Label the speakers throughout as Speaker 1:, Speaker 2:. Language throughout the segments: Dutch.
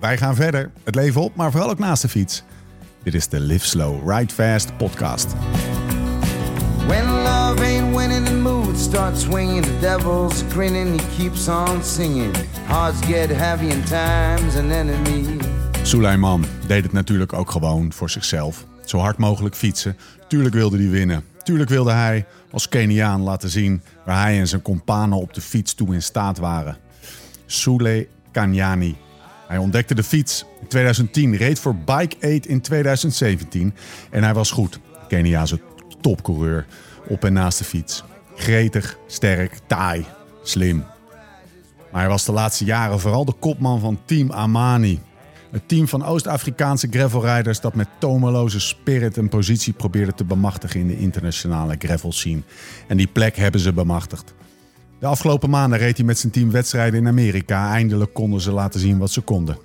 Speaker 1: wij gaan verder. Het leven op, maar vooral ook naast de fiets. Dit is de Live Slow, Ride Fast podcast.
Speaker 2: When love ain't winning, the mood starts swinging. The devil's grinning, he keeps on singing. Hearts get heavy, and time's an enemy.
Speaker 1: Suleiman deed het natuurlijk ook gewoon voor zichzelf. Zo hard mogelijk fietsen. Tuurlijk wilde hij winnen. Tuurlijk wilde hij als Keniaan laten zien waar hij en zijn companen op de fiets toe in staat waren. Soule Kanyani. Hij ontdekte de fiets in 2010, reed voor Bike Aid in 2017 en hij was goed. Keniaanse topcoureur op en naast de fiets. Gretig, sterk, taai, slim. Maar hij was de laatste jaren vooral de kopman van Team Amani. Het team van Oost-Afrikaanse gravelrijders dat met tomeloze spirit een positie probeerde te bemachtigen in de internationale gravel scene. En die plek hebben ze bemachtigd. De afgelopen maanden reed hij met zijn team wedstrijden in Amerika. Eindelijk konden ze laten zien wat ze konden.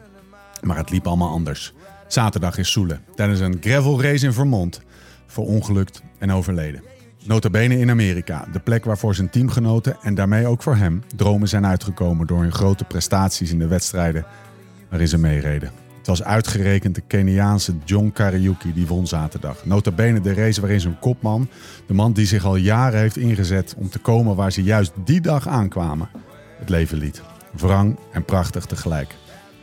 Speaker 1: Maar het liep allemaal anders. Zaterdag is Soele tijdens een gravel race in Vermont verongelukt en overleden. Notabene in Amerika, de plek waarvoor zijn teamgenoten en daarmee ook voor hem dromen zijn uitgekomen door hun grote prestaties in de wedstrijden waarin ze meereden. Het was uitgerekend de Keniaanse John Kariuki die won zaterdag. Notabene de race waarin zijn kopman, de man die zich al jaren heeft ingezet om te komen waar ze juist die dag aankwamen, het leven liet. Wrang en prachtig tegelijk.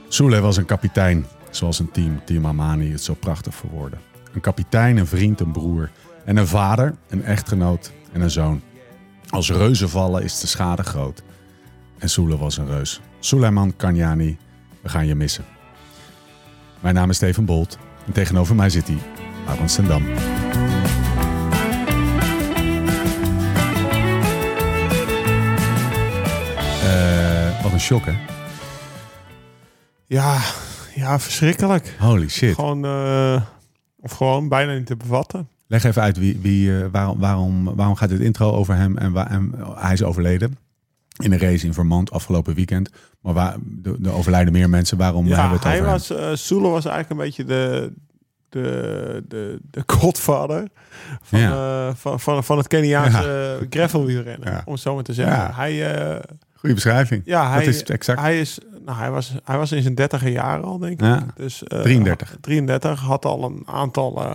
Speaker 1: Soule was een kapitein, zoals een team, Team Amani, het zo prachtig verwoordde. Een kapitein, een vriend, een broer. En een vader, een echtgenoot en een zoon. Als reuzen vallen is de schade groot. En Soele was een reus. Suleiman Kanyani, we gaan je missen. Mijn naam is Steven Bolt en tegenover mij zit hij, Aaron Sendam. Eh, wat een shock, hè?
Speaker 3: Ja, ja verschrikkelijk.
Speaker 1: Holy shit.
Speaker 3: Gewoon, eh, of gewoon bijna niet te bevatten.
Speaker 1: Leg even uit wie, wie, eh, waarom, waarom, waarom gaat dit intro over hem en, waar, en eh, hij is overleden in een race in Vermont afgelopen weekend. Maar waar, de, de overlijden meer mensen, waarom
Speaker 3: ja,
Speaker 1: hebben we het
Speaker 3: hij
Speaker 1: over
Speaker 3: was, eh Soele was eigenlijk een beetje de, de, de, de godvader van, eh, van, van, van het Keniaanse ja. gravelwielrennen,
Speaker 1: Ja.
Speaker 3: om het zo maar te zeggen.
Speaker 1: Ja.
Speaker 3: Hij, eh,
Speaker 1: hem? Goede beschrijving.
Speaker 3: ja, hij,
Speaker 1: dat is exact.
Speaker 3: hij, is, nou, hij, was, hij was in zijn dertiger jaren al, denk ik.
Speaker 1: Ja.
Speaker 3: Dus, eh,
Speaker 1: 33.
Speaker 3: 33, had al een aantal eh,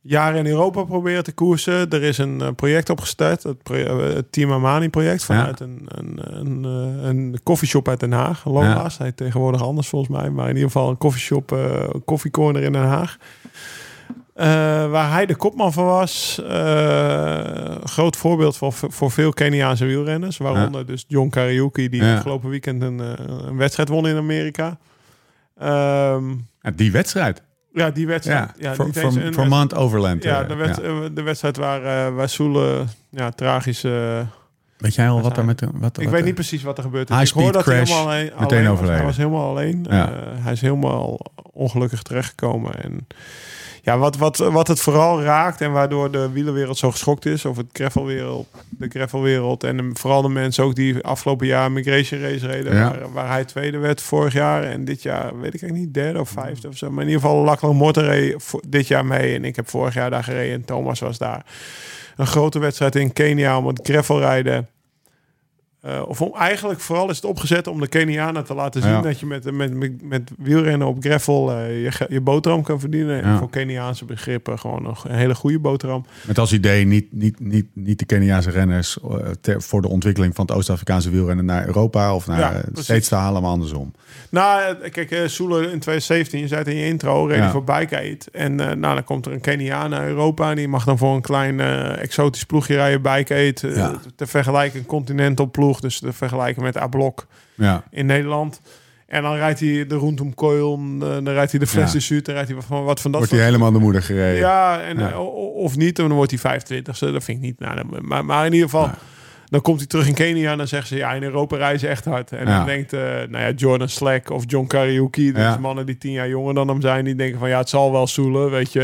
Speaker 3: jaren in Europa proberen te koersen. Er is een eh, project opgestart, het, pro- eh, het Team Amani project, vanuit een, een, een, eh, een koffieshop uit Den Haag. Loma's, hij heet tegenwoordig anders volgens mij, maar in ieder geval een koffieshop, eh, een koffiecorner in Den Haag. Eh, waar hij de kopman van was. Eh, groot voorbeeld voor, voor veel Keniaanse wielrenners. Waaronder dus John Kariuki, die
Speaker 1: Ja.
Speaker 3: afgelopen weekend een, eh, een wedstrijd won in Amerika. Ehm,
Speaker 1: Ja, die wedstrijd.
Speaker 3: ja, die wedstrijd.
Speaker 1: Ja,
Speaker 3: Ja,
Speaker 1: Ver-
Speaker 3: niet
Speaker 1: Ver-
Speaker 3: eens een wedstrijd-
Speaker 1: Vermont Overland.
Speaker 3: ja,
Speaker 1: eh,
Speaker 3: de, wed- eh, de wedstrijd waar, eh, waar Soele ja, tragisch... eh,
Speaker 1: Weet jij al wat er
Speaker 3: zijn-
Speaker 1: met... de- Wat,
Speaker 3: ik weet niet precies wat er gebeurd is.
Speaker 1: High
Speaker 3: Ik hoor
Speaker 1: speed
Speaker 3: dat hij
Speaker 1: crash,
Speaker 3: helemaal alleen,
Speaker 1: meteen
Speaker 3: alleen was.
Speaker 1: overleden.
Speaker 3: Hij was helemaal alleen.
Speaker 1: Ja.
Speaker 3: Eh, hij is helemaal ongelukkig terechtgekomen. En ja, wat, wat, wat het vooral raakt en waardoor de wielerwereld zo geschokt is, of het gravelwereld, de gravelwereld en de- vooral de mensen ook die afgelopen jaar migration race reden,
Speaker 1: Ja.
Speaker 3: waar, waar hij tweede werd vorig jaar en dit jaar weet ik eigenlijk niet derde of vijfde of zo, maar in ieder geval Lachlan Morten reed vo- dit jaar mee en ik heb vorig jaar daar gereden en Thomas was daar. Een grote wedstrijd in Kenia om het gravelrijden. Eh, of om, eigenlijk vooral is het opgezet om de Kenianen te laten zien
Speaker 1: Ja.
Speaker 3: dat je met, met, met, met wielrennen op gravel eh, je, ge- je boterham kan verdienen.
Speaker 1: Ja.
Speaker 3: En voor Keniaanse begrippen gewoon nog een hele goede boterham.
Speaker 1: Met als idee niet, niet, niet, niet de Keniaanse renners eh, ter- voor de ontwikkeling van het Oost-Afrikaanse wielrennen naar Europa of naar
Speaker 3: Ja,
Speaker 1: eh,
Speaker 3: precies.
Speaker 1: steeds te halen, maar andersom.
Speaker 3: Nou, eh, kijk, eh, Soele in 2017, je zei het in je intro, reed
Speaker 1: Ja.
Speaker 3: hij voor Bike Aid. En eh, nou, dan komt er een Keniaan naar Europa. En die mag dan voor een klein eh, exotisch ploegje rijden, Bike Aid. eh,
Speaker 1: Ja.
Speaker 3: Te vergelijken, een continental ploeg. Dus te vergelijken met A-Blok
Speaker 1: Ja,
Speaker 3: in Nederland. En dan rijdt hij de Rondom Coil, dan rijdt hij de Fles de Zuid, dan rijdt hij wat van, wat van dat
Speaker 1: wordt hij helemaal de moeder gereden.
Speaker 3: Ja, en, eh,
Speaker 1: Ja.
Speaker 3: o- o- of niet, dan wordt hij 25 Dat vind ik niet. Nou, dan- maar, maar in ieder geval, Dan komt hij terug in Kenia en dan zeggen ze... ja, in Europa reizen echt hard. En
Speaker 1: Ja.
Speaker 3: dan denkt eh, nou ja, Jordan Slack of John Kariuki... dus
Speaker 1: Ja.
Speaker 3: mannen die tien jaar jonger dan hem zijn... die denken van ja, het zal wel zoelen, weet je.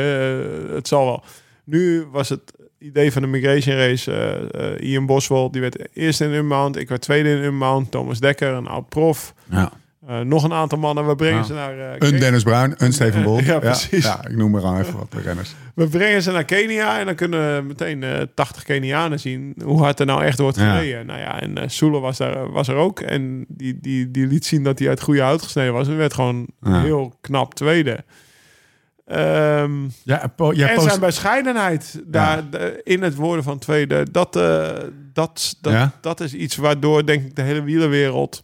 Speaker 3: eh, het zal wel. Nu was het idee van de migration race... eh, eh, Ian Boswell, die werd eerst in Unmount. Ik werd tweede in Unmount. Thomas Dekker, een oud-prof.
Speaker 1: Ja.
Speaker 3: Eh, nog een aantal mannen. We brengen
Speaker 1: Ja.
Speaker 3: ze naar... eh,
Speaker 1: Een Dennis Bruin, een Steven Bolt.
Speaker 3: Ja, precies.
Speaker 1: Ja, ik noem maar aan even wat de renners.
Speaker 3: We brengen ze naar Kenia en dan kunnen we meteen eh 80 Kenianen zien hoe hard er nou echt wordt
Speaker 1: Ja.
Speaker 3: gereden. Nou ja, en eh Soele was, daar, was er ook en die, die, die liet zien dat hij uit goede hout gesneden was. En werd gewoon
Speaker 1: Ja.
Speaker 3: heel knap tweede. Ehm,
Speaker 1: Ja, po- jij
Speaker 3: en
Speaker 1: post-
Speaker 3: zijn bescheidenheid daar de- in het worden van tweede, dat, eh, dat, dat,
Speaker 1: Ja.
Speaker 3: dat is iets waardoor denk ik de hele wielerwereld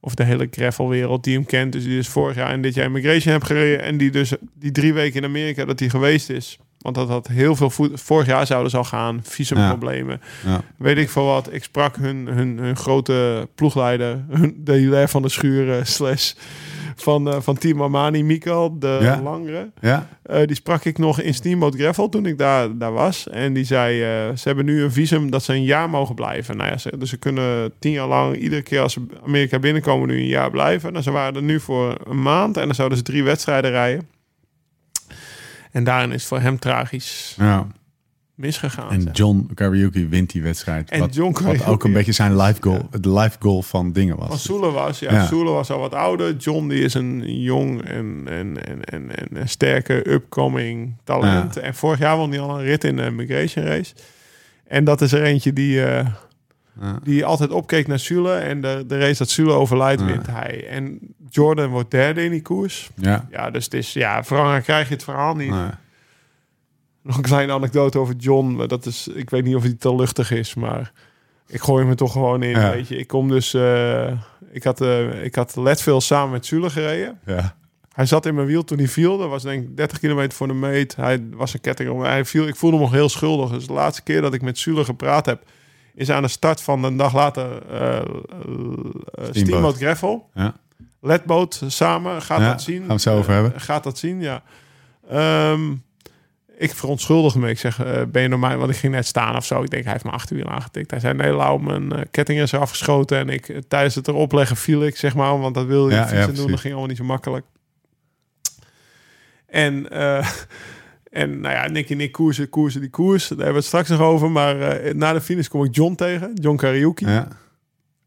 Speaker 3: of de hele gravelwereld die hem kent, dus die dus vorig jaar en dit jaar Immigration heb gereden en die dus die drie weken in Amerika dat hij geweest is. Want dat had heel veel voet. Vorig jaar zouden ze al gaan, visumproblemen.
Speaker 1: Ja.
Speaker 3: Weet ik veel wat. Ik sprak hun, hun, hun grote ploegleider, hun, de Hilaire van de Schuren, slash van, eh, van Team Armani, Mikkel, de
Speaker 1: Ja.
Speaker 3: langere.
Speaker 1: ja?
Speaker 3: Eh, die sprak ik nog in Steamboat Gravel toen ik daar, daar was. En die zei, eh, ze hebben nu een visum dat ze een jaar mogen blijven. Nou ja, ze, dus ze kunnen tien jaar lang, iedere keer als ze Amerika binnenkomen, nu een jaar blijven. Nou, ze waren er nu voor een maand en dan zouden ze drie wedstrijden rijden. En daarin is het voor hem tragisch
Speaker 1: ja.
Speaker 3: misgegaan.
Speaker 1: En
Speaker 3: zeg.
Speaker 1: John Karajuki wint die wedstrijd.
Speaker 3: En
Speaker 1: wat,
Speaker 3: John
Speaker 1: wat ook
Speaker 3: Karajuki.
Speaker 1: een beetje zijn life goal, het life goal van dingen was.
Speaker 3: Van Soele was, ja.
Speaker 1: Ja.
Speaker 3: Soele was al wat ouder. John die is een jong en, en, en, en, en, en sterke upcoming talent.
Speaker 1: Ja.
Speaker 3: En vorig jaar won hij al een rit in de Migration Race. En dat is er eentje die, eh,
Speaker 1: Ja.
Speaker 3: die altijd opkeek naar Soele. En de, de race dat Soele overlijdt,
Speaker 1: Ja.
Speaker 3: wint hij. En Jordan wordt derde in die koers.
Speaker 1: Ja.
Speaker 3: Ja, dus het is, ja, Frankrijk krijg je het verhaal niet.
Speaker 1: Ja.
Speaker 3: Nog een kleine anekdote over John. Maar dat is, ik weet niet of hij te luchtig is, maar ik gooi hem er toch gewoon in.
Speaker 1: Ja.
Speaker 3: Weet je, ik kom dus. eh, ik had, eh ik had Leadville samen met Zule gereden.
Speaker 1: Ja.
Speaker 3: Hij zat in mijn wiel toen hij viel. Dat was denk ik 30 kilometer voor de meet. Hij was een ketting om. Hij viel. Ik voelde me nog heel schuldig. Dus de laatste keer dat ik met Zule gepraat heb, is aan de start van een dag later eh, eh, Steamboat Gravel.
Speaker 1: Ja.
Speaker 3: Ledboot samen. Gaat
Speaker 1: Ja,
Speaker 3: dat zien.
Speaker 1: gaan we het zo over hebben.
Speaker 3: Eh, Gaat dat zien, ja. Ehm, ik verontschuldig me. Ik zeg, eh, ben je normaal? Want ik ging net staan of zo. Ik denk, hij heeft mijn achterwiel aangetikt. Hij zei, nee, Lau, mijn eh, ketting is eraf geschoten. En ik, eh, tijdens het erop leggen viel ik, zeg maar. Want dat wilde je
Speaker 1: Ja,
Speaker 3: ja,
Speaker 1: ja,
Speaker 3: doen. Dat
Speaker 1: precies.
Speaker 3: ging allemaal niet zo makkelijk. En, eh en nou ja, Nicky Nick koersen, koersen die koers. Daar hebben we het straks nog over. Maar eh, na de finish kom ik John tegen. John Kariuki
Speaker 1: Ja.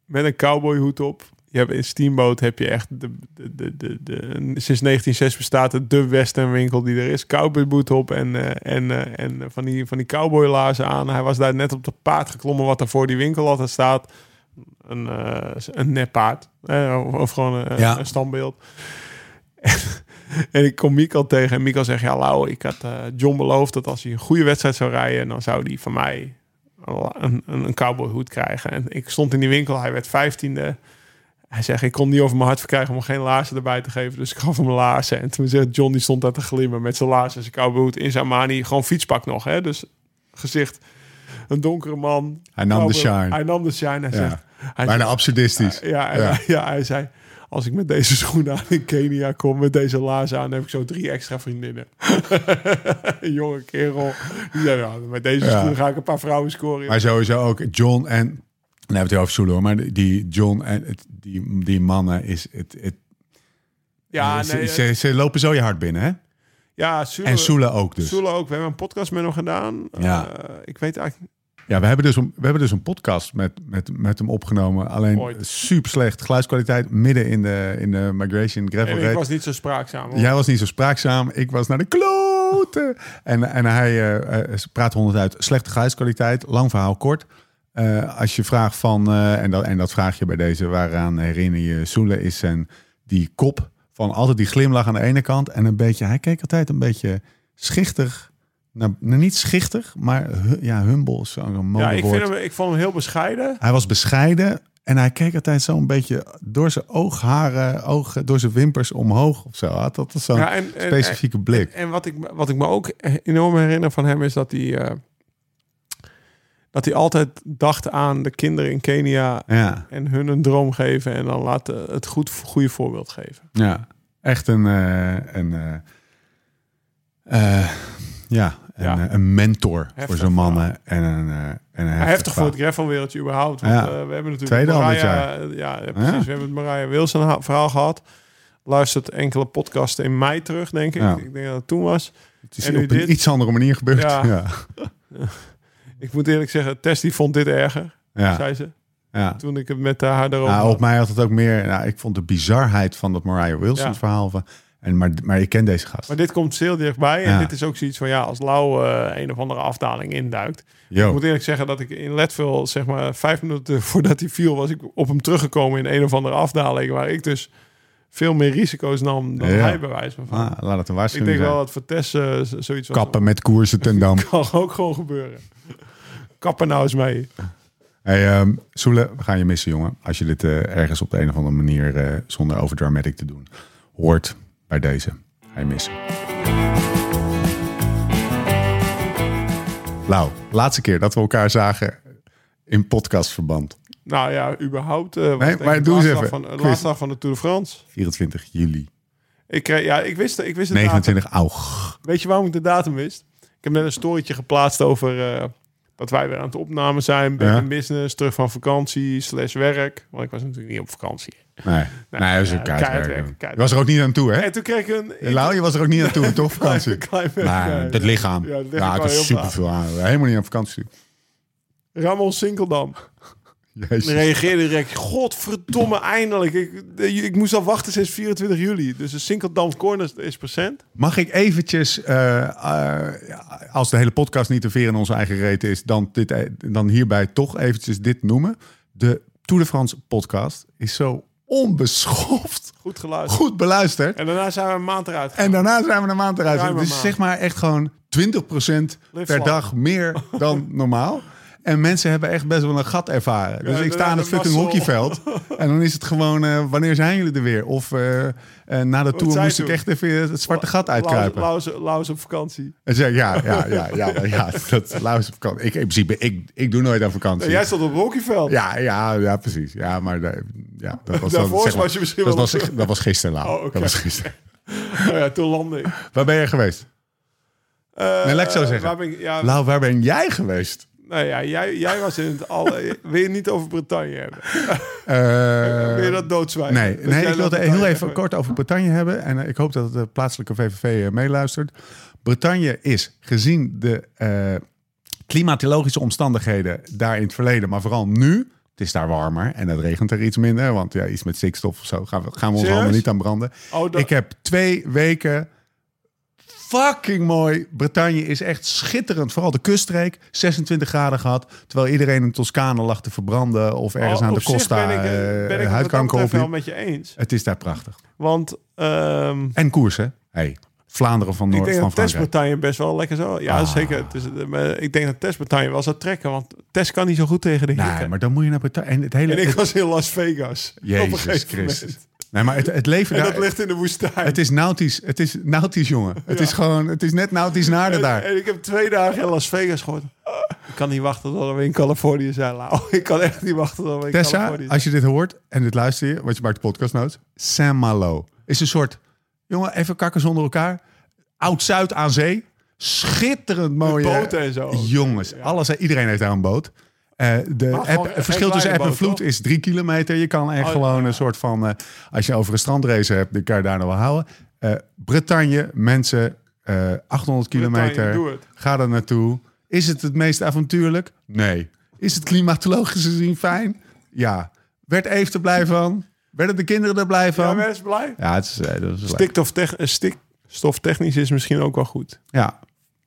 Speaker 3: met een cowboyhoed op. Je hebt in Steamboat heb je echt de, de, de, de, de- sinds 1906 bestaat het de Western winkel die er is. Cowboyboot op en, eh, en, eh, en van die, van die cowboylaarzen aan. Hij was daar net op de paard geklommen wat er voor die winkel altijd staat. Een, eh een nep paard. Eh, of, of gewoon een,
Speaker 1: Ja.
Speaker 3: een standbeeld. en ik kom Mikkel tegen en Mikkel zegt... Ja, Lau, ik had eh, John beloofd dat als hij een goede wedstrijd zou rijden... dan zou hij van mij een, een, een cowboyhoed krijgen. En ik stond in die winkel, hij werd vijftiende. Hij zegt, ik kon niet over mijn hart verkrijgen om geen laarzen erbij te geven. Dus ik gaf hem laarzen. En toen zegt John, die stond daar te glimmen met zijn laarzen en zijn cowboyhoed in zijn mani. Gewoon fietspak nog, hè. Dus gezicht, een donkere man.
Speaker 1: Hij nam de
Speaker 3: Cowboy.
Speaker 1: shine.
Speaker 3: Hij nam de shine, hij
Speaker 1: Ja.
Speaker 3: zegt... Hij
Speaker 1: Bijna
Speaker 3: zegt,
Speaker 1: absurdistisch.
Speaker 3: ja, en-
Speaker 1: Ja.
Speaker 3: ja. hij zei... Als ik met deze schoenen aan in Kenia kom, met deze laarzen aan, heb ik zo drie extra vriendinnen. een jonge kerel. Die zei, ja, met deze
Speaker 1: Ja.
Speaker 3: schoenen ga ik een paar vrouwen scoren.
Speaker 1: Maar sowieso ook John en... Dan hebben we het heel over Soelo, maar die John en het- die, die mannen is... Het, het,
Speaker 3: Ja,
Speaker 1: ze,
Speaker 3: Ah, nee,
Speaker 1: ze, ze lopen zo je hart binnen, hè?
Speaker 3: ja Sule,
Speaker 1: En Soela ook dus.
Speaker 3: Sule ook. We hebben een podcast met hem gedaan.
Speaker 1: Ja.
Speaker 3: Eh, ik weet eigenlijk...
Speaker 1: Ja, we hebben dus een, we hebben dus een podcast met, met, met hem opgenomen. Alleen
Speaker 3: Ooit.
Speaker 1: super slecht geluidskwaliteit midden in de, in de Migration Gravel
Speaker 3: En ik
Speaker 1: Race.
Speaker 3: was niet zo spraakzaam. hoor.
Speaker 1: Jij was niet zo spraakzaam. Ik was naar de kloten. En, en hij eh, eh, praat honderd uit. Slechte geluidskwaliteit. Lang verhaal kort. Eh, als je vraagt van, eh, en, dat, en dat vraag je bij deze, waaraan herinner je Soele is zijn die kop van altijd die glimlach aan de ene kant en een beetje, hij keek altijd een beetje schichtig, nou, nou, niet schichtig, maar hu- ja, humble is zo'n mooi
Speaker 3: ja, ik,
Speaker 1: woord.
Speaker 3: vind hem, ik vond hem heel bescheiden.
Speaker 1: Hij was bescheiden en hij keek altijd zo'n beetje door zijn oogharen, ogen, door zijn wimpers omhoog of zo. Hij Had dat zo'n
Speaker 3: Ja, en- en-
Speaker 1: specifieke blik.
Speaker 3: En wat ik, me- wat ik me ook enorm herinner van hem is dat hij... eh, dat hij altijd dacht aan de kinderen in Kenia
Speaker 1: ja,
Speaker 3: en hun een droom geven en dan laten het goed, goede voorbeeld geven.
Speaker 1: ja, echt een, eh, een eh, eh, Ja, en,
Speaker 3: Ja.
Speaker 1: eh, een mentor voor
Speaker 3: Heftig
Speaker 1: zo'n mannen. En
Speaker 3: verhaal.
Speaker 1: een, eh, en een heftig,
Speaker 3: Heftig, voor
Speaker 1: verhaal.
Speaker 3: het gravelwereldje überhaupt. Want,
Speaker 1: Ja.
Speaker 3: eh, we hebben natuurlijk
Speaker 1: Tweede al dit
Speaker 3: Mariah-
Speaker 1: jaar.
Speaker 3: Ja, ja, precies.
Speaker 1: Ja.
Speaker 3: We hebben het Mariah Wilson ha- verhaal gehad. Luistert enkele podcasten in mei terug, denk ik.
Speaker 1: Ja.
Speaker 3: Ik denk dat het toen was.
Speaker 1: Het is
Speaker 3: en
Speaker 1: op
Speaker 3: nu
Speaker 1: een
Speaker 3: dit.
Speaker 1: iets andere manier gebeurd. Ja.
Speaker 3: Ja.
Speaker 1: Ja.
Speaker 3: Ik moet eerlijk zeggen, Tess die vond dit erger,
Speaker 1: Ja.
Speaker 3: zei ze. Toen ik het met haar daarover
Speaker 1: Nou,
Speaker 3: had.
Speaker 1: op mij had het ook meer... Nou, ik vond de bizarheid van dat Mariah Wilson
Speaker 3: Ja.
Speaker 1: verhaal... Van, en, maar, maar je kent deze gast.
Speaker 3: Maar dit komt heel dichtbij.
Speaker 1: Ja.
Speaker 3: En dit is ook zoiets van, ja, als Lau eh, een of andere afdaling induikt.
Speaker 1: Yo.
Speaker 3: Ik moet eerlijk zeggen dat ik in Leadville, zeg maar, vijf minuten voordat hij viel, was ik op hem teruggekomen in een of andere afdaling. Waar ik dus veel meer risico's nam dan
Speaker 1: Ja.
Speaker 3: hij bij wijze van.
Speaker 1: Ah, laat het een
Speaker 3: ik
Speaker 1: waarschuwing
Speaker 3: denk wel
Speaker 1: zijn.
Speaker 3: dat voor Tess eh, z- zoiets was.
Speaker 1: Kappen met koersen ten dam.
Speaker 3: Kan ook gewoon gebeuren. Kappen nou eens mee.
Speaker 1: Hey, ehm, Soele, we gaan je missen, jongen. Als je dit eh, ergens op de een of andere manier eh, zonder overdramatic te doen hoort bij deze. Ga je missen. Lau, Nou, laatste keer dat we elkaar zagen in podcastverband.
Speaker 3: Nou ja, überhaupt. eh, was
Speaker 1: Nee,
Speaker 3: denk
Speaker 1: maar
Speaker 3: ik
Speaker 1: doe eens
Speaker 3: laatste dag
Speaker 1: even.
Speaker 3: Van, eh, de
Speaker 1: Quiz.
Speaker 3: laatste dag van de Tour de France.
Speaker 1: 24 juli,
Speaker 3: Ik, kreeg, ja, ik wist, ik wist het
Speaker 1: 29 augustus.
Speaker 3: Weet je waarom ik de datum wist? Ik heb net een storytje geplaatst over eh, dat wij weer aan het opnemen zijn. Back
Speaker 1: Ja.
Speaker 3: in business, terug van vakantie, slash werk. Want ik was natuurlijk niet op vakantie.
Speaker 1: Nee, nee, dat is
Speaker 3: ja,
Speaker 1: een kaartwerk.
Speaker 3: kaartwerk,
Speaker 1: Je
Speaker 3: kaartwerk.
Speaker 1: was er ook niet aan toe, hè?
Speaker 3: En toen kreeg ik een...
Speaker 1: Lau, je was er ook niet aan toe, toch? Vakantie.
Speaker 3: klein beetje,
Speaker 1: Maar
Speaker 3: ja.
Speaker 1: dat lichaam.
Speaker 3: Ja,
Speaker 1: Ja,
Speaker 3: dat
Speaker 1: het
Speaker 3: lichaam kan heel
Speaker 1: is super veel aan. Helemaal niet aan vakantie. toe.
Speaker 3: Ramon Sinkeldam.
Speaker 1: Jezus.
Speaker 3: Die reageerde direct. Godverdomme, eindelijk. Ik, ik moest al wachten sinds 24 juli. Dus de Sinkeldam Corners is procent.
Speaker 1: Mag ik eventjes, eh, eh, ja, als de hele podcast niet te ver in onze eigen reet is, dan, dit, eh, dan hierbij toch eventjes dit noemen. De Tour de France podcast is zo onbeschoft
Speaker 3: Goed geluisterd.
Speaker 1: goed beluisterd.
Speaker 3: En daarna zijn we een maand eruit gegaan.
Speaker 1: En daarna zijn we een maand eruit.
Speaker 3: Ruim
Speaker 1: Het
Speaker 3: een
Speaker 1: is
Speaker 3: maand.
Speaker 1: zeg maar echt gewoon 20%
Speaker 3: Live
Speaker 1: per
Speaker 3: lang.
Speaker 1: dag meer dan normaal. En mensen hebben echt best wel een gat ervaren. Dus
Speaker 3: en
Speaker 1: ik sta aan
Speaker 3: daarna
Speaker 1: het
Speaker 3: de
Speaker 1: fucking
Speaker 3: mazzel.
Speaker 1: hockeyveld. En dan is het gewoon, eh, wanneer zijn jullie er weer? Of eh, eh, na de tour
Speaker 3: zei
Speaker 1: moest ik
Speaker 3: toen?
Speaker 1: echt even het zwarte gat uitkruipen.
Speaker 3: Laus, Laus- Laus op vakantie. Nou,
Speaker 1: En zei, ik, ja, ja, ja, ja, maar ja, dat Laus op vakantie. Ik, in principe, ik, ik doe nooit aan vakantie.
Speaker 3: En jij stond op Rockyveld.
Speaker 1: Ja, ja, ja, precies. Ja, maar daar- ja, dat was
Speaker 3: Daarvoor
Speaker 1: dan, zeg maar,
Speaker 3: was je misschien
Speaker 1: dat
Speaker 3: wel
Speaker 1: was, dat was gisteren, Lau.
Speaker 3: Oh, oké.
Speaker 1: Dat was gisteren.
Speaker 3: Nou ja, toen landde ik.
Speaker 1: Waar ben je geweest?
Speaker 3: Eh,
Speaker 1: Nee, laat ik zo
Speaker 3: eh,
Speaker 1: zeggen.
Speaker 3: waar ben ik- ja,
Speaker 1: Lau, waar ben jij geweest?
Speaker 3: nou ja, jij, jij was in het alle. Wil je het niet over Bretagne hebben?
Speaker 1: Eh,
Speaker 3: Wil je dat doodzwijgen?
Speaker 1: nee,
Speaker 3: Dat
Speaker 1: nee
Speaker 3: jij
Speaker 1: ik wilde
Speaker 3: dat
Speaker 1: heel
Speaker 3: Bretagne-
Speaker 1: even kort over Bretagne hebben. En eh, ik hoop dat de plaatselijke VVV eh, meeluistert. Bretagne is gezien de eh, klimatologische omstandigheden daar in het verleden, maar vooral nu. Het is daar warmer en het regent er iets minder. Want ja, iets met stikstof of zo gaan we, gaan we ons
Speaker 3: Serieus?
Speaker 1: allemaal niet aan branden.
Speaker 3: Oh, dat-
Speaker 1: Ik heb twee weken fucking mooi. Bretagne is echt schitterend. Vooral de kuststreek. 26 graden gehad. Terwijl iedereen in Toscane lag te verbranden. Of ergens
Speaker 3: Oh,
Speaker 1: aan de
Speaker 3: op zich
Speaker 1: Costa
Speaker 3: Ben ik,
Speaker 1: eh,
Speaker 3: ben ik het wat dat
Speaker 1: huidkanker
Speaker 3: betreft wel
Speaker 1: opliep.
Speaker 3: met je eens.
Speaker 1: Het is daar prachtig.
Speaker 3: Want ehm,
Speaker 1: En koersen. Hey, Vlaanderen van
Speaker 3: ik
Speaker 1: Noord
Speaker 3: denk
Speaker 1: van
Speaker 3: dat
Speaker 1: Frankrijk. Ah.
Speaker 3: testpartijen best wel lekker zo. Ja, zeker. Het is, eh, maar ik denk dat testpartijen wel zou trekken. Want test kan niet zo goed tegen de hitte.
Speaker 1: Nee, maar dan moet je naar Bretagne. En het hele...
Speaker 3: En ik
Speaker 1: het-
Speaker 3: was in Las Vegas. op een
Speaker 1: Jezus
Speaker 3: gegeven
Speaker 1: Christus.
Speaker 3: moment.
Speaker 1: Nee, maar het, het leven
Speaker 3: En
Speaker 1: daar...
Speaker 3: dat ligt in de woestijn.
Speaker 1: Het is nautisch. Het is nautisch, jongen. Het is gewoon... Het is net nautisch naarden daar.
Speaker 3: En ik heb twee dagen in Las Vegas gehoord. Ik kan niet wachten tot we in Californië zijn. Lau. Ik kan echt niet wachten tot we in
Speaker 1: Tessa,
Speaker 3: Californië zijn.
Speaker 1: als je dit hoort en dit luister je, want je maakt de podcast notes. Saint Malo is een soort, jongen, even kakken zonder elkaar. Oud-Zuid aan zee. Schitterend mooie.
Speaker 3: boten en zo.
Speaker 1: Jongens, alles, iedereen heeft daar een boot. Eh, de
Speaker 3: gewoon
Speaker 1: app,
Speaker 3: een-
Speaker 1: het verschil
Speaker 3: een
Speaker 1: tussen app
Speaker 3: kleine
Speaker 1: en
Speaker 3: boot,
Speaker 1: vloed
Speaker 3: toch?
Speaker 1: is drie kilometer. Je kan echt
Speaker 3: Oh,
Speaker 1: gewoon een soort van... eh, als je over een strandrace hebt, dan kan je daar nog wel houden. Eh Bretagne, mensen, eh 800 kilometer.
Speaker 3: doe het.
Speaker 1: Ga er naartoe. Is het het meest avontuurlijk? Nee. Is het klimatologisch gezien fijn? Ja. Werd Eve er blij van? Werden de kinderen er blij
Speaker 3: Ja,
Speaker 1: van?
Speaker 3: mensen blij.
Speaker 1: Ja, het is, eh, dat is leuk.
Speaker 3: Stikstoftech- eh, Stikstoftechnisch is misschien ook wel goed.
Speaker 1: Ja.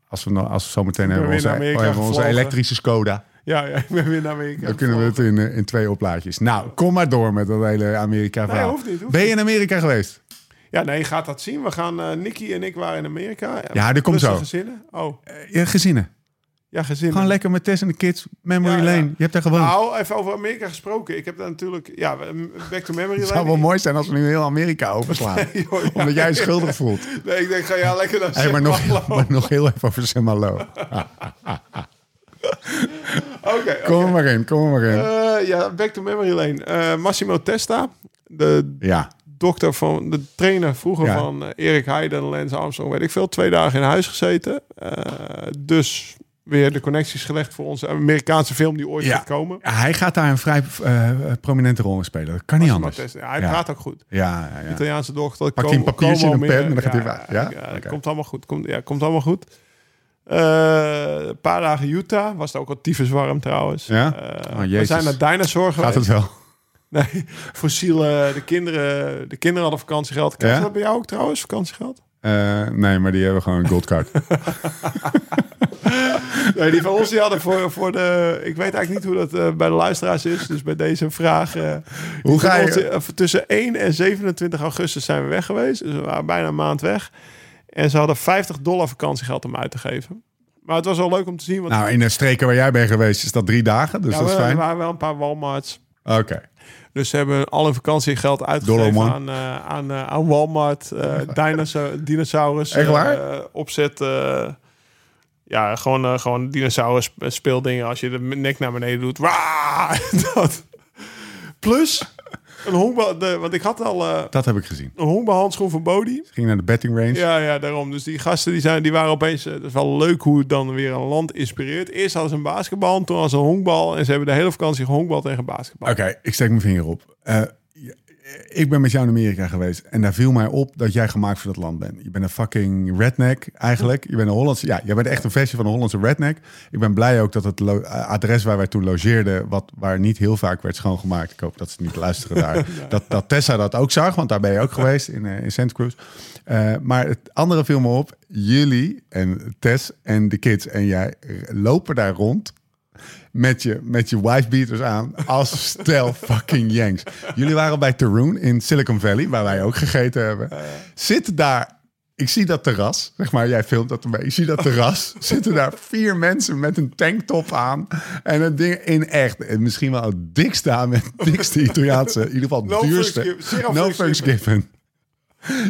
Speaker 1: Als we, nou, als we zo meteen hebben we
Speaker 3: weer
Speaker 1: onze,
Speaker 3: naar Amerika
Speaker 1: oh, hebben we onze
Speaker 3: gevlogen.
Speaker 1: elektrische Skoda.
Speaker 3: Ja, ja, ik ben weer naar Amerika.
Speaker 1: Dan kunnen we het in, eh, in twee oplaadjes. Nou, kom maar door met dat hele Amerika verhaal.
Speaker 3: hoeft niet, hoeft
Speaker 1: ben je in Amerika geweest?
Speaker 3: Ja, nee, je gaat dat zien. We gaan, eh Nicky en ik waren in Amerika.
Speaker 1: Ja, dit komt
Speaker 3: Plus de
Speaker 1: zo.
Speaker 3: gezinnen. Oh,
Speaker 1: Eh, Ja, gezinnen.
Speaker 3: ja, gezinnen.
Speaker 1: Gewoon lekker met Tess en de kids. Memory
Speaker 3: Ja, ja.
Speaker 1: Lane. Je hebt daar gewoond.
Speaker 3: Nou, even over Amerika gesproken. Ik heb daar natuurlijk... Ja, back to memory
Speaker 1: het zou wel
Speaker 3: lane.
Speaker 1: mooi zijn als we nu heel Amerika overslaan.
Speaker 3: joh, ja.
Speaker 1: Omdat jij je schuldig voelt.
Speaker 3: Nee, ik denk, ga jij lekker naar
Speaker 1: Hey, maar,
Speaker 3: Sint
Speaker 1: nog,
Speaker 3: Malo.
Speaker 1: maar nog heel even over Semalo.
Speaker 3: Oké, oké.
Speaker 1: Kom er maar in, kom er maar in.
Speaker 3: Eh, ja, back to memory lane. Eh, Massimo Testa, de
Speaker 1: ja,
Speaker 3: dokter van de trainer vroeger
Speaker 1: Ja.
Speaker 3: van eh, Erik Heiden en Lance Armstrong, weet ik veel, twee dagen in huis gezeten. Eh, dus weer de connecties gelegd voor onze Amerikaanse film die ooit
Speaker 1: Ja.
Speaker 3: gaat komen.
Speaker 1: Hij gaat daar een vrij eh, prominente rol in spelen. Dat kan niet
Speaker 3: Als we maar
Speaker 1: anders.
Speaker 3: testen. Ja, hij
Speaker 1: Ja.
Speaker 3: praat ook goed.
Speaker 1: Ja, ja, ja.
Speaker 3: Italiaanse dochter.
Speaker 1: Pakt
Speaker 3: kom-
Speaker 1: hij een papiertje
Speaker 3: kom
Speaker 1: en een
Speaker 3: al
Speaker 1: pen en dan
Speaker 3: meer.
Speaker 1: gaat hij weg. Ja? Oké.
Speaker 3: komt allemaal goed. Komt, ja, komt allemaal goed. Eh, een paar dagen Utah. Was het ook al tyfus warm trouwens.
Speaker 1: Ja?
Speaker 3: Eh,
Speaker 1: Oh,
Speaker 3: we
Speaker 1: Jezus.
Speaker 3: zijn naar Dinosaur
Speaker 1: Gaat
Speaker 3: geweest.
Speaker 1: het wel?
Speaker 3: Nee, fossiele. De kinderen, de kinderen hadden vakantiegeld. Krijg je
Speaker 1: Ja?
Speaker 3: dat bij jou ook trouwens, vakantiegeld?
Speaker 1: Eh, nee, maar die hebben gewoon een goldcard.
Speaker 3: Nee, die van ons die hadden voor, voor de... Ik weet eigenlijk niet hoe dat eh, bij de luisteraars is. Dus bij deze vraag... eh,
Speaker 1: Hoe ga
Speaker 3: Tot,
Speaker 1: je?
Speaker 3: eh, tussen 1 en 27 augustus zijn we weg geweest. Dus we waren bijna een maand weg. En ze hadden 50 dollar vakantiegeld om uit te geven. Maar het was wel leuk om te zien. Want
Speaker 1: Nou, in de streken waar jij bent geweest is dat drie dagen, dus
Speaker 3: ja,
Speaker 1: dat is
Speaker 3: we-
Speaker 1: fijn.
Speaker 3: er
Speaker 1: Oké.
Speaker 3: waren wel een paar Walmarts. Dus ze hebben al hun vakantiegeld uitgegeven
Speaker 1: Dollarman.
Speaker 3: aan, eh, aan, eh, aan Walmart. eh dinosaur, dinosaurus.
Speaker 1: Echt waar?
Speaker 3: eh, opzet. eh, ja, gewoon, eh, gewoon dinosaurus speeldingen. Als je de nek naar beneden doet. Waa! dat. Plus... Een honkbal, de- want ik had al eh,
Speaker 1: Dat heb ik gezien.
Speaker 3: een honkbalhandschoen van Bodie.
Speaker 1: Ging naar de betting range.
Speaker 3: Ja, ja, daarom. Dus die gasten die zijn, die waren opeens... eh, Het is wel leuk hoe het dan weer een land inspireert. Eerst hadden ze een basketbal, toen hadden ze een honkbal. En ze hebben de hele vakantie gehonkbald tegen basketbal.
Speaker 1: Oké, ik steek mijn vinger op. Eh, ik ben met jou in Amerika geweest en daar viel mij op dat jij gemaakt voor dat land bent. Je bent een fucking redneck eigenlijk. Je bent een Hollandse, ja, jij bent echt een versie van een Hollandse redneck. Ik ben blij ook dat het lo- eh, adres waar wij toen logeerden, wat, waar niet heel vaak werd schoongemaakt. Ik hoop dat ze niet luisteren daar. dat, dat Tessa dat ook zag, want daar ben je ook geweest in, eh, in Santa Cruz. Eh, maar het andere viel me op, jullie en Tess en de kids en jij lopen daar rond met je, met je wifebeaters aan als stel fucking Yanks. Jullie waren bij Teroon in Silicon Valley, waar wij ook gegeten hebben.
Speaker 3: Eh.
Speaker 1: Zitten daar, ik zie dat terras, zeg maar, jij filmt dat ermee. Ik zie dat terras, zitten daar vier mensen met een tanktop aan en een ding in echt. en Misschien wel het dikste aan met het dikste Italiaanse, in ieder geval het
Speaker 3: No fucks
Speaker 1: duurste.
Speaker 3: given, zero
Speaker 1: no
Speaker 3: fucks
Speaker 1: fucks given.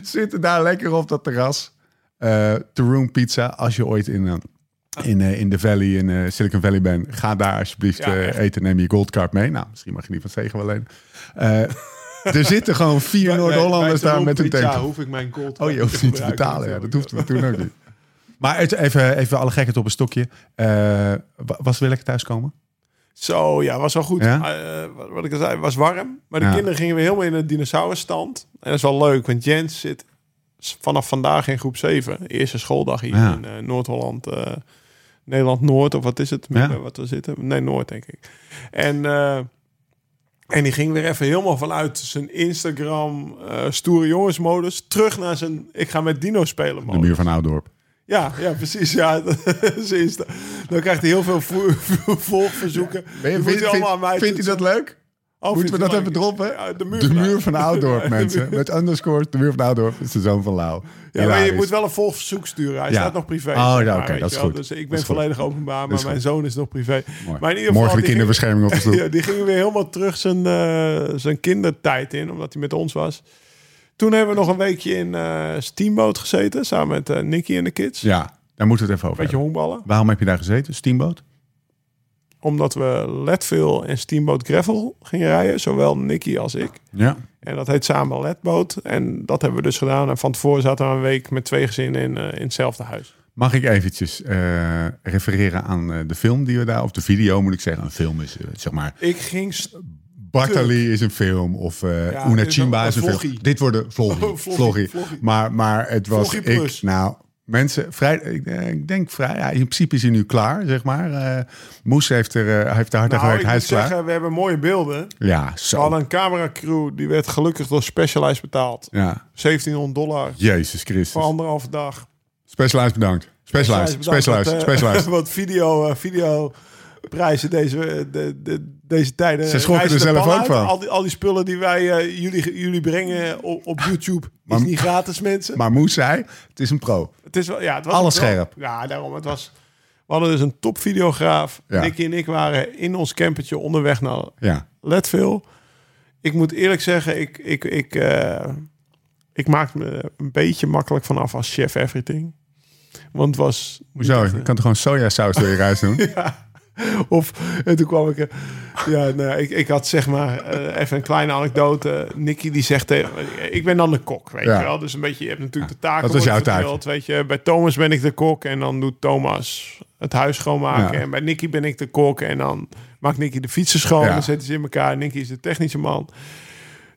Speaker 1: Zitten daar lekker op dat terras. Eh Teroon pizza, als je ooit in... een in, eh, in de Valley, in eh, Silicon Valley ben, ga daar alsjeblieft
Speaker 3: Ja,
Speaker 1: eh,
Speaker 3: echt.
Speaker 1: eten. Neem je goldcard mee. Nou, misschien mag je die van Zegen wel lenen. Eh, er zitten gewoon vier Noord-Hollanders daar met hun
Speaker 3: Ja,
Speaker 1: tank.
Speaker 3: hoef ik mijn gold
Speaker 1: Oh, je hoeft niet te betalen. Ja, dat hoeft we toen ook niet. Maar het- even, even alle gekheid op een stokje. Eh, wa- was wil ik thuiskomen?
Speaker 3: Zo, ja, was wel goed.
Speaker 1: Ja?
Speaker 3: Eh, wat- wat ik al zei, was warm. Maar de
Speaker 1: Ja.
Speaker 3: kinderen gingen weer helemaal in de dinosaurusstand. En dat is wel leuk, want Jens zit s- vanaf vandaag in groep 7. Eerste schooldag hier
Speaker 1: Ja.
Speaker 3: in eh, Noord-Holland. eh, Nederland-Noord, of wat is het?
Speaker 1: Ja.
Speaker 3: Wat we zitten? Nee, Noord, denk ik. En, eh, en die ging weer even helemaal vanuit zijn Instagram eh, stoere jongensmodus... terug naar zijn ik ga met dino spelen
Speaker 1: De
Speaker 3: modus.
Speaker 1: muur van Oudorp.
Speaker 3: Ja, ja, precies. Ja, dat is Insta. Dan krijgt hij heel veel vo- vo- volgverzoeken.
Speaker 1: Ben je-
Speaker 3: Die moet
Speaker 1: vindt
Speaker 3: hij allemaal aan mij
Speaker 1: vindt- vindt u dat leuk?
Speaker 3: Oh,
Speaker 1: Moeten we
Speaker 3: vindt
Speaker 1: dat
Speaker 3: hij
Speaker 1: even
Speaker 3: leuk?
Speaker 1: droppen?
Speaker 3: Ja, de muur
Speaker 1: de
Speaker 3: van
Speaker 1: muur
Speaker 3: Oudorp.
Speaker 1: van Oudorp,
Speaker 3: De
Speaker 1: mensen.
Speaker 3: muur.
Speaker 1: Met underscore, de muur van Oudorp is de zoon van Lau.
Speaker 3: Ja, maar je
Speaker 1: Hilarisch.
Speaker 3: moet wel een volgverzoek sturen. Hij
Speaker 1: Ja.
Speaker 3: staat nog privé.
Speaker 1: Oh, ja,
Speaker 3: zeg maar,
Speaker 1: oké,
Speaker 3: weet
Speaker 1: dat
Speaker 3: je
Speaker 1: is
Speaker 3: wel.
Speaker 1: goed.
Speaker 3: Dus ik
Speaker 1: Dat
Speaker 3: ben
Speaker 1: is goed.
Speaker 3: volledig openbaar,
Speaker 1: Dat
Speaker 3: maar
Speaker 1: is
Speaker 3: mijn
Speaker 1: goed.
Speaker 3: zoon is nog privé.
Speaker 1: Mooi.
Speaker 3: Maar in ieder
Speaker 1: Morgen
Speaker 3: geval,
Speaker 1: de
Speaker 3: die ging-
Speaker 1: kinderbescherming op de stoep.
Speaker 3: Ja, die ging weer helemaal terug zijn, eh, zijn kindertijd in, omdat hij met ons was. Toen hebben we nog een weekje in eh, Steamboat gezeten, samen met eh, Nicky en de kids.
Speaker 1: Ja, daar moeten we het even over
Speaker 3: Beetje
Speaker 1: hebben.
Speaker 3: honkballen.
Speaker 1: Waarom heb je daar gezeten? Steamboot?
Speaker 3: Omdat we Leadville en Steamboat Gravel gingen rijden, zowel Nicky als ik.
Speaker 1: Ja.
Speaker 3: En dat heet samen Ledboot. En dat hebben we dus gedaan. En van tevoren zaten we een week met twee gezinnen in, eh, in hetzelfde huis.
Speaker 1: Mag ik eventjes eh, refereren aan eh, de film die we daar, of de video moet ik zeggen. Een film is, eh, zeg maar,
Speaker 3: Ik ging st-
Speaker 1: Bartali is een film of eh
Speaker 3: Ja,
Speaker 1: Una
Speaker 3: dit is
Speaker 1: Chimba
Speaker 3: een-
Speaker 1: is een
Speaker 3: een
Speaker 1: film.
Speaker 3: vloggie.
Speaker 1: Dit worden vloggie.
Speaker 3: Oh, vloggie,
Speaker 1: vloggie.
Speaker 3: vloggie.
Speaker 1: Maar, maar het was
Speaker 3: Vloggie
Speaker 1: ik,
Speaker 3: plus.
Speaker 1: nou, mensen, vrij, ik, eh, ik denk vrij, ja, in principe is hij nu klaar, zeg maar. Eh, Moes heeft er, eh, hij heeft er hard aan
Speaker 3: nou, ik
Speaker 1: gewerkt, hij
Speaker 3: moet
Speaker 1: is klaar.
Speaker 3: zeggen, we hebben mooie beelden.
Speaker 1: Ja,
Speaker 3: We
Speaker 1: zo.
Speaker 3: hadden een cameracrew, die werd gelukkig door Specialized betaald.
Speaker 1: Ja.
Speaker 3: 1700 dollar
Speaker 1: Jezus
Speaker 3: voor
Speaker 1: Christus.
Speaker 3: anderhalve dag.
Speaker 1: Specialized bedankt. Specialized,
Speaker 3: bedankt,
Speaker 1: specialized,
Speaker 3: want, eh,
Speaker 1: specialized.
Speaker 3: Want video, eh, video prijzen deze, eh, de, de- deze tijden.
Speaker 1: Ze schrokken
Speaker 3: reizen
Speaker 1: er
Speaker 3: de
Speaker 1: zelf
Speaker 3: pan
Speaker 1: ook
Speaker 3: uit.
Speaker 1: van.
Speaker 3: Al die, al die spullen die wij eh, jullie, jullie brengen op, op YouTube
Speaker 1: Ah. Maar-
Speaker 3: is niet gratis, mensen.
Speaker 1: Maar Moes zei, het is een pro.
Speaker 3: Het is wel, ja, het was
Speaker 1: Alles
Speaker 3: het wel-
Speaker 1: scherp.
Speaker 3: Ja, daarom. Het was, we hadden dus een topvideograaf.
Speaker 1: Ja.
Speaker 3: Nicky en ik waren in ons campertje onderweg naar
Speaker 1: Ja.
Speaker 3: Leadville. Ik moet eerlijk zeggen, ik, ik, ik, eh, ik maak me een beetje makkelijk vanaf als chef everything. Want het was...
Speaker 1: Hoezo?
Speaker 3: niet echt-
Speaker 1: Je kan toch gewoon sojasaus door je rijst doen?
Speaker 3: Ja. Of, en toen kwam ik... eh, Ja, nou, ik, ik had zeg maar eh, even een kleine anekdote. Nicky die zegt tegen Ik ben dan de kok, weet
Speaker 1: Ja.
Speaker 3: je wel. Dus een beetje, je hebt natuurlijk de taak.
Speaker 1: dat is jouw taak.
Speaker 3: Weet je, bij Thomas ben ik de kok en dan doet Thomas het huis schoonmaken.
Speaker 1: Ja.
Speaker 3: En bij Nicky ben ik de kok en dan maakt Nicky de fietsen schoon.
Speaker 1: Ja.
Speaker 3: Dan zetten ze in elkaar. Nicky is de technische man.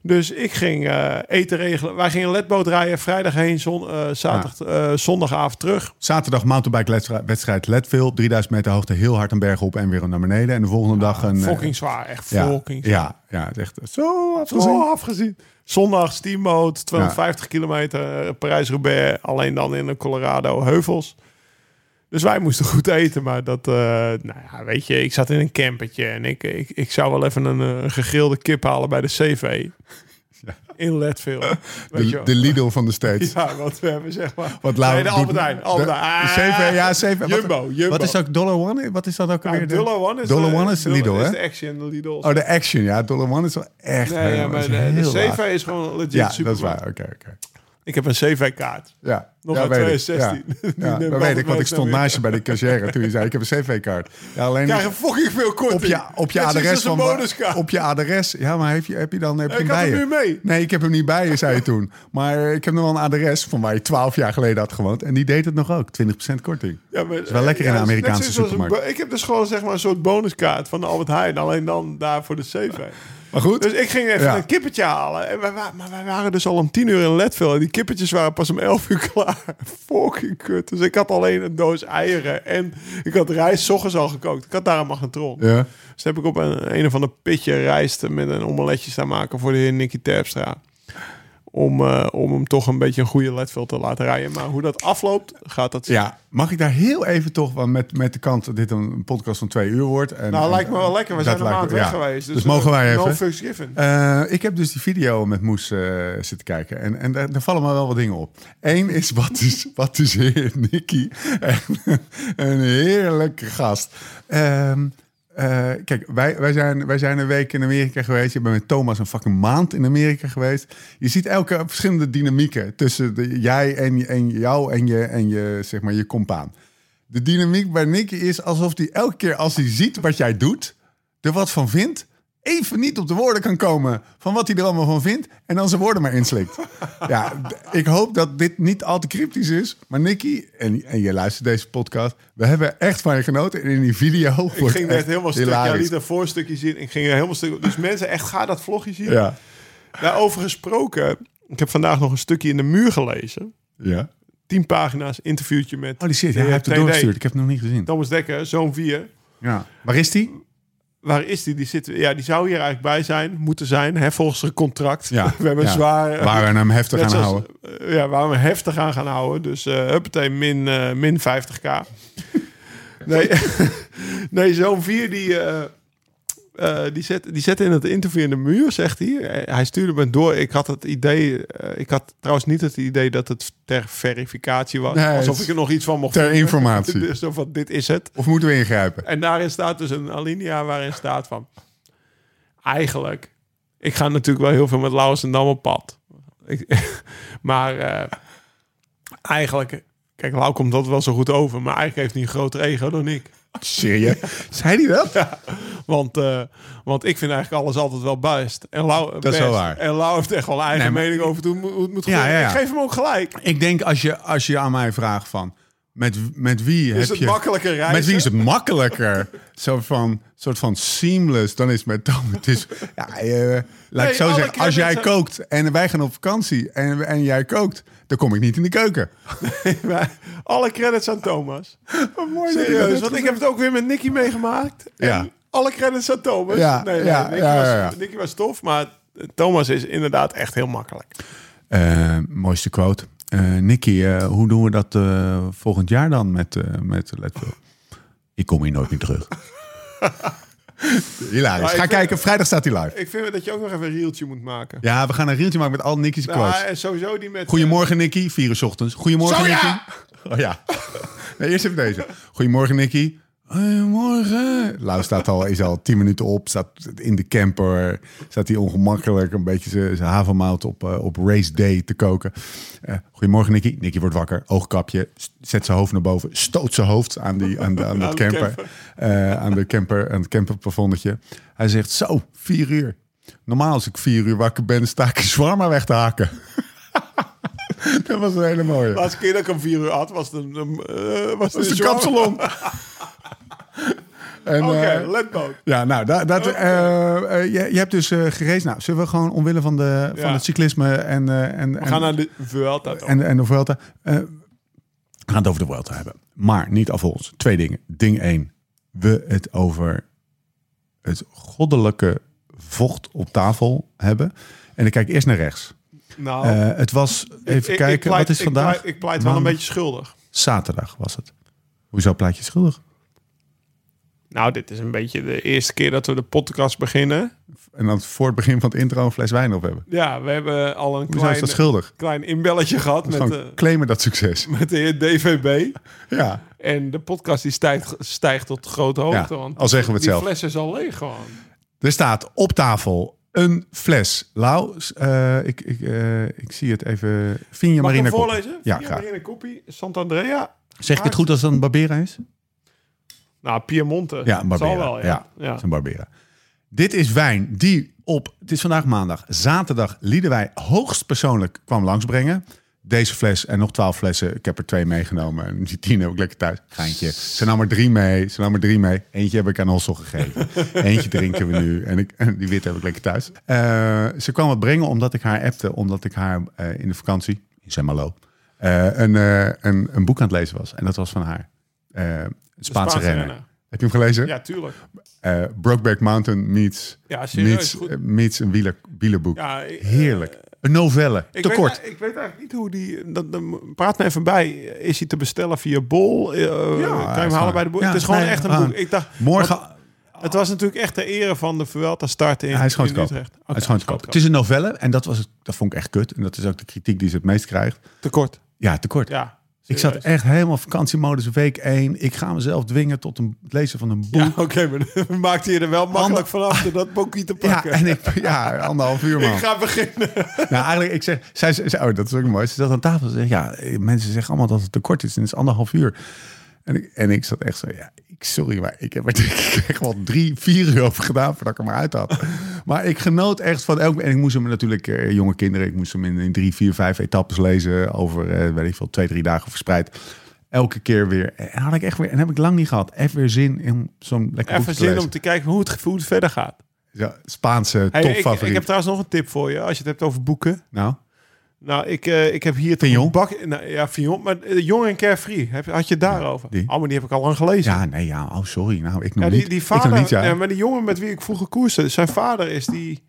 Speaker 3: Dus ik ging eh, eten regelen. Wij gingen ledboot rijden. Vrijdag heen, zon, eh, zaterdag, eh, zondagavond terug.
Speaker 1: Zaterdag mountainbike-wedstrijd Leadville. 3000 meter hoogte, heel hard een berg op en weer naar beneden. En de volgende dag een... eh,
Speaker 3: Fucking zwaar. Echt
Speaker 1: ja,
Speaker 3: fucking zwaar.
Speaker 1: ja, ja, het is echt zo afgezien.
Speaker 3: Zo Oh, afgezien. Zondag steamboat, 250 kilometer, eh, Parijs-Roubaix. Alleen dan in de Colorado heuvels. Dus wij moesten goed eten, maar dat, eh, nou ja, weet je, ik zat in een campertje en ik, ik, ik zou wel even een, eh, een gegrilde kip halen bij de CV. In Leadville. Weet je
Speaker 1: De,
Speaker 3: wel.
Speaker 1: de Lidl van de States.
Speaker 3: Ja, wat we hebben zeg maar.
Speaker 1: Wat Lau-
Speaker 3: nee, de
Speaker 1: doet-
Speaker 3: Albert Heijn. Albert
Speaker 1: de-
Speaker 3: Heijn. Ah,
Speaker 1: Zeven- ja, zeven. Wat-
Speaker 3: Jumbo, Jumbo.
Speaker 1: Wat is ook Dollar One? Wat is dat ook
Speaker 3: Ja,
Speaker 1: alweer? De-
Speaker 3: Dollar One is,
Speaker 1: Dollar
Speaker 3: de-
Speaker 1: One is de Lidl,
Speaker 3: is
Speaker 1: hè?
Speaker 3: de Action, de Lidl.
Speaker 1: Oh, de Action, ja. Dollar One is wel echt...
Speaker 3: nee, ja,
Speaker 1: dat
Speaker 3: maar
Speaker 1: is
Speaker 3: de, de
Speaker 1: heel laag.
Speaker 3: CV is gewoon legit
Speaker 1: Ja,
Speaker 3: super.
Speaker 1: dat is waar. Oké, oké.
Speaker 3: Ik heb een CV-kaart.
Speaker 1: Ja,
Speaker 3: Nog
Speaker 1: ja,
Speaker 3: uit
Speaker 1: weet ik.
Speaker 3: 2016.
Speaker 1: Ja,
Speaker 3: Die
Speaker 1: ja,
Speaker 3: neem
Speaker 1: dat
Speaker 3: ik
Speaker 1: weet ik,
Speaker 3: altijd
Speaker 1: want ik
Speaker 3: mee
Speaker 1: stond
Speaker 3: naar
Speaker 1: naast je bij de cashier toen je zei, ik heb een cv-kaart. Ja, alleen
Speaker 3: Ik krijg een fucking veel korting.
Speaker 1: op je, op je
Speaker 3: Net zoals
Speaker 1: adres
Speaker 3: een
Speaker 1: van... eh,
Speaker 3: bonuskaart.
Speaker 1: Op je adres. Ja, maar heb je, heb je dan heb je
Speaker 3: Ik
Speaker 1: hem
Speaker 3: had
Speaker 1: bij
Speaker 3: hem
Speaker 1: je?
Speaker 3: nu mee.
Speaker 1: Nee, ik heb hem niet bij je, zei je toen. Maar ik heb nog wel een adres van waar je twaalf jaar geleden had gewoond. En die deed het nog ook. 20% korting.
Speaker 3: Ja, maar, eh,
Speaker 1: is wel lekker in de
Speaker 3: ja, net
Speaker 1: Amerikaanse
Speaker 3: zoals een
Speaker 1: supermarkt.
Speaker 3: bo- ik heb dus gewoon zeg maar een soort bonuskaart van de Albert Heijn. Alleen dan daar voor de CV.
Speaker 1: Maar goed.
Speaker 3: Dus ik ging even
Speaker 1: Ja.
Speaker 3: een kippetje halen. En wij, wa- maar wij waren dus al om tien uur in Leadville. En die kippetjes waren pas om elf uur klaar. Fucking kut. Dus ik had alleen een doos eieren. En ik had rijst 's ochtends al gekookt. Ik had daar een magnetron.
Speaker 1: Ja.
Speaker 3: Dus heb ik op een, een of ander pitje rijst met een omeletje staan maken voor de heer Nicky Terpstra. Om, eh, om hem toch een beetje een goede Leadville te laten rijden. Maar hoe dat afloopt, gaat dat...
Speaker 1: ja, mag ik daar heel even toch, want met, met de kant dat dit een podcast van twee uur wordt. En,
Speaker 3: Nou,
Speaker 1: en-
Speaker 3: lijkt me wel lekker. We
Speaker 1: dat
Speaker 3: zijn een
Speaker 1: lijkt
Speaker 3: maand
Speaker 1: me-
Speaker 3: weg
Speaker 1: ja.
Speaker 3: geweest.
Speaker 1: Dus, mogen wij
Speaker 3: eh,
Speaker 1: even...
Speaker 3: No fucks given.
Speaker 1: Eh, ik heb dus die video met Moes eh, zitten kijken. En, en daar, daar vallen me wel wat dingen op. Eén is, wat is, wat is heer Nicky? En, een heerlijke gast. Ehm, eh, kijk, wij, wij, zijn, wij zijn een week in Amerika geweest. Je bent met Thomas een fucking maand in Amerika geweest. Je ziet elke verschillende dynamieken tussen de, jij en, en jou en je, en je, zeg maar, je compaan. De dynamiek bij Nicky is alsof hij elke keer als hij ziet wat jij doet, er wat van vindt, even niet op de woorden kan komen van wat hij er allemaal van vindt en dan zijn woorden maar inslikt. ja, d- ik hoop dat dit niet al te cryptisch is, maar Nicky, en, en je luistert deze podcast, we hebben echt van je genoten en in die video
Speaker 3: Ik ging net helemaal stuk. Jij
Speaker 1: hilarisch.
Speaker 3: liet een voorstukje zien. Ik ging er helemaal stuk. Dus mensen, echt, ga dat vlogje zien.
Speaker 1: Ja,
Speaker 3: Daarover gesproken. Ik heb vandaag nog een stukje in de muur gelezen.
Speaker 1: ja.
Speaker 3: Tien pagina's interviewtje met...
Speaker 1: Oh, die shit,
Speaker 3: de
Speaker 1: hij
Speaker 3: heer
Speaker 1: heeft het
Speaker 3: TD.
Speaker 1: doorgestuurd. Ik heb hem nog niet gezien.
Speaker 3: Thomas Dekker, zoon 4.
Speaker 1: Ja. Waar is die?
Speaker 3: Waar is die? Die, zit, ja, die zou hier eigenlijk bij zijn, moeten zijn, hè, volgens het contract.
Speaker 1: Ja,
Speaker 3: we hebben
Speaker 1: ja.
Speaker 3: zwaar... eh,
Speaker 1: Waar we hem heftig
Speaker 3: net
Speaker 1: aan
Speaker 3: zoals-
Speaker 1: houden.
Speaker 3: eh, ja, waar we heftig aan gaan houden. Dus eh huppatee, min, eh, min 50k. nee, nee zo'n vier die... eh, eh, die, zet, die zet in het interview in de muur, zegt hij. Eh, Hij stuurde me door. Ik had het idee... eh, ik had trouwens niet het idee dat het ter verificatie was.
Speaker 1: Nee, het
Speaker 3: alsof
Speaker 1: is
Speaker 3: ik er nog iets van mocht
Speaker 1: Ter
Speaker 3: vinden.
Speaker 1: informatie.
Speaker 3: Dus zo van, dit is het.
Speaker 1: Of moeten we ingrijpen?
Speaker 3: En daarin staat dus een alinea waarin staat van... Eigenlijk, ik ga natuurlijk wel heel veel met Laus en Dam op pad. Ik, maar eh, eigenlijk... Kijk, Lau komt dat wel zo goed over. Maar eigenlijk heeft hij een groter ego dan ik.
Speaker 1: Serieus? Zei die dat?
Speaker 3: Want, eh, want ik vind eigenlijk alles altijd wel best. En Lau,
Speaker 1: Dat is wel waar.
Speaker 3: En Lau heeft echt wel een eigen
Speaker 1: Nee, maar-
Speaker 3: mening over hoe het moet- hoe het moet
Speaker 1: Ja,
Speaker 3: gebeuren.
Speaker 1: ja, ja.
Speaker 3: Ik geef hem ook gelijk.
Speaker 1: Ik denk als je, als je aan mij vraagt van met, met wie heb
Speaker 3: Is het
Speaker 1: je
Speaker 3: makkelijker reizen?
Speaker 1: met wie is het makkelijker zo van soort van seamless dan is het met Tom. Het is ja, eh, laat ik
Speaker 3: Nee,
Speaker 1: zo
Speaker 3: alle
Speaker 1: zeggen als
Speaker 3: credits
Speaker 1: jij
Speaker 3: aan-
Speaker 1: kookt en wij gaan op vakantie en, en jij kookt dan kom ik niet in de keuken.
Speaker 3: Maar Alle credits aan Thomas.
Speaker 1: mooi dat je dat
Speaker 3: Serieus,
Speaker 1: hebt
Speaker 3: want ik heb het ook weer met Nicky meegemaakt. En
Speaker 1: Ja.
Speaker 3: Alle credits aan Thomas.
Speaker 1: Ja,
Speaker 3: nee, nee,
Speaker 1: ja,
Speaker 3: Nicky,
Speaker 1: ja, ja,
Speaker 3: Was,
Speaker 1: ja.
Speaker 3: Nicky was tof, maar Thomas is inderdaad echt heel makkelijk.
Speaker 1: Eh, mooiste quote. Eh, Nicky, eh, hoe doen we dat eh, volgend jaar dan met, eh met Letville? Ik kom hier nooit meer terug. Hilarisch.
Speaker 3: Maar
Speaker 1: Ga
Speaker 3: ik vind-
Speaker 1: kijken, vrijdag staat hij live.
Speaker 3: Ik vind dat je ook nog even een reeltje moet maken.
Speaker 1: Ja, we gaan een rieltje maken met al Nicky's
Speaker 3: Nou,
Speaker 1: quotes.
Speaker 3: en sowieso die met... eh,
Speaker 1: Goedemorgen Nicky, vier uur 's ochtends. Goedemorgen
Speaker 3: Zo,
Speaker 1: Nicky.
Speaker 3: ja!
Speaker 1: Oh ja. Nee, eerst even deze. Goedemorgen Nicky. Hey, morgen. Lau staat al, is al tien minuten op, staat in de camper. Staat hij ongemakkelijk een beetje zijn- zijn havermout op, eh, op race day te koken. Eh, goedemorgen Nicky. Nicky wordt wakker, oogkapje, s- zet zijn hoofd naar boven, stoot zijn hoofd aan, die, aan, de, aan,
Speaker 3: Aan
Speaker 1: het
Speaker 3: de
Speaker 1: camper, Eh, aan de camper, aan het camperplafondetje. Hij zegt zo, vier uur. Normaal als ik vier uur wakker ben, sta ik een zwarma weg te haken. dat was een hele mooie.
Speaker 3: De laatste keer dat ik om vier uur had, was de, de, eh, was
Speaker 1: Dat is de
Speaker 3: show.
Speaker 1: kapsalon. En,
Speaker 3: Oké,
Speaker 1: eh,
Speaker 3: let go.
Speaker 1: ja, nou, dat, dat, eh, eh, je, je hebt dus eh gereisd. Nou, zullen we gewoon omwille van, de, van
Speaker 3: Ja.
Speaker 1: het cyclisme en, eh, en,
Speaker 3: We gaan
Speaker 1: en,
Speaker 3: naar de Vuelta. toch?
Speaker 1: en, en de Vuelta. eh, we gaan het over de Vuelta hebben. Maar niet af ons. Twee dingen. Ding één. We het over het goddelijke vocht op tafel hebben. En ik kijk eerst naar rechts.
Speaker 3: nou,
Speaker 1: Eh, het was,
Speaker 3: ik-
Speaker 1: even
Speaker 3: ik
Speaker 1: kijken,
Speaker 3: pleit-
Speaker 1: wat is
Speaker 3: ik
Speaker 1: vandaag?
Speaker 3: pleit- Ik pleit wel een
Speaker 1: Maandag.
Speaker 3: beetje schuldig.
Speaker 1: Zaterdag was het. Hoezo plaat je schuldig?
Speaker 3: Nou, dit is een beetje de eerste keer dat we de podcast beginnen.
Speaker 1: En dan voor het begin van het intro een fles wijn op hebben.
Speaker 3: Ja, we hebben al een
Speaker 1: Hoezo is
Speaker 3: klein,
Speaker 1: dat schuldig?
Speaker 3: klein inbelletje gehad met,
Speaker 1: Gewoon
Speaker 3: eh,
Speaker 1: claimen dat succes.
Speaker 3: met de heer DVB.
Speaker 1: Ja.
Speaker 3: En de podcast die stijgt, stijgt tot grote hoogte.
Speaker 1: Ja,
Speaker 3: want
Speaker 1: al zeggen we het
Speaker 3: die
Speaker 1: zelf.
Speaker 3: fles is al leeg gewoon.
Speaker 1: Er staat op tafel een fles. Lau, eh, ik, ik, eh, ik zie het even. Vinja
Speaker 3: Mag ik
Speaker 1: Marina
Speaker 3: hem
Speaker 1: Kopp.
Speaker 3: voorlezen?
Speaker 1: Ja,
Speaker 3: Via
Speaker 1: graag.
Speaker 3: Marina Koppi, Sant'Andrea.
Speaker 1: Zeg ik het goed als het een Barbera is?
Speaker 3: Nou, Piemonte.
Speaker 1: Ja, een Barbera.
Speaker 3: Zal wel, ja.
Speaker 1: ja.
Speaker 3: Ja.
Speaker 1: het is een Barbera. Dit is wijn die op, het is vandaag maandag, zaterdag Liedewij hoogst persoonlijk kwam langsbrengen. Deze fles en nog twaalf flessen. Ik heb er twee meegenomen. En die tien heb ik lekker thuis. Geintje. Ze nam er drie mee. Ze nam er drie mee. Eentje heb ik aan Hossel gegeven. Eentje drinken we nu. En, ik, en die witte heb ik lekker thuis. Eh, ze kwam het brengen omdat ik haar appte. Omdat ik haar eh, in de vakantie, in San Malo, eh, een, eh, een, een boek aan het lezen was. En dat was van haar. Eh, Spaanse,
Speaker 3: Spaanse
Speaker 1: renner.
Speaker 3: renner.
Speaker 1: Heb je hem gelezen?
Speaker 3: ja, tuurlijk.
Speaker 1: eh Brokeback Mountain meets,
Speaker 3: Ja, serieus,
Speaker 1: meets,
Speaker 3: goed.
Speaker 1: eh, meets een wieler, wielerboek.
Speaker 3: Ja, ik-
Speaker 1: Heerlijk. Een novelle.
Speaker 3: Ik
Speaker 1: Te
Speaker 3: weet,
Speaker 1: kort.
Speaker 3: Ik weet eigenlijk niet hoe die... Dat, dat- praat me even bij. Is hij te bestellen via Bol? Eh, kan je hem halen
Speaker 1: gewoon-
Speaker 3: bij de boek?
Speaker 1: ja,
Speaker 3: het is gewoon
Speaker 1: nee,
Speaker 3: echt een
Speaker 1: gewoon.
Speaker 3: boek. Ik dacht,
Speaker 1: Morgen.
Speaker 3: want het was natuurlijk echt de ere van de Vuelta start in
Speaker 1: hij is gewoon te
Speaker 3: in
Speaker 1: koop.
Speaker 3: Utrecht.
Speaker 1: hij
Speaker 3: Oké,
Speaker 1: is gewoon te koop. Het is een novelle en dat, was het, dat vond ik echt kut. En dat is ook de kritiek die ze het meest krijgt.
Speaker 3: Te kort.
Speaker 1: Ja, te kort.
Speaker 3: Ja.
Speaker 1: ik zat
Speaker 3: serieus.
Speaker 1: echt helemaal vakantiemodus week 1. Ik ga mezelf dwingen tot een, het lezen van een boek.
Speaker 3: Ja, oké, maar dan maakte je er wel makkelijk vanaf door dat boekje te
Speaker 1: Ja,
Speaker 3: pakken.
Speaker 1: en ik, ja anderhalf uur man.
Speaker 3: ik ga beginnen.
Speaker 1: Nou, eigenlijk, ik zeg, zij, ze- ze- oh, dat is ook mooi. Ze zat aan tafel en zegt, ja, eh, mensen zeggen allemaal dat het te kort is. En het is anderhalf uur. En ik, en ik zat echt zo, ja, ik, sorry, maar ik heb er denk ik echt wel drie, vier uur over gedaan voordat ik hem uit had. Maar ik genoot echt van elk... En ik moest hem natuurlijk, eh, jonge kinderen, ik moest hem in, in drie, vier, vijf etappes lezen. Over, eh, weet ik veel, twee, drie dagen verspreid. Elke keer weer. En had ik echt weer, en heb ik lang niet gehad. Even weer zin in zo'n lekker boek
Speaker 3: Even
Speaker 1: te
Speaker 3: zin
Speaker 1: lezen.
Speaker 3: om te kijken hoe het, hoe het verder gaat.
Speaker 1: Ja, Spaanse
Speaker 3: Hey, ik,
Speaker 1: topfavoriet.
Speaker 3: ik heb trouwens nog een tip voor je, als je het hebt over boeken.
Speaker 1: Nou,
Speaker 3: Nou, ik, eh, ik heb hier... toch
Speaker 1: Fignon?
Speaker 3: een Bak, nou, ja, Fignon, maar eh, Jong en Carefree, heb, had je het daarover?
Speaker 1: die.
Speaker 3: Oh, maar die heb ik al lang gelezen.
Speaker 1: ja, nee, ja, oh, sorry. Nou, ik nog
Speaker 3: Ja,
Speaker 1: niet.
Speaker 3: die, die
Speaker 1: ik nog
Speaker 3: vader,
Speaker 1: niet, ja.
Speaker 3: ja, maar die jongen met wie ik vroeger koerste, zijn vader is die.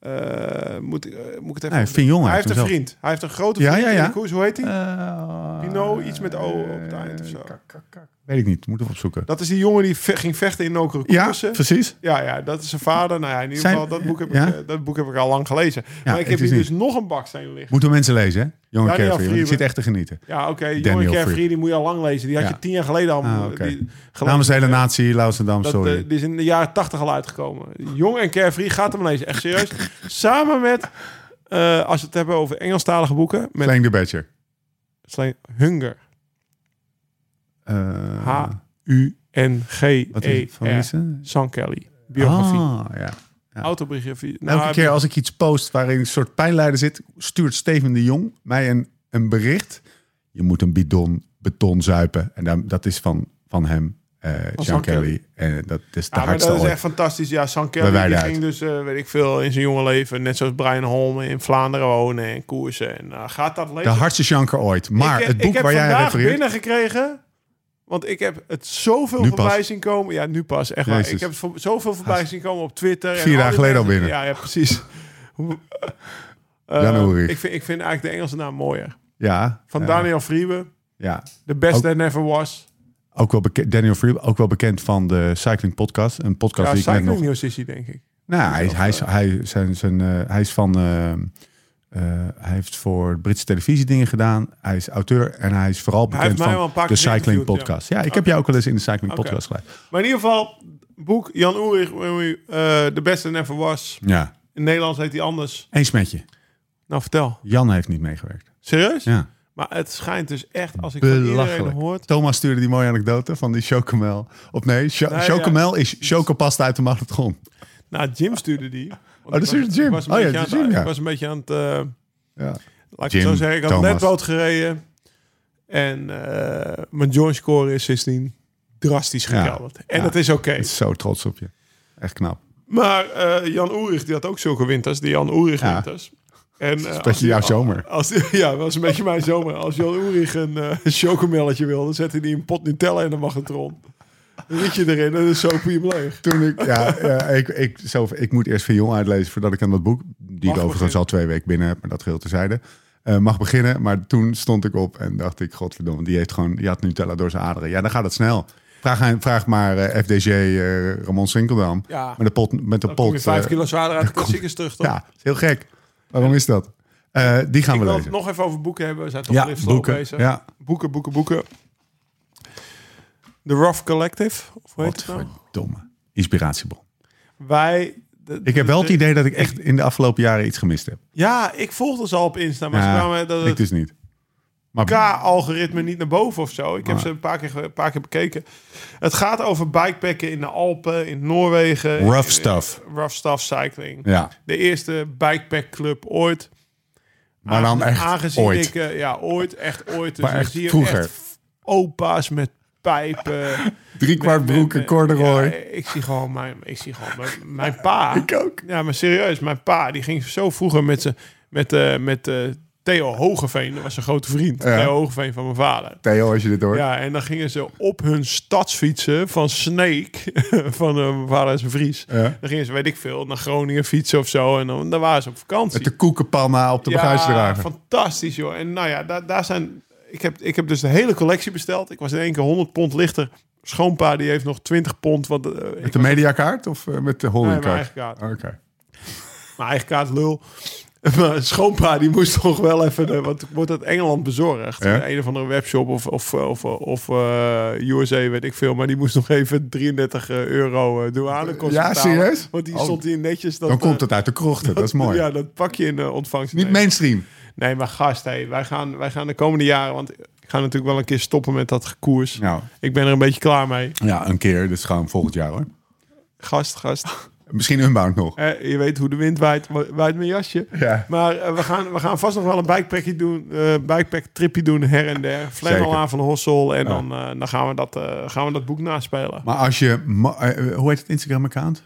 Speaker 3: eh, moet, ik- eh, moet ik het even.
Speaker 1: Nee, Fignon
Speaker 3: hij
Speaker 1: heeft
Speaker 3: heeft een
Speaker 1: hem zelf.
Speaker 3: vriend. Hij heeft een grote
Speaker 1: Ja,
Speaker 3: vriend
Speaker 1: ja,
Speaker 3: in
Speaker 1: ja.
Speaker 3: de koers. Hoe heet hij?
Speaker 1: Eh,
Speaker 3: Pinot, iets met O op het eind of zo.
Speaker 1: kak, kak, kak. Weet ik niet, moet ik opzoeken.
Speaker 3: Dat is die jongen die ve- ging vechten in Nokere
Speaker 1: ja,
Speaker 3: koersen. Ja,
Speaker 1: precies.
Speaker 3: ja, dat is zijn vader. Nou ja, in ieder
Speaker 1: Zijn-
Speaker 3: geval, dat boek heb,
Speaker 1: ja?
Speaker 3: ik, eh, dat boek heb ik al lang gelezen. maar ik
Speaker 1: het
Speaker 3: heb
Speaker 1: is
Speaker 3: hier
Speaker 1: niet-
Speaker 3: dus nog een baksteen liggen.
Speaker 1: Moeten mensen lezen, hè? Jonge
Speaker 3: Daniel
Speaker 1: Carefree, want ik
Speaker 3: Vrieber.
Speaker 1: zit echt te genieten.
Speaker 3: Ja, oké.
Speaker 1: Daniel
Speaker 3: Jongen Carefree,
Speaker 1: Free.
Speaker 3: die moet je al lang lezen. Die had
Speaker 1: Ja.
Speaker 3: je tien jaar geleden al.
Speaker 1: Ah, oké.
Speaker 3: die- geloof
Speaker 1: Namens de
Speaker 3: ik,
Speaker 1: hele
Speaker 3: eh,
Speaker 1: natie, Laus en Dam,
Speaker 3: Dat,
Speaker 1: sorry.
Speaker 3: eh, die is in de jaren tachtig al uitgekomen. Jong en Carefree gaat hem lezen. Echt serieus. Samen met, eh, als we het hebben over Engelstalige boeken, met
Speaker 1: Slang the Badger.
Speaker 3: Slang Hunger.
Speaker 1: Eh, Wat is van wie
Speaker 3: H-U-N-G-E-R.
Speaker 1: is ze?
Speaker 3: San Kelly. E Biografie.
Speaker 1: Ah, ja. ja.
Speaker 3: Autobiografie. Nou,
Speaker 1: Elke keer als ik iets post waarin een soort pijnleider zit, stuurt Steven de Jong mij een, een bericht. Je moet een bidon beton zuipen. En dan, dat is van, van hem, eh John
Speaker 3: Van Kelly.
Speaker 1: Kelly. En dat is de
Speaker 3: Ja, maar
Speaker 1: hardste
Speaker 3: dat is
Speaker 1: ooit.
Speaker 3: echt fantastisch. Ja, San
Speaker 1: Bij
Speaker 3: Kelly
Speaker 1: wijde
Speaker 3: die
Speaker 1: uit.
Speaker 3: ging dus, eh, weet ik veel, in zijn jonge leven, net zoals Brian Holm, in Vlaanderen wonen en koersen. En eh, gaat dat lezen?
Speaker 1: De hardste janker ooit. Maar
Speaker 3: ik,
Speaker 1: het boek
Speaker 3: ik heb
Speaker 1: waar jij aan
Speaker 3: vandaag
Speaker 1: refereert...
Speaker 3: binnengekregen. Want ik heb het zoveel
Speaker 1: Nu pas.
Speaker 3: voorbij zien komen. Ja, nu pas. Echt waar.
Speaker 1: Jezus.
Speaker 3: Ik heb het voor- zoveel voorbij zien komen op Twitter. en
Speaker 1: Vier
Speaker 3: al
Speaker 1: dagen
Speaker 3: die
Speaker 1: geleden al
Speaker 3: mensen.
Speaker 1: binnen.
Speaker 3: Ja, ja precies. Eh,
Speaker 1: Januari.
Speaker 3: ik, vind, ik vind eigenlijk de Engelse naam mooier.
Speaker 1: Ja.
Speaker 3: Van
Speaker 1: eh,
Speaker 3: Daniel Friebe.
Speaker 1: Ja.
Speaker 3: The Best
Speaker 1: Ook-
Speaker 3: That Never Was.
Speaker 1: Ook wel bekend, Daniel Freeman, ook wel bekend van de Cycling Podcast. Een podcast
Speaker 3: Ja,
Speaker 1: die ik net nog...
Speaker 3: cycling nieuws is hij, denk ik.
Speaker 1: Nou, hij, is- hij, is, hij, zijn, zijn, eh, hij is van eh, eh, hij heeft voor Britse televisie dingen gedaan. Hij is auteur en hij is vooral
Speaker 3: heeft
Speaker 1: bekend
Speaker 3: mij wel een
Speaker 1: van
Speaker 3: paar
Speaker 1: de
Speaker 3: keer
Speaker 1: Cycling
Speaker 3: geïnterviewd, ja.
Speaker 1: Podcast. Ja, ik heb jou ook wel eens in de Cycling
Speaker 3: Oké.
Speaker 1: Podcast geleid.
Speaker 3: Maar in ieder geval, boek Jan Oerig, When We, eh, The Best That Ever Was.
Speaker 1: Ja,
Speaker 3: In Nederlands heet hij anders.
Speaker 1: eens met je.
Speaker 3: Nou, vertel.
Speaker 1: Jan heeft niet meegewerkt.
Speaker 3: Serieus?
Speaker 1: Ja.
Speaker 3: Maar het schijnt dus echt, als ik van iedereen hoor...
Speaker 1: Belachelijk. Thomas stuurde die mooie anekdote van die chocomel. Of nee, cho
Speaker 3: Nee, ja.
Speaker 1: chocomel is chocopasta uit de magnetron.
Speaker 3: Nou, Jim stuurde die. Want
Speaker 1: dat
Speaker 3: ik
Speaker 1: stuurde
Speaker 3: was-
Speaker 1: Jim.
Speaker 3: Ik was een
Speaker 1: Oh ja,
Speaker 3: beetje
Speaker 1: dat is
Speaker 3: aan
Speaker 1: Jim,
Speaker 3: het-
Speaker 1: ja.
Speaker 3: ik was een beetje aan het... eh,
Speaker 1: Ja.
Speaker 3: Laat
Speaker 1: Jim,
Speaker 3: ik het zo zeggen, ik had
Speaker 1: Thomas.
Speaker 3: net boot gereden. En eh, mijn join score is sindsdien drastisch
Speaker 1: Ja.
Speaker 3: gekelderd. En
Speaker 1: Ja.
Speaker 3: dat is oké.
Speaker 1: Ik ben zo trots op je. Echt knap.
Speaker 3: Maar eh, Jan Oerig, die had ook zulke winters. Die Jan Oerig
Speaker 1: Ja.
Speaker 3: winters. En, eh,
Speaker 1: Dat
Speaker 3: als
Speaker 1: is jouw
Speaker 3: die-
Speaker 1: zomer.
Speaker 3: Als, ja, dat was een beetje mijn zomer. Als Jan Oerig een eh chocomelletje wilde, zette hij een pot Nutella in de magnetron. Riet je erin en dan zoop je hem leeg.
Speaker 1: Toen ik, ja, ja, ik, ik, zelf, ik moet eerst Jong uitlezen voordat ik aan dat boek, die ik
Speaker 3: beginnen.
Speaker 1: overigens al twee weken binnen heb, maar dat geheel terzijde, eh mag beginnen. Maar toen stond ik op en dacht ik, godverdomme, die heeft gewoon, die had Nutella door zijn aderen. Ja, dan gaat het snel. Vraag, aan- vraag maar eh, FDG eh, Ramon Sinkeldam.
Speaker 3: Ja.
Speaker 1: Met de pot, met de
Speaker 3: Dan
Speaker 1: pot.
Speaker 3: kom je vijf
Speaker 1: eh,
Speaker 3: kilo zwaarder uit de klassiekers terug. Toch?
Speaker 1: Ja, is heel gek. Waarom is dat? Eh, die gaan
Speaker 3: ik
Speaker 1: we
Speaker 3: wil het
Speaker 1: lezen.
Speaker 3: nog even over boeken hebben. We zijn toch
Speaker 1: Ja,
Speaker 3: ja,
Speaker 1: boeken.
Speaker 3: bezig.
Speaker 1: Ja.
Speaker 3: Boeken, boeken, boeken. The Rough Collective. Of hoe heet
Speaker 1: Wat
Speaker 3: het nou?
Speaker 1: verdomme. Inspiratiebron.
Speaker 3: Wij... de-
Speaker 1: Ik heb wel het
Speaker 3: de-
Speaker 1: idee dat ik echt in de afgelopen jaren iets gemist heb.
Speaker 3: Ja, ik volgde ze al op Insta, maar ze
Speaker 1: Ja,
Speaker 3: kwamen dat
Speaker 1: ik
Speaker 3: het
Speaker 1: dus niet. Maar
Speaker 3: K-algoritme niet naar boven of zo. Ik heb
Speaker 1: Maar-
Speaker 3: ze een paar, keer, ge- een paar keer bekeken. Het gaat over bikepacken in de Alpen, in Noorwegen.
Speaker 1: Rough
Speaker 3: In-
Speaker 1: stuff.
Speaker 3: Rough stuff cycling.
Speaker 1: ja,
Speaker 3: De eerste bikepackclub ooit.
Speaker 1: maar dan
Speaker 3: Aange-
Speaker 1: echt
Speaker 3: aangezien
Speaker 1: ooit.
Speaker 3: Ik, eh, ja, ooit, echt ooit. Dus
Speaker 1: Maar
Speaker 3: dan
Speaker 1: echt
Speaker 3: zie je
Speaker 1: vroeger.
Speaker 3: echt opa's met pijpen.
Speaker 1: Drie kwart
Speaker 3: Met-
Speaker 1: broek,
Speaker 3: met-
Speaker 1: een corduroy.
Speaker 3: ja, ik zie gewoon mijn, ik zie gewoon mijn, mijn pa.
Speaker 1: Ik ook.
Speaker 3: Ja, maar serieus, mijn pa die ging zo vroeger met ze met eh, met eh, Theo Hogeveen, dat was een grote vriend.
Speaker 1: Ja.
Speaker 3: Theo Hogeveen van mijn vader.
Speaker 1: Theo, als je dit hoort.
Speaker 3: Ja, en dan gingen ze op hun stadsfietsen van Sneek, van eh, mijn vader is een Vries.
Speaker 1: Ja.
Speaker 3: Dan gingen ze, weet ik veel, naar Groningen fietsen of zo. En dan, dan waren ze op vakantie.
Speaker 1: Met de koekenpanna op de
Speaker 3: ja,
Speaker 1: bagagedrager.
Speaker 3: fantastisch joh. En nou ja, daar, daar zijn... Ik heb, ik heb dus de hele collectie besteld. Ik was in één keer 100 pond lichter. Schoonpa die heeft nog 20 pond. Want, eh, ik
Speaker 1: Met de mediakaart of eh, met de
Speaker 3: Nee, mijn
Speaker 1: holdingkaart?
Speaker 3: eigen kaart.
Speaker 1: Oké.
Speaker 3: Mijn eigen kaart lul. Maar schoonpa die moest toch wel even... eh, Want wordt uit Engeland bezorgd.
Speaker 1: Ja.
Speaker 3: Een of andere webshop of, of, of, of eh, USA, weet ik veel. Maar die moest nog even 33 euro eh, douanekosten
Speaker 1: Ja,
Speaker 3: betalen.
Speaker 1: serieus?
Speaker 3: Want die
Speaker 1: Oh.
Speaker 3: stond hier netjes... Dat,
Speaker 1: Dan komt
Speaker 3: eh,
Speaker 1: het uit de krochten, dat is mooi.
Speaker 3: Ja, dat pak je in de ontvangst.
Speaker 1: Niet mainstream.
Speaker 3: Nee, maar gast, hey, wij, gaan, wij gaan de komende jaren... Want ik ga natuurlijk wel een keer stoppen met dat gekoers.
Speaker 1: Nou,
Speaker 3: Ik ben er een beetje klaar mee.
Speaker 1: ja, een keer, dus gewoon volgend jaar hoor.
Speaker 3: Gast, gast.
Speaker 1: Misschien Unbound nog.
Speaker 3: Eh, je weet hoe de wind waait. wa- Waait mijn jasje.
Speaker 1: Ja.
Speaker 3: Maar eh, we, gaan, we gaan vast nog wel een bikepackje doen, eh bikepack tripje doen her en der. Flannel
Speaker 1: Zeker.
Speaker 3: aan van Hossel en dan, eh, dan gaan, we dat, eh, gaan we dat boek naspelen.
Speaker 1: Maar als je, ma- eh, hoe heet het Instagram-account?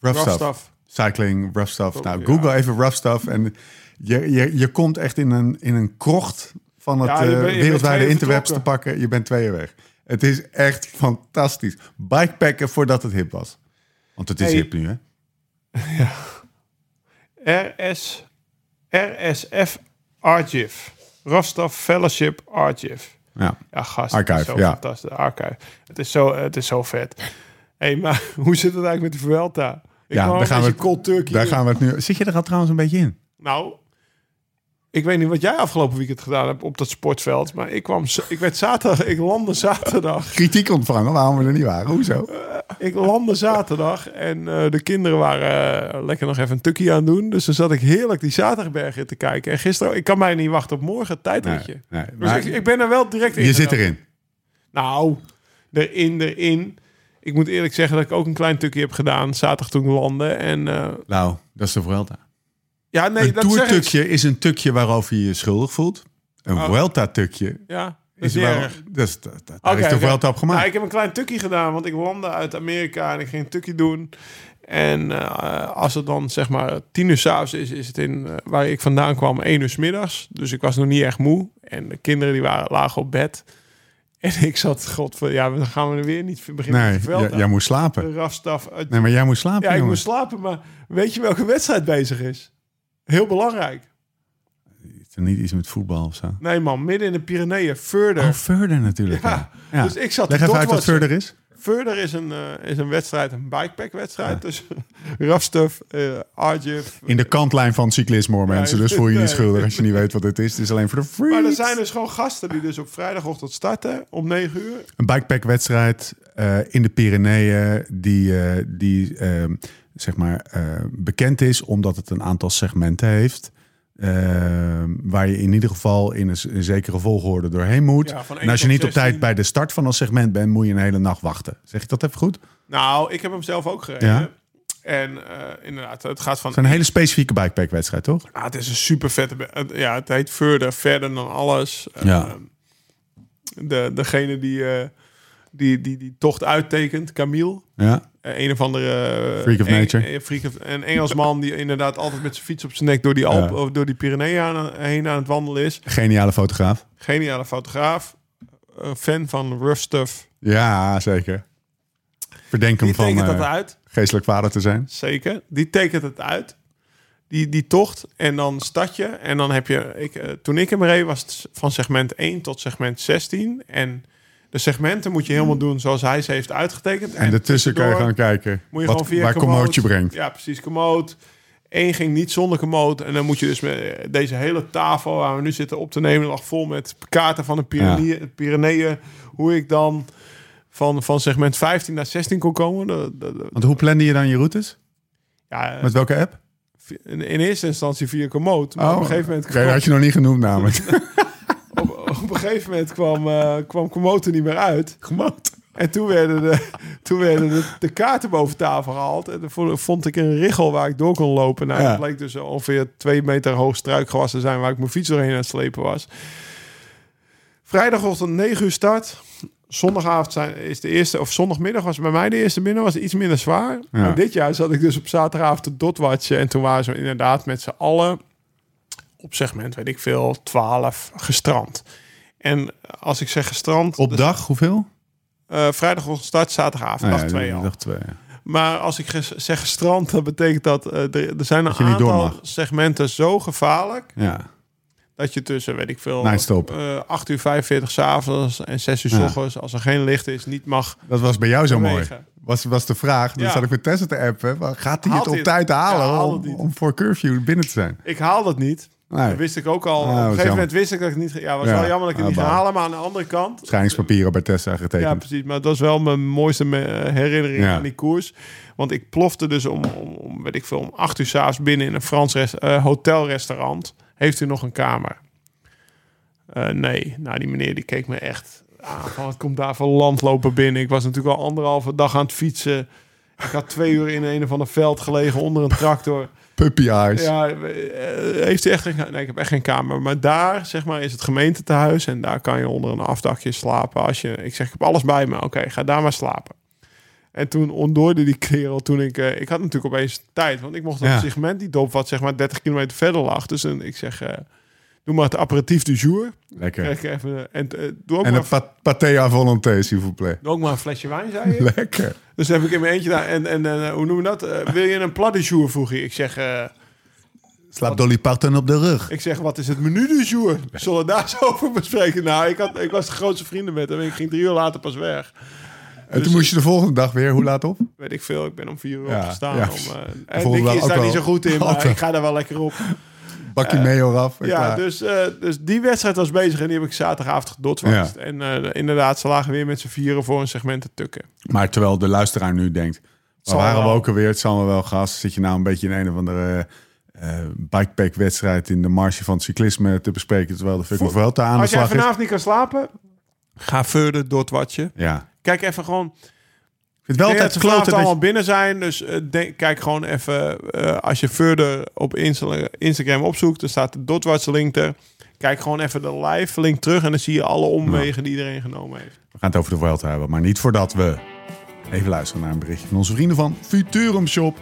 Speaker 1: Rough,
Speaker 3: Rough
Speaker 1: stuff.
Speaker 3: stuff.
Speaker 1: Cycling, rough stuff. nou,
Speaker 3: ja.
Speaker 1: Google even rough stuff en je, je, je komt echt in een, in een krocht van het
Speaker 3: Ja,
Speaker 1: eh,
Speaker 3: je bent- je bent
Speaker 1: wereldwijde
Speaker 3: tweeën
Speaker 1: interwebs te
Speaker 3: vertrokken.
Speaker 1: pakken. Je bent tweeën weg. Het is echt fantastisch. Bikepacken voordat het hip was. Want het is
Speaker 3: Hey.
Speaker 1: hip nu, hè?
Speaker 3: RS, RSF Archive. Rough Stuff Fellowship Archive.
Speaker 1: Ja.
Speaker 3: Ja, gast.
Speaker 1: Archive,
Speaker 3: het is zo
Speaker 1: ja.
Speaker 3: fantastisch. Archive. Het is zo, het is zo vet. hey, maar hoe zit het eigenlijk met de Vuelta? Ik
Speaker 1: Ja,
Speaker 3: kwam
Speaker 1: daar
Speaker 3: een
Speaker 1: gaan we
Speaker 3: beetje
Speaker 1: het-
Speaker 3: cold turkey
Speaker 1: Daar
Speaker 3: in.
Speaker 1: gaan we het nu... Zit je er al trouwens een beetje in?
Speaker 3: Nou, ik weet niet wat jij afgelopen weekend gedaan hebt op dat sportveld, maar ik kwam, z- ik werd zaterdag, ik landde zaterdag,
Speaker 1: Kritiek ontvangen waarom we er niet waren. Hoezo?
Speaker 3: ik landde zaterdag en eh, de kinderen waren eh, lekker nog even een tukkie aan het doen, dus dan zat ik heerlijk die zaterdagbergen in te kijken. En gisteren, ik kan mij niet wachten op morgen, tijdritje.
Speaker 1: Nee, nee,
Speaker 3: dus
Speaker 1: maar
Speaker 3: ik, ik ben er wel direct in.
Speaker 1: je zit
Speaker 3: gegaan.
Speaker 1: erin.
Speaker 3: Nou, erin, erin. Ik moet eerlijk zeggen dat ik ook een klein tukkie heb gedaan zaterdag toen ik landde. En eh,
Speaker 1: Nou, dat is de Vuelta.
Speaker 3: ja, nee,
Speaker 1: een
Speaker 3: dat zeg ik.
Speaker 1: toertukje is een tukje waarover je je schuldig voelt. Een
Speaker 3: Oh.
Speaker 1: Vuelta-tukje
Speaker 3: Ja, dat
Speaker 1: is
Speaker 3: is niet
Speaker 1: wel...
Speaker 3: erg.
Speaker 1: Dat is, dat, dat, daar
Speaker 3: Oké,
Speaker 1: is de
Speaker 3: oké.
Speaker 1: Vuelta op gemaakt.
Speaker 3: Nou, ik heb een klein tukkie gedaan, want ik landde uit Amerika en ik ging een tukkie doen. En eh, als het dan zeg maar tien uur s'avonds is, is het in eh, waar ik vandaan kwam één uur s middags. Dus ik was nog niet echt moe. En de kinderen die waren, lagen op bed. En ik zat, god, van, ja, dan gaan we er weer niet beginnen
Speaker 1: Nee,
Speaker 3: met het
Speaker 1: jij, jij moet slapen.
Speaker 3: Rafstaf uit...
Speaker 1: Nee, maar jij moet slapen,
Speaker 3: ja, ik
Speaker 1: jongen.
Speaker 3: moest slapen, maar weet je welke wedstrijd bezig is? Heel belangrijk.
Speaker 1: Is er Niet iets met voetbal of zo.
Speaker 3: Nee man, midden in de Pyreneeën, Further.
Speaker 1: Oh, Further natuurlijk.
Speaker 3: Ja,
Speaker 1: Ja. Ja.
Speaker 3: Dus ik zat
Speaker 1: Leg
Speaker 3: te
Speaker 1: even uit wat
Speaker 3: dotwatchen.
Speaker 1: Further is.
Speaker 3: Verder is een, eh, is een wedstrijd, een bikepack-wedstrijd tussen Rafstuf, eh Arjif.
Speaker 1: In de kantlijn van het cyclisme, hoor, mensen.
Speaker 3: Nee,
Speaker 1: Dus voel je niet
Speaker 3: nee.
Speaker 1: schuldig als je niet weet wat het is. Het is alleen voor de freaks.
Speaker 3: Maar er zijn dus gewoon gasten die dus op vrijdagochtend starten om 9 uur.
Speaker 1: Een bikepack-wedstrijd eh, in de Pyreneeën die, eh, die eh, zeg maar, eh, bekend is omdat het een aantal segmenten heeft. eh, waar je in ieder geval in een, z- een zekere volgorde doorheen moet.
Speaker 3: Ja, van één
Speaker 1: en als je
Speaker 3: tot
Speaker 1: niet op
Speaker 3: 16.
Speaker 1: tijd bij de start van een segment bent, moet je een hele nacht wachten. Zeg ik dat even goed? Het
Speaker 3: Nou, ik heb hem zelf ook gereden.
Speaker 1: Ja.
Speaker 3: En eh, inderdaad, het gaat van...
Speaker 1: is een hele specifieke bikepack-wedstrijd, toch?
Speaker 3: Ah, het is een super vette... be- het- Ja, het heet Verder, Verder dan alles. Eh,
Speaker 1: Ja.
Speaker 3: de, degene die, eh, die, die die tocht uittekent, Camille.
Speaker 1: Ja.
Speaker 3: Eh, een of andere... eh,
Speaker 1: Freak of
Speaker 3: Eng-
Speaker 1: nature.
Speaker 3: eh, freak of- een Engelsman die inderdaad altijd met zijn fiets op zijn nek door die, Alp,
Speaker 1: Ja.
Speaker 3: of door die Pyreneeën aan- heen aan het wandelen is.
Speaker 1: Geniale fotograaf.
Speaker 3: Geniale fotograaf. eh, fan van rough stuff.
Speaker 1: Ja, zeker. Verdenk hem
Speaker 3: Die
Speaker 1: van
Speaker 3: tekent dat
Speaker 1: eh,
Speaker 3: uit.
Speaker 1: geestelijk vader te zijn.
Speaker 3: Zeker. Die tekent het uit. Die, die tocht en dan stad je. En dan heb je... Ik, eh, toen ik hem reed was het van segment 1 tot segment 16. En de segmenten moet je helemaal doen zoals hij ze heeft uitgetekend.
Speaker 1: En daartussen kan je
Speaker 3: tussendoor
Speaker 1: gaan kijken
Speaker 3: moet je
Speaker 1: wat,
Speaker 3: gewoon via
Speaker 1: waar
Speaker 3: Komoot-
Speaker 1: Komoot je brengt.
Speaker 3: Ja, precies. Komoot. Eén ging niet zonder Komoot. En dan moet je dus met eh, deze hele tafel waar we nu zitten op te nemen... lag vol met kaarten van de Pyreneeën. Pyreneeën hoe ik dan van, van segment 15 naar 16 kon komen. Dat- dat- dat-
Speaker 1: Want hoe plande je dan je routes?
Speaker 3: ja, eh,
Speaker 1: Met welke app?
Speaker 3: in, in eerste instantie via Komoot. Maar Nou, op een gegeven moment
Speaker 1: Oh, oké, dat
Speaker 3: kwam,
Speaker 1: had je nog niet genoemd namelijk.
Speaker 3: op, op een gegeven moment kwam, eh, kwam Komoot er niet meer uit. En toen werden de, toen werden de, de kaarten boven tafel gehaald. En toen vond ik een richel waar ik door kon lopen. Nou,
Speaker 1: Ja.
Speaker 3: het bleek dus ongeveer twee meter hoog struikgewas te zijn... waar ik mijn fiets doorheen aan het slepen was. Vrijdagochtend 9 uur start. Zondagavond zijn, is de eerste, of zondagmiddag was bij mij de eerste binnen, was iets minder zwaar.
Speaker 1: Ja.
Speaker 3: En dit jaar zat ik dus op zaterdagavond te dotwatchen. En toen waren ze inderdaad met z'n allen op segment, weet ik veel, 12 gestrand. En als ik zeg gestrand,
Speaker 1: Op dag hoeveel?
Speaker 3: eh vrijdagochtend start, zaterdagavond, dag twee al.
Speaker 1: Dag twee. ja.
Speaker 3: Maar als ik ges- zeg gestrand, dan betekent dat eh, er, er zijn een
Speaker 1: je niet door
Speaker 3: aantal
Speaker 1: mag.
Speaker 3: segmenten zo gevaarlijk
Speaker 1: Ja.
Speaker 3: dat je tussen, weet ik veel,
Speaker 1: Nightstop.
Speaker 3: eh, 8 uur 45 s'avonds en 6 uur s
Speaker 1: Ja.
Speaker 3: ochtends, als er geen licht is, niet mag.
Speaker 1: Dat was bij jou zo mooi.
Speaker 3: Vanwege.
Speaker 1: Was, was de vraag. Dan
Speaker 3: Ja.
Speaker 1: zat ik met Tessa te appen. maar Gaat hij
Speaker 3: Haalt
Speaker 1: het op
Speaker 3: hij
Speaker 1: tijd
Speaker 3: het?
Speaker 1: halen
Speaker 3: Ja, haal het
Speaker 1: om,
Speaker 3: niet.
Speaker 1: om voor curfew binnen te zijn?
Speaker 3: Ik haal dat niet.
Speaker 1: Nee.
Speaker 3: Dat wist ik ook
Speaker 1: Ah,
Speaker 3: al. Op een
Speaker 1: was
Speaker 3: gegeven
Speaker 1: jammer.
Speaker 3: moment wist ik dat ik niet. ge- Ja, was
Speaker 1: Ja,
Speaker 3: wel jammer dat ik het niet
Speaker 1: ah,
Speaker 3: ging
Speaker 1: bah.
Speaker 3: halen, maar aan de andere kant.
Speaker 1: Scheidingspapieren bij Tessa
Speaker 3: Ja,
Speaker 1: getekend.
Speaker 3: precies. Maar dat is wel mijn mooiste me- herinnering
Speaker 1: Ja.
Speaker 3: aan die koers. Want ik plofte dus om, om, om, weet ik veel, om acht uur s'avonds binnen in een Frans rest, eh, hotelrestaurant. Heeft u nog een kamer? Eh, nee. Nou, die meneer die keek me echt aan. Van, wat komt daar voor landlopen binnen? Ik was natuurlijk al anderhalve dag aan het fietsen. Ik had twee uur in een of ander veld gelegen onder een tractor.
Speaker 1: Puppy eyes.
Speaker 3: Ja, eh, heeft hij echt geen, nee, ik heb echt geen kamer. Maar daar, zeg maar, is het gemeentetehuis. En daar kan je onder een afdakje slapen. Als je, ik zeg, ik heb alles bij me. Oké, ga daar maar slapen. En toen ontdooide die kerel toen ik... eh, ik had natuurlijk opeens tijd. Want ik mocht op
Speaker 1: Ja.
Speaker 3: een segment die dop wat zeg maar 30 kilometer verder lag. Dus dan, ik zeg, eh, doe maar het aperitief du jour.
Speaker 1: Lekker.
Speaker 3: Krijg ik even, eh, en eh, doe, ook
Speaker 1: En
Speaker 3: maar,
Speaker 1: een pa- paté à volonté, s'il vous plaît.
Speaker 3: doe ook maar een flesje wijn, zei je.
Speaker 1: Lekker.
Speaker 3: Dus heb ik in mijn eentje daar... En, en eh, hoe noem je dat? Eh, wil je een plat du jour, vroeg hij. Ik zeg... eh,
Speaker 1: Slaap Dolly Parton op de rug.
Speaker 3: Ik zeg, wat is het menu du jour? Zullen we daar eens over bespreken? Nou, ik, had, ik was de grootste vrienden met hem. Ik ging drie uur later pas weg.
Speaker 1: En
Speaker 3: Dus
Speaker 1: toen moest je de volgende dag weer, hoe laat op?
Speaker 3: Weet ik veel, ik ben om vier uur
Speaker 1: Ja,
Speaker 3: opgestaan.
Speaker 1: ja.
Speaker 3: Om, eh, en
Speaker 1: Volgende dag
Speaker 3: Nicky is
Speaker 1: ook
Speaker 3: daar
Speaker 1: wel.
Speaker 3: niet zo goed in, maar
Speaker 1: Altijd.
Speaker 3: ik ga daar wel lekker op.
Speaker 1: Bakje mayo af. en
Speaker 3: Ja,
Speaker 1: klaar.
Speaker 3: dus, eh, dus die wedstrijd was bezig en die heb ik zaterdagavond gedotwast.
Speaker 1: Ja.
Speaker 3: En eh, inderdaad, ze lagen weer met z'n vieren voor een segment te tukken.
Speaker 1: Maar terwijl de luisteraar nu denkt, waar
Speaker 3: zal
Speaker 1: waren we
Speaker 3: wel.
Speaker 1: ook alweer? Het zal me wel gas. Zit je nou een beetje in een of andere eh, bikepack-wedstrijd in de marge van het cyclisme te bespreken, terwijl de fucking Vuelta aan de
Speaker 3: Als jij
Speaker 1: slag is?
Speaker 3: vanavond niet kan slapen, ga verder dotwatchen.
Speaker 1: Ja. Ik
Speaker 3: Kijk even gewoon
Speaker 1: vind het wel
Speaker 3: Ik denk
Speaker 1: altijd
Speaker 3: dat de vanavond
Speaker 1: kloten dat
Speaker 3: allemaal
Speaker 1: je-
Speaker 3: binnen zijn. Dus eh, denk, kijk gewoon even. eh, als je verder op Insta- Instagram opzoekt, dan staat de Dotwatch link er. Kijk gewoon even de live link terug en dan zie je alle omwegen die iedereen genomen heeft.
Speaker 1: We gaan het over de Vuelta hebben, maar niet voordat we even luisteren naar een berichtje van onze vrienden van Futurum Shop.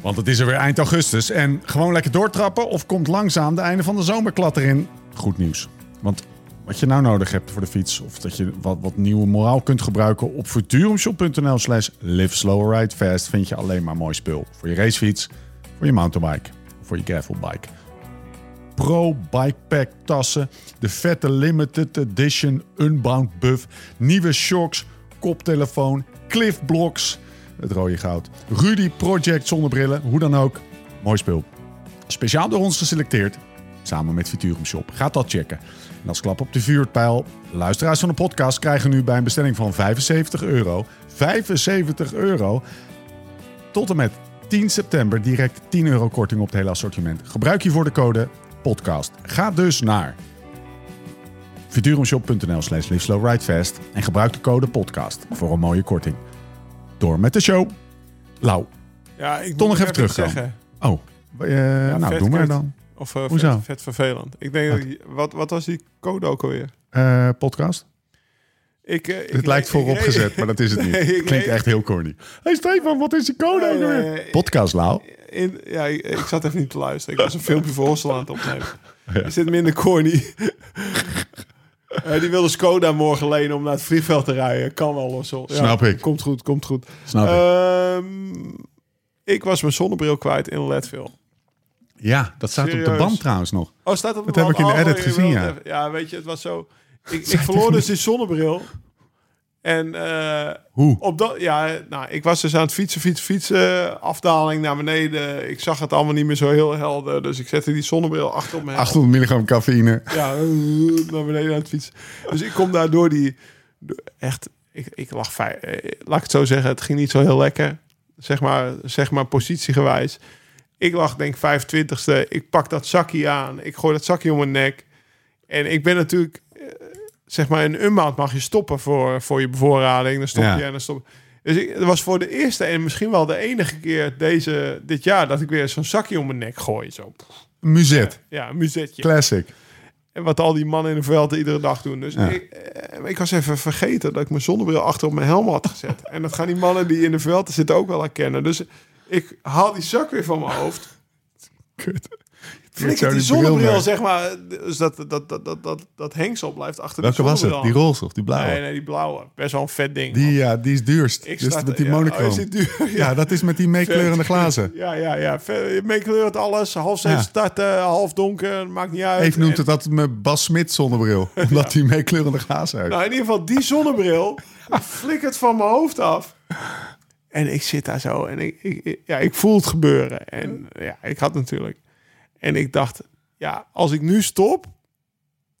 Speaker 1: Want het is er weer eind augustus. En gewoon lekker doortrappen of komt langzaam de einde van de zomerklad erin. Goed nieuws. Want wat je nou nodig hebt voor de fiets... of dat je wat, wat nieuwe moraal kunt gebruiken... op futurumshop.nl slash live slow ride fast... vind je alleen maar mooi spul. Voor je racefiets, voor je mountainbike, voor je gravelbike. Pro Bikepack tassen, de vette limited edition Unbound Buff... nieuwe shocks, koptelefoon, Cliff Blocks, het rode goud, Rudy Project zonnebrillen, hoe dan ook. Mooi spul. Speciaal door ons geselecteerd, samen met Viturum Shop. Ga dat checken. En als klap op de vuurpijl, luisteraars van de podcast krijgen nu bij een bestelling van 75 euro, 75 euro, tot en met 10 september direct 10 euro korting op het hele assortiment. Gebruik hiervoor de code podcast. Ga dus naar Futurumshop.nl slash LiveSlowRideFest en gebruik de code podcast voor een mooie korting. Door met de show. Lau,
Speaker 3: Ja, ik
Speaker 1: Toch
Speaker 3: moet
Speaker 1: nog even
Speaker 3: iets
Speaker 1: terugkomen.
Speaker 3: zeggen.
Speaker 1: oh, eh, nou
Speaker 3: vet
Speaker 1: doe maar
Speaker 3: kut.
Speaker 1: dan.
Speaker 3: Of eh,
Speaker 1: Hoezo?
Speaker 3: vet, vet vervelend. Ik denk, dat je- wat, wat was die code ook alweer?
Speaker 1: Eh, podcast.
Speaker 3: Ik, eh,
Speaker 1: Het
Speaker 3: ik-
Speaker 1: lijkt
Speaker 3: ik-
Speaker 1: voorop
Speaker 3: ik-
Speaker 1: gezet, maar dat is het niet.
Speaker 3: Nee, ik-
Speaker 1: Het Klinkt
Speaker 3: nee.
Speaker 1: echt heel corny. hey Stefan, wat is die code ook
Speaker 3: Eh,
Speaker 1: weer?
Speaker 3: eh,
Speaker 1: Podcast, Lau.
Speaker 3: In, ja, ik, ik zat even niet te luisteren. Ik was een filmpje voor Hossel aan het opnemen. Is dit minder corny? Eh, die wilde Skoda morgen lenen om naar het vliegveld te rijden. Kan wel of zo. Ja,
Speaker 1: Snap ik.
Speaker 3: Komt goed, komt goed.
Speaker 1: Snap ik.
Speaker 3: Ehm, ik was mijn zonnebril kwijt in Leadville.
Speaker 1: Ja, dat staat op de
Speaker 3: serieus.
Speaker 1: band trouwens nog.
Speaker 3: Oh, staat op
Speaker 1: Dat heb
Speaker 3: band?
Speaker 1: ik in de
Speaker 3: Oh,
Speaker 1: edit
Speaker 3: je
Speaker 1: gezien,
Speaker 3: wilt
Speaker 1: ja.
Speaker 3: even- Ja, weet je, het was zo... Ik, ik verloor dus die zonnebril. En eh,
Speaker 1: Hoe?
Speaker 3: op dat, ja, nou, ik was dus aan het fietsen, fietsen, fietsen. Afdaling naar beneden. Ik zag het allemaal niet meer zo heel helder. Dus ik zette die zonnebril achter op me.
Speaker 1: 800 milligram cafeïne.
Speaker 3: Ja, eh, naar beneden aan het fietsen. Dus ik kom daar door die... door- Echt, ik, ik lag fijn. Laat ik het zo zeggen, het ging niet zo heel lekker. Zeg maar, zeg maar positiegewijs. Ik lag denk 25ste. Ik pak dat zakje aan. Ik gooi dat zakje om mijn nek. En ik ben natuurlijk... eh, Zeg maar, in een maand mag je stoppen voor, voor je bevoorrading. Dan stop je
Speaker 1: Ja.
Speaker 3: en dan stop Dus ik, het was voor de eerste en misschien wel de enige keer deze, dit jaar... dat ik weer zo'n zakje om mijn nek gooi. Zo.
Speaker 1: Muzet.
Speaker 3: Ja, een muzetje.
Speaker 1: Classic.
Speaker 3: En wat al die mannen in de veld iedere dag doen. Dus
Speaker 1: Ja.
Speaker 3: ik, eh, ik was even vergeten dat ik mijn zonnebril achter op mijn helm had gezet. en dat gaan die mannen die in de veld zitten ook wel herkennen. Dus ik haal die zak weer van mijn hoofd.
Speaker 1: Kut.
Speaker 3: Flikker die zonnebril, zeg maar. Dus dat, dat, dat, dat, dat, dat hengsel blijft achter
Speaker 1: Welke
Speaker 3: die
Speaker 1: was het?
Speaker 3: zonnebril.
Speaker 1: Die roze of die blauwe?
Speaker 3: Nee, nee, die blauwe. Best wel een vet ding.
Speaker 1: Die, ja, die is duurst.
Speaker 3: Ik
Speaker 1: dus
Speaker 3: sta-
Speaker 1: met die
Speaker 3: ja,
Speaker 1: monochrome.
Speaker 3: oh, is die duur?
Speaker 1: ja. dat is met die meekleurende glazen.
Speaker 3: Ja, ja, ja. Ver- Meekleurend alles. Half zeven
Speaker 1: Ja.
Speaker 3: starten, half donker. Maakt niet uit.
Speaker 1: Even noemt
Speaker 3: En-
Speaker 1: het dat mijn Bas Smit zonnebril. Omdat die meekleurende glazen heeft.
Speaker 3: Nou, in ieder geval die zonnebril flikkert van mijn hoofd af. En ik zit daar zo en ik, ik, ik- ja, ik voel het gebeuren. En ja, ik had natuurlijk. En ik dacht, ja, als ik nu stop,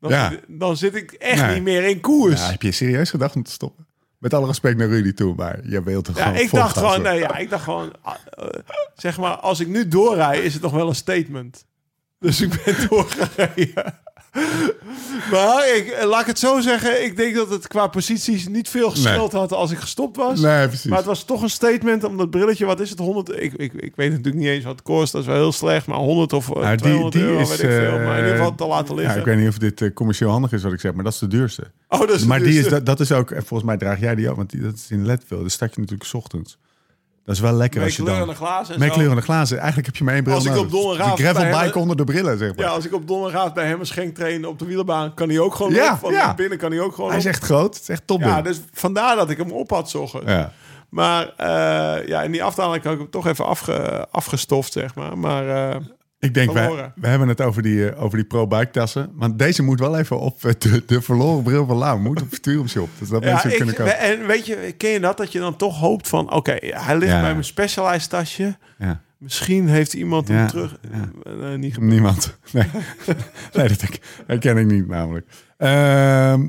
Speaker 3: dan,
Speaker 1: Ja.
Speaker 3: dan zit ik echt
Speaker 1: Nee.
Speaker 3: niet meer in koers.
Speaker 1: Ja, heb je serieus gedacht om te stoppen? Met alle respect naar Rudy toe, maar jij wilt er
Speaker 3: Ja,
Speaker 1: gewoon
Speaker 3: ik
Speaker 1: vol
Speaker 3: dacht
Speaker 1: gas
Speaker 3: gewoon,
Speaker 1: door.
Speaker 3: nee, ja, ik dacht gewoon, ah, eh, zeg maar, als ik nu doorrij, is het nog wel een statement. Dus ik ben doorgereden. Maar ik, eh, laat ik het zo zeggen, ik denk dat het qua posities niet veel gescheeld had als ik gestopt was.
Speaker 1: Nee, precies.
Speaker 3: Maar het was toch een statement om dat brilletje, wat is het, 100? Ik, ik, ik weet natuurlijk niet eens wat het kost, dat is wel heel slecht, maar 100 of eh,
Speaker 1: Nou,
Speaker 3: 200 euro, weet ik veel. Maar in ieder geval
Speaker 1: eh,
Speaker 3: te laten liggen.
Speaker 1: Ja, ik weet niet of dit eh, commercieel handig is wat ik zeg, maar dat is de duurste.
Speaker 3: Oh, dat is de
Speaker 1: maar Die is,
Speaker 3: duurste.
Speaker 1: dat, dat is ook, en volgens mij draag jij die ook, want die, dat is in Leadville. Dat start je natuurlijk 's ochtends. Dat is wel lekker als je dan...
Speaker 3: Meekleurende glazen en
Speaker 1: Met
Speaker 3: zo.
Speaker 1: kleurende glazen. Eigenlijk heb je maar één bril
Speaker 3: Als ik
Speaker 1: nodig. Dus
Speaker 3: op donderdagavond
Speaker 1: De gravelbike
Speaker 3: bij hem-
Speaker 1: onder de brillen, zeg maar.
Speaker 3: Ja, als ik op donderdagavond bij hem een schenk train op de wielerbaan, kan hij ook gewoon
Speaker 1: Ja,
Speaker 3: op. Van
Speaker 1: ja.
Speaker 3: binnen kan hij ook gewoon
Speaker 1: Hij is
Speaker 3: op.
Speaker 1: echt groot. Het is echt top.
Speaker 3: Ja,
Speaker 1: ding.
Speaker 3: dus vandaar dat ik hem op had zochten.
Speaker 1: ja.
Speaker 3: Maar eh, ja, in die afdaling had ik hem toch even afge, afgestoft, zeg maar. Maar eh,
Speaker 1: Ik denk, wij,
Speaker 3: Verloren.
Speaker 1: we hebben het over die, eh, over die pro-bike tassen. Maar deze moet wel even op eh, de, de verloren bril van Lau. Moet op Futurum Shop. Dus dat
Speaker 3: ja,
Speaker 1: mensen hem
Speaker 3: ik,
Speaker 1: kunnen kopen.
Speaker 3: en weet je, ken je dat? Dat je dan toch hoopt van, oké, hij ligt
Speaker 1: Ja.
Speaker 3: bij mijn Specialized tasje.
Speaker 1: Ja.
Speaker 3: Misschien heeft iemand
Speaker 1: Ja,
Speaker 3: hem terug.
Speaker 1: ja.
Speaker 3: Eh, niet gebeurd.
Speaker 1: Niemand. Nee, nee dat ik, herken ik niet namelijk. Ehm,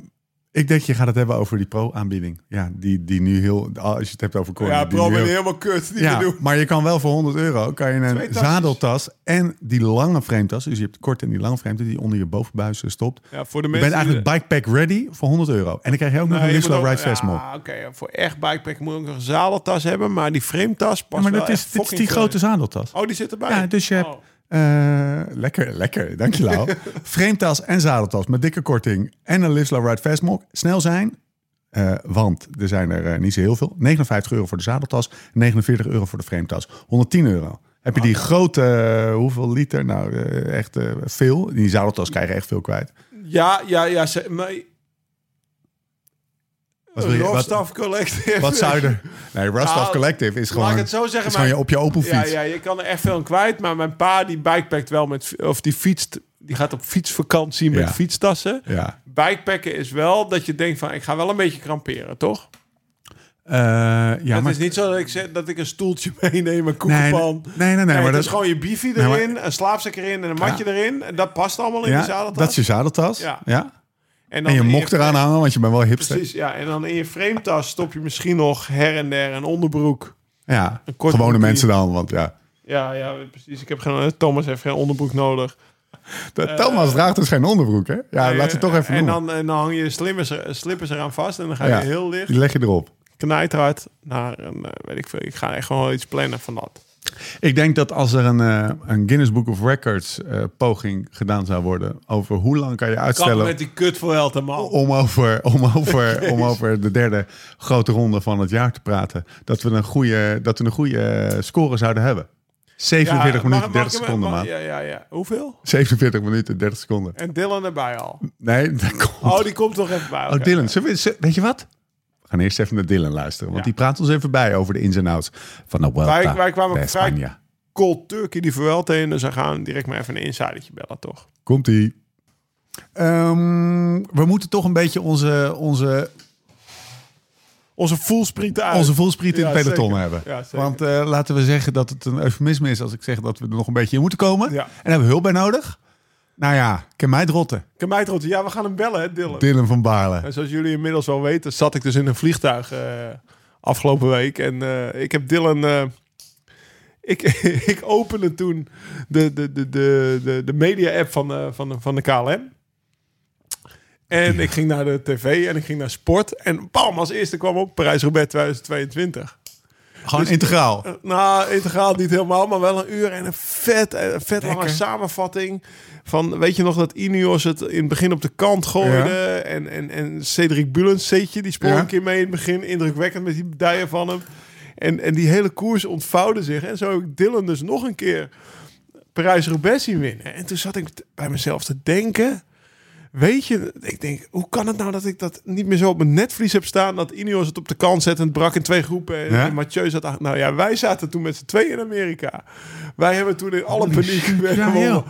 Speaker 1: ik denk, je gaat het hebben over die pro-aanbieding. Ja, die, die nu heel... Als je het hebt over Corny.
Speaker 3: Ja,
Speaker 1: die nu
Speaker 3: Bro, ben
Speaker 1: heel-
Speaker 3: helemaal kut. Niet
Speaker 1: Ja,
Speaker 3: meer doen.
Speaker 1: maar je kan wel voor 100 euro kan je
Speaker 3: Twee
Speaker 1: een
Speaker 3: tasjes.
Speaker 1: zadeltas en die lange frametas. Dus je hebt de korte en die lange frame die je onder je bovenbuis eh, stopt.
Speaker 3: Ja, voor de
Speaker 1: Je
Speaker 3: mensen
Speaker 1: bent eigenlijk bikepack ready voor 100 euro. En dan krijg je ook nog
Speaker 3: Nee,
Speaker 1: een
Speaker 3: je moet
Speaker 1: Lislo
Speaker 3: ook-
Speaker 1: Ride Fest mop.
Speaker 3: Ja, oké. voor echt bikepack moet je ook nog een zadeltas hebben. Maar die frametas past
Speaker 1: maar
Speaker 3: wel
Speaker 1: dat is,
Speaker 3: echt
Speaker 1: dit is die
Speaker 3: fucking
Speaker 1: grote zadeltas.
Speaker 3: veel in. Oh, die zit erbij?
Speaker 1: Ja, dus je hebt
Speaker 3: Oh.
Speaker 1: eh, lekker, lekker. Dank je, Lau. Frametas en zadeltas met dikke korting en een Live Slow Ride Fast mok. Snel zijn, eh, want er zijn er eh, niet zo heel veel. 59 euro voor de zadeltas, 49 euro voor de frametas. 110 euro. Heb je die
Speaker 3: Ah.
Speaker 1: grote, eh, hoeveel liter? Nou, eh, echt eh, veel. Die zadeltas krijgen echt veel kwijt.
Speaker 3: Ja, ja, ja. Ze, maar,
Speaker 1: Wat, wil je, wat,
Speaker 3: Rostaf Collective.
Speaker 1: wat zou je er... Nee, Rostov
Speaker 3: Nou,
Speaker 1: Collective is gewoon...
Speaker 3: Laat ik het zo zeggen.
Speaker 1: is gewoon je op je open
Speaker 3: ja,
Speaker 1: fiets.
Speaker 3: ja, je kan er echt veel aan kwijt. Maar mijn pa die bikepackt wel met... Of die fietst... Die gaat op fietsvakantie met
Speaker 1: Ja.
Speaker 3: fietstassen.
Speaker 1: Ja.
Speaker 3: Bikepacken is wel dat je denkt van... Ik ga wel een beetje kramperen, toch?
Speaker 1: Eh, ja,
Speaker 3: het
Speaker 1: maar...
Speaker 3: is niet zo dat ik, zeg- dat ik een stoeltje meeneem, een
Speaker 1: Nee, nee,
Speaker 3: koekenpan.
Speaker 1: nee, nee, maar
Speaker 3: het
Speaker 1: dat-
Speaker 3: is gewoon je bifi
Speaker 1: Nee, maar-
Speaker 3: erin, een slaapzak erin en een matje erin. En dat past allemaal in de
Speaker 1: ja,
Speaker 3: zadeltas.
Speaker 1: dat is je zadeltas. Ja.
Speaker 3: Ja.
Speaker 1: En je mok
Speaker 3: mocht
Speaker 1: eraan hangen, want je bent wel hipster.
Speaker 3: Precies, ja. En dan in je frametas stop je misschien nog her en der een onderbroek.
Speaker 1: Ja,
Speaker 3: kort
Speaker 1: gewone
Speaker 3: broekje.
Speaker 1: mensen dan, want ja.
Speaker 3: Ja, ja, precies. Ik heb geen, eh, Thomas heeft geen onderbroek nodig.
Speaker 1: De Thomas draagt dus geen onderbroek, hè? Ja, laat het toch even
Speaker 3: Eh, en
Speaker 1: doen.
Speaker 3: dan, en dan hang je slippers, slippers eraan vast en dan ga je
Speaker 1: Ja,
Speaker 3: heel licht
Speaker 1: Die leg je erop.
Speaker 3: knijterhard naar een, eh, weet ik veel. Ik ga echt gewoon wel iets plannen van dat.
Speaker 1: Ik denk dat als er een, eh, een Guinness Book of Records eh, poging gedaan zou worden over hoe lang kan je
Speaker 3: Kap
Speaker 1: uitstellen
Speaker 3: met die kut voor Elton, man.
Speaker 1: om over, om, over, om over de derde grote ronde van het jaar te praten, dat we een goede, dat we een goede eh, score zouden hebben. 47
Speaker 3: Ja, mag-
Speaker 1: minuten
Speaker 3: mag
Speaker 1: 30
Speaker 3: ik hem-
Speaker 1: seconden,
Speaker 3: mag-
Speaker 1: man.
Speaker 3: Ja, ja, ja. Hoeveel?
Speaker 1: 47 minuten 30 seconden.
Speaker 3: En Dylan erbij al.
Speaker 1: Nee, dat komt.
Speaker 3: Oh, die komt toch even bij.
Speaker 1: Oh,
Speaker 3: oké.
Speaker 1: Dylan. Zullen we- zullen- weet je wat? We gaan eerst even naar Dylan luisteren. Want
Speaker 3: Ja.
Speaker 1: die praat ons even bij over de ins en outs van de Vuelta
Speaker 3: Wij- wij kwamen
Speaker 1: de
Speaker 3: vrij-
Speaker 1: Spanje.
Speaker 3: Cold Turkey die verwelt heen. Dus we gaan direct maar even een insidertje bellen, toch?
Speaker 1: Komt-ie. Ehm, we moeten toch een beetje onze, onze,
Speaker 3: Onze voelspriet uit.
Speaker 1: onze voelspriet in
Speaker 3: Ah, Ja,
Speaker 1: het peloton
Speaker 3: zeker.
Speaker 1: hebben.
Speaker 3: Ja, zeker.
Speaker 1: Want eh, laten we zeggen dat het een eufemisme is als ik zeg dat we er nog een beetje in moeten komen.
Speaker 3: Ja.
Speaker 1: En daar hebben we hulp bij nodig. Nou ja, ken mij het rotten.
Speaker 3: Kamijtrot, ja, we gaan hem bellen, hè, Dylan.
Speaker 1: Dylan van Baarle.
Speaker 3: En zoals jullie inmiddels wel weten, zat ik dus in een vliegtuig eh, afgelopen week. En eh, ik heb Dylan. eh, ik, ik opende toen de, de, de, de, de, de media-app van, de- van, de- van de KLM. En ik ging naar de tv en ik ging naar sport. En bam, als eerste kwam op Parijs-Roubaix 2022.
Speaker 1: Gewoon integraal.
Speaker 3: Eh, Nou, integraal niet helemaal, maar wel een uur en een vet, eh, vet lange samenvatting. Van, weet je nog dat Ineos het in het begin op de kant gooide? En, en, en Cedric Bulens, Seetje, die sprong
Speaker 1: Ja.
Speaker 3: een keer mee in het begin. Indrukwekkend met die dijen van hem. En, en die hele koers ontvouwde zich. En zo heb ik Dylan dus nog een keer Parijs-Roubaix zien winnen. En toen zat ik t- bij mezelf te denken... Weet je, ik denk, hoe kan het nou dat ik dat niet meer zo op mijn netvlies heb staan? Dat Ineos het op de kant zet en het brak in twee groepen. En,
Speaker 1: Ja?
Speaker 3: en Mathieu zat achter. Nou ja, wij zaten toen met z'n tweeën in Amerika. Wij hebben toen in alle paniek...
Speaker 1: Oh, Ja,
Speaker 3: gewoon,
Speaker 1: joh.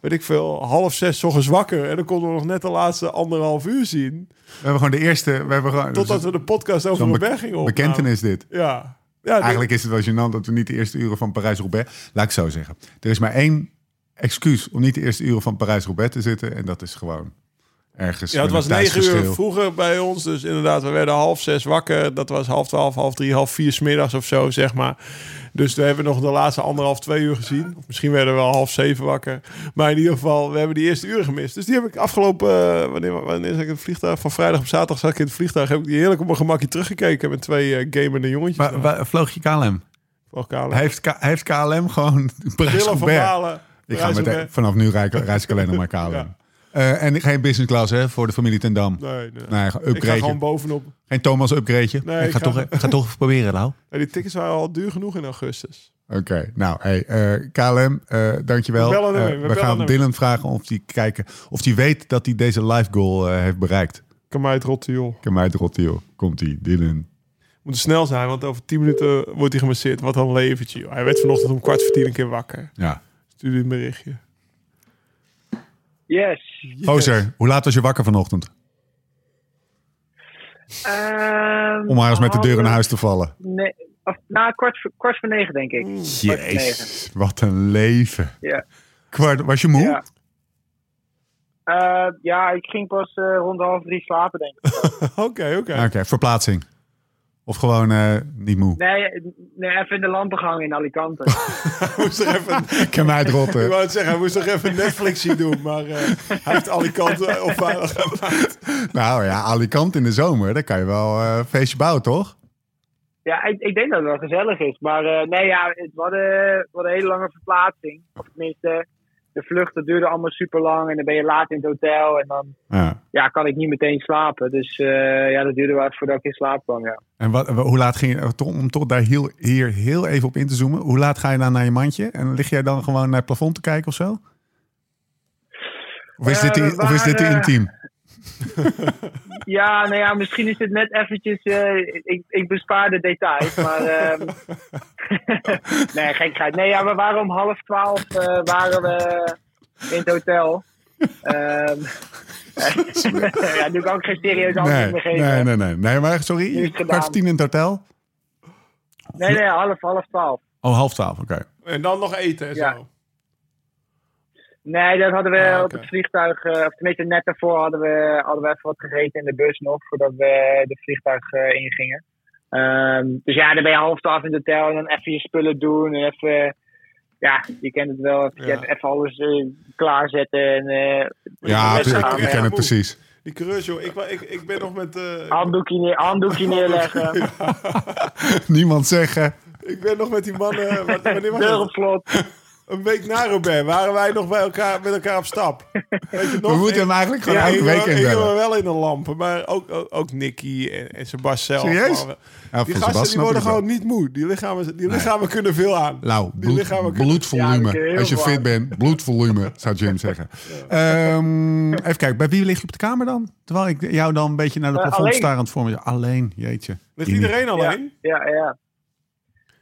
Speaker 3: weet ik veel, half zes 's ochtends wakker. En dan konden we nog net de laatste anderhalf uur zien.
Speaker 1: We hebben gewoon de eerste... We hebben gewoon,
Speaker 3: Totdat we de podcast over
Speaker 1: zo'n
Speaker 3: de
Speaker 1: be-
Speaker 3: berg gingen nou. opnemen.
Speaker 1: bekentenis dit.
Speaker 3: Ja. ja
Speaker 1: Eigenlijk is het wel gênant dat we niet de eerste uren van Parijs-Roubaix... Laat ik zo zeggen. Er is maar één excuus om niet de eerste uren van Parijs-Roubaix te zitten. En dat is gewoon ergens...
Speaker 3: Ja, het
Speaker 1: met
Speaker 3: was
Speaker 1: een
Speaker 3: negen uur
Speaker 1: tijdsverschil.
Speaker 3: vroeger bij ons. Dus inderdaad, we werden half zes wakker. Dat was half twaalf, half drie, half vier 's middags of zo, zeg maar. Dus we hebben nog de laatste anderhalf, twee uur gezien. Of misschien werden we wel half zeven wakker. Maar in ieder geval, we hebben die eerste uren gemist. Dus die heb ik afgelopen... eh, wanneer, wanneer zat ik in het vliegtuig? Van vrijdag op zaterdag zat ik in het vliegtuig. Heb ik die heerlijk op mijn gemakje teruggekeken met twee eh gamende jongetjes.
Speaker 1: Waar, waar vloog je KLM?
Speaker 3: Van elkaar.
Speaker 1: Hij heeft, K- hij heeft KLM gewoon
Speaker 3: Dylan van
Speaker 1: Parijs-Roubaix.
Speaker 3: Balen.
Speaker 1: Ik ga
Speaker 3: Parijs
Speaker 1: meteen,
Speaker 3: Roubaix.
Speaker 1: vanaf nu rij- reis ik alleen nog maar KLM.
Speaker 3: Ja.
Speaker 1: Eh, en geen business class hè, voor de familie ten Dam.
Speaker 3: Nee, nee.
Speaker 1: Nee, ge-
Speaker 3: ik ga
Speaker 1: upgradeje.
Speaker 3: gewoon bovenop.
Speaker 1: Geen Thomas upgradeje.
Speaker 3: Nee,
Speaker 1: ik
Speaker 3: ik
Speaker 1: ga,
Speaker 3: ga-
Speaker 1: Toch, ik ga toch proberen, Lau.
Speaker 3: Nee, die tickets waren al duur genoeg in augustus.
Speaker 1: Oké, nou, hey, eh, KLM, eh, dankjewel.
Speaker 3: We bellen hem
Speaker 1: Eh,
Speaker 3: in, we
Speaker 1: we
Speaker 3: bellen
Speaker 1: gaan
Speaker 3: hem.
Speaker 1: Dylan vragen of hij kijken, of hij weet dat hij deze live goal eh, heeft bereikt.
Speaker 3: Kan mij het rotten, joh.
Speaker 1: Kan mij het rotten, joh. Komt hij, Dylan?
Speaker 3: Moet snel zijn, want over 10 minuten wordt hij gemasseerd. Wat een leventje. joh. Hij werd vanochtend om kwart voor tien een keer wakker.
Speaker 1: Ja.
Speaker 3: Stuurde een berichtje.
Speaker 4: Yes.
Speaker 1: Gozer, hoe laat was je wakker vanochtend?
Speaker 4: Ehm,
Speaker 1: Om maar eens met de deur in
Speaker 4: half-
Speaker 1: huis te vallen.
Speaker 4: Nee, of, nou, kwart, voor- kwart voor negen, denk ik. Kwart voor negen,
Speaker 1: Jezus, wat een leven.
Speaker 4: Ja.
Speaker 1: Kwart, was je moe?
Speaker 4: Ja. Eh, ja, ik ging pas eh, rond half drie slapen, denk ik.
Speaker 3: Oké, oké.
Speaker 1: Oké, verplaatsing. Of gewoon eh, niet moe.
Speaker 4: Nee, nee, even in de lampengang in Alicante.
Speaker 3: Hij moest er even...
Speaker 1: Kan mij het
Speaker 3: Ik
Speaker 1: rotten.
Speaker 3: wou het zeggen, hij moest nog even Netflix zien doen. Maar eh, hij heeft Alicante op veilig gemaakt.
Speaker 1: nou ja, Alicante in de zomer, daar kan je wel eh, een feestje bouwen, toch?
Speaker 4: ja, ik, ik denk dat het wel gezellig is. Maar eh, nee, ja, het was een hele lange verplaatsing. Of tenminste, de vluchten duurden allemaal super lang. En dan ben je laat in het hotel. En dan
Speaker 1: Ja.
Speaker 4: ja, kan ik niet meteen slapen. Dus eh, ja, dat duurde wel even voordat ik in slaap kwam, ja.
Speaker 1: En wat, wa- hoe laat ging je, to- om toch daar heel, hier heel even op in te zoomen, hoe laat ga je dan naar je mandje? En lig jij dan gewoon naar het plafond te kijken of zo? Of is,
Speaker 4: Eh,
Speaker 1: dit, te,
Speaker 4: we
Speaker 1: of is dit te
Speaker 4: waren-
Speaker 1: intiem?
Speaker 4: Ja, nou ja, misschien is het net eventjes... eh, ik, ik bespaar de details, maar... ehm, nee, gekheid. Nee, ja, we waren om half twaalf eh, waren we in het hotel. Ehm, ja, nu kan ik geen serieus antwoord
Speaker 1: Nee,
Speaker 4: meer
Speaker 1: nee,
Speaker 4: geven.
Speaker 1: nee, nee, nee. maar
Speaker 4: Nu is
Speaker 1: sorry,
Speaker 4: het gedaan.
Speaker 1: kwart voor tien in het hotel?
Speaker 4: nee, nee, half, half twaalf.
Speaker 1: Oh, half twaalf, oké.
Speaker 3: En dan nog eten en
Speaker 4: Ja.
Speaker 3: zo.
Speaker 4: Nee, dat hadden we
Speaker 3: Ah, oké.
Speaker 4: op het vliegtuig, eh, of tenminste net daarvoor hadden we, hadden we even wat gegeten in de bus nog, voordat we het vliegtuig eh, ingingen. Ehm, dus ja, dan ben je half twaalf in het hotel en dan even je spullen doen en even, eh, ja, je kent het wel, even,
Speaker 3: Ja.
Speaker 4: even alles eh, klaarzetten en eh,
Speaker 1: Ja,
Speaker 4: ik-
Speaker 1: tuurlijk,
Speaker 4: ik-
Speaker 1: ik ken het precies.
Speaker 3: Die coureurs, joh. Ik, wa- ik, ik ben nog met... eh,
Speaker 4: handdoekje, neer, handdoekje neerleggen,
Speaker 1: Niemand zeggen.
Speaker 3: ik ben nog met die mannen... eh, wat- Wanneer was
Speaker 4: deur
Speaker 3: dat?
Speaker 4: op slot.
Speaker 3: Een week na Robert waren wij nog bij elkaar, met elkaar op stap. Weet je het nog?
Speaker 1: We moeten hem
Speaker 3: Ik-
Speaker 1: eigenlijk gewoon
Speaker 3: ja,
Speaker 1: elke
Speaker 3: hingen
Speaker 1: week
Speaker 3: we- hingen we
Speaker 1: inbellen.
Speaker 3: wel in de lampen, maar ook, ook, ook Nicky en, en Sebas zelf.
Speaker 1: Serieus?
Speaker 3: Maar-
Speaker 1: Ja, voor
Speaker 3: die gasten die
Speaker 1: Sebastian
Speaker 3: worden
Speaker 1: natuurlijk
Speaker 3: gewoon niet moe. Die lichamen, die lichamen kunnen veel aan.
Speaker 1: Lau,
Speaker 3: die
Speaker 1: Nou, bloed-
Speaker 3: lichamen kunnen-
Speaker 4: Ja, dat kun
Speaker 1: bloedvolume.
Speaker 4: je heel
Speaker 1: Als je fit
Speaker 4: warm.
Speaker 1: bent, bloedvolume, zou Jim zeggen. Ehm, even kijken, bij wie lig je op de kamer dan? Terwijl ik jou dan een beetje naar de
Speaker 4: Eh,
Speaker 1: plafond
Speaker 4: alleen.
Speaker 1: starend voor me. Alleen, jeetje.
Speaker 3: Ligt
Speaker 1: Ini.
Speaker 3: iedereen alleen?
Speaker 4: Ja, ja. ja.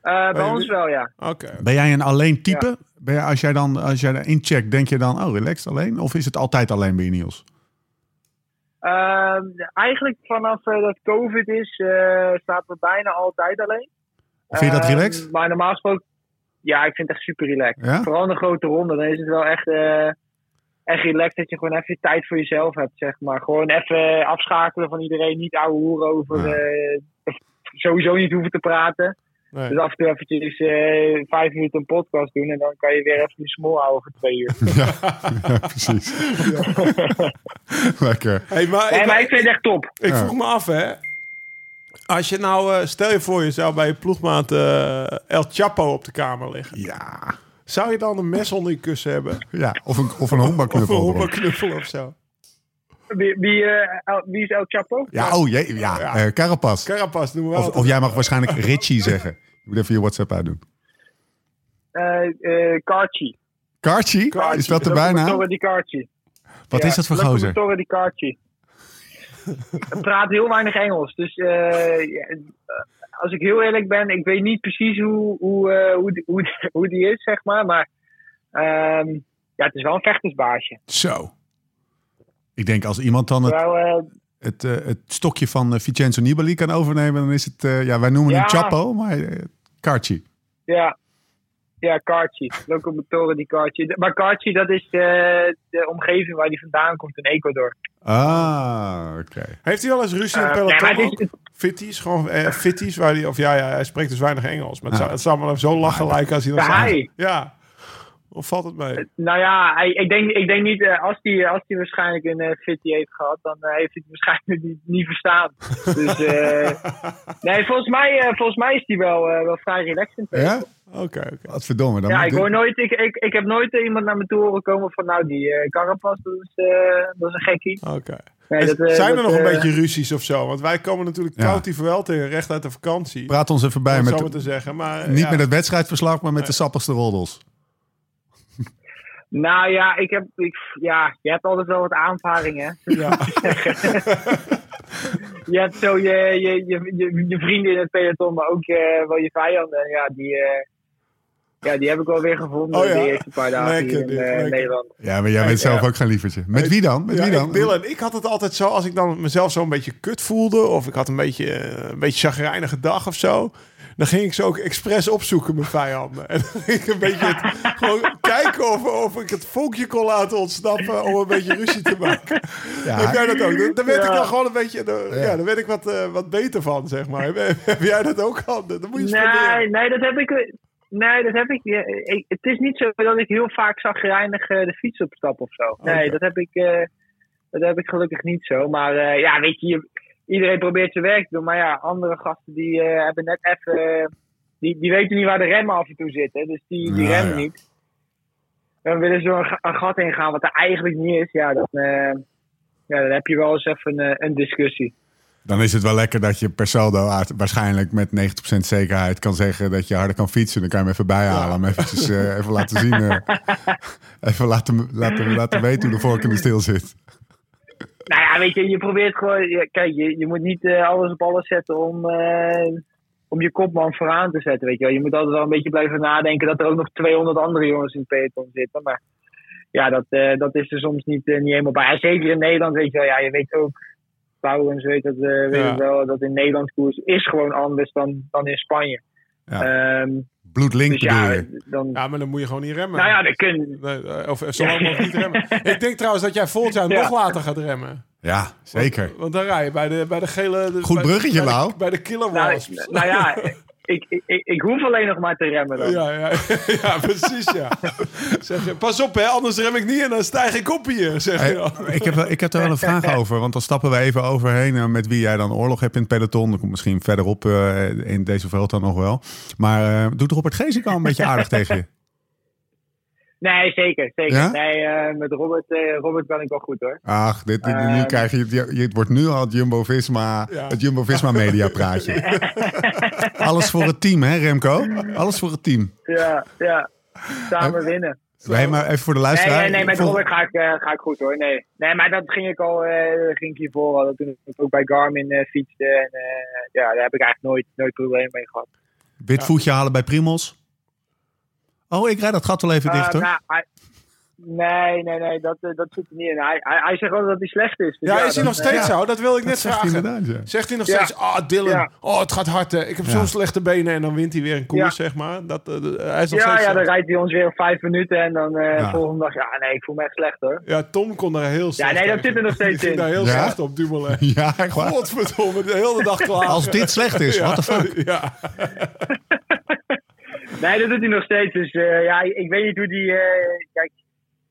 Speaker 4: Eh, bij
Speaker 3: jullie?
Speaker 4: ons wel, ja.
Speaker 3: Oké.
Speaker 1: Ben jij een alleen type? Ben jij, als jij dan als jij erin checkt, denk je dan, oh, relaxed alleen? Of is het altijd alleen bij je, Niels?
Speaker 4: Ehm, eigenlijk vanaf eh, dat COVID is, eh staat we bijna altijd alleen.
Speaker 1: Vind je dat
Speaker 4: Ehm,
Speaker 1: relaxed?
Speaker 4: maar normaal gesproken, ja, ik vind het echt super relaxed.
Speaker 1: Ja?
Speaker 4: Vooral in de grote ronde, dan is het wel echt, eh, echt relaxed dat je gewoon even tijd voor jezelf hebt, zeg maar. Gewoon even afschakelen van iedereen, niet ouwe hoeren over,
Speaker 1: Ja.
Speaker 4: eh, sowieso niet hoeven te praten.
Speaker 3: Nee.
Speaker 4: Dus af en toe eventjes eh, vijf minuten een podcast doen en dan kan je weer even je smol houden voor twee uur.
Speaker 1: Ja, ja, precies. Lekker.
Speaker 3: Hey, maar
Speaker 4: Nee,
Speaker 3: ik,
Speaker 4: maar ik vind het echt top.
Speaker 3: ik
Speaker 1: Ja.
Speaker 3: vroeg me af, hè. Als je nou, eh, stel je voor, je zou bij je ploegmaat eh, El Chapo op de kamer liggen.
Speaker 1: Ja.
Speaker 3: Zou je dan een mes onder je kussen hebben?
Speaker 1: ja of een, of een
Speaker 3: Of een
Speaker 1: honkbalknuppel. erop.
Speaker 3: hopperknuffel of zo?
Speaker 4: Wie, wie, eh, El- wie is El Chapo?
Speaker 1: Ja, oh, jee, ja. eh Carapas.
Speaker 3: Carapas noemen we
Speaker 1: Of,
Speaker 3: altijd.
Speaker 1: of jij mag waarschijnlijk Richie zeggen. Je moet even je WhatsApp uitdoen.
Speaker 4: eh eh, Karchi.
Speaker 1: Karchi? Is dat de bijnaam?
Speaker 4: Torre di Karchi.
Speaker 1: Wat is dat voor gozer?
Speaker 4: Torre di Karchi. Hij praat heel weinig Engels. Dus eh, ja, eh, als ik heel eerlijk ben, ik weet niet precies hoe, hoe, eh, hoe, die- hoe, die- hoe die is, zeg maar. Maar ehm, ja, het is wel een vechtersbaasje.
Speaker 1: Zo. Ik denk als iemand dan het,
Speaker 4: Terwijl, eh,
Speaker 1: het, eh, het stokje van eh, Vincenzo Nibali kan overnemen, dan is het, eh, ja, wij noemen hem
Speaker 4: Ja.
Speaker 1: Chapo, maar eh, Karchi.
Speaker 4: ja, ja, Karchi. Locomotoren die Karchi. Maar Karchi, dat is de, de omgeving waar die vandaan komt in Ecuador.
Speaker 1: Ah, oké.
Speaker 3: Heeft hij wel eens ruzie in
Speaker 4: Eh,
Speaker 3: het
Speaker 4: nee,
Speaker 3: peloton
Speaker 4: maar het
Speaker 3: ook?
Speaker 4: is-
Speaker 3: Fitties, gewoon eh, fitties. Waar die, of ja, ja, hij spreekt dus weinig Engels. Maar het, zou, het zou me dan zo lachen lijken als hij dat
Speaker 4: Ja,
Speaker 3: zou.
Speaker 4: hij.
Speaker 3: Ja. Of valt het mee?
Speaker 4: Nou ja, hij- ik denk, ik denk niet, eh, als hij als die waarschijnlijk een eh, fitty heeft gehad, dan eh, heeft hij het waarschijnlijk niet, niet verstaan. Dus eh, nee, volgens mij, eh, volgens mij is hij wel, eh, wel vrij relaxed. in
Speaker 1: Ja?
Speaker 3: Oké, oké.
Speaker 1: Wat verdomme. Dan
Speaker 4: ja,
Speaker 1: moet
Speaker 4: ik,
Speaker 1: dit-
Speaker 4: hoor nooit, ik, ik, ik heb nooit eh, iemand naar me toe horen komen van nou, die eh Carapaz, dat is, eh, dat is een gekkie.
Speaker 3: oké.
Speaker 4: Nee,
Speaker 3: En
Speaker 4: dat, eh,
Speaker 3: zijn er
Speaker 4: dat,
Speaker 3: nog een
Speaker 4: eh,
Speaker 3: beetje ruzies of zo? Want wij komen natuurlijk
Speaker 1: Ja.
Speaker 3: koud die verwel tegen, recht uit de vakantie.
Speaker 1: Praat ons even bij
Speaker 3: om het
Speaker 1: met
Speaker 3: zo
Speaker 1: de-
Speaker 3: maar te zeggen. Maar, eh,
Speaker 1: niet
Speaker 3: ja.
Speaker 1: met het wedstrijdverslag, maar met de sappigste roddels.
Speaker 4: Nou ja, ik heb, ik, ja, je hebt altijd wel wat aanvaringen. hè.
Speaker 3: Ja.
Speaker 4: Je hebt zo je, je, je, je, je vrienden in het peloton, maar ook eh, wel je vijanden. Ja, die, eh, ja, die heb ik wel weer gevonden
Speaker 3: Oh ja.
Speaker 4: de eerste paar dagen
Speaker 3: Lekker
Speaker 4: hier in
Speaker 3: dit,
Speaker 4: eh,
Speaker 3: lekker.
Speaker 4: Nederland.
Speaker 1: Ja, maar jij bent zelf
Speaker 3: ja.
Speaker 1: ook geen lievertje. Met wie dan? Met
Speaker 3: Ja,
Speaker 1: wie
Speaker 3: Ik,
Speaker 1: dan?
Speaker 3: Dylan, ik had het altijd zo, als ik dan mezelf zo een beetje kut voelde, of ik had een beetje eh, een beetje chagrijnige dag of zo, dan ging ik ze ook expres opzoeken, mijn vijanden. En dan ging ik een beetje het- gewoon kijken of, of ik het volkje kon laten ontsnappen om een beetje ruzie te maken.
Speaker 1: Ja.
Speaker 3: Heb jij dat ook? Dan, dan werd ik
Speaker 4: Ja.
Speaker 3: dan gewoon een beetje, dan, ja. dan werd ik wat, eh, wat beter van, zeg maar. Heb, heb jij dat ook al? Dan moet je eens
Speaker 4: Nee,
Speaker 3: proberen.
Speaker 4: nee, dat heb ik. Nee, dat heb ik, ja, ik. Het is niet zo dat ik heel vaak zagrijnig eh de fiets opstap of zo. Nee,
Speaker 3: Oké.
Speaker 4: dat, heb ik, eh, dat heb ik gelukkig niet zo. Maar eh, ja, weet je, je- iedereen probeert zijn werk te doen. Maar ja, andere gasten die eh, hebben net even. eh, die, die weten niet waar de remmen af en toe zitten. Dus die, die
Speaker 1: Ja,
Speaker 4: remmen
Speaker 1: ja.
Speaker 4: niet. Dan willen ze er een, ga- een gat in gaan wat er eigenlijk niet is. Ja, dan, eh, ja, dan heb je wel eens even eh, een discussie.
Speaker 1: Dan is het wel lekker dat je per saldo aard- waarschijnlijk met 90% zekerheid kan zeggen dat je harder kan fietsen. Dan kan je hem even bijhalen, hem eventjes, eh, even laten zien. eh, even laten, laten, laten weten hoe de vork in de steel zit.
Speaker 4: Nou ja, weet je, je probeert gewoon. ja, kijk, je, je moet niet eh, alles op alles zetten om, eh, om je kopman vooraan te zetten. Weet je, wel. je moet altijd wel een beetje blijven nadenken dat er ook nog 200 andere jongens in het peloton zitten. Maar ja, dat, eh, dat is er soms niet, eh, niet helemaal bij. En zeker in Nederland, weet je wel, ja, je weet ook, Laurens weet dat, eh, weet
Speaker 3: Ja.
Speaker 4: het wel, dat in Nederland koers is gewoon anders dan, dan in Spanje.
Speaker 1: Ja.
Speaker 4: Ehm,
Speaker 1: Bloedlink
Speaker 4: dus ja,
Speaker 1: bedoel je?
Speaker 4: dan,
Speaker 3: Ja, maar dan moet je gewoon niet remmen.
Speaker 4: nou ja, dan kun,
Speaker 3: Nee, eh, Of eh, zo lang mogelijk niet remmen. Ik denk trouwens dat jij volgend jaar
Speaker 4: Ja.
Speaker 3: nog later gaat remmen.
Speaker 1: Ja, zeker.
Speaker 3: Want dan rij je bij de, bij de gele... de-
Speaker 1: Goed
Speaker 3: bij-
Speaker 1: bruggetje,
Speaker 3: bij de-
Speaker 1: Lau.
Speaker 3: Bij de killer
Speaker 4: nou,
Speaker 3: wasps.
Speaker 4: ik- nou ja, ik, ik, ik, ik hoef alleen nog maar te remmen dan.
Speaker 3: Ja, ja, ja, precies, ja. Zeg je, pas op, hè, anders rem ik niet en dan stijg ik op hier, zeg je
Speaker 1: Hey,
Speaker 3: dan.
Speaker 1: Eh, ik, heb, wel- ik heb er wel een vraag over, want dan stappen we even overheen eh, met wie jij dan oorlog hebt in het peloton. Dat komt misschien verderop eh, in deze veld dan nog wel. Maar eh, doet Robert Geesink al een beetje aardig tegen je?
Speaker 4: Nee, zeker, zeker.
Speaker 1: Ja?
Speaker 4: Nee, eh, met Robert, eh, Robert kan ik wel goed hoor.
Speaker 1: Ach, dit, dit- nu
Speaker 4: Ehm.
Speaker 1: krijg je, het- je, het wordt nu al het Jumbo-Visma,
Speaker 3: Ja.
Speaker 1: het Jumbo-Visma-media praatje. Alles voor het team, hè Remco? Alles voor het team.
Speaker 4: Ja, ja.
Speaker 3: Eh,
Speaker 4: Samen winnen.
Speaker 1: Nee, maar even voor de
Speaker 4: Nee,
Speaker 1: luisteraar.
Speaker 4: nee, nee, met
Speaker 1: Vol-
Speaker 4: Robert ga ik, eh, ga ik goed hoor. Nee. nee, maar dat ging ik al eh, ging ik hiervoor al. Toen ik ook bij Garmin eh fietste. En, eh, ja, daar heb ik eigenlijk nooit, nooit probleem mee gehad.
Speaker 1: Wit voetje halen bij Primos. Oh, ik rijd dat gat wel even
Speaker 4: Eh,
Speaker 1: dichter.
Speaker 4: nou, hij- nee, nee, nee, dat, eh, dat zit er niet in. Hij, hij, hij zegt wel dat hij slecht is. Dus
Speaker 3: Ja, is hij
Speaker 4: dan,
Speaker 3: nog steeds
Speaker 4: eh,
Speaker 3: zo? Dat wil ik net
Speaker 1: zegt hij
Speaker 3: vragen.
Speaker 1: inderdaad, ja.
Speaker 3: Zegt hij nog
Speaker 4: Ja.
Speaker 3: steeds, ah, Dylan,
Speaker 4: Ja.
Speaker 3: oh, het gaat hard, hè. Ik heb zo'n slechte benen en dan wint hij weer een koers,
Speaker 4: Ja.
Speaker 3: zeg maar. Dat, eh, de- hij is nog
Speaker 4: Ja,
Speaker 3: steeds
Speaker 4: ja,
Speaker 3: zo.
Speaker 4: dan rijdt hij ons weer op vijf minuten. En dan eh
Speaker 1: Ja.
Speaker 4: volgende dag, ja, nee, ik voel me echt slecht hoor.
Speaker 3: Ja, Tom kon daar heel slecht
Speaker 4: nee, dat
Speaker 3: tegen.
Speaker 4: zit er nog
Speaker 3: Die
Speaker 4: steeds
Speaker 3: ging
Speaker 4: in.
Speaker 3: daar heel
Speaker 1: Ja?
Speaker 3: slecht op, Dumoulin.
Speaker 1: Ja, echt waar.
Speaker 3: Godverdomme, de hele dag klaar.
Speaker 1: Als dit slecht is, what the fuck?
Speaker 3: Ja,
Speaker 4: Nee, dat doet hij nog steeds. Dus eh, ja, ik weet niet hoe die. eh, kijk,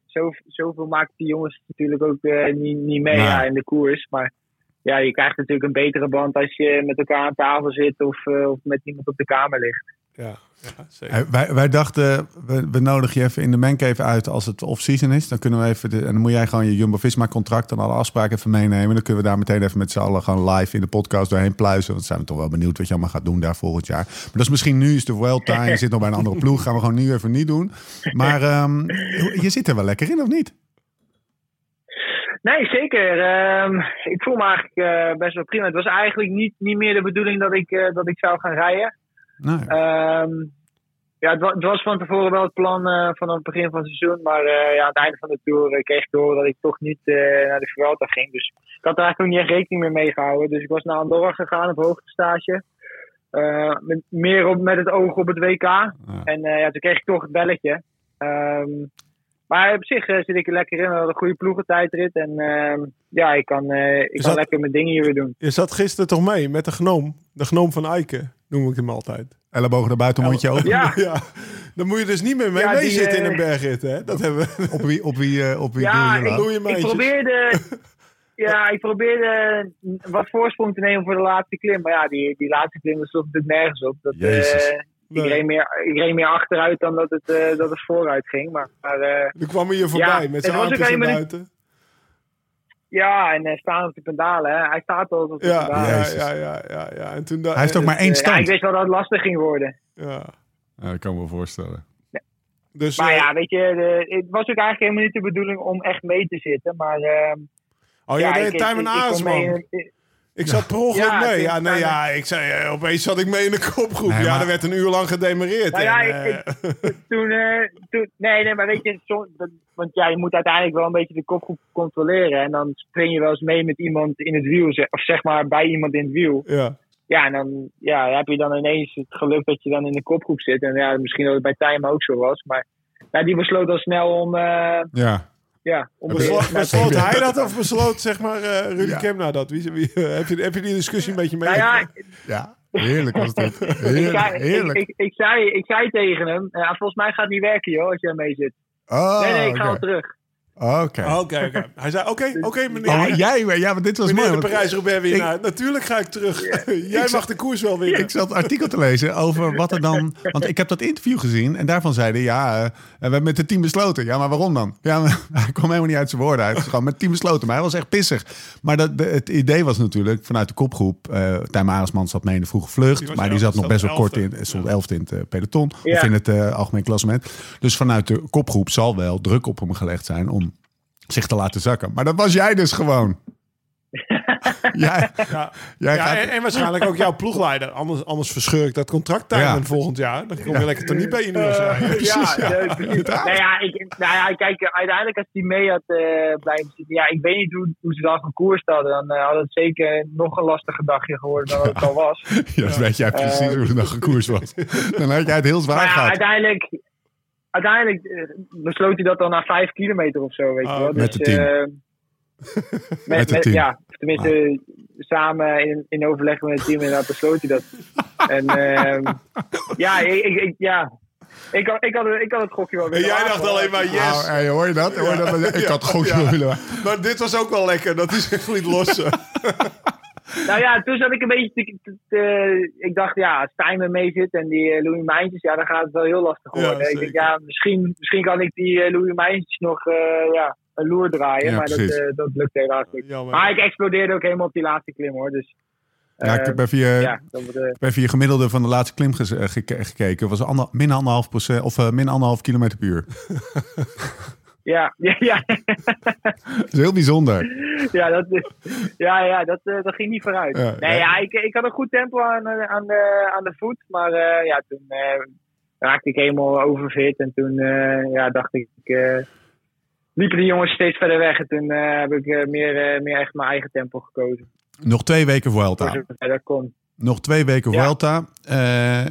Speaker 4: zo, zoveel maakt die jongens natuurlijk ook eh, niet, niet mee
Speaker 1: Nee.
Speaker 4: ja, in de koers. Maar ja, je krijgt natuurlijk een betere band als je met elkaar aan tafel zit of, eh, of met iemand op de kamer ligt.
Speaker 3: ja, ja zeker.
Speaker 1: Hey, Eh, Wij, wij dachten, we, we nodigen je even in de mancave uit als het off-season is. Dan kunnen we even, de, en dan moet jij gewoon je Jumbo-Visma-contract en alle afspraken even meenemen. Dan kunnen we daar meteen even met z'n allen gewoon live in de podcast doorheen pluizen. Want zijn we toch wel benieuwd wat je allemaal gaat doen daar volgend jaar. Maar dat is misschien nu, is de Vuelta en je zit nog bij een andere ploeg. Gaan we gewoon nu even niet doen. Maar ehm, je zit er wel lekker in, of niet?
Speaker 4: Nee, zeker. Ehm, ik voel me eigenlijk eh, best wel prima. Het was eigenlijk niet, niet meer de bedoeling dat ik, eh, dat ik zou gaan rijden.
Speaker 1: Nou, ja.
Speaker 4: Ehm, ja, het, wa- het was van tevoren wel het plan eh, vanaf het begin van het seizoen. Maar eh, ja, aan het einde van de Tour eh, kreeg ik door dat ik toch niet eh, naar de Vuelta ging. Dus ik had er eigenlijk ook niet echt rekening meer mee gehouden. Dus ik was naar Andorra gegaan op hoogtestage. Eh, met, meer op, met het oog op het WK. En eh, ja, toen kreeg ik toch het belletje. Ehm, maar op zich eh, zit ik er lekker in. We hadden een goede ploegentijdrit. En ehm, ja, ik kan, eh, ik kan
Speaker 3: dat-
Speaker 4: lekker mijn dingen hier weer doen.
Speaker 3: Je zat gisteren toch mee met de gnoom? De gnoom van Eiken, noem ik hem altijd.
Speaker 1: Ellebogen naar buiten, mondje open.
Speaker 4: Ja,
Speaker 3: Ja, dan moet je dus niet meer mee,
Speaker 4: Ja,
Speaker 3: mee
Speaker 4: die,
Speaker 3: zitten in
Speaker 4: eh,
Speaker 3: een bergrit, hè? Dat hebben we.
Speaker 1: Op wie, op wie, eh, op wie
Speaker 4: Ja,
Speaker 1: doe je dat?
Speaker 3: Doe je
Speaker 4: Ik
Speaker 3: meisjes.
Speaker 4: probeerde, ja, ik probeerde wat voorsprong te nemen voor de laatste klim. Maar ja, die, die laatste klim sloeg natuurlijk nergens op. Dat, eh,
Speaker 1: Jezus.
Speaker 4: ik, reed meer, ik reed meer achteruit dan dat het, eh, dat het vooruit ging. Maar, maar, eh,
Speaker 3: Dan kwam hij je voorbij met
Speaker 4: Ja,
Speaker 3: zijn
Speaker 4: het was ook
Speaker 3: armpjes naar
Speaker 4: helemaal niet-
Speaker 3: buiten.
Speaker 4: ja, en eh, staan op de pendalen. Hè. Hij staat al op de
Speaker 3: Ja,
Speaker 4: pendalen.
Speaker 3: ja,
Speaker 1: Jezus.
Speaker 3: ja, ja, ja, ja. En toen
Speaker 1: Hij heeft ook maar één
Speaker 4: Eh, ja, ik
Speaker 1: stand.
Speaker 4: wist wel dat het lastig ging worden.
Speaker 3: Ja.
Speaker 1: Ja, dat kan me wel voorstellen.
Speaker 3: Dus,
Speaker 4: Maar
Speaker 3: eh,
Speaker 4: ja, weet je, eh, het was ook eigenlijk helemaal niet de bedoeling om echt mee te zitten. Maar eh,
Speaker 3: oh, jij
Speaker 4: ja,
Speaker 3: deed Tijmen Aas,
Speaker 4: kon mee
Speaker 3: man.
Speaker 4: in-
Speaker 3: Ik zat per ongeluk
Speaker 4: Ja, ik
Speaker 3: mee.
Speaker 4: denk
Speaker 3: Ja, nee,
Speaker 4: Tijmen-
Speaker 3: ja, ik zei, eh, opeens zat ik mee in de kopgroep.
Speaker 1: Nee,
Speaker 3: Ja,
Speaker 1: maar-
Speaker 3: er werd een uur lang gedemereerd.
Speaker 4: Nou ja,
Speaker 3: en,
Speaker 4: ik-
Speaker 3: eh,
Speaker 4: toen, eh, toen. Nee, nee, maar weet je, zo- dat- want ja, je moet uiteindelijk wel een beetje de kopgroep controleren. En dan spring je wel eens mee met iemand in het wiel, ze- of zeg maar bij iemand in het wiel.
Speaker 3: ja.
Speaker 4: Ja, en dan ja, heb je dan ineens het geluk dat je dan in de kopgroep zit. En ja, misschien dat het bij Time ook zo was. Maar ja, die besloot al snel om. eh,
Speaker 1: Ja.
Speaker 4: ja, om
Speaker 3: Beslo-
Speaker 4: nou,
Speaker 3: besloot hij dat of besloot zeg maar eh Rudy
Speaker 1: Ja.
Speaker 3: Kemna dat? Wie, wie, eh, heb, je, heb je die discussie een beetje mee?
Speaker 4: nou ja, ik,
Speaker 1: Ja, heerlijk was dit.
Speaker 4: ik,
Speaker 1: Heerlijk,
Speaker 4: zei- ik,
Speaker 1: heerlijk.
Speaker 4: ik, ik zei, ik zei tegen hem: eh, volgens mij gaat het niet werken, joh, als jij mee zit.
Speaker 1: Oh,
Speaker 4: Nee, nee, ik ga
Speaker 1: oké.
Speaker 4: wel terug.
Speaker 1: Oké.
Speaker 3: Oh, Oké, oké. Hij zei, oké, oké meneer.
Speaker 1: Oh, jij, maar- ja, maar dit was mooi.
Speaker 3: meneer de
Speaker 1: want
Speaker 3: Parijs-Roubaix
Speaker 1: ik-
Speaker 3: winnaar. Natuurlijk ga ik terug. Jij mag de koers wel winnen.
Speaker 1: Ik zat een artikel te lezen over wat er dan... Want ik heb dat interview gezien en daarvan zeiden... Ja, eh, we hebben met het team besloten. Ja, maar waarom dan? Ja, maar hij kwam helemaal niet uit zijn woorden. Hij is gewoon met het team besloten. Maar hij was echt pissig. Maar dat, de- het idee was natuurlijk vanuit de kopgroep... eh Tijm Aresman zat mee in de vroege vlucht.
Speaker 3: Die was
Speaker 1: maar die zat
Speaker 3: elfde,
Speaker 1: nog best wel
Speaker 3: zat
Speaker 1: kort in.
Speaker 3: elfde.
Speaker 1: Stond elfde in het eh, peloton.
Speaker 4: Ja.
Speaker 1: Of in het eh, algemeen klassement. Dus vanuit de kopgroep zal wel druk op hem gelegd zijn... om zich te laten zakken. Maar dat was jij dus gewoon. Jij,
Speaker 3: Ja,
Speaker 1: jij
Speaker 3: ja,
Speaker 1: gaat-
Speaker 3: en, en waarschijnlijk ook jouw ploegleider. Anders, anders verscheur ik dat contract tijdens
Speaker 1: Ja.
Speaker 3: volgend jaar. Dan kom je lekker toch niet bij je nieuwe
Speaker 4: Eh,
Speaker 3: zijn.
Speaker 1: precies,
Speaker 4: ja,
Speaker 1: ja.
Speaker 4: nee, precies. Nou ja, ik, nou ja, kijk, eh, uiteindelijk als die mee had eh, blijven zitten. Ja, ik weet niet hoe, hoe ze dan gekoerst hadden. Dan eh, had het zeker nog een lastige dagje geworden dan het al was.
Speaker 1: Ja, dat weet jij precies hoe het dan gekoers was. Dan had jij het heel zwaar
Speaker 4: Maar ja,
Speaker 1: gehad.
Speaker 4: uiteindelijk, uiteindelijk eh, besloot hij dat dan na vijf kilometer of zo, weet
Speaker 3: Ah,
Speaker 4: je wel.
Speaker 1: met
Speaker 4: Dus,
Speaker 1: het team.
Speaker 4: eh, met,
Speaker 1: Met het
Speaker 4: met-
Speaker 1: team.
Speaker 4: Ja, tenminste, samen in, in overleg met het team inderdaad besloot hij dat. en ehm, ja, ik, ik, ik- ja. Ik, had, ik, had, ik had het gokje wel
Speaker 3: En
Speaker 4: willen
Speaker 3: jij dacht
Speaker 4: wagen,
Speaker 3: alleen maar yes.
Speaker 1: Nou, hey, hoor je dat? Hoor je dat? Ik had goed
Speaker 3: Ja.
Speaker 1: willen. Nou,
Speaker 3: Maar dit was ook wel lekker. Dat is echt niet los. eh.
Speaker 4: Nou ja, toen zat ik een beetje. te- te- te- ik dacht, ja, als Stijn er mee zit en die eh, Louis Mijntjes, ja, dan gaat het wel heel lastig
Speaker 3: Ja,
Speaker 4: worden. ik
Speaker 3: zeker.
Speaker 4: denk, ja, misschien, misschien kan ik die eh, Louis Mijntjes nog eh, ja, een loer draaien.
Speaker 1: Ja,
Speaker 4: maar dat,
Speaker 1: precies.
Speaker 4: eh, dat lukt helaas niet.
Speaker 3: Jammer.
Speaker 4: Maar ik explodeerde ook helemaal op die laatste klim hoor. Dus
Speaker 1: Ja, ik
Speaker 4: eh,
Speaker 1: heb even je,
Speaker 4: ja, dat wordt, eh,
Speaker 1: ik heb even je gemiddelde van de laatste klim gez- eh, geke- gekeken. was ander, min, anderhalf procent, of, eh, min anderhalf kilometer per uur.
Speaker 4: ja, ja, ja,
Speaker 1: Dat is heel bijzonder.
Speaker 4: ja, dat, ja, ja dat, eh, dat ging niet vooruit.
Speaker 1: Ja,
Speaker 4: nee,
Speaker 1: ja.
Speaker 4: ja, ik, ik had een goed tempo aan, eh, aan, de, aan de voet. Maar eh, ja, toen eh, raakte ik helemaal overfit. En toen eh, ja, dacht ik, eh, liepen die jongens steeds verder weg. En toen eh, heb ik eh, meer, eh, meer echt mijn eigen tempo gekozen.
Speaker 1: Nog twee weken Vuelta.
Speaker 4: Voor zover dat kon.
Speaker 1: Nog twee weken
Speaker 4: Ja.
Speaker 1: Vuelta. Eh,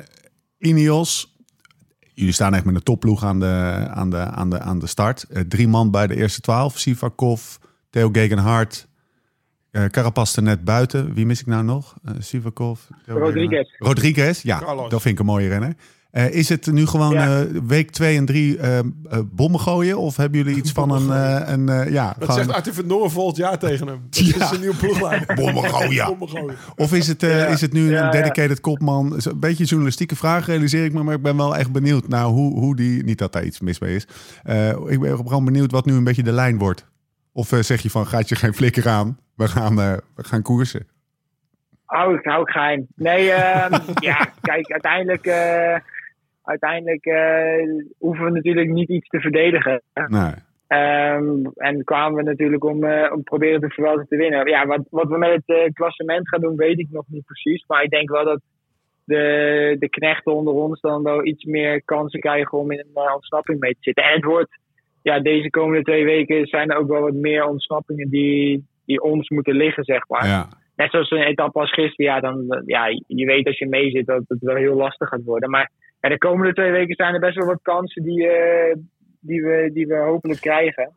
Speaker 1: Ineos. Jullie staan echt met een topploeg aan de, aan de, aan de, aan de start. Eh, drie man bij de eerste twaalf. Sivakov, Theo Gegenhardt, eh Carapaz er net buiten. Wie mis ik nou nog? Eh, Sivakov. Theo
Speaker 4: Rodriguez.
Speaker 1: Gegenhardt. Rodriguez, ja.
Speaker 3: Carlos.
Speaker 1: Dat vind ik een mooie renner. Eh, is het nu gewoon
Speaker 4: Ja.
Speaker 1: eh, week twee en drie eh, eh, bommen gooien? Of hebben jullie iets van een... eh, een eh, ja,
Speaker 3: Dat
Speaker 1: gewoon-
Speaker 3: zegt Arthur van Noor volgend jaar tegen hem. Dat
Speaker 1: Ja. oh
Speaker 3: is een nieuwe ploegleider. oh
Speaker 1: Bommen gooien.
Speaker 3: Bommen gooien.
Speaker 1: Of is het, eh,
Speaker 4: Ja.
Speaker 1: is het nu
Speaker 4: Ja,
Speaker 1: een
Speaker 4: ja.
Speaker 1: dedicated kopman? Is Een beetje een journalistieke vraag, realiseer ik me. Maar ik ben wel echt benieuwd naar hoe, hoe die... Niet dat daar iets mis mee is. Eh, ik ben gewoon benieuwd wat nu een beetje de lijn wordt. Of eh, zeg je van, gaat je geen flikker aan? We gaan, eh, we gaan koersen.
Speaker 4: Hou ik, hou ik geheim. Nee, ehm, ja, kijk, uiteindelijk, eh, uiteindelijk eh, hoeven we natuurlijk niet iets te verdedigen.
Speaker 1: Nou,
Speaker 4: Ehm, en kwamen we natuurlijk om, eh, om proberen te verwelten te winnen. Ja, wat, wat we met het eh, klassement gaan doen, weet ik nog niet precies. Maar ik denk wel dat de, de knechten onder ons dan wel iets meer kansen krijgen om in een eh, ontsnapping mee te zitten. En het wordt, ja, deze komende twee weken zijn er ook wel wat meer ontsnappingen die, die ons moeten liggen, zeg maar.
Speaker 1: ja.
Speaker 4: Net zoals een etappe als gisteren, ja, dan, eh, ja, je weet als je mee zit dat het wel heel lastig gaat worden. Maar ja, de komende twee weken zijn er best wel wat kansen die, eh, die, we, die we hopelijk krijgen.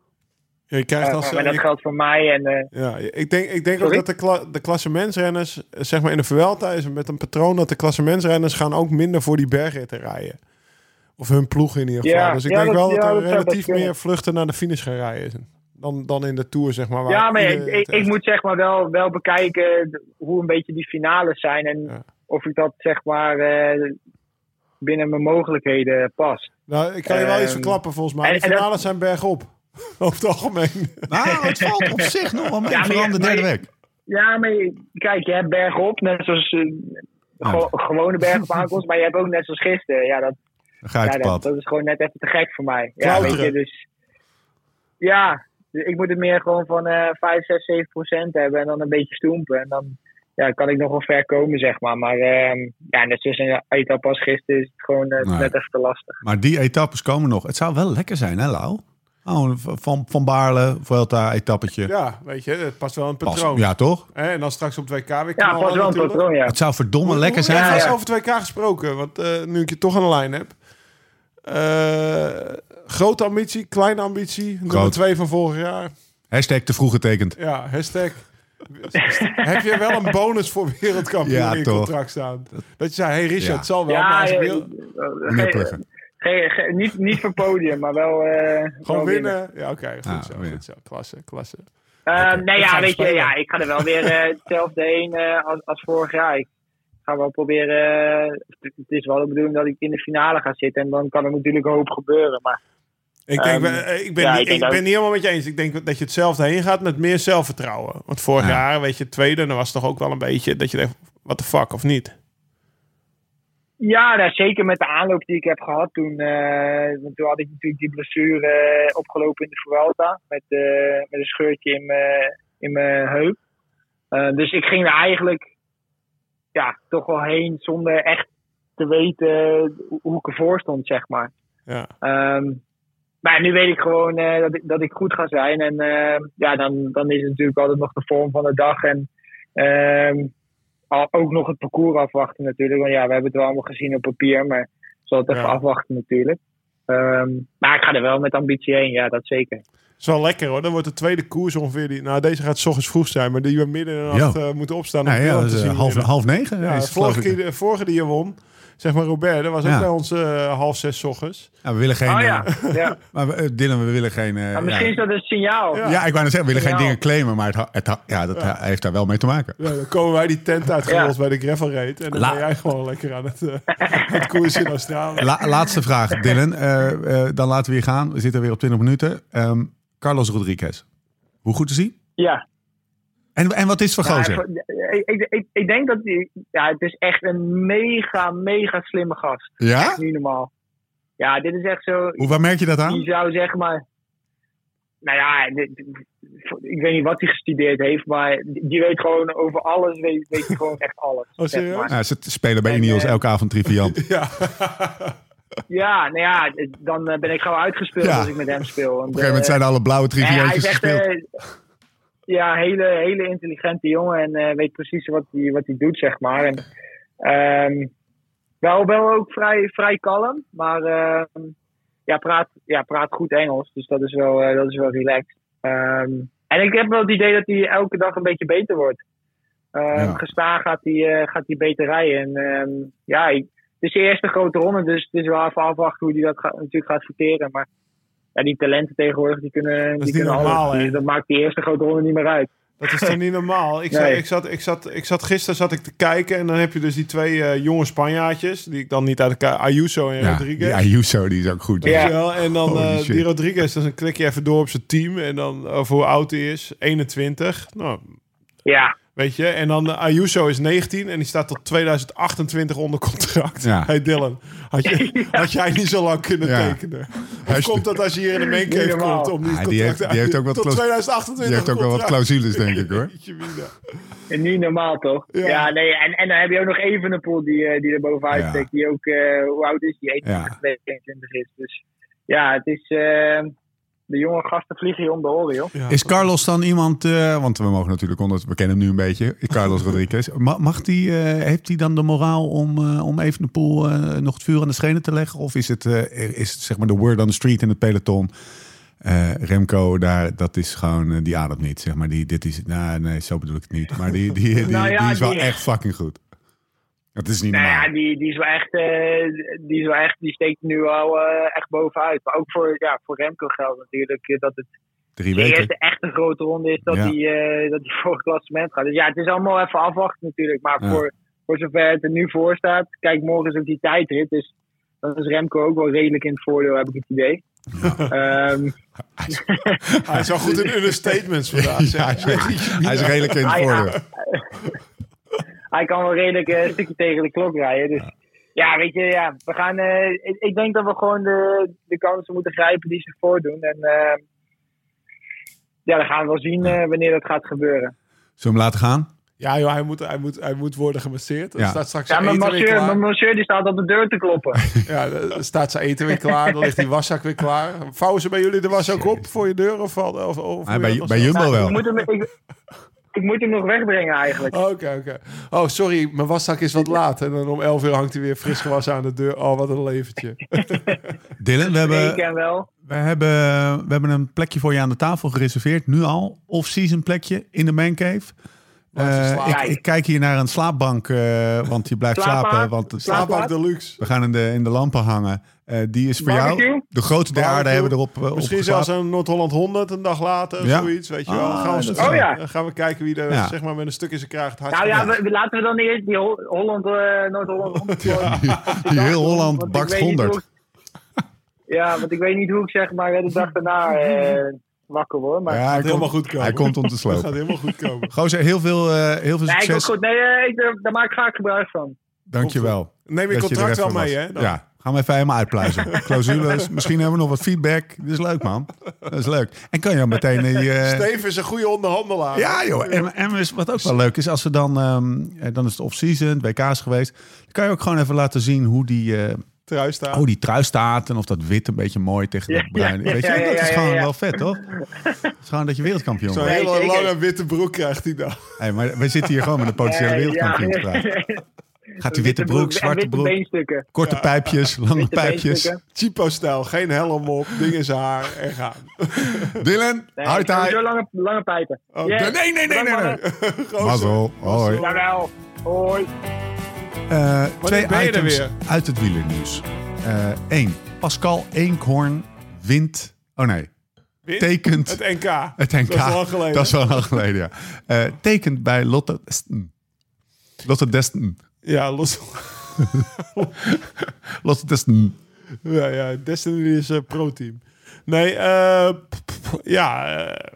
Speaker 3: Ja, je krijgt als,
Speaker 4: Eh, maar dat
Speaker 3: je-
Speaker 4: geldt voor mij. En, eh,
Speaker 3: ja, ik denk, ik denk ook
Speaker 4: Sorry?
Speaker 3: dat de, kla, de klassementsrenners, eh, zeg maar in de Vuelta is het met een patroon dat de klassementsrenners gaan ook minder voor die bergritten rijden. Of hun ploeg in ieder geval.
Speaker 4: Ja,
Speaker 3: dus ik
Speaker 4: ja,
Speaker 3: denk
Speaker 4: dat-
Speaker 3: wel dat
Speaker 4: ja,
Speaker 3: er
Speaker 4: dat zou
Speaker 3: relatief
Speaker 4: best kunnen.
Speaker 3: meer vluchten naar de finish gaan rijden. Dan, dan in de Tour, zeg maar. waar
Speaker 4: ja, maar ik,
Speaker 3: iedereen
Speaker 4: ik,
Speaker 3: het
Speaker 4: ik
Speaker 3: echt-
Speaker 4: moet zeg maar wel, wel bekijken hoe een beetje die finales zijn. En
Speaker 3: Ja.
Speaker 4: of ik dat zeg maar eh, binnen mijn mogelijkheden past.
Speaker 3: Nou, ik kan je wel iets
Speaker 4: Ehm,
Speaker 3: verklappen volgens mij.
Speaker 4: en-
Speaker 3: De
Speaker 4: en dat-
Speaker 3: finales zijn bergop. Over het algemeen.
Speaker 1: Nou, het valt op zich nog wel mee.
Speaker 4: Ja, maar je-
Speaker 1: Vooral de
Speaker 4: maar
Speaker 1: derde
Speaker 4: je-
Speaker 1: week.
Speaker 4: Ja, maar kijk, je hebt bergop, net zoals eh,
Speaker 3: Oh.
Speaker 4: gewo- gewone berg op aankomst. maar je hebt ook net zoals gisteren. Ja, dat,
Speaker 1: Dan ga je het
Speaker 4: Ja, dat,
Speaker 1: pad.
Speaker 4: dat is gewoon net even te gek voor mij. Ja,
Speaker 3: Klauteren.
Speaker 4: weet je, dus, ja, dus ik moet het meer gewoon van eh 5, 6, 7 procent hebben en dan een beetje stoempen. En dan ja, kan ik nog wel ver komen, zeg maar. Maar ehm, ja, net zoals een etappe als gisteren is het gewoon eh,
Speaker 1: Nee.
Speaker 4: net even te lastig.
Speaker 1: Maar die etappes komen nog. Het zou wel lekker zijn, hè Lau? Oh, van, van Baarle, Vuelta, etappetje.
Speaker 3: Ja, weet je, het past wel een
Speaker 1: Pas-
Speaker 3: patroon.
Speaker 1: ja, toch?
Speaker 3: Hè, En dan straks op 2K weer
Speaker 4: Ja,
Speaker 3: knallen
Speaker 4: pas wel een
Speaker 3: natuurlijk.
Speaker 4: patroon, ja.
Speaker 1: Het zou verdomme
Speaker 3: Hoe-
Speaker 1: lekker
Speaker 3: hoe-
Speaker 1: zijn.
Speaker 3: Ja,
Speaker 1: als-
Speaker 3: is
Speaker 4: ja.
Speaker 3: over 2K gesproken, want eh, nu ik je toch aan de lijn heb. Eh, grote ambitie, kleine ambitie. Nummer
Speaker 1: Groot.
Speaker 3: twee van vorig jaar.
Speaker 1: Hashtag te vroeg getekend.
Speaker 3: Ja, hashtag. heb je wel een bonus voor wereldkampioen
Speaker 1: Ja,
Speaker 3: in je
Speaker 1: toch.
Speaker 3: contract staan? Dat je zei, hey Richard,
Speaker 1: Ja.
Speaker 3: het zal wel, maar
Speaker 4: Ja,
Speaker 3: als je
Speaker 4: eh,
Speaker 3: wil,
Speaker 4: eh,
Speaker 1: Knipperen.
Speaker 4: geen- geen- niet, niet voor podium, maar wel... eh, wel
Speaker 3: gewoon winnen. Ja, oké, goed,
Speaker 1: Ah,
Speaker 3: zo,
Speaker 1: winnen.
Speaker 3: goed zo. Klasse, klasse.
Speaker 4: Eh, nee,
Speaker 3: Ik ga
Speaker 4: ja,
Speaker 3: hem
Speaker 4: weet je,
Speaker 3: spelen.
Speaker 4: ja, ik ga er wel weer eh, hetzelfde heen eh, als, als vorig jaar. Ik ga wel proberen. eh, het- het is wel de bedoeling dat ik in de finale ga zitten. En dan kan er natuurlijk een hoop gebeuren. Maar
Speaker 3: Ik, denk,
Speaker 4: Ehm,
Speaker 3: eh, ik ben,
Speaker 4: ja,
Speaker 3: niet,
Speaker 4: ik
Speaker 3: ik,
Speaker 4: denk dat-
Speaker 3: ben niet helemaal met je eens. Ik denk dat je hetzelfde heen gaat met meer zelfvertrouwen. Want vorig
Speaker 1: Ja.
Speaker 3: jaar, weet je, tweede, dan was het toch ook wel een beetje dat je denkt, what the fuck, of niet?
Speaker 4: ja, nou, zeker met de aanloop die ik heb gehad toen. eh, want toen had ik natuurlijk die blessure eh, opgelopen in de Vuelta. Met, eh, met een scheurtje in mijn- in mijn heup. Eh, dus ik ging er eigenlijk ja, toch wel heen zonder echt te weten hoe ik ervoor stond, zeg maar.
Speaker 3: Ja.
Speaker 4: Ehm, maar nu weet ik gewoon eh, dat, ik, dat ik goed ga zijn. En ehm, ja, dan, dan is het natuurlijk altijd nog de vorm van de dag. En ehm, al- ook nog het parcours afwachten natuurlijk. Want ja, we hebben het wel allemaal gezien op papier. Maar ik zal het even
Speaker 3: Ja.
Speaker 4: afwachten natuurlijk. Ehm, maar ik ga er wel met ambitie heen. Ja, dat zeker.
Speaker 3: Het is wel lekker hoor. Dan wordt de tweede koers ongeveer die. Nou, deze gaat 's ochtends vroeg zijn, maar die we midden in de nacht
Speaker 1: Ja.
Speaker 3: eh, moeten opstaan. om
Speaker 1: Nou ja,
Speaker 3: beelden
Speaker 1: dat
Speaker 3: te
Speaker 1: is, eh,
Speaker 3: zien
Speaker 1: half,
Speaker 3: winnen.
Speaker 1: half negen.
Speaker 3: Ja,
Speaker 1: is
Speaker 3: de
Speaker 1: het, geloof
Speaker 3: vorige,
Speaker 1: ik.
Speaker 3: keer, de vorige die je won, zeg maar Robert, dat was ook
Speaker 1: Ja.
Speaker 3: bij ons eh, half zes 's ochtends.
Speaker 1: Ja, we willen geen.
Speaker 4: oh ja,
Speaker 1: eh,
Speaker 4: ja.
Speaker 1: maar we- eh, Dylan, we willen geen. eh,
Speaker 4: Maar misschien is
Speaker 1: ja,
Speaker 4: dat een signaal.
Speaker 3: Ja.
Speaker 4: Ja,
Speaker 1: ja, ik wou net zeggen, we willen geen
Speaker 4: Ja.
Speaker 1: dingen claimen, maar het, ha- het, ha- ja, dat ha- heeft daar wel mee te maken.
Speaker 3: Ja, dan komen wij die tent uitgerold
Speaker 4: Ja.
Speaker 3: bij de gravel raid. En dan
Speaker 1: La-
Speaker 3: ben jij gewoon lekker aan het, eh het koersen in Australië.
Speaker 1: La- laatste vraag, Dylan. Eh, eh, dan laten we hier gaan. We zitten weer op 20 minuten. Ehm, Carlos Rodriguez. Hoe goed is hij? En, en wat is het voor
Speaker 4: Ja,
Speaker 1: gozer?
Speaker 4: ik, ik, ik, ik denk dat die, ja, het is echt een mega, mega slimme gast.
Speaker 1: Ja?
Speaker 4: Nu normaal. Ja, dit is echt zo.
Speaker 1: Hoe, waar merk je dat
Speaker 4: Die
Speaker 1: aan?
Speaker 4: zou zeg maar. Nou ja, dit- dit- ik weet niet wat hij gestudeerd heeft, maar die die weet gewoon over alles, weet, weet hij gewoon echt alles.
Speaker 3: Oh,
Speaker 4: zeg
Speaker 3: serieus?
Speaker 4: maar.
Speaker 1: Ja, ze spelen bij
Speaker 4: En,
Speaker 1: Ineos
Speaker 4: eh,
Speaker 1: elke avond triviant.
Speaker 3: Ja.
Speaker 4: Ja, nou ja, dan eh, ben ik gauw uitgespeeld
Speaker 1: Ja.
Speaker 4: als ik met hem speel. Want,
Speaker 1: Op een gegeven moment zijn alle blauwe
Speaker 4: eh, hij
Speaker 1: triviantjes
Speaker 4: is echt,
Speaker 1: gespeeld.
Speaker 4: eh, ja, hele, hele intelligente jongen en eh, weet precies wat hij wat hij doet, zeg maar. En, ehm, wel, wel ook vrij, vrij kalm, maar ehm, ja, praat, ja, praat goed Engels, dus dat is wel, eh, dat is wel relaxed. Ehm, en ik heb wel het idee dat hij elke dag een beetje beter wordt. Ehm
Speaker 1: Ja.
Speaker 4: Gestaag gaat hij, eh, gaat hij beter rijden. En, ehm, ja, ik- het is de eerste grote ronde, dus het is wel even afwachten hoe hij dat gaat, natuurlijk gaat verteren. Maar ja, die talenten tegenwoordig, die kunnen, die
Speaker 3: niet
Speaker 4: kunnen
Speaker 3: normaal,
Speaker 4: alles.
Speaker 3: hè?
Speaker 4: Dus dat maakt die eerste grote ronde niet meer uit.
Speaker 3: Dat is toch niet normaal? Ik, zat,
Speaker 4: Nee.
Speaker 3: ik, zat, ik, zat, ik zat gisteren zat ik te kijken en dan heb je dus die twee eh, jonge Spanjaardjes. Die ik dan niet uit elkaar... Ayuso en
Speaker 1: Ja,
Speaker 3: Rodriguez.
Speaker 1: die Ayuso, die is ook goed.
Speaker 4: Ja.
Speaker 3: Weet je wel? En dan
Speaker 1: Holy
Speaker 3: eh,
Speaker 1: shit.
Speaker 3: die Rodriguez, dan klik je even door op zijn team. En dan eh, over hoe oud hij is. 21. Nou,
Speaker 4: Ja,
Speaker 3: weet je. En dan eh, Ayuso is 19 en die staat tot 2028 onder contract.
Speaker 1: Ja.
Speaker 3: Hey Dylan, had, je, had jij niet zo lang kunnen
Speaker 1: Ja.
Speaker 3: tekenen? Hoe
Speaker 1: Hij-
Speaker 3: komt dat als je hier in de
Speaker 4: Niet
Speaker 3: maincave
Speaker 4: normaal.
Speaker 3: komt om die
Speaker 1: Ah, die
Speaker 3: contract
Speaker 1: heeft- die heeft ook wat
Speaker 3: tot
Speaker 1: claus-
Speaker 3: 2028
Speaker 1: Die heeft ook wel wat
Speaker 3: contract.
Speaker 1: clausules, denk ik hoor.
Speaker 3: Jeetje, mina.
Speaker 4: en niet normaal toch?
Speaker 3: Ja.
Speaker 4: Ja, nee, en, en dan heb je ook nog Evenepoel die, eh, die er bovenuit
Speaker 1: Ja.
Speaker 4: steekt. Die ook, eh, hoe oud is die?
Speaker 1: Ja.
Speaker 4: 22 is. Dus ja, het is, eh, de jonge gasten vliegen hier om de oren, joh.
Speaker 3: Ja.
Speaker 1: Is Carlos dan iemand, eh, want we mogen natuurlijk onder, we kennen hem nu een beetje, Carlos Rodriguez. Ma- Mag die, eh, heeft hij dan de moraal om, eh, om even de poel eh, nog het vuur aan de schenen te leggen? Of is het, eh, is het zeg maar de word on the street in het peloton? eh, Remco, daar, dat is gewoon, eh, die ademt niet. Zeg maar, die, dit is, nou, nee, zo bedoel ik het niet. Maar die, die, die,
Speaker 4: Nou ja,
Speaker 1: die is wel
Speaker 4: die-
Speaker 1: echt fucking goed. Dat is niet
Speaker 4: Nou
Speaker 1: normaal.
Speaker 4: ja, die, die, is wel echt, eh, die is wel echt, die steekt nu al eh, echt bovenuit. Maar ook voor, ja, voor Remco geldt natuurlijk eh, dat het
Speaker 1: Drie
Speaker 4: de
Speaker 1: weken.
Speaker 4: eerste echte grote ronde is dat
Speaker 1: Ja.
Speaker 4: hij eh, dat hij voor het klassement gaat. Dus ja, het is allemaal even afwachten natuurlijk. Maar
Speaker 1: Ja.
Speaker 4: voor, voor zover het er nu voor staat, kijk, morgen is ook die tijdrit. Dus dan is Remco ook wel redelijk in het voordeel, heb ik het idee. Ehm,
Speaker 3: Hij is wel goed in understatements vandaag.
Speaker 1: Ja, hij,
Speaker 3: zeg.
Speaker 1: is, hij is redelijk in het
Speaker 4: Hij-
Speaker 1: voordeel.
Speaker 4: hij kan wel redelijk eh, een stukje tegen de klok rijden. Dus ja, weet je, ja, we gaan, eh, ik, ik denk dat we gewoon de, de kansen moeten grijpen die zich voordoen. En eh, ja, dan gaan we wel zien eh, wanneer dat gaat gebeuren.
Speaker 1: Zullen we hem laten gaan?
Speaker 3: Ja, joh, hij, moet, hij, moet, hij moet worden gemasseerd. Er
Speaker 1: Ja.
Speaker 3: staat straks
Speaker 4: Ja,
Speaker 3: zijn
Speaker 4: mijn
Speaker 3: eten weer
Speaker 4: masseur,
Speaker 3: klaar.
Speaker 4: mijn masseur die staat op de deur te kloppen.
Speaker 3: Ja, dan staat zijn eten weer klaar. Dan ligt die waszak weer klaar. Vouwen ze bij jullie de was ook op voor je deur? Of, valt- of, of
Speaker 1: Ah, bij, bij
Speaker 3: bij
Speaker 1: Jumbo
Speaker 4: Nou, Ik
Speaker 1: wel. Oh,
Speaker 4: moet, hem, ik, ik moet hem nog wegbrengen eigenlijk.
Speaker 3: Oké, oké. Oh, sorry, mijn waszak is wat laat. En dan om 11 uur hangt hij weer fris gewassen aan de deur. Oh, wat een leventje.
Speaker 1: Dylan, we
Speaker 4: Ik
Speaker 1: hebben,
Speaker 4: ken wel.
Speaker 1: We hebben, we hebben een plekje voor je aan de tafel gereserveerd, nu al. Off-season plekje in de mancave.
Speaker 3: Laten we
Speaker 1: Eh,
Speaker 3: slapen.
Speaker 1: ik, ik kijk hier naar een slaapbank, eh, want je blijft
Speaker 4: Slaapbank.
Speaker 1: slapen. Want het-
Speaker 3: Slaapbak deluxe.
Speaker 1: we gaan in de, in de lampen hangen. Eh, die is voor jou.
Speaker 4: Barbecue?
Speaker 1: De grote der aarde
Speaker 3: Barbecue.
Speaker 1: hebben we erop eh, op
Speaker 3: Misschien
Speaker 1: geslapen.
Speaker 3: zelfs een Noord-Holland 100 een dag later.
Speaker 1: Ja.
Speaker 3: Zoiets, weet je wel.
Speaker 1: Ah,
Speaker 3: gaan, we
Speaker 1: dat-
Speaker 3: eens-
Speaker 4: Oh, ja.
Speaker 3: dan gaan we kijken wie er
Speaker 1: Ja.
Speaker 3: zeg maar, met een stuk in zijn kraag het hardst
Speaker 4: Nou ja,
Speaker 3: gaat.
Speaker 4: we, we- laten we dan eerst die Ho- Holland, eh, Noord-Holland.
Speaker 1: Die heel Holland bakt 100.
Speaker 4: Ja, want ik weet niet hoe ik zeg maar de dag daarna eh, wakker word. Maar...
Speaker 1: Ja, hij,
Speaker 3: helemaal
Speaker 1: komt,
Speaker 3: goed komen.
Speaker 1: hij komt om te
Speaker 3: Dat gaat
Speaker 1: slopen.
Speaker 3: helemaal goed komen.
Speaker 1: Gozer, heel veel, eh, heel veel
Speaker 4: Nee, ik wil
Speaker 1: succes.
Speaker 4: goed. Nee, eh, ik, daar maak ik graag gebruik van.
Speaker 1: Dankjewel.
Speaker 3: Neem je
Speaker 1: dat er
Speaker 3: contract wel
Speaker 1: even
Speaker 3: mee,
Speaker 1: was.
Speaker 3: hè? Dan.
Speaker 1: Ja, Gaan we even helemaal uitpluizen. Clausules. Misschien hebben we nog wat feedback. Dit is leuk, man. Dat is leuk. En kan je dan meteen... die, eh,
Speaker 3: Steven is een goede onderhandelaar.
Speaker 1: ja, joh. En, en is- wat ook wel leuk is, als ze dan... ehm, eh, dan is het off-season, het WK is geweest. Dan kan je ook gewoon even laten zien hoe die... eh,
Speaker 3: Trui staan.
Speaker 1: oh, die trui staat. En of dat wit een beetje mooi tegen dat
Speaker 4: Ja,
Speaker 1: bruin.
Speaker 4: ja,
Speaker 1: Weet je,
Speaker 4: ja,
Speaker 1: dat
Speaker 4: ja,
Speaker 1: is
Speaker 4: ja,
Speaker 1: gewoon
Speaker 4: ja.
Speaker 1: wel vet, toch? Het is gewoon dat je wereldkampioen
Speaker 3: Zo'n
Speaker 1: wordt.
Speaker 4: Nee,
Speaker 3: hele
Speaker 4: zeker.
Speaker 3: lange witte broek krijgt hij dan.
Speaker 1: Hey, maar wij zitten hier gewoon met een potentiële wereldkampioen te praten. Gaat die witte broek, zwarte
Speaker 4: witte
Speaker 1: broek,
Speaker 4: beenstukken.
Speaker 1: korte pijpjes, lange
Speaker 4: Witte
Speaker 1: pijpjes.
Speaker 4: beenstukken.
Speaker 3: Cheapo-stijl. Geen helm op. Ding in zijn haar. En gaan.
Speaker 1: Dylan,
Speaker 4: Nee,
Speaker 1: hou het
Speaker 4: Zo
Speaker 1: aan.
Speaker 4: lange, lange pijpen.
Speaker 3: Oh,
Speaker 4: Yes.
Speaker 1: Nee, nee, nee, nee.
Speaker 4: Bedankt,
Speaker 1: nee.
Speaker 4: mannen.
Speaker 3: Gozer.
Speaker 1: Mazzel. Hoi.
Speaker 4: Jawel. Hoi.
Speaker 1: Eh, twee
Speaker 3: ben je er
Speaker 1: items
Speaker 3: weer?
Speaker 1: uit het wielernieuws. Eén. Pascal Eenkhoorn wint... Oh nee,
Speaker 3: Win.
Speaker 1: tekent...
Speaker 3: Het NK.
Speaker 1: Het NK.
Speaker 3: Dat is lang geleden.
Speaker 1: Dat is wel lang geleden, ja. Eh, tekent bij Lotte Desten. Lotte Desten.
Speaker 3: Ja, los.
Speaker 1: Lotte Desten.
Speaker 3: ja, ja. Destiny is eh, pro-team. Nee, eh, pff, pff, ja. eh,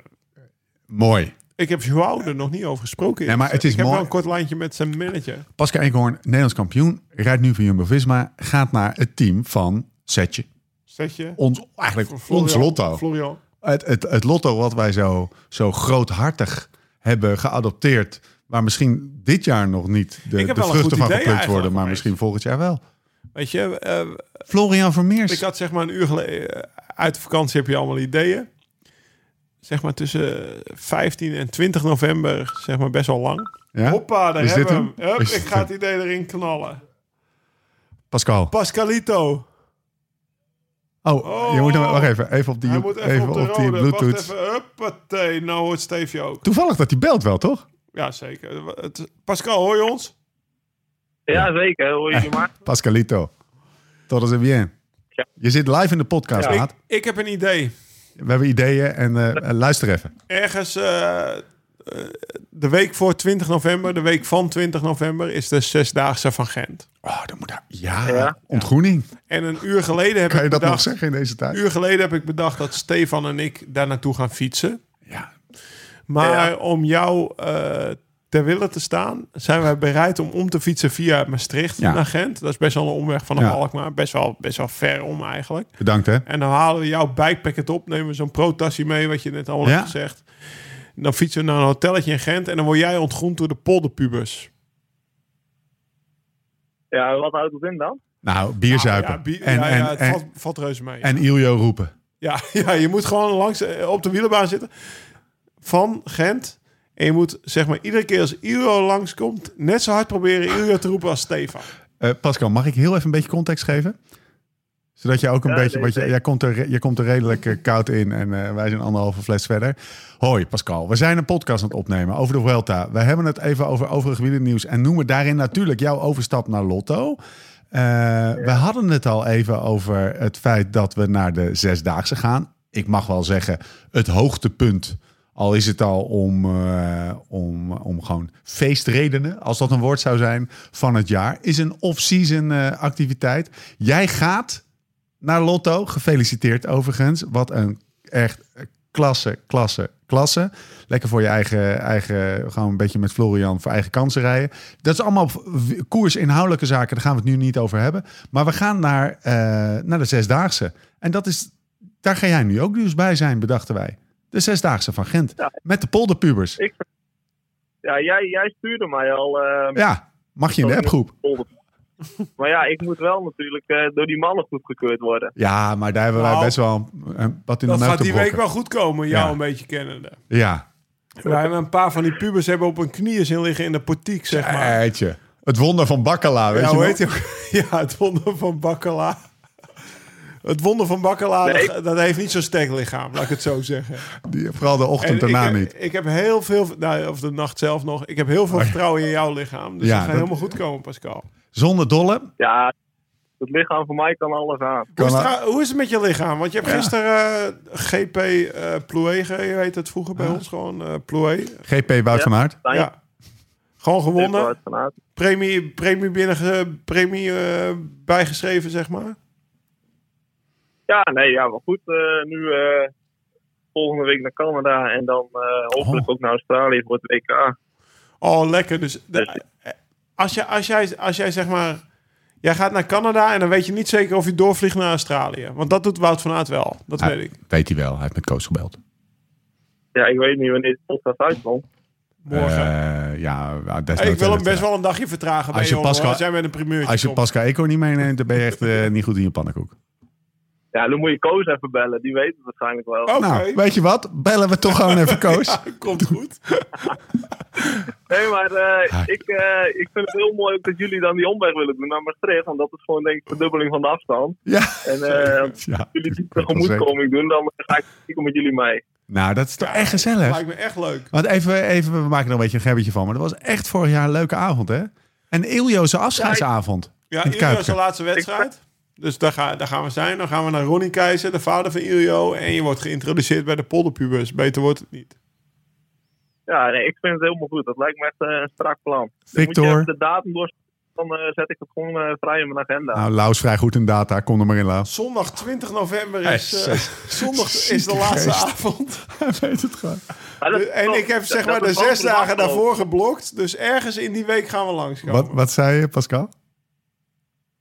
Speaker 1: Mooi.
Speaker 3: ik heb Joao er nog niet over gesproken.
Speaker 1: Nee, maar het is
Speaker 3: ik heb
Speaker 1: mooi.
Speaker 3: wel een kort lijntje met zijn manager.
Speaker 1: Pascal Eenkhoorn, Nederlands kampioen. Rijdt nu voor Jumbo-Visma. Gaat naar het team van Setje.
Speaker 3: Zet je?
Speaker 1: Ons, eigenlijk
Speaker 3: Florian-
Speaker 1: ons lotto.
Speaker 3: Florian.
Speaker 1: Het, het, het lotto wat wij zo, zo groothartig hebben geadopteerd. Waar misschien dit jaar nog niet de,
Speaker 3: heb
Speaker 1: de
Speaker 3: wel een goed
Speaker 1: vruchten van geplukt
Speaker 3: idee eigenlijk
Speaker 1: worden. Maar
Speaker 3: opeens.
Speaker 1: misschien volgend jaar wel.
Speaker 3: Weet je, eh,
Speaker 1: Florian Vermeers.
Speaker 3: ik had zeg maar een uur geleden... Uit de vakantie heb je allemaal ideeën. Zeg maar tussen 15 en 20 november, zeg maar best wel lang.
Speaker 1: Ja?
Speaker 3: Hoppa, daar
Speaker 1: Is dit
Speaker 3: hebben we hem.
Speaker 1: hem?
Speaker 3: Hup,
Speaker 1: Is
Speaker 3: ik
Speaker 1: dit
Speaker 3: ga
Speaker 1: hem?
Speaker 3: het idee erin knallen.
Speaker 1: Pascal.
Speaker 3: Pascalito.
Speaker 1: Oh, je moet hem, wacht even. Even op die,
Speaker 3: Hij moet even,
Speaker 1: even
Speaker 3: op de
Speaker 1: die
Speaker 3: rode. Wacht
Speaker 1: Bluetooth.
Speaker 3: even. Huppatee, nou hoort Steefje ook.
Speaker 1: Toevallig dat hij belt wel, toch?
Speaker 3: Ja, zeker. Het- Pascal, hoor je ons?
Speaker 4: Ja, zeker. Hoor jullie maar.
Speaker 1: Pascalito. Todo se bien.
Speaker 4: Ja.
Speaker 1: Je zit live in de podcast,
Speaker 3: Ik,
Speaker 1: Maat.
Speaker 3: ik heb een idee.
Speaker 1: We hebben ideeën en eh, eh, luister even.
Speaker 3: Ergens eh, eh, de week voor 20 november, de week van 20 november, is de Zesdaagse van Gent.
Speaker 1: Oh, dan moet daar... Ja,
Speaker 4: Ja.
Speaker 1: ontgroening.
Speaker 3: En een uur geleden heb
Speaker 1: Kan je
Speaker 3: ik
Speaker 1: dat nog
Speaker 3: bedacht...
Speaker 1: zeggen in deze tijd?
Speaker 3: Een uur geleden heb ik bedacht dat Stefan en ik daar naartoe gaan fietsen.
Speaker 1: Ja.
Speaker 3: Maar
Speaker 4: Ja.
Speaker 3: om jou eh, ter wille te staan, zijn wij bereid om om te fietsen via Maastricht
Speaker 1: Ja.
Speaker 3: naar Gent. Dat is best wel een omweg vanaf
Speaker 1: Ja.
Speaker 3: Alkmaar. Best wel, best wel ver om eigenlijk.
Speaker 1: Bedankt, hè.
Speaker 3: En dan halen we jouw bikepacket op, nemen we zo'n pro-tassie mee, wat je net al
Speaker 1: Ja.
Speaker 3: hebt gezegd. En Dan fietsen we naar een hotelletje in Gent en dan word jij ontgroend door de polderpubers.
Speaker 4: Ja, wat houdt het in dan?
Speaker 1: Nou, bier zuipen.
Speaker 3: Ja, bi-
Speaker 1: en,
Speaker 3: ja,
Speaker 1: en,
Speaker 3: ja, het
Speaker 1: en,
Speaker 3: valt, valt reuze mee.
Speaker 1: en Iljo roepen.
Speaker 3: Ja, ja, je moet gewoon langs eh, op de wielerbaan zitten van Gent. En je moet zeg maar iedere keer als Ilio langskomt, net zo hard proberen Ilio te roepen als Stefan.
Speaker 1: Eh, Pascal, mag ik heel even een beetje context geven? Zodat je ook een
Speaker 4: Ja,
Speaker 1: beetje...
Speaker 4: nee,
Speaker 1: Want je,
Speaker 4: zeker.
Speaker 1: jij, komt er, re- jij komt er redelijk eh, koud in en eh, wij zijn anderhalve fles verder. Hoi Pascal, we zijn een podcast aan het opnemen over de Vuelta. We hebben het even over overig wielernieuws en noemen daarin natuurlijk jouw overstap naar Lotto. Eh, We hadden het al even over het feit dat we naar de Zesdaagse gaan. Ik mag wel zeggen, het hoogtepunt... Al is het al om, eh, om, om gewoon feestredenen, als dat een woord zou zijn, van het jaar. Is een off-season eh, activiteit. Jij gaat naar Lotto. Gefeliciteerd overigens. Wat een echt klasse, klasse, klasse. Lekker voor je eigen, eigen gewoon een beetje met Florian voor eigen kansen rijden. Dat is allemaal v- koersinhoudelijke zaken. Daar gaan we het nu niet over hebben. Maar we gaan naar, eh, naar de Zesdaagse. En dat is, daar ga jij nu ook dus bij zijn, bedachten wij. De Zesdaagse van Gent.
Speaker 4: Ja.
Speaker 1: Met de polderpubers.
Speaker 4: Ja, jij, jij stuurde mij al. eh,
Speaker 5: ehm,
Speaker 1: Ja, mag je in de
Speaker 4: Dat-
Speaker 1: appgroep.
Speaker 4: Maar ja, ik moet wel natuurlijk eh, door die mannen goedgekeurd worden.
Speaker 1: Ja, maar daar hebben wij
Speaker 3: Nou,
Speaker 1: best wel een- wat in de
Speaker 3: Dat
Speaker 1: neus
Speaker 3: gaat
Speaker 1: te
Speaker 3: die week
Speaker 1: brokken.
Speaker 3: wel goed komen, jou
Speaker 1: Ja.
Speaker 3: een beetje kennende.
Speaker 1: Ja,
Speaker 3: Wij hebben een paar van die pubers hebben op hun knieën zien liggen in de portiek, zeg maar.
Speaker 1: eitje. Het wonder van Bakkala, weet
Speaker 3: ja,
Speaker 1: je
Speaker 3: hoe
Speaker 1: nog?
Speaker 3: heet die ook? ja, het wonder van Bakkela. Het wonder van Bakkela,
Speaker 4: Nee.
Speaker 3: dat, dat heeft niet zo'n sterk lichaam, laat ik het zo zeggen.
Speaker 1: Die, vooral de ochtend
Speaker 3: En
Speaker 1: daarna
Speaker 3: ik heb,
Speaker 1: niet. Oh
Speaker 3: Ik heb heel veel, nou, of de nacht zelf nog, ik heb heel veel vertrouwen in jouw lichaam. Dus
Speaker 1: Ja,
Speaker 3: dat gaat
Speaker 1: dat-
Speaker 3: helemaal goed komen, Pascal.
Speaker 1: Zonder dolle.
Speaker 4: Ja, het lichaam van mij kan alles aan.
Speaker 1: Kan
Speaker 3: Hoe is,
Speaker 1: wel-
Speaker 3: het, trouw- hoe is het met je lichaam? Want je hebt
Speaker 1: Ja.
Speaker 3: gisteren eh, GP eh Ploege, heet het vroeger bij ons gewoon, eh Ploege.
Speaker 1: GP Wout van Aert.
Speaker 4: Stijn,
Speaker 3: Ja. Gewoon gewonnen.
Speaker 4: Eduard van Aert.
Speaker 3: Premie, premie, binnen, premie eh, bijgeschreven, zeg maar.
Speaker 4: Ja, nee, ja, maar goed. eh, nu eh, volgende week naar Canada en dan eh, hopelijk
Speaker 1: Oh.
Speaker 4: ook naar Australië voor het WK.
Speaker 3: Oh, lekker. Dus de- eh, als, jij, als, jij, als jij zeg maar... Jij gaat naar Canada en dan weet je niet zeker of je doorvliegt naar Australië. Want dat doet Wout van Aert wel. Dat
Speaker 1: Hij-
Speaker 3: weet ik.
Speaker 1: Weet hij wel, hij heeft met Koos gebeld.
Speaker 5: Ja, ik weet niet wanneer de podcast uitkomt.
Speaker 3: Morgen.
Speaker 1: Eh, ja, desnoods-
Speaker 3: Hey, ik wil hem best wel een dagje vertragen bij
Speaker 1: Als je
Speaker 3: jongen,
Speaker 1: Pascal-
Speaker 3: hoor. Als jij met een primeurtje
Speaker 1: Als je
Speaker 3: komt.
Speaker 1: Pasca Eco niet meeneemt, dan ben je echt eh, niet goed in je pannenkoek.
Speaker 5: Ja, dan moet je Koos even bellen. Die weet het waarschijnlijk wel.
Speaker 3: Oké,
Speaker 1: Nou, weet je wat? Bellen we toch gewoon even Koos.
Speaker 3: komt goed.
Speaker 5: Nee, maar eh,
Speaker 1: Hi.
Speaker 5: ik, eh, ik vind het heel mooi ook dat jullie dan die omweg willen doen naar Maastricht. Want dat is gewoon denk ik verdubbeling van de afstand.
Speaker 1: Ja.
Speaker 5: En eh, als
Speaker 1: ja.
Speaker 5: jullie die
Speaker 1: weet wel
Speaker 5: tegemoetkoming doen, dan ga ik stiekem met jullie mee.
Speaker 1: Nou, dat is toch echt gezellig.
Speaker 3: Lijkt me echt leuk.
Speaker 1: Want even, even, we maken er een beetje een gebbetje van. Maar dat was echt vorig jaar een leuke avond, hè? En Iljo's afscheidsavond.
Speaker 3: Ja,
Speaker 1: in
Speaker 3: Ilio is de
Speaker 1: Kuipke.
Speaker 3: laatste wedstrijd. Dus daar, ga, daar gaan we zijn. Dan gaan we naar Ronnie Keizer, de vader van Ilio. En je wordt geïntroduceerd bij de polderpubers. Beter wordt het niet.
Speaker 5: Ja, nee, ik vind het helemaal goed. Dat lijkt me echt eh, een strak plan.
Speaker 1: Victor.
Speaker 5: Moet je even de datum door, dan eh, zet ik het gewoon eh, vrij in mijn agenda.
Speaker 1: Nou, Laus vrij goed in data. Kom er maar in, Laus.
Speaker 3: Zondag 20 november
Speaker 1: Hey,
Speaker 3: is, eh,
Speaker 1: zes.
Speaker 3: zondag is de
Speaker 1: Zieke
Speaker 3: laatste
Speaker 1: geest.
Speaker 3: avond.
Speaker 1: Hij weet het gewoon.
Speaker 5: Maar dat is
Speaker 3: En
Speaker 5: wel-
Speaker 3: ik heb zeg
Speaker 5: dat
Speaker 3: maar de
Speaker 5: is wel
Speaker 3: zes
Speaker 5: goed
Speaker 3: dagen
Speaker 5: afgelopen.
Speaker 3: daarvoor geblokt. Dus ergens in die week gaan we langskomen.
Speaker 1: Wat, wat zei je, Pascal?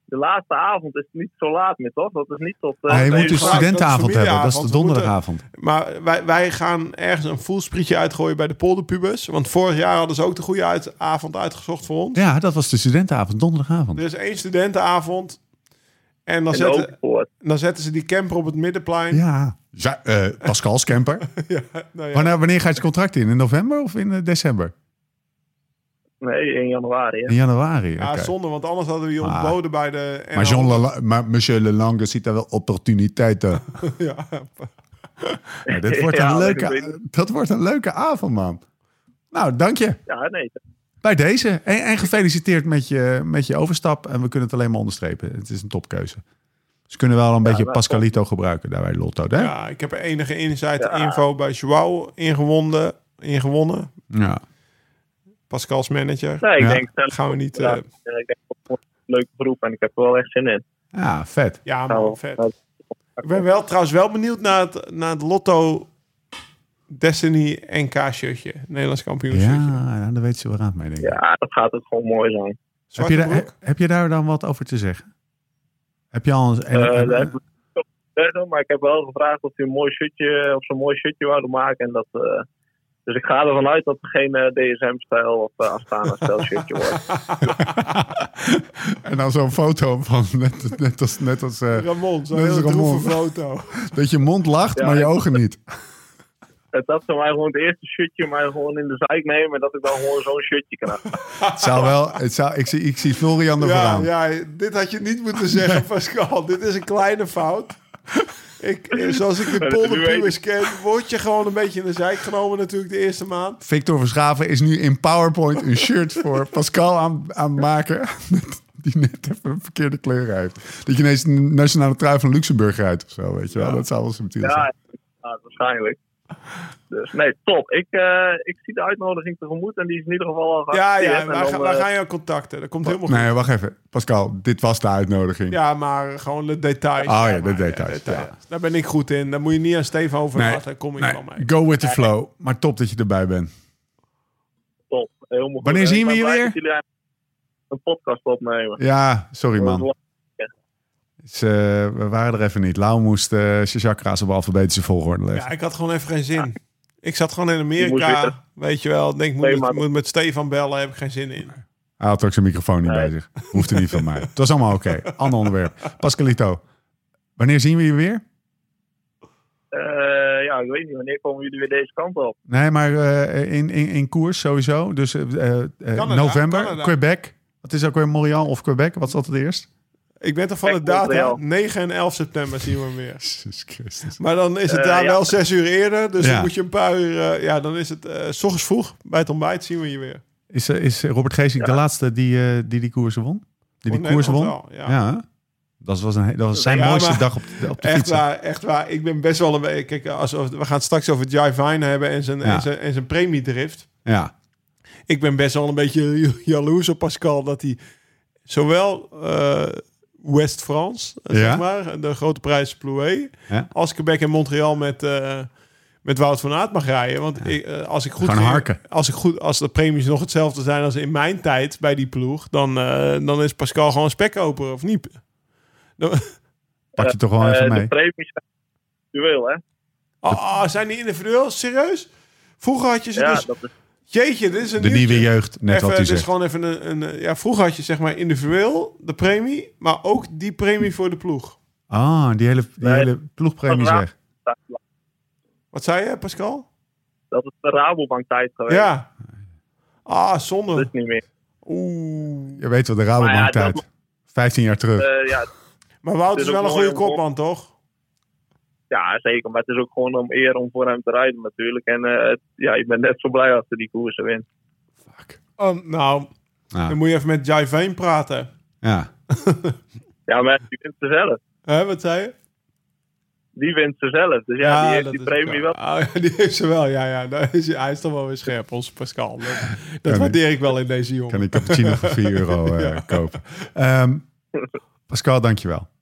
Speaker 5: De laatste avond is niet zo laat meer, toch? Dat is niet tot... eh,
Speaker 1: Hij
Speaker 5: twee
Speaker 1: moet
Speaker 5: uur
Speaker 3: dus
Speaker 1: een
Speaker 5: s'nachts.
Speaker 1: studentenavond
Speaker 3: dat is
Speaker 1: hebben. Dat is de
Speaker 3: familieavond. We
Speaker 1: donderdagavond.
Speaker 3: Maar wij, wij gaan ergens een voelsprietje uitgooien bij de polderpubers. Want vorig jaar hadden ze ook de goede uit, avond uitgezocht voor ons.
Speaker 1: Ja, dat was de studentenavond, donderdagavond.
Speaker 3: Er is één studentenavond. En dan
Speaker 5: In de
Speaker 3: zetten,
Speaker 5: Hoofdpoort.
Speaker 3: dan zetten ze die camper op het middenplein.
Speaker 1: Ja. Oh, Ja, eh, Pascal's camper.
Speaker 3: Ja, nou ja.
Speaker 1: Wanneer, wanneer gaat je contract in? In november of in eh, december?
Speaker 5: Nee, in januari. hè.
Speaker 1: In januari.
Speaker 3: Ja,
Speaker 1: oké.
Speaker 3: zonde, want anders hadden we je
Speaker 1: Maar-
Speaker 3: ontboden bij de...
Speaker 1: Maar, Jean Lala- maar monsieur Lelange ziet daar wel opportuniteiten.
Speaker 3: Ja,
Speaker 1: Ja, dit wordt
Speaker 5: Ja,
Speaker 1: een
Speaker 5: dat ik
Speaker 1: leuke, dat wordt een leuke avond, man. Nou, dank je.
Speaker 5: Ja, nee.
Speaker 1: Bij deze. En, en gefeliciteerd met je, met je overstap. En we kunnen het alleen maar onderstrepen. Het is een topkeuze. Ze kunnen wel een beetje
Speaker 5: nou,
Speaker 1: Pascalito gebruiken daar bij Lotto. Hè? Ja.
Speaker 3: ja, ik heb er enige insight en info bij Joao ingewonnen. ingewonnen. Pascal's manager.
Speaker 5: Nee, ik
Speaker 1: Ja,
Speaker 5: denk zelf...
Speaker 3: Gaan we niet...
Speaker 5: Ja,
Speaker 3: eh,
Speaker 5: eh, ik denk dat het een leuke groep en ik heb er wel echt zin in.
Speaker 1: ja, vet.
Speaker 3: ja,
Speaker 5: Nou,
Speaker 3: man, vet. Ik ben wel trouwens wel benieuwd naar het, naar het Lotto Destiny NK-shirtje. Nederlands kampioenshirtje.
Speaker 1: Ja, nou, dan weet ze wel raad mee, denk ik.
Speaker 5: Ja, dat gaat ook gewoon mooi zijn.
Speaker 1: heb,
Speaker 3: Zwarte
Speaker 1: je daar,
Speaker 3: broek.
Speaker 1: he- heb je daar dan wat over te zeggen? Heb je al een... en-
Speaker 5: Eh,
Speaker 1: en-
Speaker 5: daar heb ik niet verder, maar ik heb wel gevraagd of, hij een mooi shirtje, of ze een mooi shirtje wouden maken. En dat, eh, dus ik ga ervan uit dat het geen eh, DSM-stijl of eh Astana-stijl shirtje wordt.
Speaker 1: en dan zo'n foto van net, net als... Net als eh,
Speaker 3: Ramon, zo'n
Speaker 1: Dat is
Speaker 3: hele
Speaker 1: Ramon.
Speaker 3: droeve foto.
Speaker 1: dat je mond lacht,
Speaker 5: Ja,
Speaker 1: maar je
Speaker 5: ik-
Speaker 1: ogen niet.
Speaker 5: Dat- dat ze mij gewoon het eerste shirtje maar gewoon in de zijk nemen en dat ik dan gewoon zo'n shirtje krijg.
Speaker 1: Het zou wel... Het zou, ik, zie, ik zie Florian er
Speaker 3: Ja,
Speaker 1: vooraan.
Speaker 3: ja, dit had je niet moeten zeggen, Pascal. Dit is een kleine fout. Ik, eh, zoals ik de
Speaker 5: Maar dat- nu
Speaker 3: polderpubers ken, word je gewoon een beetje in de zijk genomen natuurlijk de eerste maand.
Speaker 1: Victor Verschaven is nu in PowerPoint een shirt voor Pascal aan, aan het maken. Die net even een verkeerde kleur heeft. Dat je ineens een nationale trui van Luxemburg rijdt of zo, weet je wel. Dat zou wel subtiel zijn.
Speaker 5: Ja, ja, waarschijnlijk. Dus nee, top. Ik, eh, ik zie de uitnodiging tegemoet en die is in ieder geval al
Speaker 3: Ja,
Speaker 5: geaccepteerd.
Speaker 3: ja,
Speaker 5: En
Speaker 3: wij
Speaker 5: dan,
Speaker 3: gaan, wij
Speaker 5: eh,
Speaker 3: gaan jou contacten. Dat komt helemaal goed.
Speaker 1: Oh, Nee, wacht even. Pascal, dit was de uitnodiging.
Speaker 3: Ja, maar gewoon de details.
Speaker 1: Oh ja, de
Speaker 3: maar,
Speaker 1: details, ja.
Speaker 3: Daar ben ik goed in. Daar moet je niet aan Steven over
Speaker 1: Nee,
Speaker 3: laten. Daar kom ik
Speaker 1: nee,
Speaker 3: wel mee.
Speaker 1: go with the flow. Maar top dat je erbij bent.
Speaker 5: Top, helemaal goed.
Speaker 1: Wanneer
Speaker 5: En ik
Speaker 1: zien we
Speaker 5: ben
Speaker 1: je
Speaker 5: blij
Speaker 1: weer?
Speaker 5: dat jullie Een podcast opnemen.
Speaker 1: Ja, sorry man. Dus, eh, we waren er even niet. Lau moest eh zijn chakra's op alfabetische volgorde leggen.
Speaker 3: Ja, ik had gewoon even geen zin. Ik zat gewoon in
Speaker 5: Je moet weer-
Speaker 3: Amerika, weet je wel. Ik Denk, moet,
Speaker 5: Nee,
Speaker 3: met,
Speaker 5: maar-
Speaker 3: moet met Stefan bellen, heb ik geen zin in.
Speaker 1: Hij had ook zijn microfoon niet
Speaker 5: Nee.
Speaker 1: bij zich. Hoefde niet van mij. Het was allemaal oké. Ander onderwerp. Pascalito, wanneer zien we je weer?
Speaker 5: Eh, ja, ik weet niet. Wanneer komen jullie weer deze kant op?
Speaker 1: Nee, maar eh, in, in, in koers sowieso. Dus eh, eh,
Speaker 3: Canada,
Speaker 1: november,
Speaker 3: Canada.
Speaker 1: Quebec. Wat is ook weer Montreal of Quebec? Wat zat het eerst?
Speaker 3: Ik ben toch van de
Speaker 5: Kijk,
Speaker 3: data.
Speaker 5: Montreal.
Speaker 3: 9 en 11 september zien we hem weer.
Speaker 1: Jezus Christus.
Speaker 3: Maar dan is het
Speaker 5: Eh,
Speaker 3: daar
Speaker 5: ja.
Speaker 3: wel zes uur eerder. Dus
Speaker 1: Ja.
Speaker 3: dan moet je een paar uur... eh, ja, dan is het eh, s ochtends vroeg. Bij het ontbijt zien we je weer.
Speaker 1: Is, eh, is Robert Geesink de laatste die eh, die, die koersen won? Die die
Speaker 3: Voor
Speaker 1: koers won?
Speaker 3: Nederland wel,
Speaker 1: Ja.
Speaker 3: ja.
Speaker 1: hè? dat, was een, he- dat was zijn
Speaker 3: Ja,
Speaker 1: mooiste
Speaker 3: maar-
Speaker 1: dag op de, op de
Speaker 3: Echt
Speaker 1: fiets. hè?
Speaker 3: waar, echt waar. Ik ben best wel een beetje... Kijk, als we, we gaan het straks over Jai Vine hebben en zijn,
Speaker 1: Ja.
Speaker 3: en zijn, en zijn premiedrift.
Speaker 1: Ja.
Speaker 3: Ik ben best wel een beetje jaloers op Pascal. Dat hij zowel eh, West France, eh,
Speaker 1: Ja.
Speaker 3: zeg maar, de grote prijs Plouay...
Speaker 1: Ja.
Speaker 3: als Quebec en Montreal met, eh, met Wout van Aert mag rijden. Want ik, eh, als ik goed
Speaker 1: Gaan
Speaker 3: vind-
Speaker 1: harken.
Speaker 3: als ik goed als de premies nog hetzelfde zijn als in mijn tijd bij die ploeg, dan, eh, dan is Pascal gewoon spekkoper of niet. Dan-
Speaker 1: Pak je toch wel
Speaker 6: Eh,
Speaker 1: even
Speaker 6: de
Speaker 1: mee.
Speaker 6: premies zijn individueel, hè?
Speaker 3: Ah, ah, zijn die individueel? Serieus? Vroeger had je ze
Speaker 6: Ja,
Speaker 3: dus.
Speaker 6: dat is
Speaker 3: Jeetje, dit is een
Speaker 1: De nieuwe jeugd, net
Speaker 3: even,
Speaker 1: wat hij
Speaker 3: dus
Speaker 1: zegt.
Speaker 3: gewoon even een, een, eh, ja, vroeger had je zeg maar individueel de premie, maar ook die premie voor de ploeg.
Speaker 1: Ah, die hele, die
Speaker 6: Nee.
Speaker 1: hele ploegpremie
Speaker 6: Ja.
Speaker 1: zeg.
Speaker 3: Wat zei je, Pascal?
Speaker 6: Dat is de Rabobank tijd geweest.
Speaker 3: Ja. Ah,
Speaker 6: Dat
Speaker 3: zonde.
Speaker 6: is niet meer.
Speaker 3: Oeh.
Speaker 1: Je weet wel, de Rabobank
Speaker 6: Maar ja, dat-
Speaker 1: tijd. 15 jaar terug.
Speaker 6: Eh, ja,
Speaker 3: Maar Wout
Speaker 6: Het
Speaker 3: is
Speaker 6: is
Speaker 3: wel
Speaker 6: ook
Speaker 3: een
Speaker 6: mooi
Speaker 3: goede
Speaker 6: om-
Speaker 3: kopman, toch?
Speaker 6: ja, zeker. Maar het is ook gewoon om eer om voor hem te rijden natuurlijk. En eh, het- ja, ik ben net zo blij als hij die koersen wint.
Speaker 1: Fuck.
Speaker 3: Oh, nou,
Speaker 1: Nou,
Speaker 3: dan moet je even met Jai Veen praten.
Speaker 1: ja.
Speaker 6: Ja, maar die wint ze zelf.
Speaker 3: Hè, wat zei je?
Speaker 6: Die wint ze zelf. Dus ja, die heeft
Speaker 3: dat
Speaker 6: die
Speaker 3: is
Speaker 6: premie wel.
Speaker 3: ook Ah, ja, die heeft ze wel, ja, ja. Nou, is hij- hij is toch wel weer scherp, onze Pascal. Dat, dat waardeer ik wel in deze jongen.
Speaker 1: Kan ik cappuccino voor 4 euro eh, kopen. Ehm, Pascal, dankjewel.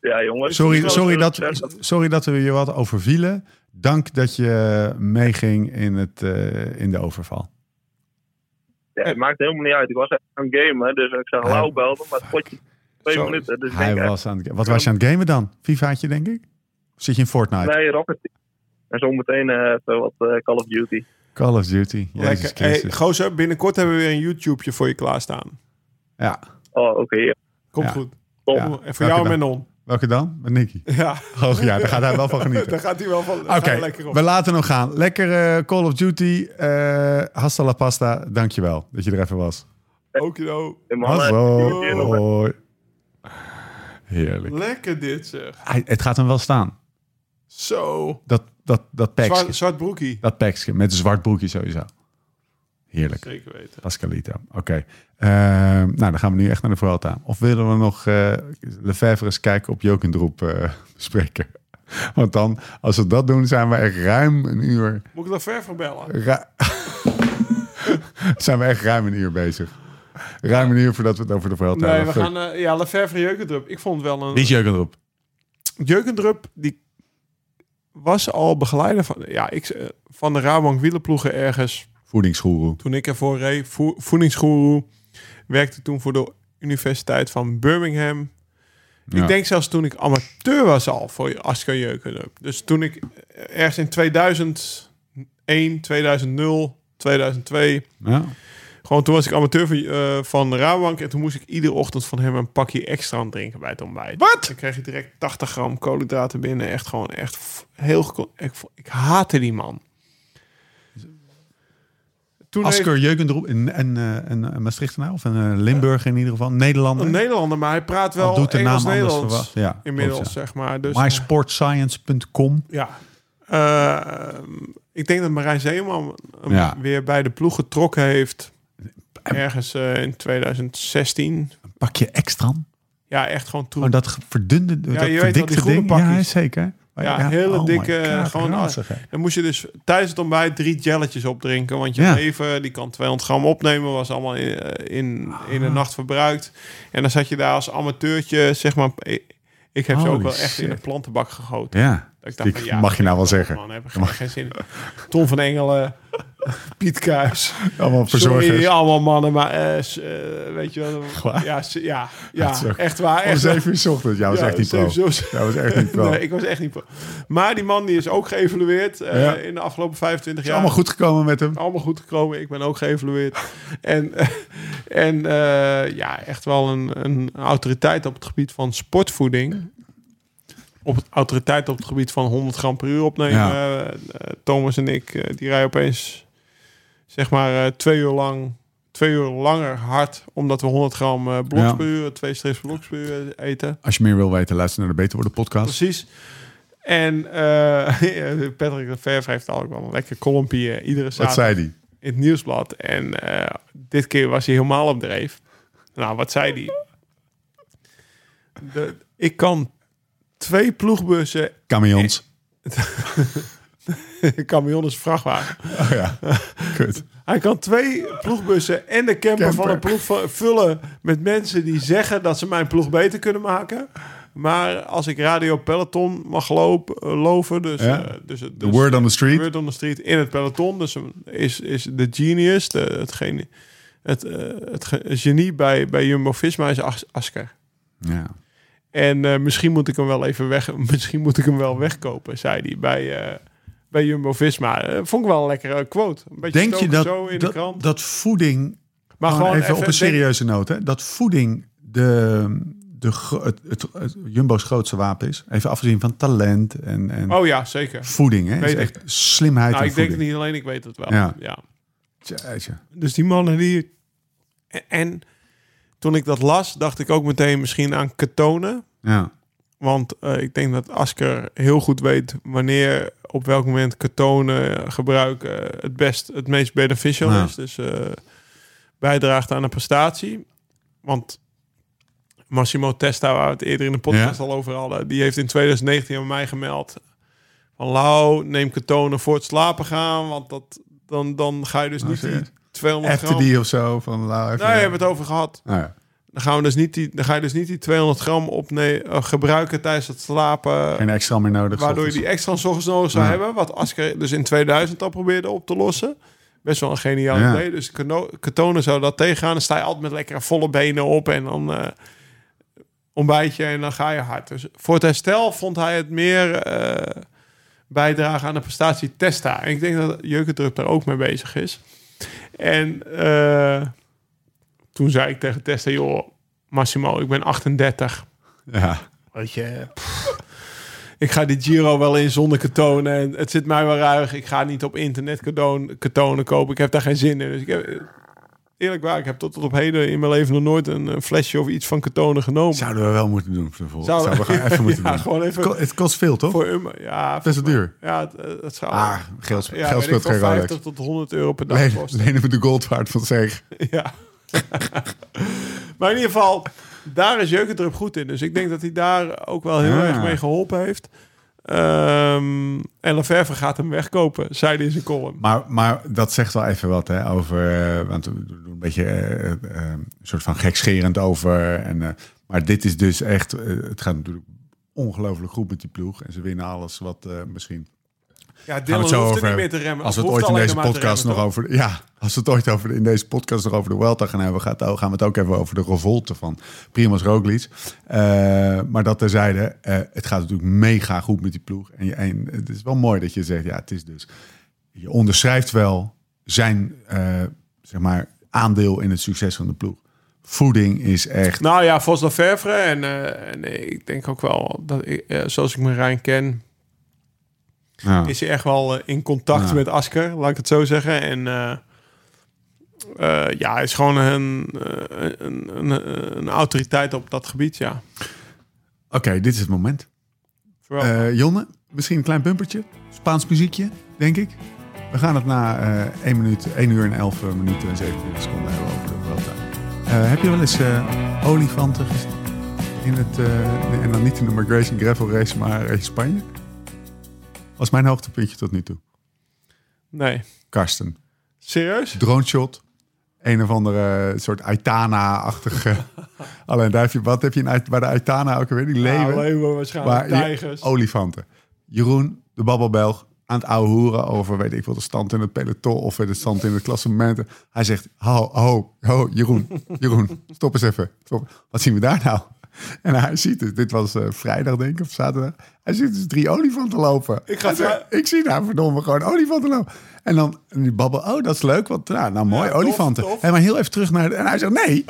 Speaker 6: Ja, jongens.
Speaker 1: Sorry,
Speaker 6: Zo-
Speaker 1: sorry,
Speaker 6: zo-
Speaker 1: dat,
Speaker 6: zo-
Speaker 1: sorry dat we je wat overvielen. Dank dat je meeging in, het, eh, in de overval.
Speaker 6: Ja, het maakt helemaal niet uit. Ik was echt aan het gamen, dus ik zag Lau belden, maar het potje twee
Speaker 3: Zo,
Speaker 6: minuten. Dus ik
Speaker 1: Hij
Speaker 6: denk
Speaker 3: eh,
Speaker 6: echt,
Speaker 1: was aan het, wat was je aan het gamen dan? FIFA'tje, denk ik? Of zit je in Fortnite?
Speaker 6: nee, Rocket League. En zometeen eh even wat eh, Call of Duty.
Speaker 1: Call of Duty. Jezus
Speaker 3: Lekker. Hey,
Speaker 1: Christus.
Speaker 3: gozer, binnenkort hebben we weer een YouTubeje voor je klaarstaan.
Speaker 1: Ja.
Speaker 6: Oh, oké. ja.
Speaker 3: Komt
Speaker 1: Ja.
Speaker 3: goed.
Speaker 6: Top.
Speaker 1: Ja.
Speaker 3: En voor
Speaker 1: Dank
Speaker 3: jou
Speaker 1: je wel.
Speaker 3: en Menon.
Speaker 1: Welke dan? Met Nicky.
Speaker 3: Ja,
Speaker 1: Oh ja, daar gaat hij wel van genieten.
Speaker 3: daar gaat hij wel van
Speaker 1: Oké,
Speaker 3: gaat lekker op.
Speaker 1: we laten hem gaan. Lekker eh, Call of Duty. eh hasta la pasta. Dankjewel dat je er even was.
Speaker 3: Okido.
Speaker 6: En mannen, jullie hier nog
Speaker 1: Hallo. Hoi. Heerlijk.
Speaker 3: Lekker dit zeg.
Speaker 1: Hij- het gaat hem wel staan.
Speaker 3: Zo.
Speaker 1: Dat, dat, dat
Speaker 3: Zwart,
Speaker 1: pakje.
Speaker 3: zwart broekie.
Speaker 1: Dat pakje met een zwart broekje sowieso. Heerlijk.
Speaker 3: Zeker weten.
Speaker 1: Pascalito. Oké. Ehm, nou, dan gaan we nu echt naar de Vuelta. Of willen we nog eh Lefebvre eens kijken op Jokendroep eh bespreken? Want dan, als we dat doen, zijn we echt ruim een uur...
Speaker 3: Moet ik dat ver van bellen?
Speaker 1: ru- zijn we echt ruim een uur bezig. Ruim een uur voordat we het over de Vuelta
Speaker 3: Nee,
Speaker 1: hebben.
Speaker 3: we
Speaker 1: Fuck.
Speaker 3: gaan... eh, ja, Lefevre Jeukendrup. Ik vond wel
Speaker 1: Wie is
Speaker 3: een...
Speaker 1: Jokendroep?
Speaker 3: Jeukendrup, die was al begeleider van... Ja, ik, eh, van de Rabank wielerploegen ergens...
Speaker 1: Voedingsgoeroe.
Speaker 3: Toen ik ervoor reed, vo- voedingsgoeroe. Werkte toen voor de Universiteit van Birmingham.
Speaker 1: Ja.
Speaker 3: Ik denk zelfs toen ik amateur was al voor Asker Jeukenhup. Dus toen ik ergens in 2001, 2000, 2002...
Speaker 1: Ja.
Speaker 3: Gewoon toen was ik amateur van, eh, van de Rabank. En toen moest ik iedere ochtend van hem een pakje extra aan het drinken bij het ontbijt. Wat? Dan kreeg je direct 80 gram koolhydraten binnen. Echt gewoon echt f- heel... geko- Ik, vo- ik haatte die man. Toen heeft-
Speaker 1: Asker Jokendroep, een, een, eh, een, een Maastrichtenaar of een eh, Limburger in ieder geval. Nederlander.
Speaker 3: Een Nederlander, maar hij praat wel
Speaker 1: Al doet de naam
Speaker 3: Engels
Speaker 1: anders
Speaker 3: Nederlands.
Speaker 1: verwacht. Ja,
Speaker 3: inmiddels,
Speaker 1: klopt, ja.
Speaker 3: zeg maar. Dus,
Speaker 1: MySportscience.com.
Speaker 3: ja. Eh, ik denk dat Marijn Zeeman hem
Speaker 1: Ja.
Speaker 3: weer bij de ploeg getrokken heeft. Ergens eh, in 2016.
Speaker 1: Een pakje extra.
Speaker 3: Ja, echt gewoon troep.
Speaker 1: Oh, dat ge- verdunde, dat
Speaker 3: je weet wel, die
Speaker 1: verdikte
Speaker 3: groene
Speaker 1: ding.
Speaker 3: pakjes.
Speaker 1: Ja, zeker. Maar
Speaker 3: Ja, hele
Speaker 1: my
Speaker 3: dikke, gewoon-
Speaker 1: ranzig, hè.
Speaker 3: Dan moest je dus tijdens het ontbijt drie jelletjes opdrinken. Want je
Speaker 1: Ja.
Speaker 3: leven, die kan 200 gram opnemen, was allemaal in, eh, in, in
Speaker 1: Ah.
Speaker 3: de nacht verbruikt. En dan zat je daar als amateurtje, zeg maar... ik- Ik heb ze ook
Speaker 1: Holy
Speaker 3: wel echt in de
Speaker 1: shit.
Speaker 3: plantenbak gegoten.
Speaker 1: Ja,
Speaker 3: Dat ik dacht
Speaker 1: die
Speaker 3: van, ja,
Speaker 1: mag je nou wel zeggen.
Speaker 3: Man, heb ik geen, geen zin in. Tom van Engelen, Piet Kuijs.
Speaker 1: Allemaal
Speaker 3: Sorry,
Speaker 1: verzorgers.
Speaker 3: allemaal mannen, maar eh, s- eh, weet je wel.
Speaker 1: waar?
Speaker 3: Ja, s- ja, ja
Speaker 1: Dat is ook-
Speaker 3: echt waar.
Speaker 1: Om
Speaker 3: Echt waar.
Speaker 1: 7 uur 's ochtends. Ja, was
Speaker 3: Ja,
Speaker 1: echt niet pro.
Speaker 3: zeven uur 's ochtends.
Speaker 1: Ja, was echt niet pro.
Speaker 3: Nee, ik was echt niet... pro. Maar die man die is ook geëvalueerd eh,
Speaker 1: Ja.
Speaker 3: in de afgelopen 25
Speaker 1: Is
Speaker 3: jaar.
Speaker 1: allemaal goed gekomen met hem.
Speaker 3: Allemaal goed gekomen. Ik ben ook geëvalueerd. en en eh, ja, echt wel een, een autoriteit op het gebied van sportvoeding. Op het, autoriteit op het gebied van 100 gram per uur opnemen.
Speaker 1: Ja.
Speaker 3: Eh, Thomas en ik, eh, die rijden opeens zeg maar eh, twee uur lang... Twee uur langer hard, omdat we 100 gram eh bloks
Speaker 1: Ja.
Speaker 3: per uur, twee strips bloks per uur eten.
Speaker 1: Als je meer wil weten, luister naar de Beter Worden podcast.
Speaker 3: Precies. En eh Patrick de Verve heeft al ook wel een lekker kolompje eh, iedere
Speaker 1: Wat
Speaker 3: zaterdag
Speaker 1: zei die?
Speaker 3: in het nieuwsblad. En eh, dit keer was hij helemaal op dreef. Nou, wat zei hij? De- Ik kan twee ploegbussen,
Speaker 1: Camions.
Speaker 3: camion is een vrachtwagen.
Speaker 1: Oh ja, kut.
Speaker 3: Hij kan twee ploegbussen en de camper,
Speaker 1: Camper.
Speaker 3: van een ploeg vu- vullen met mensen die zeggen dat ze mijn ploeg beter kunnen maken. Maar als ik Radio Peloton mag lopen, loven, dus,
Speaker 1: Ja.
Speaker 3: eh, dus, het-
Speaker 1: The
Speaker 3: dus
Speaker 1: word on the
Speaker 3: de
Speaker 1: street.
Speaker 3: word on the street in het peloton, dus een- is, is de genius, de, hetgeen, het, eh, het ge- genie bij, bij Jumbo-Visma is As- Asker.
Speaker 1: Ja.
Speaker 3: En eh, misschien moet ik hem wel even weg, misschien moet ik hem wel wegkopen, zei hij bij, eh, bij Jumbo-Visma. Eh, vond ik wel een lekkere quote. Een beetje
Speaker 1: Denk je
Speaker 3: stoken
Speaker 1: dat,
Speaker 3: zo in de
Speaker 1: dat,
Speaker 3: krant.
Speaker 1: dat voeding
Speaker 3: maar
Speaker 1: Gewoon even, op een
Speaker 3: denk-
Speaker 1: serieuze noot. Hè? Dat voeding de, de, gro- het, het, het Jumbo's grootste wapen is. Even afgezien van talent en, en
Speaker 3: Oh ja, zeker.
Speaker 1: voeding. Hè? Is
Speaker 3: weet
Speaker 1: echt slimheid
Speaker 3: Nou,
Speaker 1: en
Speaker 3: ik denk het
Speaker 1: voeding.
Speaker 3: niet alleen, ik weet het wel.
Speaker 1: Ja.
Speaker 3: ja.
Speaker 1: Jeetje.
Speaker 3: Dus die mannen die... En toen ik dat las, dacht ik ook meteen misschien aan ketonen.
Speaker 1: Ja.
Speaker 3: Want eh, ik denk dat Asker heel goed weet wanneer, op welk moment ketonen gebruiken het best, het meest beneficial
Speaker 1: Ja.
Speaker 3: is. Dus eh, bijdraagt aan een prestatie. Want Massimo Testa, waar we het eerder in de podcast
Speaker 1: Ja.
Speaker 3: al over hadden, die heeft in 2019 aan mij gemeld van Lau, neem ketonen voor het slapen gaan, want dat, dan, dan ga je dus
Speaker 1: Oh,
Speaker 3: niet die
Speaker 1: serieus?
Speaker 3: 200
Speaker 1: Appte
Speaker 3: gram...
Speaker 1: die of zo. Van, nou, even,
Speaker 3: Nee, we hebben het over gehad.
Speaker 1: Oh, ja.
Speaker 3: Dan, gaan we dus niet die, dan ga je dus niet die 200 gram opne- eh, gebruiken tijdens het slapen.
Speaker 1: Geen extra meer nodig.
Speaker 3: Waardoor je
Speaker 1: ochtends.
Speaker 3: die extra zorgens nodig zou
Speaker 1: Ja.
Speaker 3: hebben. Wat Asker dus in 2000 al probeerde op te lossen. Best wel een geniaal
Speaker 1: Ja.
Speaker 3: idee. Dus Kano- Katonen zou dat tegengaan. Dan sta je altijd met lekkere volle benen op. En dan eh, ontbijtje en dan ga je hard. Dus voor het herstel vond hij het meer eh bijdragen aan de prestatie Testa. En ik denk dat Jeukendrup daar ook mee bezig is. En eh, toen zei ik tegen Testa... joh, Massimo, ik ben 38.
Speaker 1: Ja.
Speaker 3: Weet je, pff. ik ga die Giro wel in zonder katonen. En het zit mij wel ruig. Ik ga niet op internet katonen, katonen kopen. Ik heb daar geen zin in. Dus ik heb, eerlijk waar, ik heb tot, tot op heden in mijn leven nog nooit een, eh, flesje of iets van katonen genomen.
Speaker 1: Zouden we wel moeten doen. Voor de volgende.
Speaker 3: Zouden-
Speaker 1: Zouden we gewoon even moeten
Speaker 3: Ja,
Speaker 1: doen.
Speaker 3: gewoon even-
Speaker 1: Het ko- Het kost veel, toch?
Speaker 3: voor een, ja,
Speaker 1: Best wel duur.
Speaker 3: Ja, het, eh, het zou...
Speaker 1: Ah, geld, geld
Speaker 3: ja, weet ik
Speaker 1: speelt
Speaker 3: veel,
Speaker 1: geen rol.
Speaker 3: 50 tot 100 euro per dag
Speaker 1: Leen-
Speaker 3: kosten.
Speaker 1: Lenen we de goldwaard van zeg.
Speaker 3: Ja. maar in ieder geval, daar is Jeukendrup goed in. Dus ik denk dat hij daar ook wel heel
Speaker 1: Ah.
Speaker 3: erg mee geholpen heeft. Ehm en Laverve gaat hem wegkopen, zei hij in zijn column.
Speaker 1: Ehm, Maar, maar dat zegt wel even wat hè, over. eh, want we doen een beetje eh, eh, een soort van gekscherend over. En, eh, maar dit is dus echt. eh, het gaat natuurlijk ongelooflijk goed met die ploeg. En ze winnen alles wat eh, misschien.
Speaker 3: Ja, Dylan
Speaker 1: Gaan we het zo
Speaker 3: hoeft
Speaker 1: over
Speaker 3: er niet meer
Speaker 1: hebben.
Speaker 3: te remmen.
Speaker 1: Als we
Speaker 3: Of
Speaker 1: het
Speaker 3: hoeft
Speaker 1: ooit in
Speaker 3: alleen
Speaker 1: deze
Speaker 3: maar te
Speaker 1: podcast nog
Speaker 3: remmen,
Speaker 1: over. de- Ja, als we het ooit over, de- in deze podcast nog over de Welta gaan hebben, gaat, gaan we het ook even over de revolte van Primoz Roglic. Eh, maar dat terzijde, eh het gaat natuurlijk mega goed met die ploeg. En, je, en het is wel mooi dat je zegt, ja, het is dus. Je onderschrijft wel zijn eh, zeg maar, aandeel in het succes van de ploeg. Voeding is echt.
Speaker 3: toch? Nou ja, Vos Laverve en, eh, en ik denk ook wel dat ik, eh, zoals ik Marijn ken,
Speaker 1: Ja.
Speaker 3: is hij echt wel eh, in contact
Speaker 1: Ja.
Speaker 3: met Asker, laat ik het zo zeggen. En eh, eh, ja, hij is gewoon een, eh, een, eh, een, een autoriteit op dat gebied, ja.
Speaker 1: Oké, dit is het moment.
Speaker 3: Vooral.
Speaker 1: Eh, Jonne, misschien een klein bumpertje. Spaans muziekje, denk ik. We gaan het na eh 1, minuut, 1 uur en 11 minuten en 27 seconden hebben over de Vuelta. Eh, heb je wel eens eh, olifanten gezien? In het, eh, en dan niet in de Migration Gravel Race, maar in Spanje? Was mijn hoogtepuntje tot nu toe.
Speaker 3: nee.
Speaker 1: Karsten.
Speaker 3: Serieus?
Speaker 1: Drone shot. Een of andere eh, soort Aitana-achtige. Alleen duifje, wat heb je in, Ait- bij de Aitana ook alweer? Die leeuwen.
Speaker 3: Ja, Nou, leeuwen waarschijnlijk.
Speaker 1: Maar
Speaker 3: tijgers.
Speaker 1: je- olifanten. Jeroen, de babbelbelg, aan het ouwe hoeren over, weet ik wel, de stand in het peloton of eh, de stand in het klassement. Hij zegt, ho, ho, ho, Jeroen, Jeroen, stop eens even. Stop. Wat zien we daar nou? En hij ziet het. Dit was eh, vrijdag, denk ik, of zaterdag. Hij ziet dus drie olifanten lopen.
Speaker 3: Ik ga
Speaker 1: Hij zegt, ik zie daar verdomme gewoon olifanten lopen. En dan en die babbel, oh, dat is leuk. Want, nou, nou mooi,
Speaker 3: Ja, tof,
Speaker 1: olifanten.
Speaker 3: tof.
Speaker 1: Hé, maar heel even terug naar... de- en hij zegt, nee,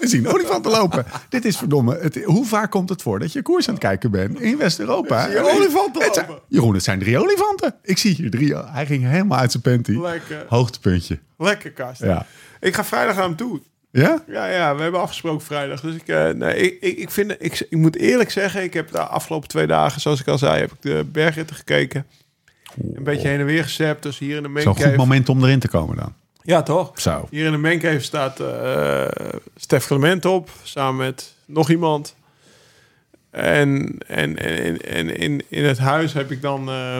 Speaker 1: we zien olifanten lopen. Dit is verdomme. Het, hoe vaak komt het voor dat je koers aan het kijken bent in West-Europa?
Speaker 3: Zie je olifanten
Speaker 1: Het zijn-
Speaker 3: lopen?
Speaker 1: Jeroen, het zijn drie olifanten. Ik zie hier drie. Hij ging helemaal uit zijn panty.
Speaker 3: Lekker.
Speaker 1: Hoogtepuntje.
Speaker 3: Lekker, Karsten.
Speaker 1: Ja.
Speaker 3: Ik ga vrijdag naar hem toe.
Speaker 1: Ja?
Speaker 3: Ja, ja, we hebben afgesproken vrijdag. Dus ik, eh, nee, ik, ik, ik, vind, ik, ik moet eerlijk zeggen, ik heb de afgelopen twee dagen, zoals ik al zei, heb ik de bergritten gekeken. Een beetje heen en weer gezept, dus hier in de
Speaker 1: Zo'n goed
Speaker 3: mancave.
Speaker 1: moment om erin te komen dan.
Speaker 3: Ja, toch?
Speaker 1: Zo.
Speaker 3: Hier in de mancave staat eh Stef Clement op, samen met nog iemand. En, en, en, en in, in het huis heb ik dan eh,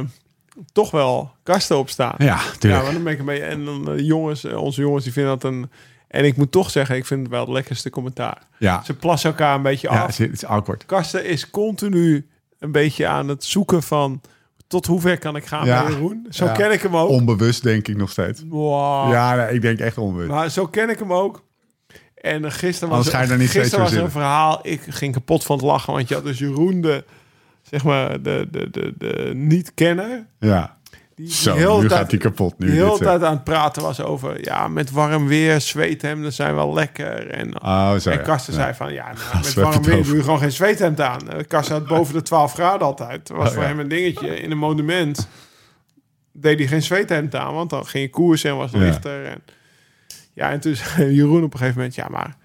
Speaker 3: toch wel kasten op staan.
Speaker 1: Ja,
Speaker 3: Ja,
Speaker 1: tuurlijk.
Speaker 3: maar dan ben ik een beetje... En dan eh, jongens, eh, onze jongens, die vinden dat een... En ik moet toch zeggen, ik vind het wel het lekkerste commentaar.
Speaker 1: Ja,
Speaker 3: Ze Oh. plassen elkaar een beetje
Speaker 1: ja
Speaker 3: af.
Speaker 1: het is awkward.
Speaker 3: Karsten is continu een beetje aan het zoeken van... tot hoe ver kan ik gaan
Speaker 1: Ja.
Speaker 3: met Jeroen? Zo
Speaker 1: Ja.
Speaker 3: ken ik hem ook.
Speaker 1: Onbewust denk ik nog steeds.
Speaker 3: Wow.
Speaker 1: Ja, nee, ik denk echt onbewust.
Speaker 3: Oh. Maar zo ken ik hem ook. En eh, gisteren was,
Speaker 1: Anders ga je daar niet
Speaker 3: gisteren
Speaker 1: steeds
Speaker 3: was
Speaker 1: zo
Speaker 3: een verhaal. Ik ging kapot van het lachen. Want je had dus Jeroen de, zeg maar, de, de, de, de niet-kenner.
Speaker 1: Ja.
Speaker 3: Die, die
Speaker 1: Zo,
Speaker 3: heel
Speaker 1: nu
Speaker 3: de tijd-
Speaker 1: gaat hij kapot. Nu
Speaker 3: die heel
Speaker 1: dit, eh.
Speaker 3: de
Speaker 1: zegt.
Speaker 3: tijd aan het praten was over... Ja, met warm weer, zweethemden zijn wel lekker. En,
Speaker 1: Oh, zo,
Speaker 3: en
Speaker 1: ja.
Speaker 3: Karsten
Speaker 1: Ja.
Speaker 3: zei van... Ja, nou, met
Speaker 1: heb je
Speaker 3: warm
Speaker 1: het
Speaker 3: weer
Speaker 1: over.
Speaker 3: doe je gewoon geen zweethemd aan. Eh, Karsten had boven de 12 graden altijd. Dat was
Speaker 1: Oh,
Speaker 3: voor
Speaker 1: ja.
Speaker 3: hem een dingetje. In een monument deed hij geen zweethemd aan. Want dan ging je koersen en was het
Speaker 1: Ja.
Speaker 3: lichter. En, ja, en toen zei Jeroen op een gegeven moment... Ja, maar...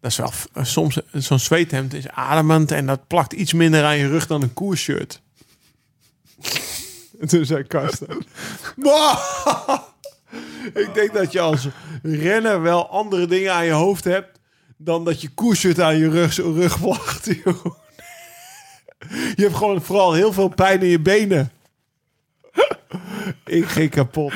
Speaker 3: Dat is wel f- eh, soms eh, zo'n zweethemd is ademend en dat plakt iets minder aan je rug dan een koersshirt. En toen zei Karsten. "Wow." Ik denk dat je als renner wel andere dingen aan je hoofd hebt dan dat je koershirt aan je rug, rug placht. Jeroen." Je hebt gewoon vooral heel veel pijn in je benen. Ik ging kapot.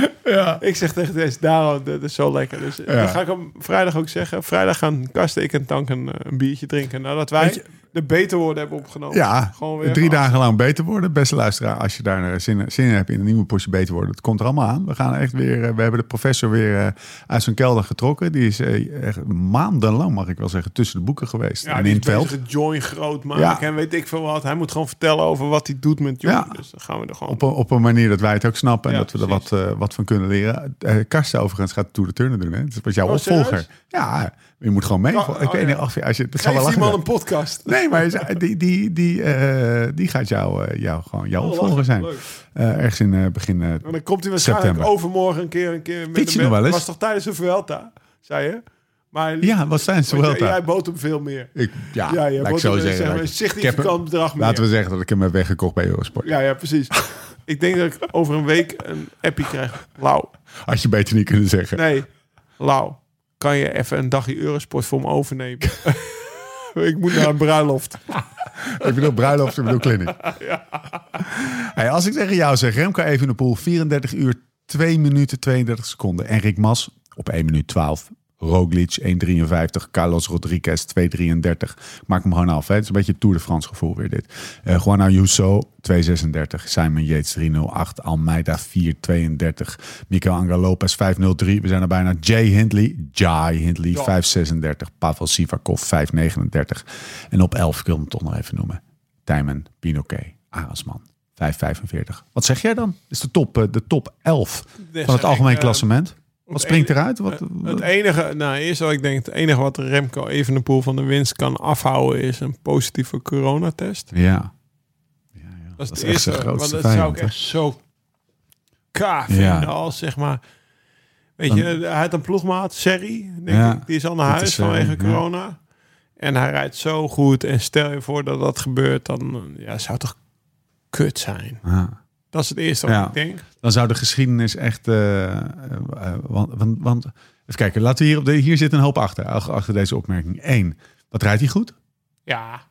Speaker 3: Ik zeg tegen Des, daarom, dat is zo lekker. Dus dan ga ik hem vrijdag ook zeggen. Vrijdag gaan Karsten, ik en Tank een, eh, een biertje drinken. Nadat wij de beter woorden hebben opgenomen.
Speaker 1: Ja,
Speaker 3: Gewoon weer
Speaker 1: drie
Speaker 3: af.
Speaker 1: dagen lang beter worden. Beste luisteraar, als je daar eh, zin, zin in hebt in een nieuwe portie beter worden. Het komt er allemaal aan. We gaan echt weer. eh, We hebben de professor weer eh, uit zijn kelder getrokken. Die is eh, echt maandenlang, mag ik wel zeggen, tussen de boeken geweest.
Speaker 3: Ja,
Speaker 1: en
Speaker 3: die
Speaker 1: in
Speaker 3: is
Speaker 1: het veld.
Speaker 3: bezig het join groot maken
Speaker 1: Ja.
Speaker 3: en weet ik veel wat. Hij moet gewoon vertellen over wat hij doet met Join.
Speaker 1: Ja.
Speaker 3: Dus dan gaan we er gewoon
Speaker 1: Op een, op een manier dat wij het ook snappen en
Speaker 3: Ja,
Speaker 1: dat we er
Speaker 3: precies.
Speaker 1: wat, eh, wat van kunnen leren. Eh, Karsten overigens gaat de Tour de Turner doen. Hè? Dat was jouw
Speaker 3: Oh,
Speaker 1: opvolger.
Speaker 3: serieus?
Speaker 1: Ja, je moet gewoon mee. ik
Speaker 3: Oh, oh,
Speaker 1: weet
Speaker 3: ja.
Speaker 1: niet of je- als je... Dat zal wel
Speaker 3: Geef die
Speaker 1: lachen
Speaker 3: man
Speaker 1: zijn.
Speaker 3: een podcast.
Speaker 1: Nee, maar hij- die, die, die, eh, die gaat jou, eh, jou, gewoon jouw
Speaker 3: Oh, lachen.
Speaker 1: opvolger zijn.
Speaker 3: Leuk.
Speaker 1: Eh, ergens in eh, begin eh,
Speaker 3: En dan komt hij waarschijnlijk
Speaker 1: September.
Speaker 3: overmorgen een keer een keer met
Speaker 1: Fiets je
Speaker 3: een-
Speaker 1: nog wel eens?
Speaker 3: was toch tijdens de Vuelta, zei je? Maar
Speaker 1: Ja, wat zijn ze
Speaker 3: want
Speaker 1: wel
Speaker 3: jij, jij bood hem veel meer.
Speaker 1: Ik, ja,
Speaker 3: Ja,
Speaker 1: laat
Speaker 3: je
Speaker 1: ik
Speaker 3: wordt
Speaker 1: zo
Speaker 3: een-
Speaker 1: zeggen.
Speaker 3: zeg maar,
Speaker 1: dat ik-
Speaker 3: een significant
Speaker 1: ik heb hem-
Speaker 3: bedrag meer.
Speaker 1: Laten we zeggen dat ik hem heb weggekocht bij Eurosport.
Speaker 3: Ja, ja, precies. ik denk dat ik over een week een appie krijg. Lau,
Speaker 1: Had je beter niet kunnen zeggen.
Speaker 3: nee, Lau, kan je even een dagje Eurosport voor me overnemen? ik moet naar een bruiloft.
Speaker 1: Ik bedoel bruiloft, ik bedoel kliniek. Hey, als ik tegen jou zeg, Remco Evenepoel, 34 uur, 2 minuten, 32 seconden. En Rick Mas op 1 minuut 12. Roglic 1,53. Carlos Rodriguez 2,33. Ik Maak hem gewoon af. Hè. Het is een beetje Tour de France gevoel weer dit. Eh Juan Ayuso 2,36. Simon Yates 3,08. Almeida 4,32. Mikel Angel Lopez 5,03. We zijn er bijna. Jay Hindley, Jai Hindley 5,36. Pavel Sivakov 5,39. En op 11, ik wil hem toch nog even noemen. Tijmen, Pinoquet, Arendsman. 5,45. Wat zeg jij dan? Is de top, eh, de top 11
Speaker 3: zeg
Speaker 1: van het
Speaker 3: ik,
Speaker 1: algemeen
Speaker 3: eh,
Speaker 1: klassement? Wat springt
Speaker 3: ene-
Speaker 1: eruit? Wat,
Speaker 3: Het enige, nou eerst wat ik denk, het enige wat Remco Evenepoel van de winst kan afhouden is een positieve coronatest.
Speaker 1: ja.
Speaker 3: Dat is,
Speaker 1: Dat
Speaker 3: het
Speaker 1: is echt
Speaker 3: eerste,
Speaker 1: zijn grootste
Speaker 3: want dat zou
Speaker 1: vijand,
Speaker 3: ik
Speaker 1: hè?
Speaker 3: echt zo ka vinden
Speaker 1: Ja.
Speaker 3: als zeg maar, weet je, hij had een ploegmaat, Serri, denk
Speaker 1: Ja,
Speaker 3: ik, die is al naar
Speaker 1: dat
Speaker 3: huis
Speaker 1: is, eh,
Speaker 3: vanwege
Speaker 1: ja.
Speaker 3: corona. En hij rijdt zo goed en stel je voor dat dat gebeurt, dan ja, zou het toch kut zijn.
Speaker 1: Ja.
Speaker 3: Dat is het eerste wat
Speaker 1: Ja.
Speaker 3: ik denk.
Speaker 1: ah. Dan zou de geschiedenis echt... eh, eh, want, want, want, even kijken, laten we hier, op de, hier zit een hoop achter, ach- achter deze opmerking. Eén, wat rijdt hij goed?
Speaker 3: Ja.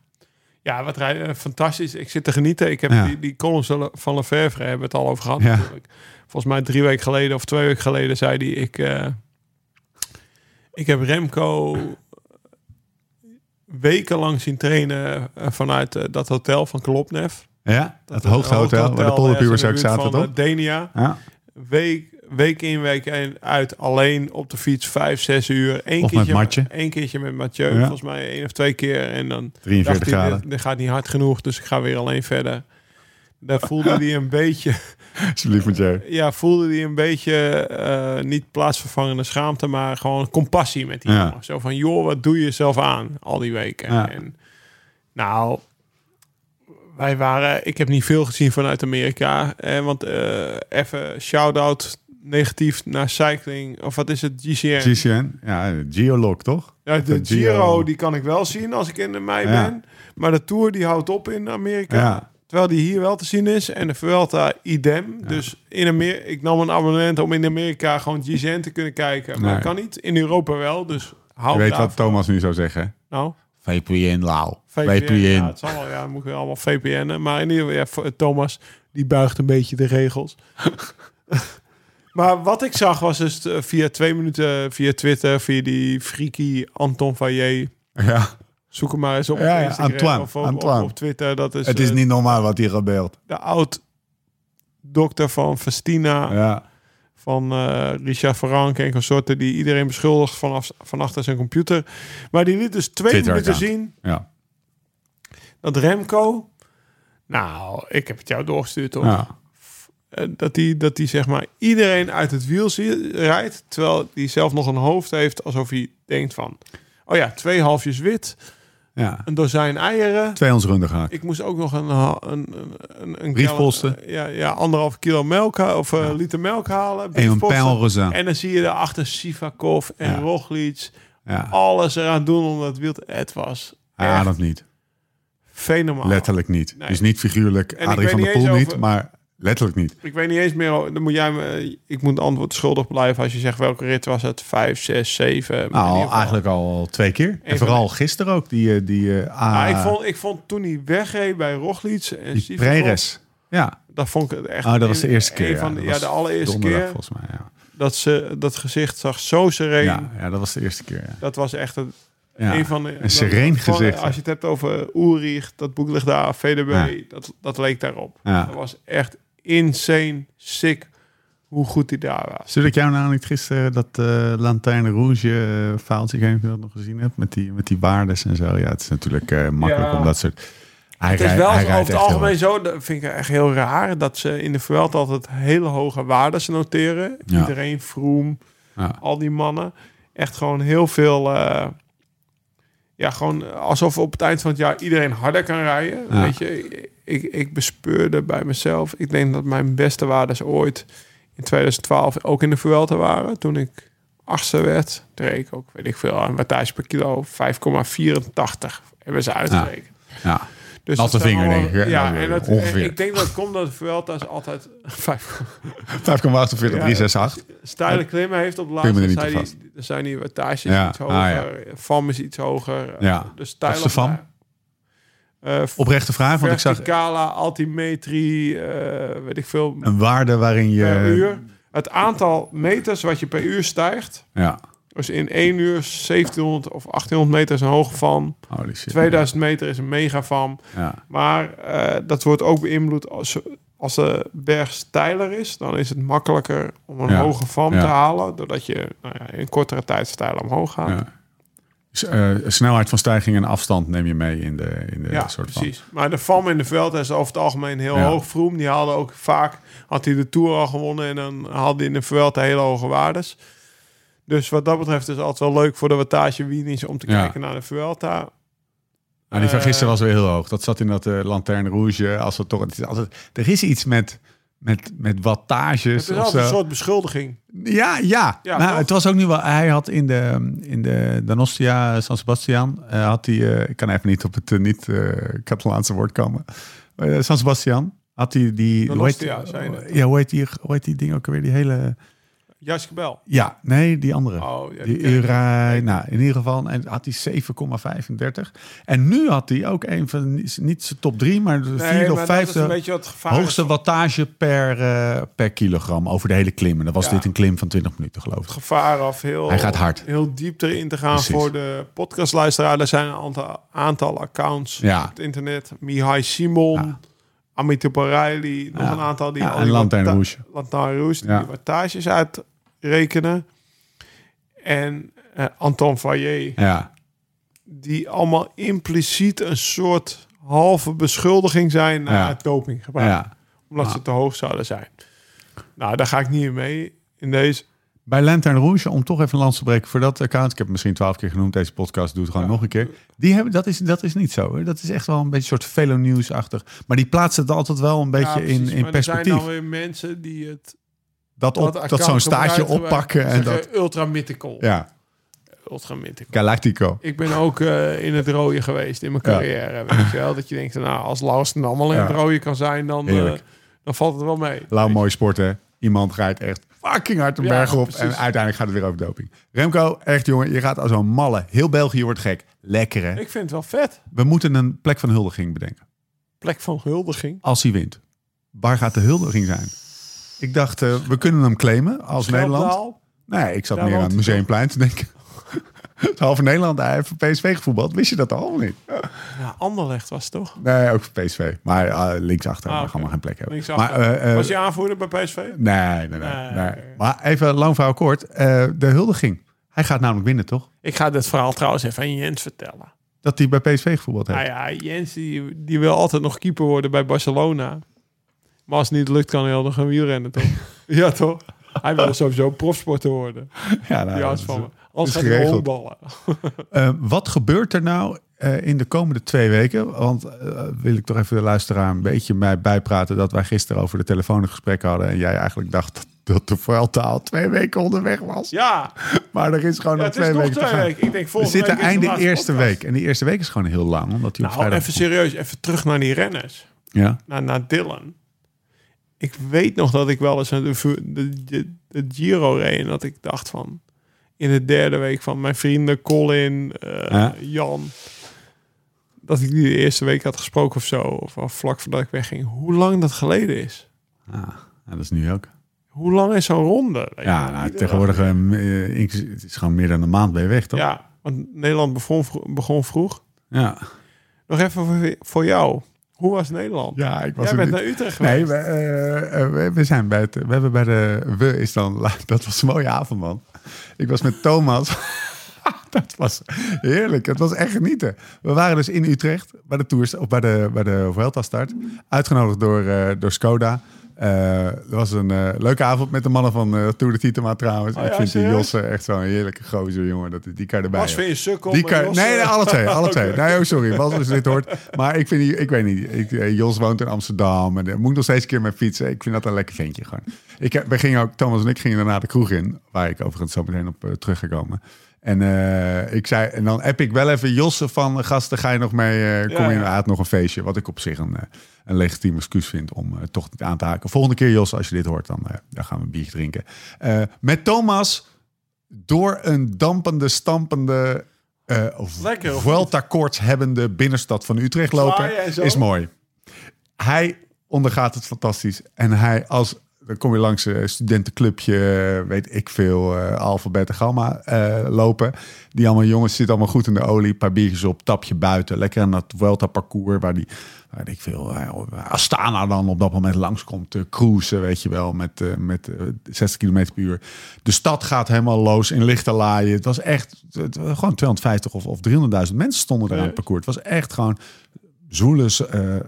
Speaker 3: Ja, wat rijden. eh, Fantastisch. Ik zit te genieten. Ik heb
Speaker 1: Ja.
Speaker 3: die, die columns van Lefevre hebben we het al over gehad
Speaker 1: Ja.
Speaker 3: natuurlijk. Volgens mij drie weken geleden of twee weken geleden zei hij... Ik, eh, ik heb Remco wekenlang zien trainen eh, vanuit eh, dat hotel van Klopnev.
Speaker 1: Ja, het
Speaker 3: eh,
Speaker 1: hoogte hotel, waar de polderpubers ook
Speaker 3: ergens in de
Speaker 1: zaten,
Speaker 3: buurt van,
Speaker 1: toch?
Speaker 3: eh, Denia.
Speaker 1: Ja.
Speaker 3: Week, week in, week in, uit. Alleen op de fiets, vijf, zes uur. Eén
Speaker 1: Of met
Speaker 3: keertje,
Speaker 1: Matje.
Speaker 3: één keertje met Mathieu,
Speaker 1: Ja.
Speaker 3: volgens mij één of twee keer. En dan
Speaker 1: 43
Speaker 3: dacht hij,
Speaker 1: graden.
Speaker 3: dit, dit gaat niet hard genoeg, dus ik ga weer alleen verder. Daar voelde hij een beetje,
Speaker 1: Alsjeblieft, Mathieu.
Speaker 3: ja, voelde hij een beetje eh, niet plaatsvervangende schaamte, maar gewoon compassie met die
Speaker 1: Ja.
Speaker 3: jongen. Zo van, joh, wat doe je jezelf aan al die weken?
Speaker 1: Ja.
Speaker 3: En, nou, wij waren, ik heb niet veel gezien vanuit Amerika. Eh, want eh, even shout-out negatief naar cycling, of wat is het, GCN?
Speaker 1: GCN, ja, Geolog, toch?
Speaker 3: Ja, de
Speaker 1: Of
Speaker 3: Giro, die kan ik wel zien als ik in mei
Speaker 1: Ja.
Speaker 3: ben. Maar de Tour die houdt op in Amerika.
Speaker 1: Ja.
Speaker 3: Terwijl die hier wel te zien is. En de Vuelta idem. Dus in Amerika, ik nam een abonnement om in Amerika gewoon GZN te kunnen kijken. Maar
Speaker 1: Nee.
Speaker 3: dat kan niet. In Europa wel. Dus
Speaker 1: Je
Speaker 3: hou
Speaker 1: weet
Speaker 3: daarvan.
Speaker 1: wat Thomas nu zou zeggen.
Speaker 3: Nou,
Speaker 1: VPN, lauw.
Speaker 3: VPN. Ja, het zal wel. Ja, dan moet ik allemaal VPN'en. Maar in ieder geval, ja, voor- Thomas, die buigt een beetje de regels. Maar wat ik zag was dus eh, via twee minuten, via Twitter, via die freaky Anton Valier.
Speaker 1: Ja.
Speaker 3: Zoek hem maar eens op
Speaker 1: Ja, ja,
Speaker 3: Instagram
Speaker 1: Antoine,
Speaker 3: of op,
Speaker 1: Antoine.
Speaker 3: Op, op Twitter. Dat is,
Speaker 1: Het is
Speaker 3: eh,
Speaker 1: niet normaal wat hier gebeurt.
Speaker 3: de oud-dokter van Festina,
Speaker 1: Ja.
Speaker 3: van eh, Richard Frank en consorten... die iedereen beschuldigt vanaf, van achter zijn computer. Maar die liet dus twee minuten
Speaker 1: Twitter-account.
Speaker 3: zien
Speaker 1: Ja.
Speaker 3: dat Remco... Nou, ik heb het jou doorgestuurd, hoor.
Speaker 1: ja.
Speaker 3: Eh, dat die, dat die zeg maar iedereen uit het wiel zie- rijdt, terwijl die zelf nog een hoofd heeft alsof hij denkt van, oh ja, twee halfjes wit,
Speaker 1: ja.
Speaker 3: een dozijn eieren.
Speaker 1: Twee ons runden gehakt.
Speaker 3: Ik moest ook nog een ha- een een, een, een
Speaker 1: Briefposten.
Speaker 3: gallon- ja, ja, anderhalf kilo melk ha- of eh, liter melk halen.
Speaker 1: En een
Speaker 3: briefposten.
Speaker 1: pijlroze.
Speaker 3: En dan zie je daarachter Sivakov en
Speaker 1: Ja.
Speaker 3: Roglic
Speaker 1: Ja.
Speaker 3: alles eraan doen om dat wiel te... Het was
Speaker 1: Hij
Speaker 3: echt
Speaker 1: ademt niet.
Speaker 3: fenomenaal.
Speaker 1: Letterlijk niet.
Speaker 3: Oh. Nee.
Speaker 1: Dus niet figuurlijk
Speaker 3: ik
Speaker 1: Adrie
Speaker 3: weet
Speaker 1: van der
Speaker 3: niet
Speaker 1: Poel
Speaker 3: eens
Speaker 1: niet,
Speaker 3: over-
Speaker 1: maar letterlijk niet.
Speaker 3: Ik weet niet eens meer. Dan moet jij me, ik moet antwoord schuldig blijven als je zegt welke rit was het? 5, 6, 7.
Speaker 1: Nou, eigenlijk al twee keer. en
Speaker 3: Even-
Speaker 1: vooral gisteren ook, die, eh, die, eh ah,
Speaker 3: ik, vond, ik vond toen hij wegreed bij Roglic en
Speaker 1: die
Speaker 3: Sivakov,
Speaker 1: Preres. Ja,
Speaker 3: Dat vond ik het echt.
Speaker 1: oh, dat was de
Speaker 3: een-
Speaker 1: eerste
Speaker 3: een
Speaker 1: keer.
Speaker 3: van de-
Speaker 1: dat
Speaker 3: ja,
Speaker 1: was
Speaker 3: de allereerste
Speaker 1: donderdag,
Speaker 3: keer
Speaker 1: volgens mij, ja.
Speaker 3: dat ze dat gezicht zag zo sereen.
Speaker 1: ja. Ja, dat was de eerste keer. ja.
Speaker 3: Dat was echt een,
Speaker 1: Ja.
Speaker 3: een van de.
Speaker 1: een sereen
Speaker 3: dat- gewoon,
Speaker 1: gezicht.
Speaker 3: Als je het hebt over Ulrich, dat boek ligt daar. VDB,
Speaker 1: Ja.
Speaker 3: dat, dat leek daarop.
Speaker 1: Ja.
Speaker 3: Dat was echt insane sick hoe goed hij daar was.
Speaker 1: Stuurde ik jou nou niet gisteren dat eh Lanterne Rouge uh, faaltje, ik weet niet of je dat nog gezien hebt, met die, met die waardes en zo. Ja, het is natuurlijk eh, makkelijk
Speaker 3: Ja.
Speaker 1: om dat soort... Hij
Speaker 3: Het is
Speaker 1: rijdt-
Speaker 3: wel
Speaker 1: hij
Speaker 3: over
Speaker 1: rijdt
Speaker 3: het
Speaker 1: echt heel
Speaker 3: algemeen zo, dat vind ik echt heel raar, dat ze in de Vuelta altijd hele hoge waardes noteren.
Speaker 1: Ja.
Speaker 3: Iedereen, Vroom,
Speaker 1: Ja.
Speaker 3: al die mannen. Echt gewoon heel veel, eh, ja, gewoon alsof op het eind van het jaar iedereen harder kan rijden.
Speaker 1: Ja.
Speaker 3: Weet je, ik, ik bespeurde bij mezelf, ik denk dat mijn beste waardes ooit in 2012 ook in de Vuelta waren, toen ik achtste werd. Toen reed ik ook, weet ik veel, aan wattage per kilo 5,84 hebben ze uitgerekend.
Speaker 1: Ja.
Speaker 3: Dus
Speaker 1: Natte
Speaker 3: dat zijn
Speaker 1: vinger,
Speaker 3: allemaal-
Speaker 1: denk ik, hè?
Speaker 3: Ja,
Speaker 1: Nou,
Speaker 3: en dat,
Speaker 1: ongeveer.
Speaker 3: ik denk dat het komt dat de Vuelta is altijd vijf
Speaker 1: 5,48,
Speaker 3: Ja,
Speaker 1: 368.
Speaker 3: steile klimmen heeft op de
Speaker 1: me er
Speaker 3: laatste.
Speaker 1: niet
Speaker 3: Zijn
Speaker 1: op
Speaker 3: die, er zijn die wattages
Speaker 1: Ja,
Speaker 3: iets
Speaker 1: ah,
Speaker 3: hoger, Vam is iets hoger.
Speaker 1: Ja.
Speaker 3: Dus
Speaker 1: Wat is de Vam?
Speaker 3: Uh,
Speaker 1: Oprechte vraag, want ik zag
Speaker 3: verticala, altimetrie, eh, weet ik veel,
Speaker 1: een eh, waarde waarin je...
Speaker 3: per uur. Het aantal meters wat je per uur stijgt.
Speaker 1: Ja.
Speaker 3: Dus in één uur 1700 of 1800 meter is een hoge van.
Speaker 1: Holy shit.
Speaker 3: 2000 meter is een mega van.
Speaker 1: Ja.
Speaker 3: Maar eh, dat wordt ook beïnvloed als, als de berg steiler is. Dan is het makkelijker om een
Speaker 1: Ja.
Speaker 3: hoge vam
Speaker 1: Ja.
Speaker 3: te halen. Doordat je nou ja, in kortere tijd stijl omhoog gaat.
Speaker 1: Ja.
Speaker 3: Ja,
Speaker 1: S- eh, snelheid van stijging en afstand neem je mee in de, in de soort van...
Speaker 3: precies. Maar de vam in de veld is over het algemeen heel
Speaker 1: Ja.
Speaker 3: hoog. Vroom, die haalde ook vaak... Had hij de Tour al gewonnen en dan haalde hij in de veld hele hoge waardes. Dus wat dat betreft is het altijd wel leuk voor de wattage wienies om te
Speaker 1: Ja.
Speaker 3: kijken naar de Vuelta.
Speaker 1: Nou, die van
Speaker 3: Eh,
Speaker 1: gisteren was weer heel hoog. Dat zat in dat eh Lanterne Rouge. Als we toch, het is altijd, er is iets met, met, met wattages.
Speaker 3: Het is
Speaker 1: of
Speaker 3: altijd een
Speaker 1: zo.
Speaker 3: soort beschuldiging.
Speaker 1: Ja, ja.
Speaker 3: Ja,
Speaker 1: nou,
Speaker 3: toch?
Speaker 1: het was ook nu wel. Hij had in de, in de Danostia San Sebastian. eh, had hij. eh, ik kan even niet op het eh, niet eh Catalaanse woord komen. Eh, San Sebastian. Had hij die. hoe heet-
Speaker 3: Donostia, zei je net.
Speaker 1: ja, hoe heet, die, hoe heet die ding ook alweer? Die hele.
Speaker 3: Jasje Bel.
Speaker 1: Ja, nee, die andere.
Speaker 3: Oh, ja, die
Speaker 1: die
Speaker 3: ken ik niet.
Speaker 1: Urai. Nou, in ieder geval. En had hij 7,35. En nu had hij ook een van. Niet zijn top drie, maar de vierde
Speaker 3: maar
Speaker 1: of
Speaker 3: dat is
Speaker 1: vijfde.
Speaker 3: een beetje wat het gevaar is
Speaker 1: Hoogste wattage per, eh, per kilogram over de hele klim. En dan was
Speaker 3: Ja.
Speaker 1: dit een klim van 20 minuten, geloof ik.
Speaker 3: gevaar af. Heel,
Speaker 1: Hij gaat hard.
Speaker 3: Heel diep erin te gaan
Speaker 1: Precies.
Speaker 3: voor de podcastluisteraar. Er zijn een aantal, aantal accounts
Speaker 1: Ja.
Speaker 3: op het internet. Mihai Simon,
Speaker 1: Ja.
Speaker 3: Amit O'Reilly. Nog
Speaker 1: Ja.
Speaker 3: een aantal die...
Speaker 1: Ja,
Speaker 3: al
Speaker 1: en
Speaker 3: die
Speaker 1: Lantern
Speaker 3: watta-
Speaker 1: Rouge.
Speaker 3: Lantern Rouge, die
Speaker 1: Ja.
Speaker 3: wattages uitrekenen. En eh, Anton Fayet,
Speaker 1: Ja,
Speaker 3: die allemaal impliciet een soort halve beschuldiging zijn naar
Speaker 1: Ja.
Speaker 3: het dopinggebruik.
Speaker 1: ja.
Speaker 3: Omdat ze te hoog zouden zijn. Nou, daar ga ik niet in mee in deze.
Speaker 1: Bij Lantern Rouge, om toch even een lans te breken voor dat account. Ik heb het misschien twaalf keer genoemd. Deze podcast doet gewoon nog een keer. Die hebben, dat, is, dat is niet zo. Hè. Dat is echt wel een beetje een soort velo nieuwsachtig. Maar die plaatsen het altijd wel een beetje
Speaker 3: Ja, precies,
Speaker 1: in, in
Speaker 3: maar er zijn
Speaker 1: perspectief.
Speaker 3: dan weer mensen die het
Speaker 1: dat op, dat,
Speaker 3: account
Speaker 1: zo'n staartje
Speaker 3: gebruiken bij-
Speaker 1: oppakken. En
Speaker 3: zeggen,
Speaker 1: dat,
Speaker 3: Ultra mythical.
Speaker 1: ja,
Speaker 3: Ultra mythical.
Speaker 1: Galactico.
Speaker 3: Ik ben ook eh, in het rode geweest in mijn
Speaker 1: Ja.
Speaker 3: carrière. Weet je wel? Dat je denkt, nou, als Laus dan allemaal in
Speaker 1: Ja.
Speaker 3: het rode kan zijn, dan, eh,
Speaker 1: Heerlijk.
Speaker 3: dan valt het wel mee.
Speaker 1: Lauw mooi sporten. Iemand rijdt echt fucking hard een
Speaker 3: Ja,
Speaker 1: berg op.
Speaker 3: precies.
Speaker 1: En uiteindelijk gaat het weer over doping. Remco, echt jongen, je gaat als een malle. Heel België wordt gek. Lekker hè?
Speaker 3: Ik vind het wel vet.
Speaker 1: We moeten een plek van huldiging bedenken.
Speaker 3: Plek van huldiging.
Speaker 1: Als hij wint. Waar gaat de huldiging zijn? Ik dacht, eh, we kunnen hem claimen als Nederland.
Speaker 3: Gelderdaal.
Speaker 1: Nee, ik zat
Speaker 3: Daar
Speaker 1: meer aan
Speaker 3: woont
Speaker 1: het
Speaker 3: hij
Speaker 1: Museumplein te denken. Het halve Nederland eh, hij heeft voor PSV gevoetbald. Wist je dat al of niet?
Speaker 3: Ja, Anderlecht was het toch?
Speaker 1: Nee, ook voor PSV. Maar eh, linksachter,
Speaker 3: Ah,
Speaker 1: maar
Speaker 3: oké.
Speaker 1: gaan we geen plek hebben.
Speaker 3: Linksachter.
Speaker 1: Maar, eh, eh,
Speaker 3: was je aanvoerder bij PSV?
Speaker 1: Nee, nee, nee.
Speaker 3: Nee,
Speaker 1: nee.
Speaker 3: oké.
Speaker 1: Maar even lang verhaal kort. Eh, de huldiging. Hij gaat namelijk winnen, toch?
Speaker 3: Ik ga dit verhaal trouwens even aan Jens vertellen.
Speaker 1: Dat hij bij PSV gevoetbald heeft.
Speaker 3: Nou ja, Jens die, die wil altijd nog keeper worden bij Barcelona. Maar als het niet lukt, kan hij wel nog een wielrennen, toch? ja, toch? Hij wil sowieso profsporter worden.
Speaker 1: Ja, nou,
Speaker 3: die
Speaker 1: dat
Speaker 3: houdt
Speaker 1: is-
Speaker 3: van me. Anders
Speaker 1: is
Speaker 3: gaat hij
Speaker 1: geregeld.
Speaker 3: honkballen.
Speaker 1: Eh, wat gebeurt er nou eh, in de komende twee weken? Want eh, wil ik toch even de luisteraar een beetje mij bijpraten dat wij gisteren over de telefoon een gesprek hadden en jij eigenlijk dacht dat de Vuelta al twee weken onderweg was.
Speaker 3: Ja,
Speaker 1: Maar er is gewoon
Speaker 3: ja
Speaker 1: nog
Speaker 3: het is
Speaker 1: twee
Speaker 3: nog
Speaker 1: weken te
Speaker 3: twee
Speaker 1: gaan.
Speaker 3: weken. Ik denk
Speaker 1: We
Speaker 3: volgende
Speaker 1: zitten
Speaker 3: week is de
Speaker 1: einde
Speaker 3: laatste
Speaker 1: eerste
Speaker 3: podcast.
Speaker 1: week. En die eerste week is gewoon heel lang, omdat die op
Speaker 3: Nou,
Speaker 1: vrijdag...
Speaker 3: even serieus, even terug naar die renners.
Speaker 1: Ja,
Speaker 3: Naar, naar Dylan. Ik weet nog dat ik wel eens een- de, vu- de, de, de Giro reed en dat ik dacht van... In de derde week van mijn vrienden Colin, eh,
Speaker 1: Ja.
Speaker 3: Jan... Dat ik die de eerste week had gesproken of zo. Of, of vlak voordat ik wegging. Hoe lang dat geleden is.
Speaker 1: Ah, ja, dat is nu ook.
Speaker 3: Hoe lang is zo'n ronde? Weet je
Speaker 1: Ja,
Speaker 3: wel,
Speaker 1: nou,
Speaker 3: iedere
Speaker 1: tegenwoordig eh, ik- het is gewoon meer dan een maand ben je weg,
Speaker 3: dag.
Speaker 1: toch?
Speaker 3: Ja, want Nederland begon, vro- begon vroeg.
Speaker 1: ja.
Speaker 3: Nog even voor, voor jou. Hoe was Nederland?
Speaker 1: Ja, ik was er
Speaker 3: Jij bent
Speaker 1: niet-
Speaker 3: naar Utrecht geweest.
Speaker 1: Nee, we, eh, eh, we- we zijn bij het. We hebben bij de. We is dan. Dat was een mooie avond, man. Ik was met Thomas. dat was heerlijk. Het was echt genieten. We waren dus in Utrecht bij de tours of bij de bij de Vuelta start. Uitgenodigd door eh, door Skoda. Eh, Het was een eh, leuke avond met de mannen van eh, Tour de Titema trouwens.
Speaker 3: Oh
Speaker 1: ik
Speaker 3: ja,
Speaker 1: vind die
Speaker 3: serieus?
Speaker 1: Josse echt zo'n heerlijke gozer, jongen. Dat, die kan erbij.
Speaker 3: Bas
Speaker 1: hoor.
Speaker 3: vind je sukkel.
Speaker 1: Die
Speaker 3: maar
Speaker 1: kan,
Speaker 3: Jos,
Speaker 1: nee, nee,
Speaker 3: eh,
Speaker 1: alle twee. Alle twee.
Speaker 3: Oké.
Speaker 1: Nee, oh, sorry. Bas, als je dit hoort. Maar ik vind, die- ik weet niet. Ik, eh, Jos woont in Amsterdam. En daar moet ik nog steeds een keer mee fietsen. Ik vind dat een lekker ventje gewoon. Ik, heb- we gingen ook, Thomas en ik gingen daarna de kroeg in. Waar ik overigens zo meteen op eh, terug ga komen. En eh, ik zei, en dan app ik wel even Josse van eh, gasten. Ga je nog mee? eh, kom
Speaker 3: Ja,
Speaker 1: je
Speaker 3: ja.
Speaker 1: inderdaad nog een feestje? Wat ik op zich een, eh, een legitiem excuus vind om eh, toch niet aan te haken. Volgende keer, Jos, als je dit hoort, dan, eh, dan gaan we een biertje drinken. Eh, met Thomas door een dampende, stampende, eh
Speaker 3: Lekker, of
Speaker 1: Vuelta-koorts hebbende binnenstad van Utrecht lopen
Speaker 3: Zwaaien en zo.
Speaker 1: is mooi. Hij ondergaat het fantastisch. En hij als, dan kom je langs een studentenclubje, weet ik veel, eh alfa, beta, gamma eh, lopen. Die allemaal jongens zitten allemaal goed in de olie, een paar biertjes op, tapje buiten. Lekker aan dat Vuelta-parcours waar die, weet ik veel, eh, Astana dan op dat moment langskomt te cruisen, weet je wel, met, eh, met eh, 60 km per uur. De stad gaat helemaal los in lichte laaien. Het was echt, het, was gewoon 250 of, of 300.000 mensen stonden er aan het parcours. Het was echt gewoon zoele, eh, eh,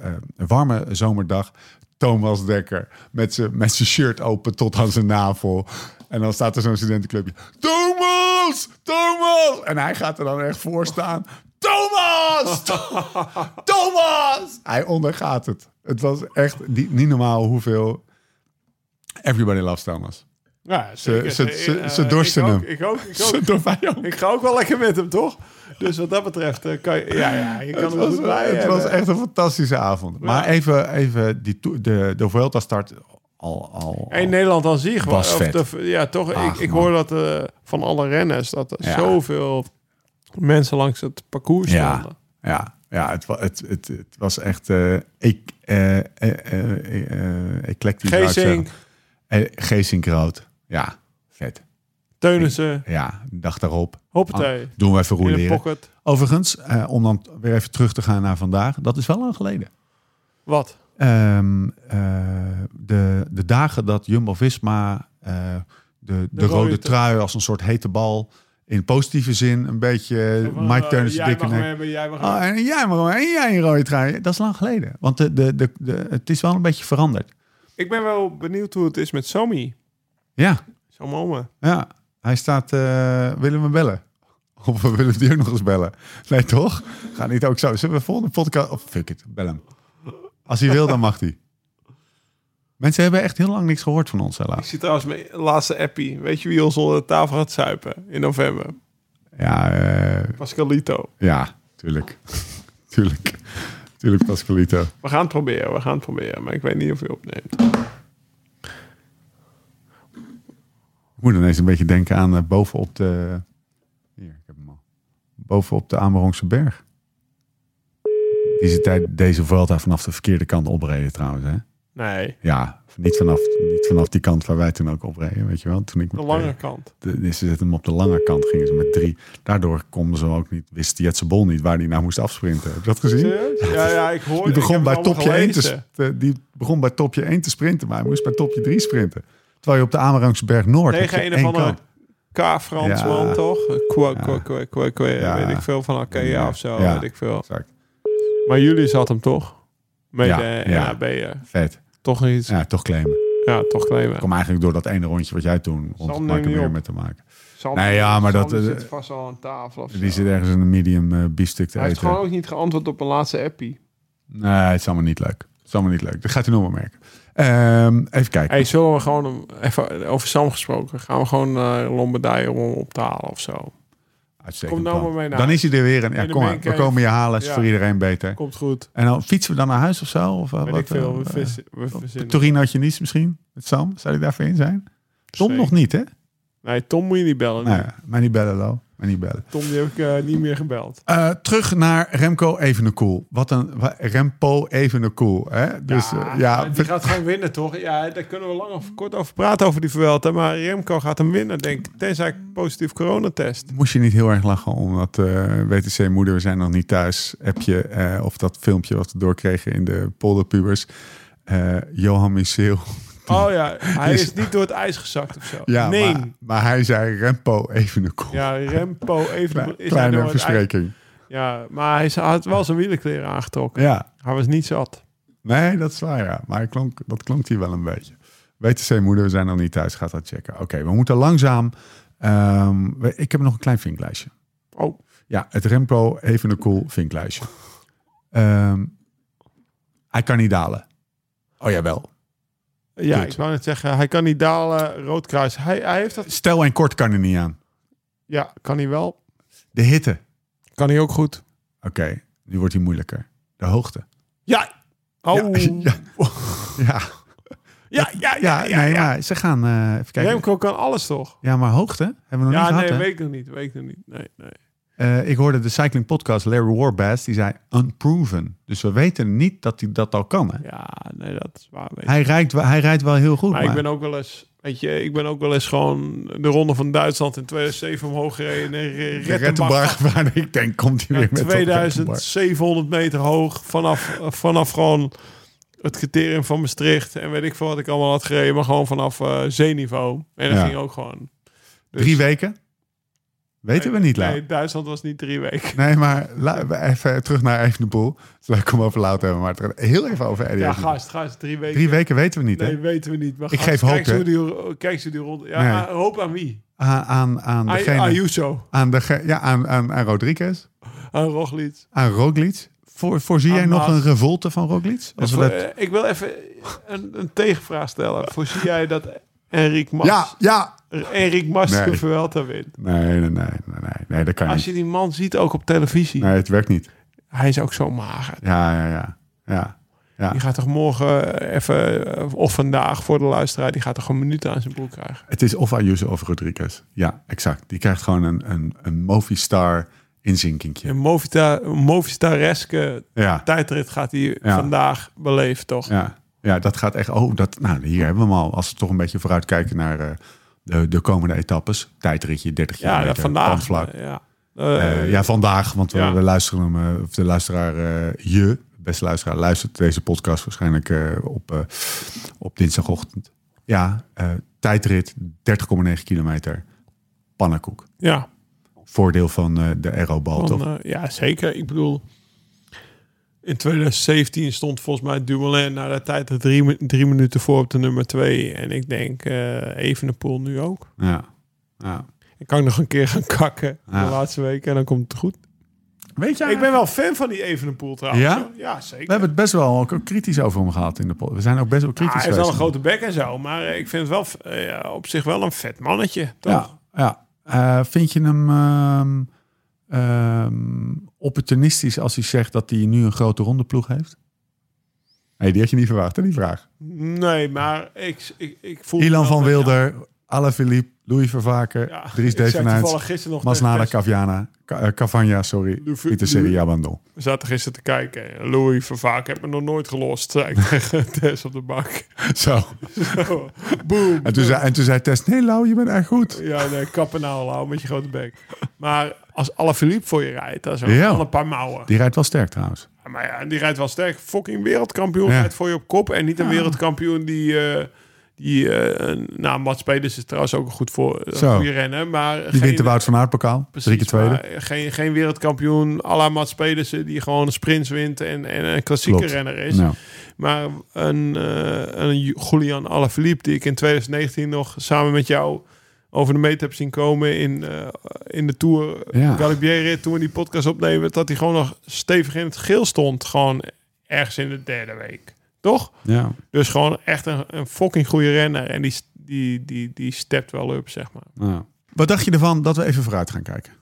Speaker 1: warme zomerdag. Thomas Dekker met zijn met zijn shirt open tot aan zijn navel. En dan staat er zo'n studentenclubje. Thomas! Thomas! En hij gaat er dan echt voor staan. Thomas! Thomas! Hij ondergaat het. Het was echt die- niet normaal hoeveel... Everybody loves Thomas.
Speaker 3: Ja,
Speaker 1: ze-
Speaker 3: Eh,
Speaker 1: ze-
Speaker 3: eh,
Speaker 1: ze dorsten
Speaker 3: ik ook,
Speaker 1: hem.
Speaker 3: Ik ook, ik
Speaker 1: Zo
Speaker 3: ook.
Speaker 1: door mij ook.
Speaker 3: Ik ga ook wel lekker met hem, toch? Dus wat dat betreft eh, kan je... Ja, ja, je kan
Speaker 1: Het
Speaker 3: hem wel
Speaker 1: was,
Speaker 3: goed bij eh,
Speaker 1: het
Speaker 3: hebben.
Speaker 1: was echt een fantastische avond. Maar even, even die, to- de, de Vuelta start al... al,
Speaker 3: En in
Speaker 1: al-
Speaker 3: Nederland dan zie je gewoon...
Speaker 1: Was
Speaker 3: of
Speaker 1: vet.
Speaker 3: de- ja, toch.
Speaker 1: Ach,
Speaker 3: ik ik
Speaker 1: man.
Speaker 3: hoor dat eh, van alle renners... dat er
Speaker 1: Ja.
Speaker 3: zoveel mensen langs het parcours
Speaker 1: Ja.
Speaker 3: stonden.
Speaker 1: Ja, ja het, wa- het, het, het was echt eh ik, eh eh, eh, eh, eh, eclectisch. zou ik
Speaker 3: Geesink,
Speaker 1: zeggen. Eh, Geesink rood. Ja, vet.
Speaker 3: Teunissen,
Speaker 1: Ja, dag daarop. Ah,
Speaker 3: hoppatee.
Speaker 1: Doen we even
Speaker 3: in de
Speaker 1: roeleren.
Speaker 3: pocket.
Speaker 1: Overigens, eh, om dan weer even terug te gaan naar vandaag. Dat is wel lang geleden.
Speaker 3: Wat?
Speaker 1: Ehm, eh, de, de dagen dat Jumbo-Visma eh, de, de, rode,
Speaker 3: rode
Speaker 1: trui als een soort hete bal... in positieve zin een beetje
Speaker 3: Van,
Speaker 1: Mike
Speaker 3: eh,
Speaker 1: Teunissen
Speaker 3: jij
Speaker 1: dikke
Speaker 3: mag hem
Speaker 1: nek...
Speaker 3: hebben, jij mag hem
Speaker 1: Oh, en jij maar hoor. en jij een rode trui. Dat is lang geleden. Want de, de, de, de- het is wel een beetje veranderd.
Speaker 3: Ik ben wel benieuwd hoe het is met Somi.
Speaker 1: Ja,
Speaker 3: Somome.
Speaker 1: ja. Hij staat, eh, willen we bellen? Of we willen die ook nog eens bellen? Nee, toch? Ga niet ook zo. Zullen we volgende podcast... Oh, fuck it, bel hem. Als hij wil, dan mag hij. Mensen hebben echt heel lang niks gehoord van ons,
Speaker 3: Ik
Speaker 1: helaas.
Speaker 3: zie trouwens mijn laatste appie. Weet je wie ons onder de tafel gaat zuipen in november?
Speaker 1: Ja, eh,
Speaker 3: Pascalito.
Speaker 1: ja, tuurlijk. tuurlijk. Tuurlijk, Pascalito.
Speaker 3: We gaan het proberen, we gaan het proberen. Maar ik weet niet of hij opneemt.
Speaker 1: Ik moet ineens een beetje denken aan eh, bovenop de. Hier, ik heb hem al. Bovenop de Amerongse Berg. Die ze tijd deze Vuelta vanaf de verkeerde kant opreden, trouwens. Hè?
Speaker 3: Nee,
Speaker 1: Ja, niet vanaf, niet vanaf die kant waar wij toen ook op reden, weet je wel. Toen ik
Speaker 3: de
Speaker 1: met-
Speaker 3: lange kant.
Speaker 1: de- ze zetten hem op de lange kant, gingen ze met drie. Daardoor konden ze ook niet, wist Jetse Bol niet waar hij nou moest afsprinten. Heb je dat gezien?
Speaker 3: Serieus? Ja, ja, ik hoor
Speaker 1: Die begon,
Speaker 3: ik heb
Speaker 1: bij
Speaker 3: het allemaal
Speaker 1: topje 1 te,
Speaker 3: gelezen.
Speaker 1: te- die begon bij topje 1 te sprinten, maar hij moest bij topje 3 sprinten. Terwijl je op de Amerangseberg Noord had
Speaker 3: Tegen
Speaker 1: je
Speaker 3: een of
Speaker 1: één
Speaker 3: andere
Speaker 1: kant.
Speaker 3: K-Fransman,
Speaker 1: Ja.
Speaker 3: toch? Kwa, kwa, kwa, kwa, kwa,
Speaker 1: Ja.
Speaker 3: Weet ik veel van Arkea
Speaker 1: Ja.
Speaker 3: of zo,
Speaker 1: Ja.
Speaker 3: weet ik veel.
Speaker 1: Exact.
Speaker 3: Maar jullie zat hem toch? Met
Speaker 1: Ja,
Speaker 3: de
Speaker 1: ja.
Speaker 3: NAB. eh,
Speaker 1: Vet.
Speaker 3: Toch iets. Ja,
Speaker 1: Ja, toch claimen.
Speaker 3: toch claimen.
Speaker 1: kwam eigenlijk door dat ene rondje wat jij toen rond
Speaker 3: Sam
Speaker 1: Mark
Speaker 3: neemt niet
Speaker 1: weer
Speaker 3: op.
Speaker 1: met te maken.
Speaker 3: Sam-
Speaker 1: Nee, ja, maar
Speaker 3: Sam
Speaker 1: dat,
Speaker 3: die
Speaker 1: eh,
Speaker 3: zit vast al aan tafel of zo.
Speaker 1: Die zit ergens in een medium eh biefstuk te
Speaker 3: Hij heeft
Speaker 1: eten.
Speaker 3: gewoon ook niet geantwoord op een laatste appie.
Speaker 1: Nee, het is allemaal niet leuk. Het is allemaal niet leuk. Dat gaat u nog wel merken. Ehm, even kijken.
Speaker 3: Hey, zullen we gewoon hem- even over Sam gesproken? Gaan we gewoon naar Lombardije om hem op te halen of zo?
Speaker 1: Uitstekend
Speaker 3: kom nou
Speaker 1: plan.
Speaker 3: maar mee naar
Speaker 1: Dan is hij er weer. En, ja,
Speaker 3: In de
Speaker 1: kom maar. We
Speaker 3: maincave.
Speaker 1: komen je halen. Het is
Speaker 3: Ja.
Speaker 1: voor iedereen beter.
Speaker 3: Komt goed.
Speaker 1: En dan fietsen we dan naar huis of zo? Of, eh,
Speaker 3: Weet
Speaker 1: wat,
Speaker 3: ik veel.
Speaker 1: eh,
Speaker 3: We,
Speaker 1: eh,
Speaker 3: vis, we
Speaker 1: op
Speaker 3: verzinnen.
Speaker 1: Torinootje Nice misschien? Met Sam? Zou hij daarvoor in zijn? Tom
Speaker 3: Zeker.
Speaker 1: nog niet, hè?
Speaker 3: Nee, Tom moet je niet bellen.
Speaker 1: Nee, maar niet bellen, Lo. Maar niet bellen.
Speaker 3: Tom die heb ik eh, niet meer gebeld.
Speaker 1: Eh, terug naar Remco Evenepoel. Wat een... wa- Rempo Evenepoel, hè? Dus eh, ja...
Speaker 3: Ah, die gaat gewoon winnen, toch? Ja, daar kunnen we lang of kort over praten over die Vuelta. Maar Remco gaat hem winnen, denk ik. Tenzij ik positief coronatest.
Speaker 1: Moest je niet heel erg lachen omdat eh, WTC Moeder, we zijn nog niet thuis, appje eh, of dat filmpje wat we doorkregen in de polderpubers. Eh, Johan Michiel.
Speaker 3: Oh ja, hij
Speaker 1: Is-
Speaker 3: is niet door het ijs gezakt of zo.
Speaker 1: Ja,
Speaker 3: nee.
Speaker 1: maar, maar hij zei Rempo even een kop.
Speaker 3: Ja, Rempo even...
Speaker 1: Kle-
Speaker 3: is hij nou door
Speaker 1: Kleine
Speaker 3: het ijs-
Speaker 1: verspreking.
Speaker 3: Ja, maar hij had wel zijn wielerkleren aangetrokken.
Speaker 1: Ja,
Speaker 3: Hij was niet zat.
Speaker 1: nee, dat is waar ja. Maar hij klonk, dat klonk hier wel een beetje. WTC Moeder, we zijn nog niet thuis, gaat dat checken. Oké, we moeten langzaam... ehm, we- ik heb nog een klein vinklijstje.
Speaker 3: Oh,
Speaker 1: Ja, het Remco even een cool vinklijstje. Ehm, hij kan niet dalen. Oh jawel.
Speaker 3: ja,
Speaker 1: Kut.
Speaker 3: ik wou net zeggen, hij kan niet dalen, rood kruis. Hij, hij heeft dat...
Speaker 1: Stel en kort kan er niet aan.
Speaker 3: Ja, kan hij wel.
Speaker 1: De hitte.
Speaker 3: Kan hij ook goed.
Speaker 1: Oké, nu wordt hij moeilijker. De hoogte.
Speaker 3: Ja! Oh,
Speaker 1: Ja, ja, ja,
Speaker 3: ja, ja,
Speaker 1: ja, nee, maar ze gaan eh, even kijken.
Speaker 3: Remco kan alles toch?
Speaker 1: Ja, maar hoogte hebben we nog
Speaker 3: Ja,
Speaker 1: niet
Speaker 3: nee,
Speaker 1: gehad. hè?
Speaker 3: weet ik nog niet. Weet ik nog niet. Nee, nee.
Speaker 1: Eh, ik hoorde de cycling podcast Larry Warbass, die zei unproven. Dus we weten niet dat hij dat al kan. Hè?
Speaker 3: Ja, nee, dat is waar. Weet ik.
Speaker 1: Hij, rijdt, wel- hij rijdt wel heel goed.
Speaker 3: Maar
Speaker 1: Maar
Speaker 3: ik ben ook wel eens, weet je, ik ben ook wel eens gewoon de ronde van Duitsland in 2007 omhoog gereden. En Re-
Speaker 1: de
Speaker 3: Rettenbach
Speaker 1: Rettenbach, waar ik denk, komt hij
Speaker 3: Ja,
Speaker 1: weer met dat Rettenbach.
Speaker 3: 2700 meter hoog vanaf, vanaf gewoon het criterium van Maastricht en weet ik veel wat ik allemaal had gereden, maar gewoon vanaf eh, zeeniveau. En dat
Speaker 1: Ja.
Speaker 3: ging ook gewoon. Dus-
Speaker 1: Drie weken? Weten we niet, Lau.
Speaker 3: Nee, Duitsland was niet drie weken.
Speaker 1: Nee, maar la- even terug naar Evenepoel. Het is leuk om over Lau te hebben, maar het gaat heel even over Eddie
Speaker 3: Ja,
Speaker 1: Evenepoel.
Speaker 3: gast, gast, drie weken.
Speaker 1: Drie weken weten we niet,
Speaker 3: Nee,
Speaker 1: hè?
Speaker 3: weten we niet. Maar
Speaker 1: Ik
Speaker 3: gast,
Speaker 1: geef
Speaker 3: kijk
Speaker 1: hoop,
Speaker 3: eens
Speaker 1: hè?
Speaker 3: hoe die, kijk ze die rond. Ja,
Speaker 1: Nee.
Speaker 3: maar hoop aan wie?
Speaker 1: Aan, aan, aan
Speaker 3: Aan
Speaker 1: degene...
Speaker 3: Ayuso,
Speaker 1: Aan, de, ja, aan, aan, aan Rodriguez,
Speaker 3: aan Roglic.
Speaker 1: aan Roglic. Voor, voorzie
Speaker 3: Aan
Speaker 1: jij nog
Speaker 3: Mas.
Speaker 1: een revolte van Roglic? Als we
Speaker 3: Voor-
Speaker 1: dat...
Speaker 3: eh, Ik wil even een, een tegenvraag stellen. Voorzie jij dat Enric Mas,
Speaker 1: Ja, ja!
Speaker 3: Enric Mas
Speaker 1: Nee.
Speaker 3: de Vuelta wint?
Speaker 1: Nee, nee, nee, nee, nee, nee, dat kan
Speaker 3: Als
Speaker 1: niet.
Speaker 3: je die man ziet, ook op televisie.
Speaker 1: Nee, het werkt niet.
Speaker 3: Hij is ook zo mager.
Speaker 1: Ja, ja, ja. ja.
Speaker 3: Die gaat toch morgen eh, even, eh, of vandaag voor de luisteraar, die gaat toch een minuut aan zijn broek krijgen.
Speaker 1: Het is of Ayuso of Rodriguez. Ja, exact. Die krijgt gewoon een, een, een Movistar inzinkinkje.
Speaker 3: Een Movita- een Movistar-eske
Speaker 1: Ja,
Speaker 3: tijdrit gaat hij
Speaker 1: Ja.
Speaker 3: vandaag beleven, toch?
Speaker 1: ja, ja, dat gaat echt... Oh, dat, nou, hier hebben we hem al. Als we toch een beetje vooruitkijken naar eh, de, de komende etappes. Tijdritje, 30
Speaker 3: Ja,
Speaker 1: jaar.
Speaker 3: dat vandaag.
Speaker 1: Vlak.
Speaker 3: eh, Ja. Eh,
Speaker 1: Eh, ja, vandaag, want we,
Speaker 3: ja.
Speaker 1: we luisteren hem, eh, of de luisteraar eh, je, beste luisteraar, luistert deze podcast waarschijnlijk eh, op, eh, op dinsdagochtend. Ja, eh, tijdrit, 30,9 kilometer, pannenkoek.
Speaker 3: ja,
Speaker 1: Voordeel van eh, de aerobal,
Speaker 3: van,
Speaker 1: toch?
Speaker 3: eh, ja, zeker. Ik bedoel, in 2017 stond volgens mij Dumoulin na de tijd er drie, mi- drie minuten voor op de nummer twee. En ik denk, eh Evenepoel nu ook.
Speaker 1: Ja. ja.
Speaker 3: Ik kan nog een keer gaan kakken
Speaker 1: Ja.
Speaker 3: de laatste week en dan komt het goed.
Speaker 1: Weet je,
Speaker 3: Ik ben wel fan van die Evenepoel trouwens.
Speaker 1: Ja?
Speaker 3: hoor. Ja, zeker.
Speaker 1: we hebben het best wel ook eh, kritisch over hem gehad in de podcast. We zijn ook best wel
Speaker 3: Ah,
Speaker 1: kritisch
Speaker 3: hij heeft wel een
Speaker 1: geweest.
Speaker 3: grote bek en zo, maar eh, ik vind het wel eh, ja, op zich wel een vet mannetje. Toch?
Speaker 1: Ja, ja. Eh, vind je hem ehm, ehm, opportunistisch als hij zegt dat hij nu een grote rondeploeg heeft? hey, die had je niet verwacht, hè, die vraag.
Speaker 3: Nee, maar ik, ik, ik voel.
Speaker 1: Ilan van
Speaker 3: wel-
Speaker 1: Wilder, Alain Philippe, Louis Vervaken,
Speaker 3: Ja,
Speaker 1: Dries
Speaker 3: ik zei toevallig
Speaker 1: Devenuits,
Speaker 3: gisteren nog
Speaker 1: Masnada
Speaker 3: tegen
Speaker 1: Cavana, Ca- eh, Cavagna, sorry,
Speaker 3: Louis-
Speaker 1: Pieter Serie Abandon.
Speaker 3: We zaten gisteren te kijken. En Louis van Vaak heb me nog nooit gelost, zei ik tegen Tess op de bank.
Speaker 1: Zo.
Speaker 3: Zo, Boom.
Speaker 1: En toen zei, en toen zei Tess, nee Lau, je bent echt goed.
Speaker 3: Ja, nee, kappen nou al, hou met je grote bek. Maar als Alaphilippe voor je rijdt, dat is wel
Speaker 1: Ja.
Speaker 3: een paar mouwen.
Speaker 1: Die rijdt wel sterk trouwens.
Speaker 3: Maar ja, en die rijdt wel sterk. Fucking wereldkampioen
Speaker 1: Ja.
Speaker 3: rijdt voor je op kop. En niet een wereldkampioen die... eh, die eh, een- nou, Mats Peders is trouwens ook een goed voor, een
Speaker 1: Zo.
Speaker 3: goede rennen. Maar
Speaker 1: Die wint de Wout van Aert pokaal. Drie keer tweede.
Speaker 3: maar Geen, geen wereldkampioen à la Mats Pedersen die gewoon sprints wint en, en een klassieke
Speaker 1: Klopt.
Speaker 3: renner is.
Speaker 1: Nou,
Speaker 3: Maar een, eh, een Julian Alaphilippe die ik in 2019 nog samen met jou over de meet heb zien komen in, eh, in de Tour
Speaker 1: Ja.
Speaker 3: Galibier-rit toen we die podcast opnemen, dat hij gewoon nog stevig in het geel stond. Gewoon ergens in de derde week. Toch?
Speaker 1: ja.
Speaker 3: Dus gewoon echt een, een fucking goede renner. En die, die, die, die stept wel up, zeg maar.
Speaker 1: nou. Wat dacht je ervan dat we even vooruit gaan kijken?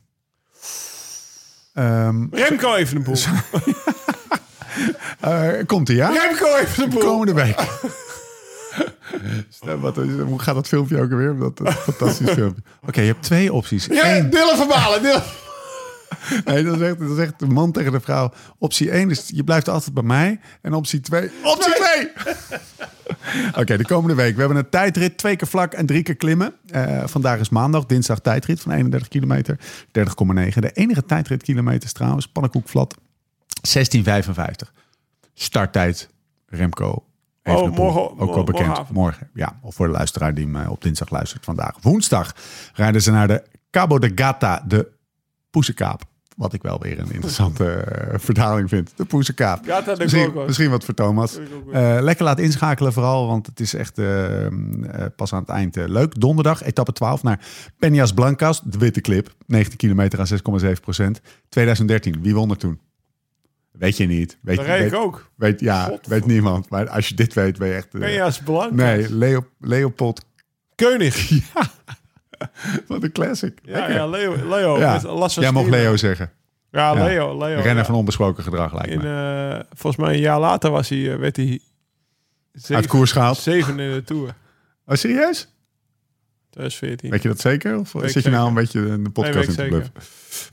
Speaker 1: Ehm
Speaker 3: Remco even een boel.
Speaker 1: eh, komt ie, ja?
Speaker 3: Remco even een boel.
Speaker 1: Komende week. Stel, wat, is- hoe gaat dat filmpje ook alweer? Dat, dat fantastisch filmpje. Oké, je hebt twee opties.
Speaker 3: Ja,
Speaker 1: Eén,
Speaker 3: Dylan verbalen. Dylan.
Speaker 1: nee, dat, is echt, dat is echt de man tegen de vrouw. Optie 1 is je blijft altijd bij mij. En optie 2. Optie 2! Oké, de komende week. We hebben een tijdrit, twee keer vlak en drie keer klimmen. Eh, vandaag is maandag, dinsdag tijdrit van 31 kilometer. 30,9. De enige tijdrit kilometers trouwens, pannenkoekvlat. 16,55. Starttijd, Remco. Evenepoel.
Speaker 3: Oh, morgen-
Speaker 1: Ook al
Speaker 3: morgen-
Speaker 1: bekend.
Speaker 3: morgenavond.
Speaker 1: Morgen, ja. Of voor de luisteraar die mij op dinsdag luistert vandaag. Woensdag rijden ze naar de Cabo de Gata, de Poesekaap. Wat ik wel weer een interessante eh, vertaling vind. De Poesekaap.
Speaker 3: Gata de
Speaker 1: misschien,
Speaker 3: Gorgos.
Speaker 1: misschien wat voor Thomas.
Speaker 3: ik ook
Speaker 1: Eh, lekker laat inschakelen vooral, want het is echt eh, eh, pas aan het eind eh, leuk. Donderdag, etappe 12 naar Peñas Blancas, de witte clip. 19 kilometer aan 6,7 procent. 2013, wie won er toen? Weet je niet. Weet,
Speaker 3: Dat reed ik
Speaker 1: weet-
Speaker 3: ook.
Speaker 1: Weet, ja,
Speaker 3: Godver-
Speaker 1: weet niemand. Maar als je dit weet, ben je echt... eh,
Speaker 3: Ben je als belangrijk?
Speaker 1: nee, Leo, Leopold.
Speaker 3: Keunig.
Speaker 1: Wat een classic.
Speaker 3: Ja,
Speaker 1: Lekker.
Speaker 3: ja Leo. Leo
Speaker 1: Ja.
Speaker 3: met Lasso
Speaker 1: Jij mocht
Speaker 3: Stina.
Speaker 1: Leo zeggen.
Speaker 3: Ja,
Speaker 1: Ja.
Speaker 3: Leo. Leo
Speaker 1: Renner
Speaker 3: ja.
Speaker 1: van onbesproken gedrag lijkt
Speaker 3: In,
Speaker 1: me.
Speaker 3: eh, volgens mij een jaar later was hij, eh, werd hij
Speaker 1: Uit
Speaker 3: zeven,
Speaker 1: koers gehaald.
Speaker 3: zeven in de Tour.
Speaker 1: Oh, serieus?
Speaker 3: 2014.
Speaker 1: Weet je dat zeker? Of zit je
Speaker 3: zeker.
Speaker 1: nou een beetje in de podcast
Speaker 3: Nee,
Speaker 1: in
Speaker 3: weet
Speaker 1: te
Speaker 3: ik
Speaker 1: bluffen?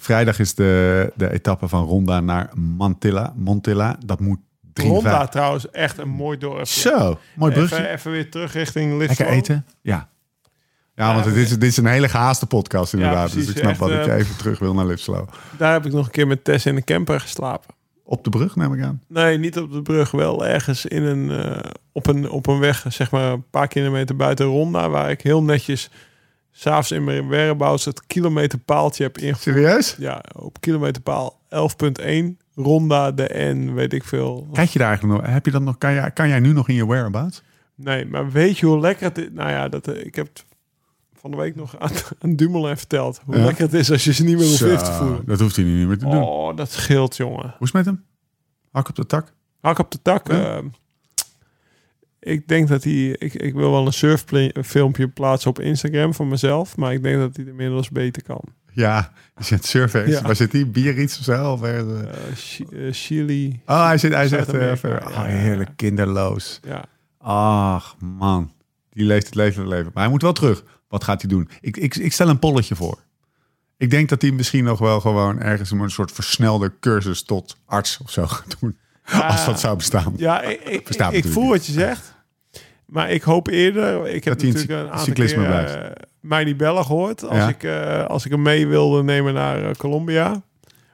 Speaker 1: Vrijdag is de, de etappe van Ronda naar Mantilla. Montilla, dat moet drie
Speaker 3: Ronda trouwens, echt een mooi dorp.
Speaker 1: Zo, mooi brugje.
Speaker 3: Even, even weer terug richting Lisbon.
Speaker 1: Lekker eten. Ja. Ja, want
Speaker 3: Ja,
Speaker 1: dit is, dit is een hele gehaaste podcast inderdaad.
Speaker 3: precies.
Speaker 1: dus ik snap
Speaker 3: Echt,
Speaker 1: wel dat je
Speaker 3: eh,
Speaker 1: even terug wil naar Lipslo.
Speaker 3: Daar heb ik nog een keer met Tess in de camper geslapen.
Speaker 1: Op de brug neem ik aan.
Speaker 3: Nee, niet op de brug. Wel ergens in een, eh, op, een, op een weg, zeg maar een paar kilometer buiten Ronda. Waar ik heel netjes s'avonds in mijn whereabouts het kilometerpaaltje heb ingevoerd.
Speaker 1: Serieus?
Speaker 3: Ja, op kilometerpaal 11.1. Ronda, de N, weet ik veel.
Speaker 1: Kijk je daar eigenlijk nog? Heb je dat nog kan, jij, kan jij nu nog in je whereabouts?
Speaker 3: Nee, maar weet je hoe lekker het is? Nou ja, dat, eh, ik heb het van de week nog aan, aan Dumoulin verteld. Hoe
Speaker 1: Ja?
Speaker 3: lekker het is als je ze niet meer hoeft
Speaker 1: Zo,
Speaker 3: lief te voelen.
Speaker 1: dat hoeft hij nu niet meer te doen. Hoe
Speaker 3: Oh, dat scheelt, jongen.
Speaker 1: is het met hem? Hak op de tak?
Speaker 3: Hak op de tak.
Speaker 1: Ja.
Speaker 3: eh, ik denk dat hij... Ik, ik wil wel een surffilmpje plaatsen op Instagram van mezelf. Maar ik denk dat hij het inmiddels beter kan.
Speaker 1: Ja, hij zit surface.
Speaker 3: Ja.
Speaker 1: Waar zit hij? Biarritz of zo? Of ergens, eh,
Speaker 3: Eh, Chi- eh, Chili.
Speaker 1: Oh, hij zit, hij zegt
Speaker 3: Zuid-Amerika,
Speaker 1: eh, verder.
Speaker 3: ja,
Speaker 1: Oh,
Speaker 3: ja, ja.
Speaker 1: heerlijk kinderloos.
Speaker 3: Ja.
Speaker 1: Ach, man. Die leeft het leven het leven. Maar hij moet wel terug. Wat gaat hij doen? Ik, ik, ik stel een polletje voor. Ik denk dat hij misschien nog wel gewoon ergens een soort versnelde cursus tot arts of zo gaat doen. Als dat zou bestaan.
Speaker 3: Ah. Ja, ik, ik,
Speaker 1: Verstaat
Speaker 3: ik voel
Speaker 1: natuurlijk
Speaker 3: wat je zegt. Maar ik hoop eerder... Ik heb
Speaker 1: hij in
Speaker 3: natuurlijk
Speaker 1: cyc-
Speaker 3: een aantal
Speaker 1: cyclisme
Speaker 3: keer,
Speaker 1: blijft.
Speaker 3: eh, mij die bellen gehoord. Als,
Speaker 1: Ja.
Speaker 3: ik, eh, als ik hem mee wilde nemen naar eh, Colombia.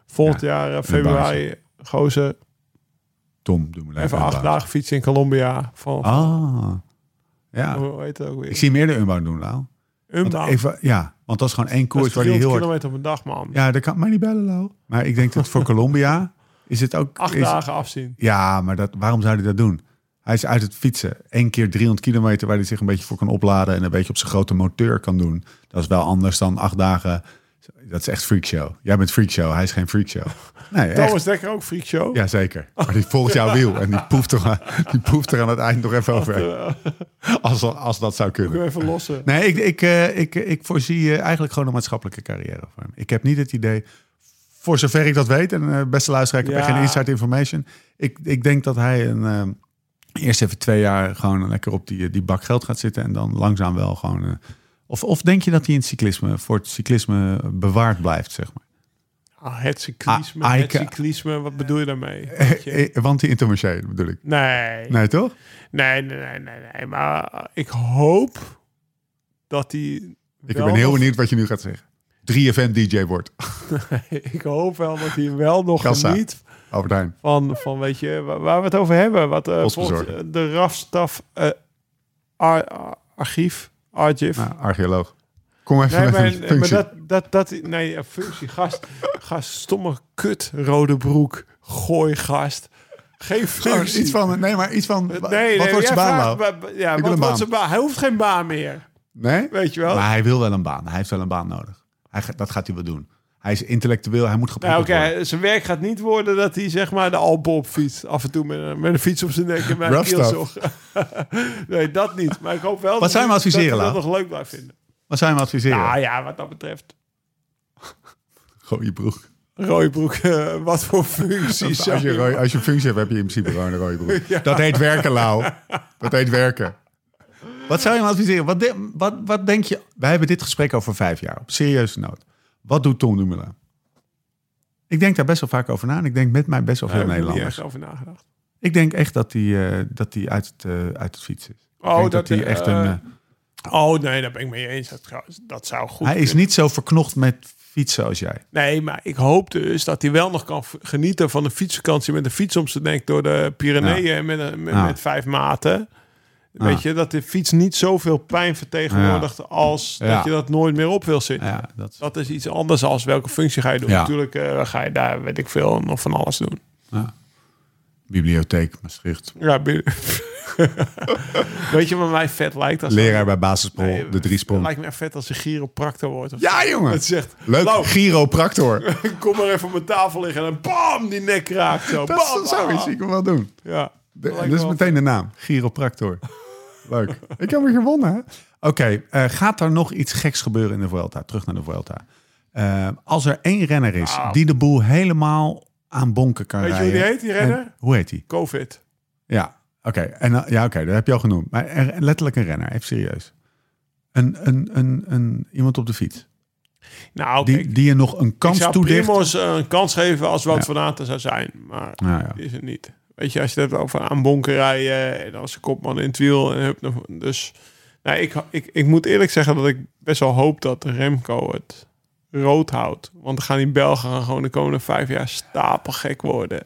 Speaker 3: Volgend jaar eh, februari. Gozer,
Speaker 1: Tom, doe me
Speaker 3: even acht dagen fietsen in Colombia. Van,
Speaker 1: Ah, ja.
Speaker 3: hoe heet het ook weer?
Speaker 1: Ik zie meer de unbound doen, Lau. Want
Speaker 3: Unbound.
Speaker 1: even, ja, want dat is gewoon één
Speaker 3: Dat
Speaker 1: koers
Speaker 3: is
Speaker 1: waar hij
Speaker 3: 300
Speaker 1: heel hard...
Speaker 3: kilometer op een dag, man.
Speaker 1: Ja, dat kan mij niet bellen, Lau. Maar ik denk dat voor Colombia is het ook...
Speaker 3: Acht
Speaker 1: is,
Speaker 3: dagen afzien.
Speaker 1: Ja, maar dat, waarom zou hij dat doen? Hij is uit het fietsen. Eén keer 300 kilometer waar hij zich een beetje voor kan opladen... en een beetje op zijn grote moteur kan doen. Dat is wel anders dan acht dagen. Dat is echt freakshow. Jij bent freakshow, hij is geen freakshow. Nee, echt.
Speaker 3: Thomas Dekker ook, Freak Show.
Speaker 1: Ja, zeker. Maar die volgt jouw wiel en die poeft er, aan- die poeft er aan het eind nog even over. Als, als dat zou
Speaker 3: Ik wil
Speaker 1: kunnen.
Speaker 3: eh. even lossen.
Speaker 1: Nee, ik, ik, eh, ik, ik voorzie eh, eigenlijk gewoon een maatschappelijke carrière voor hem. Ik heb niet het idee, voor zover ik dat weet, en eh, beste luisteraar, ik heb
Speaker 3: Ja.
Speaker 1: echt geen inside information. Ik, ik denk dat hij een, eh, eerst even twee jaar gewoon lekker op die, eh, die bak geld gaat zitten en dan langzaam wel gewoon eh, Of, of denk je dat hij in het cyclisme, voor het cyclisme bewaard blijft, zeg maar?
Speaker 3: Ah, het cyclisme,
Speaker 1: Ah,
Speaker 3: het
Speaker 1: Eike-
Speaker 3: cyclisme, wat bedoel je daarmee?
Speaker 1: Eh, Want die intermarché bedoel ik.
Speaker 3: Nee.
Speaker 1: Nee, toch?
Speaker 3: Nee, nee, nee, nee, nee. Maar eh, ik hoop dat hij.
Speaker 1: Ik ben heel benieuwd wat je nu gaat zeggen. 3FM DJ wordt.
Speaker 3: ik hoop wel dat hij wel nog
Speaker 1: Kassa.
Speaker 3: geniet
Speaker 1: Overtuin.
Speaker 3: van, van weet je, wa- waar, we het over hebben. Wat, eh,
Speaker 1: Postbezorger.
Speaker 3: volgens, eh, de RAFstaf eh, ar- ar- archief, archief.
Speaker 1: Nou, archeoloog. Kom even
Speaker 3: Nee,
Speaker 1: met
Speaker 3: maar,
Speaker 1: een
Speaker 3: maar
Speaker 1: functie.
Speaker 3: dat, dat, dat, nee, een functie, gast, gast, stomme kut, rode broek, gooi gast. Geen
Speaker 1: Gewoon
Speaker 3: functie.
Speaker 1: iets van, nee, maar iets van, wat
Speaker 3: nee, nee,
Speaker 1: wordt
Speaker 3: jij
Speaker 1: zijn baan
Speaker 3: vraagt
Speaker 1: nou?
Speaker 3: wa- wa- Ja,
Speaker 1: wil
Speaker 3: wat
Speaker 1: een
Speaker 3: wordt
Speaker 1: baan.
Speaker 3: zijn baan? Hij hoeft geen baan meer,
Speaker 1: Nee?
Speaker 3: weet je wel.
Speaker 1: Maar hij wil wel een baan. Hij heeft wel een baan nodig. Hij, gaat- dat gaat hij wel doen. Hij is intellectueel, hij moet
Speaker 3: Nou,
Speaker 1: geprikkeld
Speaker 3: oké, zijn werk gaat niet worden dat hij zeg maar de Alpen op fietst. Af en toe met, een- met een fiets op zijn nek en mijn
Speaker 1: Rough
Speaker 3: keel
Speaker 1: stuff.
Speaker 3: zocht. nee, dat niet. Maar ik hoop wel dat,
Speaker 1: zijn we
Speaker 3: hij-
Speaker 1: adviseren,
Speaker 3: dat hij
Speaker 1: Lau?
Speaker 3: dat nog leuk blijft vinden.
Speaker 1: worden. Wat zijn we adviseren?
Speaker 3: Nou ja, wat dat betreft.
Speaker 1: Gooi je broek.
Speaker 3: Rode broek, eh, wat voor functie
Speaker 1: Als je,
Speaker 3: zou
Speaker 1: rooi- als je een functie hebt, heb je in principe gewoon een rode broek. Dat heet werken, Lau. Dat heet werken. Wat zou je hem adviseren? Wat, de- wat, wat denk je... Wij hebben dit gesprek over vijf jaar. Op serieuze noot. Wat doet Tom Dumoulin? Ik denk daar best wel vaak over na. En ik denk met mij best wel veel
Speaker 3: Daar heb Nou, ik niet
Speaker 1: Nederlanders.
Speaker 3: echt over nagedacht.
Speaker 1: Ik denk echt dat hij eh, dat hij uit, het, eh, uit het fiets is. Ik
Speaker 3: Oh,
Speaker 1: denk dat
Speaker 3: dat,
Speaker 1: hij
Speaker 3: eh,
Speaker 1: echt een... eh,
Speaker 3: Oh nee, daar ben ik mee eens. Dat, zou- dat zou goed
Speaker 1: hij is
Speaker 3: kunnen.
Speaker 1: niet zo verknocht met fietsen als jij.
Speaker 3: Nee, maar ik hoop dus dat hij wel nog kan v- genieten van een fietsvakantie met een fiets om zijn nek door de Pyreneeën met, een- met,
Speaker 1: Ja.
Speaker 3: met vijf maten. Weet je, dat de fiets niet zoveel pijn vertegenwoordigt als
Speaker 1: Ja.
Speaker 3: dat je dat nooit meer op wil zitten.
Speaker 1: Nou Ja, dat,
Speaker 3: Dat is iets anders als welke functie ga je doen.
Speaker 1: Ja.
Speaker 3: Natuurlijk eh, ga je daar, weet ik veel, nog van alles doen.
Speaker 1: bibliotheek Maastricht.
Speaker 3: Ja, bi- weet je wat mij vet lijkt? Als
Speaker 1: Leraar bij basisprol,
Speaker 3: Nee,
Speaker 1: de drie
Speaker 3: Het
Speaker 1: sprong.
Speaker 3: lijkt mij vet als een chiropractor wordt. of
Speaker 1: Ja, jongen.
Speaker 3: Het zegt,
Speaker 1: Leuk,
Speaker 3: Lau,
Speaker 1: chiropractor.
Speaker 3: kom maar even op mijn tafel liggen en dan bam, die nek raakt. Zo,
Speaker 1: Dat
Speaker 3: bam,
Speaker 1: is- zou je
Speaker 3: bam.
Speaker 1: zieken wel doen.
Speaker 3: Ja.
Speaker 1: De-
Speaker 3: lijkt
Speaker 1: dat is
Speaker 3: wel-
Speaker 1: meteen de naam. Chiropractor. Leuk. Ik heb weer gewonnen, hè? Oké, eh, gaat er nog iets geks gebeuren in de Vuelta? Terug naar de Vuelta. Eh, als er één renner is die de boel helemaal aan bonken kan
Speaker 3: Ah. Weet je hoe
Speaker 1: rijden.
Speaker 3: die heet, die
Speaker 1: en-
Speaker 3: renner?
Speaker 1: hoe heet die?
Speaker 3: Covid.
Speaker 1: Ja, oké. En eh, ja, oké, dat heb je al genoemd. Maar er- letterlijk een renner, even serieus. Een, een, een, een, iemand op de fiets.
Speaker 3: Nou,
Speaker 1: Die,
Speaker 3: kijk,
Speaker 1: die je nog een
Speaker 3: ik
Speaker 1: kans
Speaker 3: zou
Speaker 1: toedicht.
Speaker 3: Primoz eh, een kans geven als Wout
Speaker 1: Ja.
Speaker 3: van Aten zou zijn. Maar
Speaker 1: Nou ja.
Speaker 3: die is het niet. Weet je, als je het hebt over aanbonken rijden en als de kopman in het wiel. En hup, nog- dus nou, ik, ik, ik moet eerlijk zeggen dat ik best wel hoop dat Remco het rood houdt. Want dan gaan die Belgen gaan gewoon de komende vijf jaar stapelgek worden.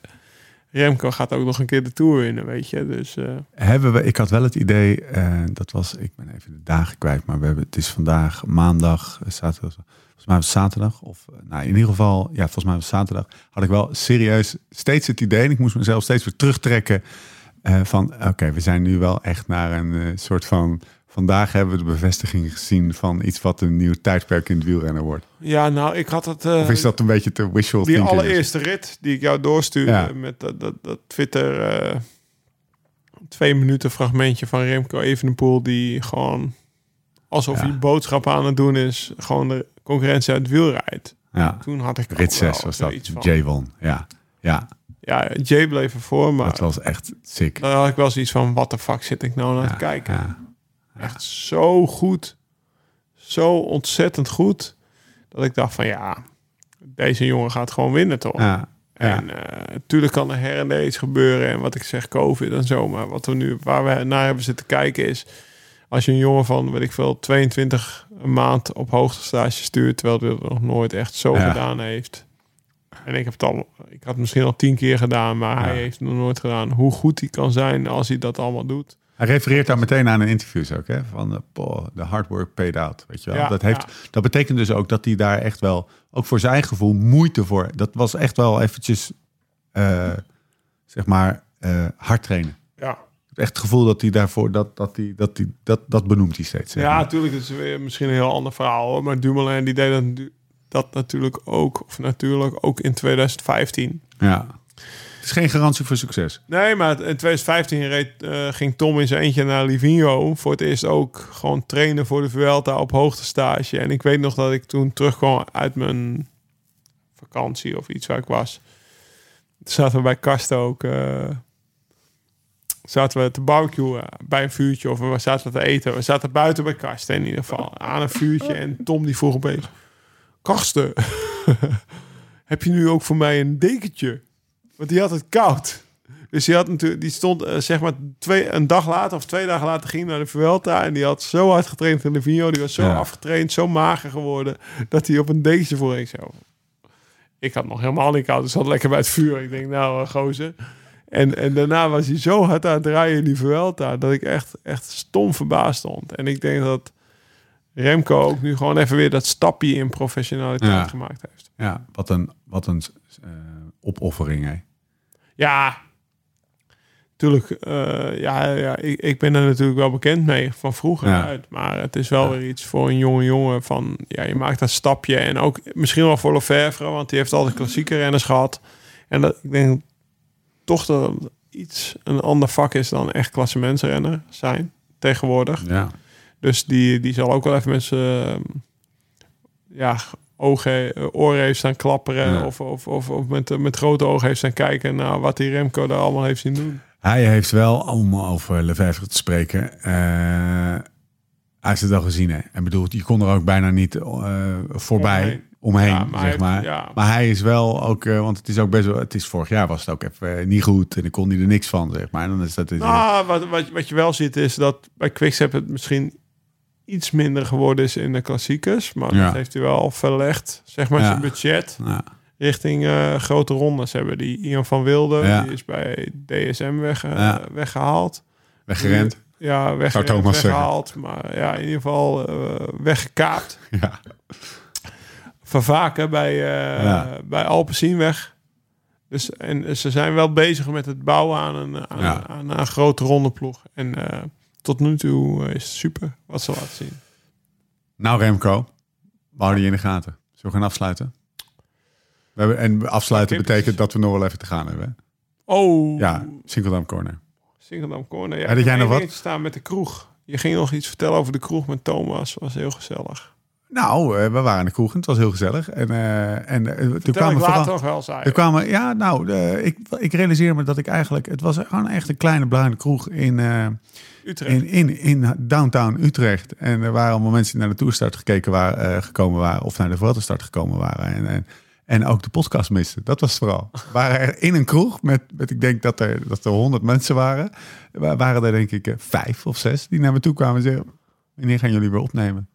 Speaker 3: Remco gaat ook nog een keer de Tour winnen, weet je. Dus eh,
Speaker 1: Hebben we, ik had wel het idee, eh, dat was, ik ben even de dagen kwijt, maar we hebben, het is vandaag maandag, eh, zaterdag, volgens mij was het zaterdag, of eh, nou in ieder geval, ja, volgens mij was het zaterdag, had ik wel serieus steeds het idee, en ik moest mezelf steeds weer terugtrekken, eh, van oké, we zijn nu wel echt naar een eh, soort van, vandaag hebben we de bevestiging gezien van iets wat een nieuw tijdperk in het wielrennen wordt.
Speaker 3: ja, nou, ik had het... eh,
Speaker 1: Of is dat een beetje te wishful
Speaker 3: Die
Speaker 1: thinking?
Speaker 3: allereerste rit die ik jou doorstuurde
Speaker 1: Ja.
Speaker 3: met dat, dat, dat Twitter eh, twee minuten fragmentje van Remco Evenepoel die gewoon alsof
Speaker 1: Ja.
Speaker 3: hij boodschappen aan het doen is, gewoon de concurrentie uit het wiel rijdt.
Speaker 1: Ja,
Speaker 3: Toen had ik ook
Speaker 1: rit 6
Speaker 3: wel
Speaker 1: was
Speaker 3: zoiets Oh, van-
Speaker 1: dat, Jay won, ja. Ja,
Speaker 3: Ja, Jay bleef ervoor, maar
Speaker 1: dat was echt sick.
Speaker 3: dan had ik wel zoiets van, wat de fuck zit ik nou naar
Speaker 1: Ja,
Speaker 3: te kijken?
Speaker 1: ja.
Speaker 3: Echt zo goed, zo ontzettend goed, dat ik dacht van ja, deze jongen gaat gewoon winnen toch?
Speaker 1: Ja, ja.
Speaker 3: En natuurlijk kan er her en der iets gebeuren. En wat ik zeg, COVID en zo. Maar wat we nu, waar we naar hebben zitten kijken is... als je een jongen van, weet ik veel, 22 een maand op hoogtestage stuurt... terwijl hij dat nog nooit echt zo
Speaker 1: Ja.
Speaker 3: gedaan heeft. En ik heb het al, ik had het misschien al tien keer gedaan... maar hij
Speaker 1: Ja.
Speaker 3: heeft het nog nooit gedaan. Hoe goed hij kan zijn als hij dat allemaal doet.
Speaker 1: Hij refereert daar meteen aan in interviews ook, hè? Van eh, boh, de hard work paid out, weet je wel.
Speaker 3: Ja,
Speaker 1: dat, heeft, dat betekent dus ook dat hij daar echt wel, ook voor zijn eigen gevoel, moeite voor... Dat was echt wel eventjes, eh, zeg maar, eh, hard trainen.
Speaker 3: Ja,
Speaker 1: Ik heb echt het gevoel dat hij daarvoor, dat, dat, hij, dat, hij, dat, dat benoemt hij steeds. zeg
Speaker 3: ja
Speaker 1: maar.
Speaker 3: natuurlijk is het weer misschien een heel ander verhaal. hoor. Maar Dumoulin die deed dat, nu- dat natuurlijk ook, of natuurlijk ook in 2015...
Speaker 1: ja. Het is geen garantie voor succes.
Speaker 3: Nee, maar in 2015 reed, eh, ging Tom in zijn eentje naar Livigno. Voor het eerst ook gewoon trainen voor de Vuelta op hoogtestage. En ik weet nog dat ik toen terugkwam uit mijn vakantie of iets waar ik was. Toen zaten we bij Kasten ook eh, zaten we te barbecuen bij een vuurtje of we zaten te eten. We zaten buiten bij Karsten in ieder geval aan een vuurtje en Tom die vroeg opeens... Karsten, heb je nu ook voor mij een dekentje? Want die had het koud. Dus die, had natuurlijk, die stond eh, zeg maar twee, een dag later of twee dagen later ging naar de Vuelta. En die had zo hard getraind in de Vino. Die was zo
Speaker 1: Ja.
Speaker 3: afgetraind, zo mager geworden. Dat hij op een dekentje voor Ik zei, oh, ik had nog helemaal niet koud. Dus zat lekker bij het vuur. Ik denk, nou eh, gozer. En, en daarna was hij zo hard aan het rijden in die Vuelta. Dat ik echt, echt stom verbaasd stond. En ik denk dat Remco ook nu gewoon even weer dat stapje in professionaliteit
Speaker 1: Ja.
Speaker 3: gemaakt heeft.
Speaker 1: Ja, wat een, wat een eh, opoffering, hè.
Speaker 3: Ja, tuurlijk. eh, ja, ja ik, ik ben er natuurlijk wel bekend mee van vroeger
Speaker 1: Ja.
Speaker 3: uit. Maar het is wel weer iets voor een jonge jongen van... Ja, je maakt dat stapje. En ook misschien wel voor Lefevre, want die heeft altijd klassieke renners gehad. En dat, ik denk toch dat het iets een ander vak is dan echt klassementsrenner zijn tegenwoordig.
Speaker 1: Ja.
Speaker 3: Dus die, die zal ook wel even met zijn ehm, ja, ogen, eh, oren heeft staan klapperen.
Speaker 1: Ja.
Speaker 3: Of, of, of, of met, eh, met grote ogen heeft staan kijken naar wat die Remco daar allemaal heeft zien doen.
Speaker 1: Hij heeft wel, om over Lefevre te spreken, eh, hij heeft het al gezien. Hè? En bedoel, je kon er ook bijna niet eh, voorbij omheen,
Speaker 3: Omheen. Ja, maar hij
Speaker 1: zeg
Speaker 3: heeft-
Speaker 1: maar.
Speaker 3: ja.
Speaker 1: Maar hij is wel ook, eh, want het is ook best wel, het is vorig jaar was het ook even eh, niet goed en dan kon hij er niks van, zeg maar. En dan is dat, dus-
Speaker 3: Nou, wat, wat, wat je wel ziet is dat bij Quickstep het misschien iets minder geworden is in de klassiekers. Maar
Speaker 1: Ja.
Speaker 3: dat heeft hij wel verlegd, zeg maar,
Speaker 1: Ja.
Speaker 3: zijn budget
Speaker 1: Ja.
Speaker 3: richting eh, grote rondes. Hebben die Ian van Wilde,
Speaker 1: Ja.
Speaker 3: die is bij DSM wegge-
Speaker 1: Ja.
Speaker 3: weggehaald.
Speaker 1: weggerend.
Speaker 3: Ja, weg,
Speaker 1: Zou Thomas zeggen.
Speaker 3: weggehaald. Maar ja, in ieder geval eh, weggekaapt.
Speaker 1: Ja.
Speaker 3: Vervaken bij, eh
Speaker 1: Ja.
Speaker 3: bij Alpensienweg. Dus, en ze zijn wel bezig met het bouwen aan een, aan,
Speaker 1: Ja.
Speaker 3: aan een grote ronde ploeg. En eh, tot nu toe eh, is het super wat ze laten zien.
Speaker 1: Nou Remco, we houden je in de gaten. Zullen we gaan afsluiten? We hebben, en afsluiten
Speaker 3: Oké,
Speaker 1: betekent dat we nog wel even te gaan hebben. hè?
Speaker 3: Oh,
Speaker 1: Ja, Singeldam Corner.
Speaker 3: Singeldam Corner. Ja,
Speaker 1: Had
Speaker 3: ik
Speaker 1: jij nog
Speaker 3: heb één
Speaker 1: wat?
Speaker 3: dingetje staan met de kroeg. Je ging nog iets vertellen over de kroeg met Thomas. was heel gezellig.
Speaker 1: Nou, eh, we waren in de kroeg en het was heel gezellig. En, eh, en eh, er
Speaker 3: Vertel ik
Speaker 1: kwamen
Speaker 3: later
Speaker 1: vooral...
Speaker 3: nog wel, zei
Speaker 1: Er
Speaker 3: je.
Speaker 1: kwamen, ja, nou, eh, ik, ik realiseer me dat ik eigenlijk... Het was gewoon echt een kleine bruine kroeg in, eh,
Speaker 3: Utrecht.
Speaker 1: in, in, in downtown Utrecht. En er waren allemaal mensen die naar de toerstart gekeken waren, eh, gekomen waren... of naar de Vuelta-start gekomen waren. En, en, en ook de podcast misten. Dat was het vooral. We waren er in een kroeg met, met ik denk dat er, dat er honderd mensen waren. Er waren er denk ik eh, vijf of zes die naar me toe kwamen en zeiden... Wanneer gaan jullie weer opnemen?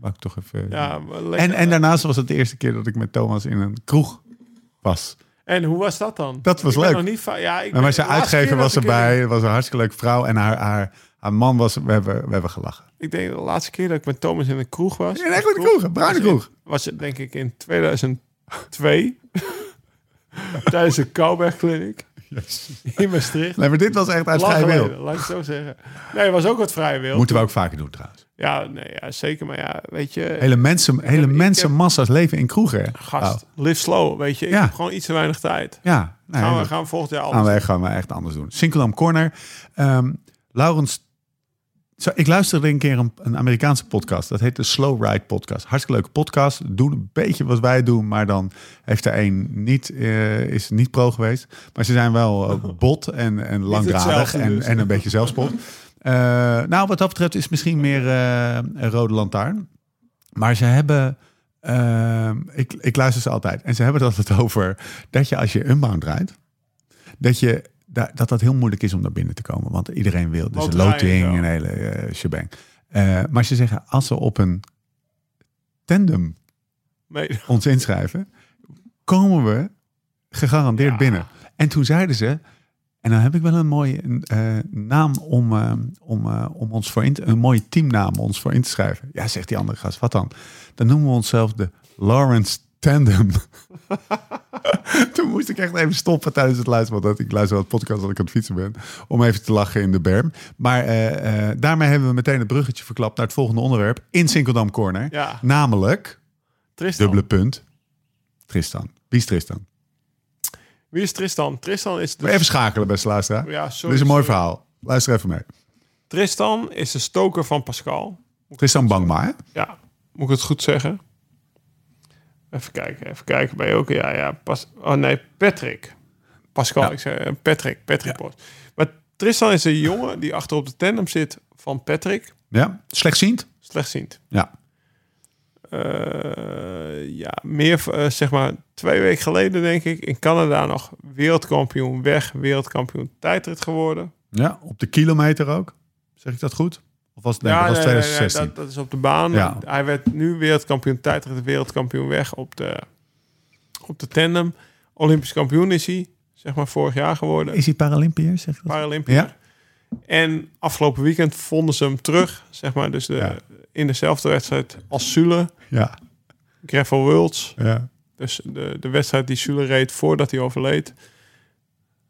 Speaker 1: Wou ik toch even... eh,
Speaker 3: ja, maar lekker.
Speaker 1: en, en daarnaast was het de eerste keer dat ik met Thomas in een kroeg was...
Speaker 3: En hoe was dat dan?
Speaker 1: Dat was
Speaker 3: ik ben
Speaker 1: leuk.
Speaker 3: Nog niet van, ja, ik
Speaker 1: Maar
Speaker 3: ben-
Speaker 1: zijn
Speaker 3: de laatste
Speaker 1: uitgever
Speaker 3: keer
Speaker 1: was
Speaker 3: dat ik in-
Speaker 1: erbij. Het was een hartstikke leuke vrouw. En haar, haar, haar man was... We hebben, we hebben gelachen.
Speaker 3: Ik denk de laatste keer dat ik met Thomas in een kroeg was.
Speaker 1: In een echte kroeg, een bruine
Speaker 3: was in-
Speaker 1: kroeg.
Speaker 3: Was het denk ik in 2002. tijdens de Kouberg Clinic. In Maastricht.
Speaker 1: Nee, maar dit was echt uit
Speaker 3: Lang
Speaker 1: vrij
Speaker 3: geleden,
Speaker 1: wil.
Speaker 3: laat ik het zo zeggen. Nee, het was ook wat vrij wil.
Speaker 1: Moeten we ook vaker doen trouwens.
Speaker 3: Ja, nee, ja, zeker. Maar ja, weet je...
Speaker 1: Hele, mensen, hele
Speaker 3: ik heb-
Speaker 1: mensenmassa's leven in kroegen. hè?
Speaker 3: Gast,
Speaker 1: Oh,
Speaker 3: live slow, weet je. Ik
Speaker 1: Ja.
Speaker 3: heb gewoon iets te weinig tijd.
Speaker 1: ja. Nee,
Speaker 3: Gaan we
Speaker 1: dat-
Speaker 3: gaan we volgend jaar
Speaker 1: gaan
Speaker 3: anders.
Speaker 1: we echt, gaan we echt anders doen. Sinkeldam Corner. Ehm Laurens... Zo, ik luisterde een keer een, een Amerikaanse podcast. Dat heet de Slow Ride Podcast. Hartstikke leuke podcast. Doen een beetje wat wij doen. Maar dan heeft er een niet, eh, is niet pro geweest. Maar ze zijn wel eh, bot en, en langdradig.
Speaker 3: hetzelfde
Speaker 1: En,
Speaker 3: dus.
Speaker 1: en een beetje zelfspot. Eh, nou, wat dat betreft is misschien meer eh, een Rode Lantaarn. Maar ze hebben... eh, ik, ik luister ze altijd. En ze hebben het altijd over dat je als je unbound rijdt... dat je... da- Dat dat heel moeilijk is om naar binnen te komen. Want iedereen wil. Dus een
Speaker 3: Motorrijden,
Speaker 1: loting,
Speaker 3: ja.
Speaker 1: een hele eh, shebang. Eh, maar ze zeggen, als ze op een tandem
Speaker 3: Nee,
Speaker 1: ons inschrijven, komen we gegarandeerd
Speaker 3: Ja.
Speaker 1: binnen. En toen zeiden ze, en dan heb ik wel een mooie eh, naam om, eh, om, eh, om ons voor in te, een mooie teamnaam om ons voor in te schrijven. Ja, zegt die andere gast, wat dan? Dan noemen we onszelf de Lawrence Tandem. toen moest ik echt even stoppen tijdens het luisteren. Want dat- ik luister wel het podcast dat ik aan het fietsen ben. Om even te lachen in de berm. Maar eh, eh, daarmee hebben we meteen het bruggetje verklapt naar het volgende onderwerp. In Sinkeldam Corner.
Speaker 3: Ja.
Speaker 1: Namelijk...
Speaker 3: Tristan.
Speaker 1: Dubbele punt. Tristan. Wie is Tristan?
Speaker 3: Wie is Tristan? Tristan is de...
Speaker 1: Even schakelen, beste luisteraar.
Speaker 3: Ja, sorry,
Speaker 1: Dit is een mooi
Speaker 3: sorry.
Speaker 1: verhaal. Luister even mee.
Speaker 3: Tristan is de stoker van Pascal.
Speaker 1: Tristan Bangma, hè?
Speaker 3: Ja, moet ik het goed zeggen? Even kijken, even kijken bij ook. Ja, ja. Pas, oh nee, Patrick. Pascal,
Speaker 1: Ja.
Speaker 3: ik zei eh, Patrick, Patrick Post. Maar Tristan is een jongen die achter op de tandem zit van Patrick.
Speaker 1: Ja, slechtziend?
Speaker 3: Slechtziend.
Speaker 1: Ja.
Speaker 3: Eh, ja, meer eh, zeg maar twee weken geleden denk ik in Canada nog wereldkampioen weg, wereldkampioen tijdrit geworden.
Speaker 1: ja. Op de kilometer ook? Zeg ik dat goed? Of was het, nee, dat was
Speaker 3: nee, nee, nee,
Speaker 1: 2016?
Speaker 3: dat, dat is op de baan.
Speaker 1: Ja.
Speaker 3: Hij werd nu wereldkampioen tijdrit, wereldkampioen weg op de, op de tandem. Olympisch kampioen is hij, zeg maar vorig jaar geworden.
Speaker 7: Is hij Paralympiër? Zeg dat?
Speaker 3: Paralympië.
Speaker 1: Ja.
Speaker 3: En afgelopen weekend vonden ze hem terug, zeg maar. Dus de,
Speaker 1: Ja.
Speaker 3: in dezelfde wedstrijd als Sule,
Speaker 1: Ja,
Speaker 3: Gravel Worlds.
Speaker 1: ja.
Speaker 3: Dus de, de wedstrijd die Sule reed voordat hij overleed.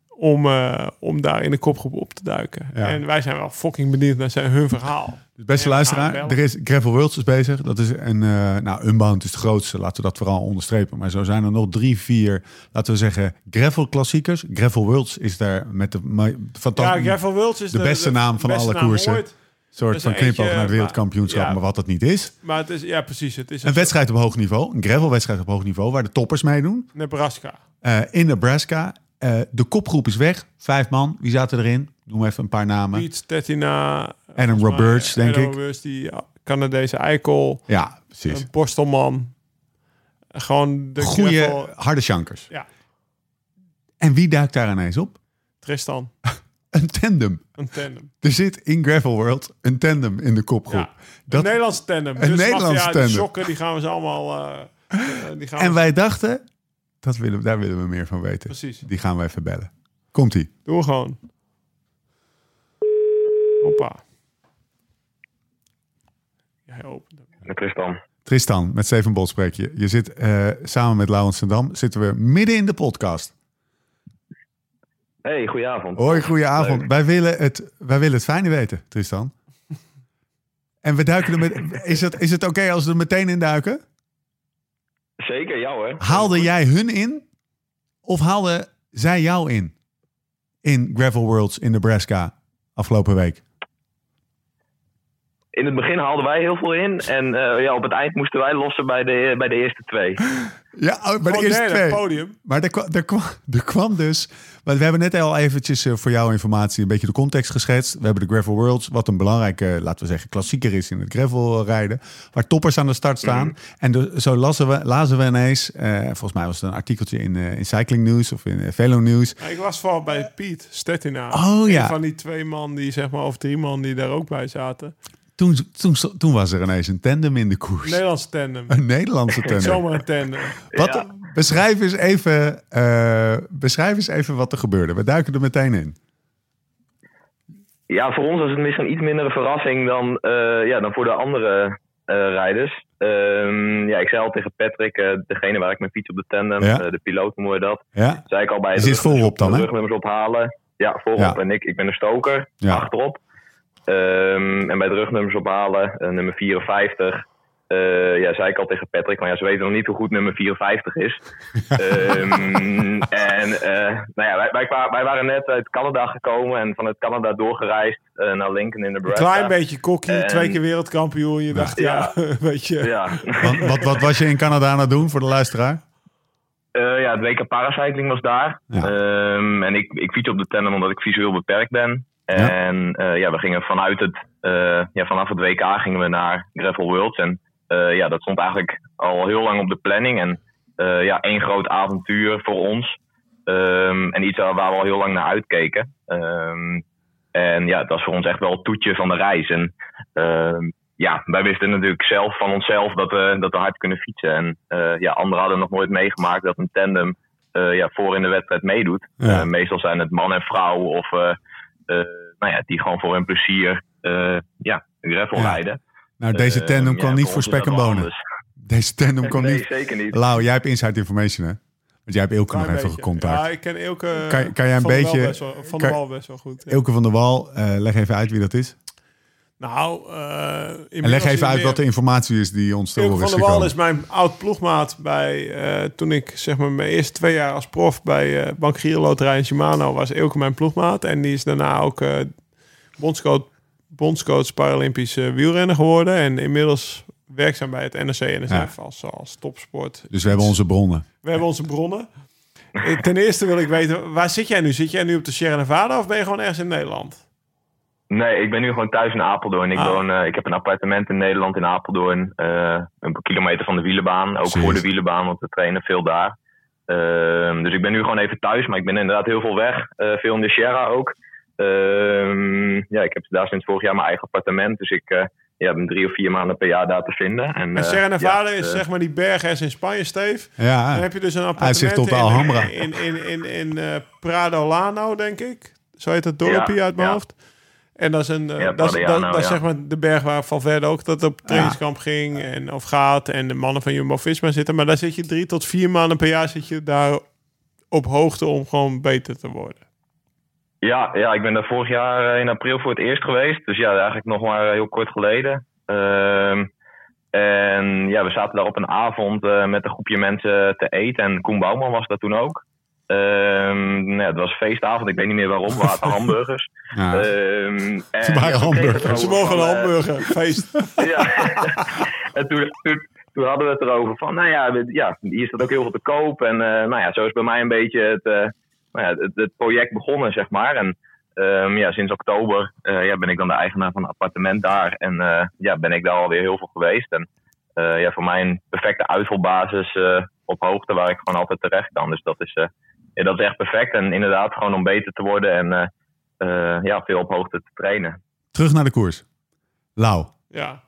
Speaker 3: Om, eh, om daar in de kopgroep op te duiken.
Speaker 1: Ja.
Speaker 3: En wij zijn wel fucking benieuwd naar zijn, hun verhaal.
Speaker 1: Dus beste
Speaker 3: Ja,
Speaker 1: luisteraar,
Speaker 3: aanbellen.
Speaker 1: er is Gravel Worlds is bezig. Dat is een, eh nou, Unbound is het grootste, laten we dat vooral onderstrepen. Maar zo zijn er nog drie, vier, laten we zeggen, Gravel klassiekers. Gravel Worlds is daar met de ma-
Speaker 3: Ja,
Speaker 1: fantastische
Speaker 3: Gravel Worlds is
Speaker 1: de
Speaker 3: de,
Speaker 1: beste naam van alle koersen.
Speaker 3: ooit.
Speaker 1: soort
Speaker 3: is
Speaker 1: van
Speaker 3: er
Speaker 1: knipoog
Speaker 3: eentje,
Speaker 1: naar het
Speaker 3: maar-
Speaker 1: wereldkampioenschap,
Speaker 3: ja.
Speaker 1: maar wat dat niet is.
Speaker 3: Maar het is, ja precies, het is
Speaker 1: Een wedstrijd op hoog niveau, een gravelwedstrijd op hoog niveau, waar de toppers meedoen.
Speaker 3: Nebraska.
Speaker 1: Eh, in Nebraska, Eh, de kopgroep is weg, vijf man. Wie zaten erin? Noem even een paar namen.
Speaker 3: Piet, Tettina.
Speaker 1: Adam
Speaker 3: volgens mij, eh,
Speaker 1: Roberts, denk
Speaker 3: Adam
Speaker 1: ik.
Speaker 3: Roberts, die Canadese eikel.
Speaker 1: Ja, precies.
Speaker 3: Een borstelman. Gewoon de
Speaker 1: Goeie,
Speaker 3: gravel-
Speaker 1: harde shankers.
Speaker 3: Ja.
Speaker 1: En wie duikt daar ineens op?
Speaker 3: Tristan.
Speaker 1: Een tandem.
Speaker 3: Een tandem.
Speaker 1: Er zit in Gravel World een tandem in de kopgroep.
Speaker 3: Ja.
Speaker 1: Dat-
Speaker 3: Een Nederlands tandem.
Speaker 1: Een
Speaker 3: wacht,
Speaker 1: Nederlands
Speaker 3: ja,
Speaker 1: tandem.
Speaker 3: De sokken, die gaan we ze allemaal... eh, eh, die gaan we
Speaker 1: en wij dachten, dat willen, we- daar willen we meer van weten.
Speaker 3: Precies.
Speaker 1: Die gaan we even bellen. Komt-ie.
Speaker 3: Doen we gewoon. Hoppa. Jij opent hem.
Speaker 5: Met Tristan.
Speaker 1: Tristan, met Steven Bot spreek je. Je zit eh, samen met Laurens Sendam, zitten we midden in de podcast.
Speaker 5: Hey, goedenavond.
Speaker 1: Hoi, goeie avond.
Speaker 5: Leuk.
Speaker 1: Wij willen, het, wij willen het fijne weten, Tristan. En we duiken er met... Is het, is het oké als we er meteen in duiken?
Speaker 5: Zeker, jou hè?
Speaker 1: Haalde jij hun in? Of haalde zij jou in? In Gravel Worlds in Nebraska afgelopen week.
Speaker 5: In het begin haalden wij heel veel in. En eh, ja, op het eind moesten wij lossen bij de, bij de eerste twee.
Speaker 1: Ja, oh, bij de
Speaker 3: Oh,
Speaker 1: eerste
Speaker 3: nee, dat
Speaker 1: twee.
Speaker 3: podium.
Speaker 1: Maar er kwam, er, kwam, er kwam dus... Want we hebben net al eventjes eh, voor jouw informatie een beetje de context geschetst. We hebben de Gravel Worlds, wat een belangrijke, eh, laten we zeggen, klassieker is in het gravelrijden. Waar toppers aan de start staan. En de- zo lazen we, lazen we ineens, eh, volgens mij was het een artikeltje in, eh, in Cycling News of in eh, Velo News.
Speaker 3: Ja, Ik was vooral bij Piet Stettina.
Speaker 1: Oh,
Speaker 3: Een
Speaker 1: ja.
Speaker 3: Van die twee man die zeg maar, of drie man die daar ook bij zaten.
Speaker 1: Toen, toen, toen was er ineens een tandem in de koers.
Speaker 3: Nederlands tandem.
Speaker 1: Een Nederlandse
Speaker 3: Niet
Speaker 1: tandem.
Speaker 3: zomaar een tandem.
Speaker 1: Wat, beschrijf, eens even, eh, beschrijf eens even wat er gebeurde. We duiken er meteen in.
Speaker 5: Ja, voor ons was het misschien iets minder een verrassing dan, eh, ja, dan voor de andere eh, rijders. Ehm, ja, ik zei al tegen Patrick, eh, degene waar ik mijn fiets op de tandem,
Speaker 1: Ja.
Speaker 5: eh, de piloot noemen we dat.
Speaker 1: Ja?
Speaker 5: Zei ik al bij
Speaker 1: Je
Speaker 5: de,
Speaker 1: zit
Speaker 5: rug-
Speaker 1: voorop dan,
Speaker 5: de
Speaker 1: hè?
Speaker 5: rugnummers ophalen. Ja, voorop.
Speaker 1: Ja.
Speaker 5: En ik, ik ben een stoker,
Speaker 1: Ja.
Speaker 5: achterop. Ehm, en bij de rugnummers ophalen, eh, nummer 54. eh, ja, zei ik al tegen Patrick, maar ja, ze weten nog niet hoe goed nummer 54 is. Ehm, en eh, nou ja, wij, wij, kwa- wij waren net uit Canada gekomen en vanuit Canada doorgereisd eh, naar Lincoln in Nebraska.
Speaker 3: Klein beetje kokkie,
Speaker 5: En-
Speaker 3: twee keer wereldkampioen. Je dacht, ja, weet je.
Speaker 5: Ja.
Speaker 1: Wat, wat, wat was je in Canada aan het doen voor de luisteraar?
Speaker 5: Eh, ja, het WK Paracycling was daar.
Speaker 1: Ja.
Speaker 5: Ehm, en ik, ik fiets op de tandem omdat ik visueel beperkt ben.
Speaker 1: Ja.
Speaker 5: En eh, ja, we gingen vanuit het, eh, ja, vanaf het WK gingen we naar Gravel Worlds. En eh, ja, dat stond eigenlijk al heel lang op de planning. En eh, ja, één groot avontuur voor ons. Ehm, en iets waar waar we al heel lang naar uitkeken. Ehm, en ja, het was voor ons echt wel het toetje van de reis. En ehm, ja, wij wisten natuurlijk zelf van onszelf dat we, dat we hard kunnen fietsen. En eh, ja, anderen hadden nog nooit meegemaakt dat een tandem eh, ja, voor in de wedstrijd meedoet.
Speaker 1: Ja.
Speaker 5: Eh, meestal zijn het man en vrouw of eh, eh, nou ja, die gewoon voor hun plezier eh ja, gravel
Speaker 1: Ja.
Speaker 5: rijden.
Speaker 1: Nou, deze
Speaker 5: Eh,
Speaker 1: tandem
Speaker 5: ja,
Speaker 1: kwam niet voor
Speaker 5: ons is
Speaker 1: spek
Speaker 5: dat
Speaker 1: en
Speaker 5: wel
Speaker 1: bonen.
Speaker 5: anders.
Speaker 1: Deze tandem kwam
Speaker 5: Nee,
Speaker 1: niet...
Speaker 5: zeker niet.
Speaker 1: Lau, jij hebt inside information, hè? Want jij hebt Ilke nog
Speaker 3: Klein
Speaker 1: even
Speaker 3: beetje. Ja,
Speaker 1: gecontact.
Speaker 3: ik ken Elke
Speaker 1: Kan- kan jij een
Speaker 3: van der Wal
Speaker 1: beetje-
Speaker 3: best wel- van
Speaker 1: kan-
Speaker 3: de Wal best wel goed. ja.
Speaker 1: Ilke van der Wal, eh, leg even uit wie dat is.
Speaker 3: Nou, eh,
Speaker 1: En
Speaker 3: inmiddels
Speaker 1: leg even
Speaker 3: niet
Speaker 1: uit
Speaker 3: meer.
Speaker 1: wat de informatie is die ons te
Speaker 3: Ilke
Speaker 1: horen
Speaker 3: van
Speaker 1: is
Speaker 3: der Wal is
Speaker 1: gekomen.
Speaker 3: mijn oud ploegmaat bij eh, toen ik zeg maar mijn eerste twee jaar als prof bij eh Bank Giro Loterij en Shimano was Ilke mijn ploegmaat en die is daarna ook eh bondscoach, bondscoach Paralympisch eh, wielrenner geworden en inmiddels werkzaam bij het NRC NSF
Speaker 1: Ja.
Speaker 3: als, als topsport.
Speaker 1: Dus we hebben onze bronnen.
Speaker 3: We hebben onze bronnen. Eh, Ten eerste wil ik weten, waar zit jij nu? Zit jij nu op de Sierra Nevada of ben je gewoon ergens in Nederland?
Speaker 5: Nee, ik ben nu gewoon thuis in Apeldoorn. Ik,
Speaker 3: Ah.
Speaker 5: woon, eh, ik heb een appartement in Nederland in Apeldoorn. eh, een paar kilometer van de wielenbaan. Ook
Speaker 1: Precies.
Speaker 5: voor de wielenbaan, want we trainen veel daar. Ehm, dus ik ben nu gewoon even thuis. Maar ik ben inderdaad heel veel weg. eh, veel in de Sierra ook. Ehm, ja, ik heb daar sinds vorig jaar mijn eigen appartement. Dus ik eh, ja, ben drie of vier maanden per jaar daar te vinden. En,
Speaker 3: En
Speaker 5: eh,
Speaker 3: Sierra Nevada
Speaker 5: ja,
Speaker 3: is
Speaker 5: eh,
Speaker 3: zeg maar die bergen ergens in Spanje, Steve.
Speaker 1: Ja,
Speaker 3: Dan heb je dus een appartement
Speaker 1: Uitzicht op de
Speaker 3: in-
Speaker 1: Alhambra.
Speaker 3: in, in, in, in eh, Prado Lano, denk ik. Zo heet dat dorpje
Speaker 5: Ja,
Speaker 3: uit mijn
Speaker 5: ja.
Speaker 3: hoofd. En dat is, een, eh,
Speaker 5: Ja,
Speaker 3: dat is, dat,
Speaker 5: Prado,
Speaker 3: dat is
Speaker 5: ja.
Speaker 3: zeg maar de berg waar Valverde ook dat op trainingskamp ging en, of gaat. En de mannen van Jumbo-Visma zitten. Maar daar zit je drie tot vier maanden per jaar zit je daar op hoogte om gewoon beter te worden.
Speaker 5: Ja, ja, ik ben daar vorig jaar eh, in april voor het eerst geweest. Dus ja, eigenlijk nog maar eh, heel kort geleden. Ehm, en ja, we zaten daar op een avond eh, met een groepje mensen te eten. En Koen Bouwman was daar toen ook. Ehm, nou ja, het was feestavond, ik weet niet meer waarom. We hadden hamburgers.
Speaker 1: Ja.
Speaker 5: Ehm, en
Speaker 1: waren
Speaker 5: ja, toen kregen we
Speaker 1: hamburgers.
Speaker 5: het
Speaker 3: Ze
Speaker 5: over
Speaker 3: mogen een
Speaker 5: van, eh,
Speaker 3: hamburger, feest.
Speaker 5: ja. en toen, toen, toen hadden we het erover van, nou ja, we- ja hier staat ook heel veel te koop. En eh, nou ja, zo is bij mij een beetje het, eh, nou ja, het, het project begonnen, zeg maar. En ehm, ja, sinds oktober eh, ja, ben ik dan de eigenaar van een appartement daar. En eh, ja, ben ik daar alweer heel veel geweest. En eh, ja, voor mij een perfecte uitvalbasis eh, op hoogte waar ik gewoon altijd terecht kan. Dus dat is, eh, ja, dat is echt perfect. En inderdaad, gewoon om beter te worden en eh, eh, ja, veel op hoogte te trainen.
Speaker 1: Terug naar de koers. Lau,
Speaker 3: Ja.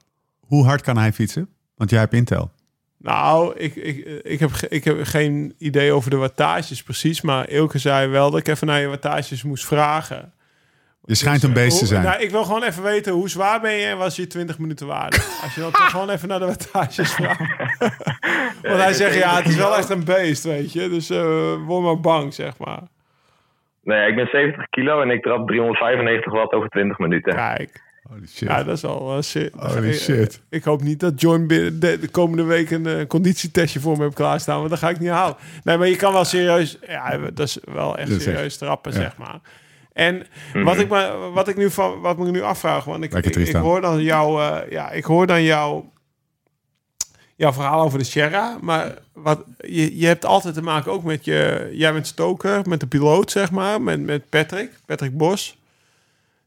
Speaker 1: hoe hard kan hij fietsen? Want jij hebt intel.
Speaker 3: Nou, ik, ik, ik, heb, ge- ik heb geen idee over de wattages precies. Maar Ilke zei wel dat ik even naar je wattages moest vragen.
Speaker 1: Je schijnt een beest te
Speaker 3: Hoe-
Speaker 1: zijn.
Speaker 3: nou, ik wil gewoon even weten, hoe zwaar ben je en was je 20 minuten waard? Als je dan toch gewoon even naar de wattages vraagt. Want hij zegt, ja, het is wel echt een beest, weet je. Dus eh word maar bang, zeg maar.
Speaker 5: Nee, ik ben 70 kilo en ik trap 395 watt over 20 minuten.
Speaker 3: Kijk,
Speaker 1: Holy shit.
Speaker 3: ja, dat is al eh, shit.
Speaker 1: Holy
Speaker 3: Ik-
Speaker 1: shit.
Speaker 3: Ik, hoop niet dat John binnen de, de komende week een eh, conditietestje voor me heeft klaarstaan, want dat ga ik niet halen. Nee, maar je kan wel serieus, ja, dat is wel echt
Speaker 1: Dat is echt-
Speaker 3: serieus trappen, zeg maar. En wat ik, me, wat ik nu van, wat me nu afvraag, want ik,
Speaker 1: Mhm. Lekker
Speaker 3: ik,
Speaker 1: triest
Speaker 3: ik
Speaker 1: aan.
Speaker 3: hoor dan jou, eh, ja, ik hoor dan jou, jouw verhaal over de Sierra, maar wat, je, je hebt altijd te maken ook met je, jij bent stoker, met de piloot, zeg maar, met, met Patrick, Patrick Bos.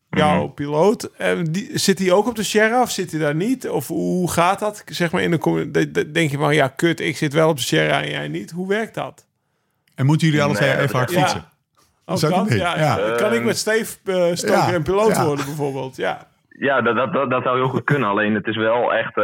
Speaker 3: Jouw
Speaker 1: Mhm.
Speaker 3: piloot, eh, die, zit hij ook op de Sierra of zit hij daar niet? Of hoe gaat dat? Zeg maar in de, commu- de- de- denk je van ja, kut, ik zit wel op de Sierra en jij niet. Hoe werkt dat?
Speaker 1: En moeten jullie alle
Speaker 5: Nee,
Speaker 1: twee
Speaker 5: dat-
Speaker 1: even hard
Speaker 3: ja.
Speaker 1: fietsen?
Speaker 3: Oh,
Speaker 1: Zou ik
Speaker 3: kan,
Speaker 1: niet?
Speaker 3: ja,
Speaker 1: Ja.
Speaker 3: ja. kan ik met
Speaker 5: Ehm,
Speaker 3: Steve eh, stoker
Speaker 1: Ja,
Speaker 3: en piloot
Speaker 1: ja.
Speaker 3: worden bijvoorbeeld? Ja.
Speaker 5: Ja, dat, dat, dat, dat zou heel goed kunnen. Alleen het is wel echt. eh,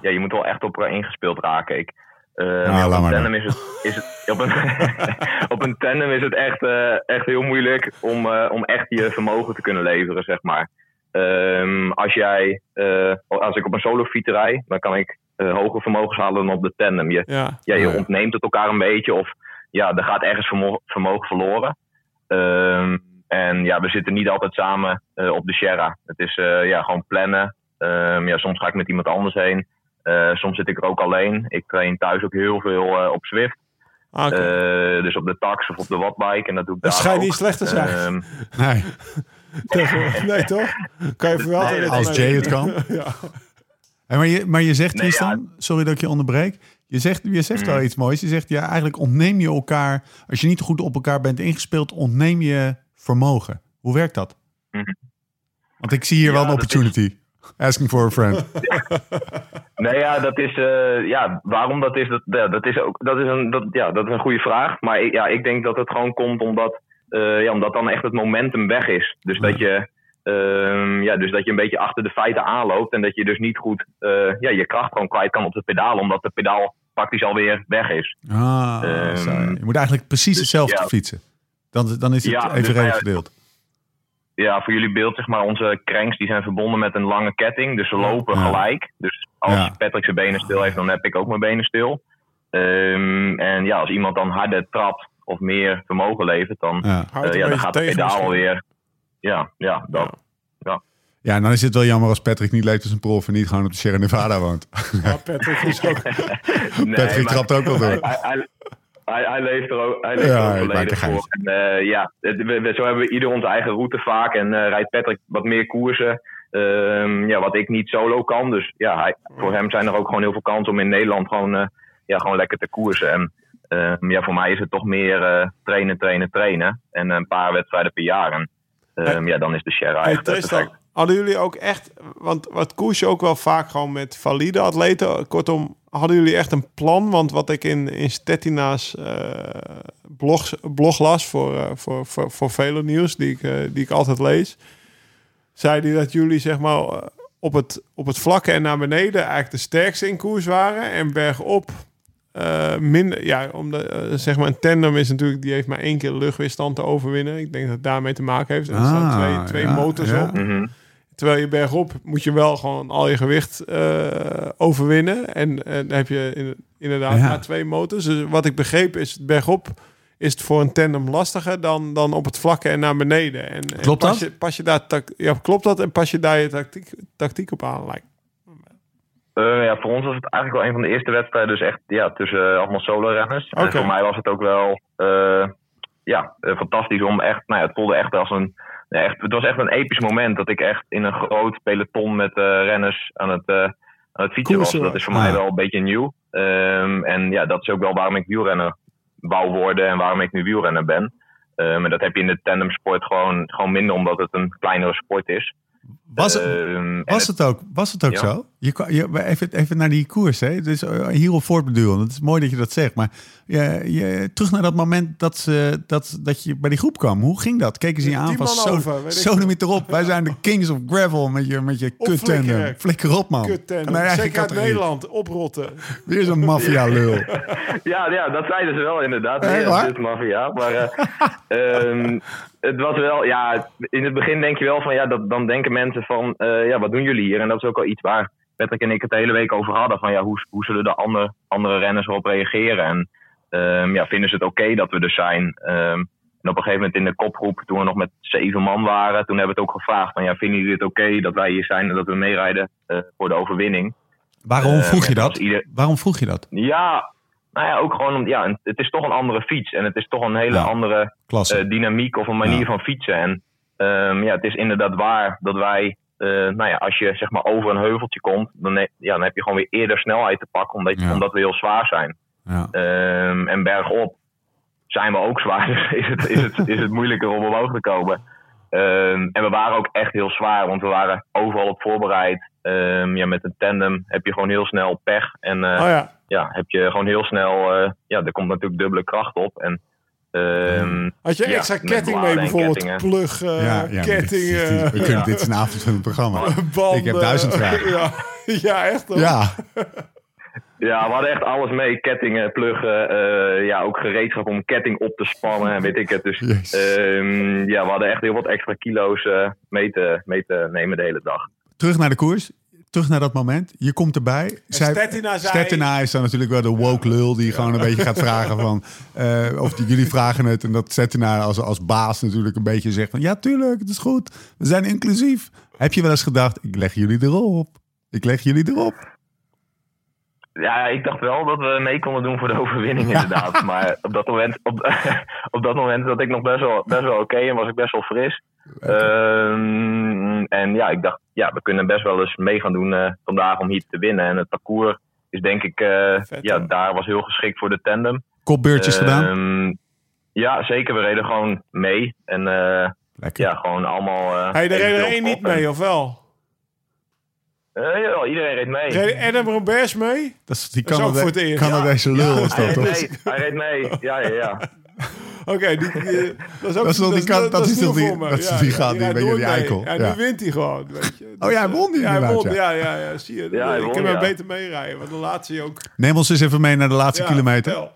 Speaker 5: ja, je moet wel echt op eh, ingespeeld raken. Ik, eh, ja, op
Speaker 1: laat
Speaker 5: een
Speaker 1: maar
Speaker 5: tandem is het, is het, op, een, op een tandem is het echt, eh, echt heel moeilijk om, eh, om echt je vermogen te kunnen leveren, zeg maar. Ehm, als, jij, eh, als ik op een solo fiets rij, dan kan ik eh, hoger vermogens halen dan op de tandem. Je,
Speaker 3: Ja.
Speaker 5: ja, je
Speaker 1: Ja.
Speaker 5: ontneemt het elkaar een beetje. Of ja, er gaat ergens vermo- vermogen verloren. Ehm, en ja, we zitten niet altijd samen eh, op de Sierra. Het is eh, ja, gewoon plannen. Ehm, ja, soms ga ik met iemand anders heen. Eh, soms zit ik er ook alleen. Ik train thuis ook heel veel eh, op Zwift.
Speaker 3: Ah, oké.
Speaker 5: Eh, dus op de tax of op de wattbike. En dat doe ik daar
Speaker 3: dat schijnt
Speaker 5: ook.
Speaker 3: niet slecht te zijn.
Speaker 5: Ehm,
Speaker 1: Nee,
Speaker 3: Tegenwoordig. nee, toch? Kan je verwelten.
Speaker 5: Nee,
Speaker 1: als Jay het kan.
Speaker 3: Ja.
Speaker 1: Hé, maar, je, maar je zegt,
Speaker 5: Nee, ja. Mm-hmm.
Speaker 1: Tristan, sorry dat ik je onderbreek. Je zegt, je zegt wel iets moois. Je zegt, ja, eigenlijk ontneem je elkaar... Als je niet goed op elkaar bent ingespeeld, ontneem je vermogen. Hoe werkt dat?
Speaker 5: Mhm.
Speaker 1: Want ik zie hier
Speaker 5: Ja,
Speaker 1: wel een
Speaker 5: dat is-
Speaker 1: opportunity. Asking for a friend.
Speaker 5: Nee, ja, dat is, eh, ja, waarom dat is, dat, ja, dat is ook, dat is een, dat, ja, dat is een goede vraag. Maar ik, ja, ik denk dat het gewoon komt omdat, eh, ja, omdat dan echt het momentum weg is. Dus dat je, ehm, ja, dus dat je een beetje achter de feiten aanloopt en dat je dus niet goed, eh, ja, je kracht gewoon kwijt kan op de pedaal, omdat de pedaal praktisch alweer weg is.
Speaker 1: Ah,
Speaker 5: Ehm, dus,
Speaker 1: zo, ja. je moet eigenlijk precies hetzelfde
Speaker 5: ja.
Speaker 1: fietsen. Dan, dan is het
Speaker 5: Ja, dus
Speaker 1: evenredig
Speaker 5: wij-
Speaker 1: verdeeld.
Speaker 5: Ja, voor jullie beeld, zeg maar, onze cranks die zijn verbonden met een lange ketting, dus ze lopen
Speaker 1: Ja.
Speaker 5: gelijk. Dus als
Speaker 1: Ja.
Speaker 5: Patrick zijn benen stil heeft, dan heb ik ook mijn benen stil. Ehm, en ja, als iemand dan harder trapt of meer vermogen levert, dan
Speaker 1: Ja.
Speaker 3: Houdt
Speaker 5: Eh,
Speaker 3: een
Speaker 5: ja, dan
Speaker 3: beetje
Speaker 5: gaat de
Speaker 3: tegen
Speaker 5: pedaal
Speaker 3: misschien.
Speaker 5: alweer. Ja, ja, dat.
Speaker 1: ja, en dan is het wel jammer als Patrick niet leeft als een prof... en niet gewoon op de Sierra Nevada woont.
Speaker 3: Ja, Patrick is ook...
Speaker 5: Nee,
Speaker 1: Patrick
Speaker 5: maar
Speaker 1: trapt ook wel door.
Speaker 5: Hij, hij, hij, hij leeft er ook, hij leeft
Speaker 1: Ja,
Speaker 5: er ook
Speaker 1: ik maak er
Speaker 5: volledig
Speaker 1: geen
Speaker 5: voor. En, eh, ja, het- we, we- zo hebben we ieder onze eigen route vaak. En eh, rijdt Patrick wat meer koersen. Ehm, ja, wat ik niet solo kan. Dus ja, hij, voor hem zijn er ook gewoon heel veel kansen om in Nederland gewoon, eh, ja, gewoon lekker te koersen. En eh, eh, ja, voor mij is het toch meer eh, trainen, trainen, trainen. En een paar wedstrijden per jaar. En ehm, ja, dan is de share
Speaker 3: Hey,
Speaker 5: eigenlijk
Speaker 3: Tristan,
Speaker 5: perfect.
Speaker 3: hadden jullie ook echt, want wat koers je ook wel vaak gewoon met valide atleten. Kortom, hadden jullie echt een plan? Want wat ik in, in Stettina's eh, blogs, blog las voor, eh, voor, voor, voor vele nieuws die ik, eh, die ik altijd lees, zei die dat jullie zeg maar eh, op het, op het vlakke en naar beneden eigenlijk de sterkste in koers waren en bergop. eh, minder, ja, omdat eh, zeg maar een tandem is natuurlijk, die heeft maar één keer luchtweerstand te overwinnen. Ik denk dat het daarmee te maken heeft. Er staan
Speaker 1: Ah,
Speaker 3: twee, twee
Speaker 1: ja,
Speaker 3: motors
Speaker 1: ja.
Speaker 3: op.
Speaker 5: Mhm.
Speaker 3: Terwijl je bergop moet je wel gewoon al je gewicht eh, overwinnen. En, en dan heb je in- inderdaad
Speaker 1: Ja.
Speaker 3: maar twee motors. Dus wat ik begreep is, bergop is het voor een tandem lastiger dan, dan op het vlakke en naar beneden. En, en
Speaker 1: Klopt
Speaker 3: pas
Speaker 1: dat?
Speaker 3: Je, pas je daar tac- ja, klopt dat en pas je daar je tactiek, tactiek op aan? Lijkt.
Speaker 5: Eh, ja, voor ons was het eigenlijk wel een van de eerste wedstrijden. Dus echt ja, tussen eh, allemaal solo-renners. En
Speaker 3: Oké.
Speaker 5: voor mij was het ook wel eh, ja, eh, fantastisch om echt... Nou ja, het voelde echt als een... ja, echt, het was echt een episch moment dat ik echt in een groot peloton met eh, renners aan het, eh, aan het fietsen
Speaker 3: Koersen was.
Speaker 5: was. Dat is voor
Speaker 1: Ja.
Speaker 5: mij wel een beetje nieuw. Ehm, en ja, dat is ook wel waarom ik wielrenner wou worden en waarom ik nu wielrenner ben. Ehm, en dat heb je in de tandemsport gewoon, gewoon minder, omdat het een kleinere sport is.
Speaker 1: Was, het-
Speaker 5: Ehm, en
Speaker 1: was, het ook, was het ook
Speaker 5: Ja.
Speaker 1: zo? Je, kwa- je, maar even, even naar die koers. Hè? Dus eh, hierop voortbedurend. Het is mooi dat je dat zegt. Maar je, je, terug naar dat moment dat, ze, dat, dat je bij die groep kwam. Hoe ging dat? Keken ze je
Speaker 3: Die
Speaker 1: aan van
Speaker 3: man
Speaker 1: zo,
Speaker 3: over, weet ik
Speaker 1: zo niet erop. Wij zijn de kings of gravel met je, met je
Speaker 3: Of
Speaker 1: kut
Speaker 3: flikker.
Speaker 1: Flikker op, man.
Speaker 3: Kut
Speaker 1: Naar je
Speaker 3: tandem.
Speaker 1: eigen
Speaker 3: Zeker uit
Speaker 1: categorie.
Speaker 3: Nederland, Eh, oprotten.
Speaker 1: Weer zo'n maffia-lul.
Speaker 5: Ja, ja, dat zeiden ze wel inderdaad.
Speaker 1: Echt
Speaker 5: Nee,
Speaker 1: waar?
Speaker 5: dat is maffia. Maar eh, ehm, het was wel, ja, in het begin denk je wel van, ja, dat, dan denken mensen van, eh, ja, wat doen jullie hier? En dat is ook al iets waar Patrick en ik het de hele week over hadden. Van, ja, hoe, hoe zullen de ander, andere renners erop reageren? En ehm, ja, vinden ze het oké dat we er zijn? Ehm, en op een gegeven moment in de kopgroep, toen we nog met zeven man waren, toen hebben we het ook gevraagd. Van, ja, vinden jullie het oké dat wij hier zijn en dat we meerijden eh, voor de overwinning?
Speaker 1: Waarom
Speaker 5: Eh,
Speaker 1: vroeg je
Speaker 5: net als
Speaker 1: dat?
Speaker 5: ieder-
Speaker 1: Waarom vroeg je dat?
Speaker 5: Ja, nou ja, ook gewoon om, ja, een- het is toch een andere fiets. En het is toch een hele
Speaker 1: Ja.
Speaker 5: andere
Speaker 1: Klasse.
Speaker 5: eh, dynamiek of een manier
Speaker 1: Ja.
Speaker 5: van fietsen. En ehm, ja, het is inderdaad waar dat wij, eh, nou ja, als je zeg maar over een heuveltje komt, dan, ne- ja, dan heb je gewoon weer eerder snelheid te pakken, omdat,
Speaker 1: Ja.
Speaker 5: omdat we heel zwaar zijn.
Speaker 1: ja.
Speaker 5: Ehm, en bergop zijn we ook zwaar, dus is het, is het, is het moeilijker om omhoog te komen. Ehm, en we waren ook echt heel zwaar, want we waren overal op voorbereid. Ehm, ja, met een tandem heb je gewoon heel snel pech. En, eh,
Speaker 3: Oh ja,
Speaker 5: ja, heb je gewoon heel snel, eh, ja, er komt natuurlijk dubbele kracht op. En, ehm,
Speaker 3: had je
Speaker 5: Ja,
Speaker 3: extra
Speaker 5: met
Speaker 3: ketting
Speaker 5: bladen
Speaker 3: mee
Speaker 5: en
Speaker 3: bijvoorbeeld?
Speaker 5: kettingen.
Speaker 3: Plug, eh,
Speaker 1: ja, ja, maar dit-
Speaker 3: kettingen.
Speaker 1: dit, we kunnen, dit is een avond programma.
Speaker 3: banden.
Speaker 1: Ik heb duizend vragen.
Speaker 3: Ja, ja echt hoor.
Speaker 1: Ja,
Speaker 5: ja, we hadden echt alles mee. Kettingen, pluggen, eh, ja, ook gereedschap om ketting op te spannen en weet ik het. Dus
Speaker 1: Jezus.
Speaker 5: ehm, ja, we hadden echt heel wat extra kilo's eh, mee, te, mee te nemen de hele dag.
Speaker 1: terug naar de koers. Terug naar dat moment. Je komt erbij.
Speaker 3: Stettina zei-
Speaker 1: Stettina is dan natuurlijk wel de woke lul die gewoon een beetje gaat vragen van... eh, of die, jullie vragen het. En dat Stettina als, als baas natuurlijk een beetje zegt van... Ja, tuurlijk, het is goed. We zijn inclusief. Heb je wel eens gedacht, ik leg jullie erop. Ik leg jullie erop.
Speaker 5: Ja, ik dacht wel dat we mee konden doen voor de overwinning inderdaad. Maar op dat moment, op, op dat moment zat ik nog best wel, best wel oké en was ik best wel fris. Ehm, en ja, ik dacht, ja, we kunnen best wel eens mee gaan doen eh, vandaag om hier te winnen. En het parcours is denk ik, eh,
Speaker 3: Vet,
Speaker 5: ja,
Speaker 3: hoor.
Speaker 5: daar was heel geschikt voor de tandem.
Speaker 1: Kopbeurtjes gedaan.
Speaker 5: Ehm, Ja, zeker. We reden gewoon mee. En eh,
Speaker 1: Lekker.
Speaker 5: ja, gewoon allemaal... eh,
Speaker 3: Hey, daar reed er
Speaker 5: evenveel
Speaker 3: één
Speaker 5: op.
Speaker 3: niet mee, of wel?
Speaker 5: Eh, jawel, iedereen reed mee.
Speaker 3: Reed Adam Roberts mee?
Speaker 1: Dat is die
Speaker 3: dat is ook
Speaker 1: Canada-
Speaker 3: voor het eerst.
Speaker 1: Canadese lul was
Speaker 5: Hij
Speaker 1: dat,
Speaker 5: reed
Speaker 1: toch?
Speaker 5: mee. Hij reed mee. Ja, ja, ja.
Speaker 3: Oké, die, die- dat is ook
Speaker 1: Dat is toch die kat- dat is
Speaker 3: nieuw
Speaker 1: toch die-
Speaker 3: voor me.
Speaker 1: dat is die gaat die-
Speaker 3: rijdt
Speaker 1: weet je,
Speaker 3: nooit
Speaker 1: die
Speaker 3: mee.
Speaker 1: eikel.
Speaker 3: Ja,
Speaker 1: Ja.
Speaker 3: nu wint hij gewoon, weet je.
Speaker 1: Oh ja, hij won die
Speaker 3: ja, hij
Speaker 1: inderdaad,
Speaker 3: won,
Speaker 1: ja.
Speaker 3: ja. Ja, ja, zie je.
Speaker 5: Ja, hij
Speaker 3: ik
Speaker 5: won,
Speaker 3: kan wel
Speaker 5: ja.
Speaker 3: beter meerijden, want de laatste ook.
Speaker 1: Neem ons eens even mee naar de laatste
Speaker 3: Ja,
Speaker 1: kilometer.
Speaker 3: vertel.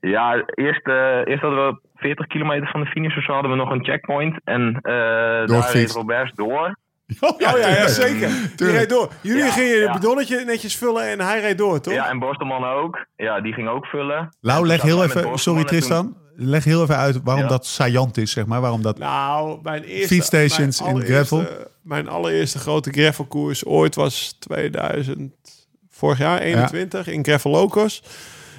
Speaker 5: Ja, eerst, eh, eerst hadden we 40 kilometer van de finish of zo hadden we nog een checkpoint. En eh daar reed
Speaker 1: Doorgefietst.
Speaker 5: Roberts door.
Speaker 1: Oh
Speaker 3: Oh ja, ja zeker. Die reed door. Jullie
Speaker 5: Ja,
Speaker 3: gingen het
Speaker 5: ja.
Speaker 3: bidonnetje netjes vullen en hij reed door, toch?
Speaker 5: Ja, en Borstelman ook. Ja, die ging ook vullen.
Speaker 1: Lau, leg
Speaker 5: Ja,
Speaker 1: heel
Speaker 5: met
Speaker 1: even,
Speaker 5: Borstelman
Speaker 1: sorry
Speaker 5: en toen-
Speaker 1: Tristan, leg heel even uit waarom
Speaker 5: Ja.
Speaker 1: dat saillant is, zeg maar. Waarom dat...
Speaker 3: Nou, mijn eerste...
Speaker 1: Fietsstations
Speaker 3: mijn
Speaker 1: in
Speaker 3: allereerste-
Speaker 1: gravel.
Speaker 3: Mijn allereerste grote gravelkoers ooit was 2000... Vorig jaar, 21, in Gravel Locos.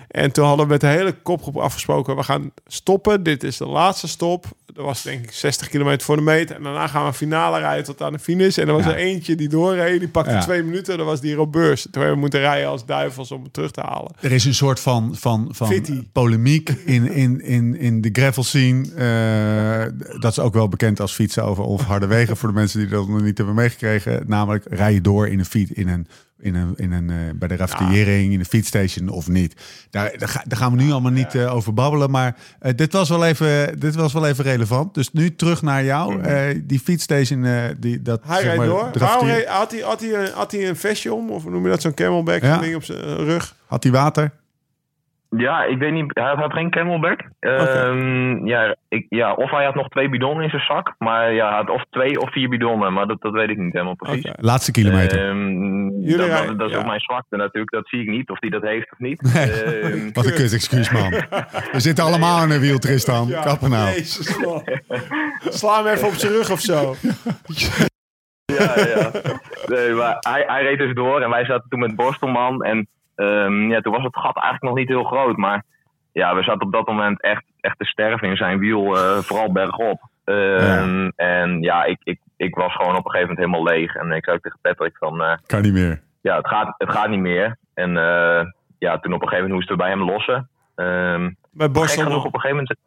Speaker 3: En toen hadden we met de hele kopgroep afgesproken... we gaan stoppen, dit is de laatste stop. dat was denk ik 60 kilometer voor de meter. En daarna gaan we een finale rijden tot aan de finish. En er was
Speaker 1: Ja.
Speaker 3: er eentje die doorreed. Die pakte
Speaker 1: Ja.
Speaker 3: twee minuten. Dat was die Robeurs. Toen hebben we moeten rijden als duivels om hem terug te halen.
Speaker 1: Er is een soort van, van, van
Speaker 3: Fitty.
Speaker 1: polemiek in, in, in, in de gravel scene. Eh, dat is ook wel bekend als fietsen over of harde wegen. Voor de mensen die dat nog niet hebben meegekregen. Namelijk rij je door in een fiets in een, in een, in een, eh, bij de raftering, in een fietsstation of niet. Daar, daar, ga- daar gaan we nu allemaal niet eh, over babbelen. Maar eh, dit, was wel even, dit was wel even relevant. Dus nu terug naar jou. Eh, die fietsstation, eh, die, dat
Speaker 3: Mhm. Hij
Speaker 1: zeg
Speaker 3: rijdt
Speaker 1: maar,
Speaker 3: door.
Speaker 1: de
Speaker 3: Waarom
Speaker 1: raftier-
Speaker 3: reed- had, hij, had, hij, een- had hij een vestje om? Of hoe noem je dat? Zo'n camelback
Speaker 1: Ja.
Speaker 3: zo'n ding op zijn eh, rug.
Speaker 1: Had hij water?
Speaker 5: Ja, ik weet niet. Hij had geen camelback. Ehm, ja, ik, ja, of hij had nog twee bidonnen in zijn zak. Maar ja, hij had of twee of vier bidonnen. Maar dat, dat weet ik niet helemaal precies.
Speaker 3: Oké.
Speaker 1: Laatste kilometer.
Speaker 5: Ehm,
Speaker 3: Jullie
Speaker 5: dat,
Speaker 3: rijden-
Speaker 5: dat, dat is
Speaker 3: ja.
Speaker 5: ook mijn zwakte natuurlijk. Dat zie ik niet, of die dat heeft of niet. Ehm,
Speaker 1: Wat een kut excuus, man. We zitten allemaal in een wiel, Tristan.
Speaker 3: Ja,
Speaker 1: Kappen nou.
Speaker 3: Jezus, man. Sla hem even op zijn rug of zo.
Speaker 5: ja, ja. Nee, maar hij, hij reed dus door en wij zaten toen met Borstelman. En ehm, ja, toen was het gat eigenlijk nog niet heel groot. Maar ja, we zaten op dat moment echt, echt te sterven in zijn wiel, eh, vooral bergop. Ehm, En ja, ik, ik, ik was gewoon op een gegeven moment helemaal leeg. En ik zei ook tegen Patrick van... eh,
Speaker 1: Kan niet meer.
Speaker 5: ja, het gaat, het gaat niet meer. En eh, ja, toen op een gegeven moment moesten we bij hem lossen. Ehm,
Speaker 3: Bij
Speaker 5: gek
Speaker 3: Borstel.
Speaker 5: genoeg op een gegeven moment.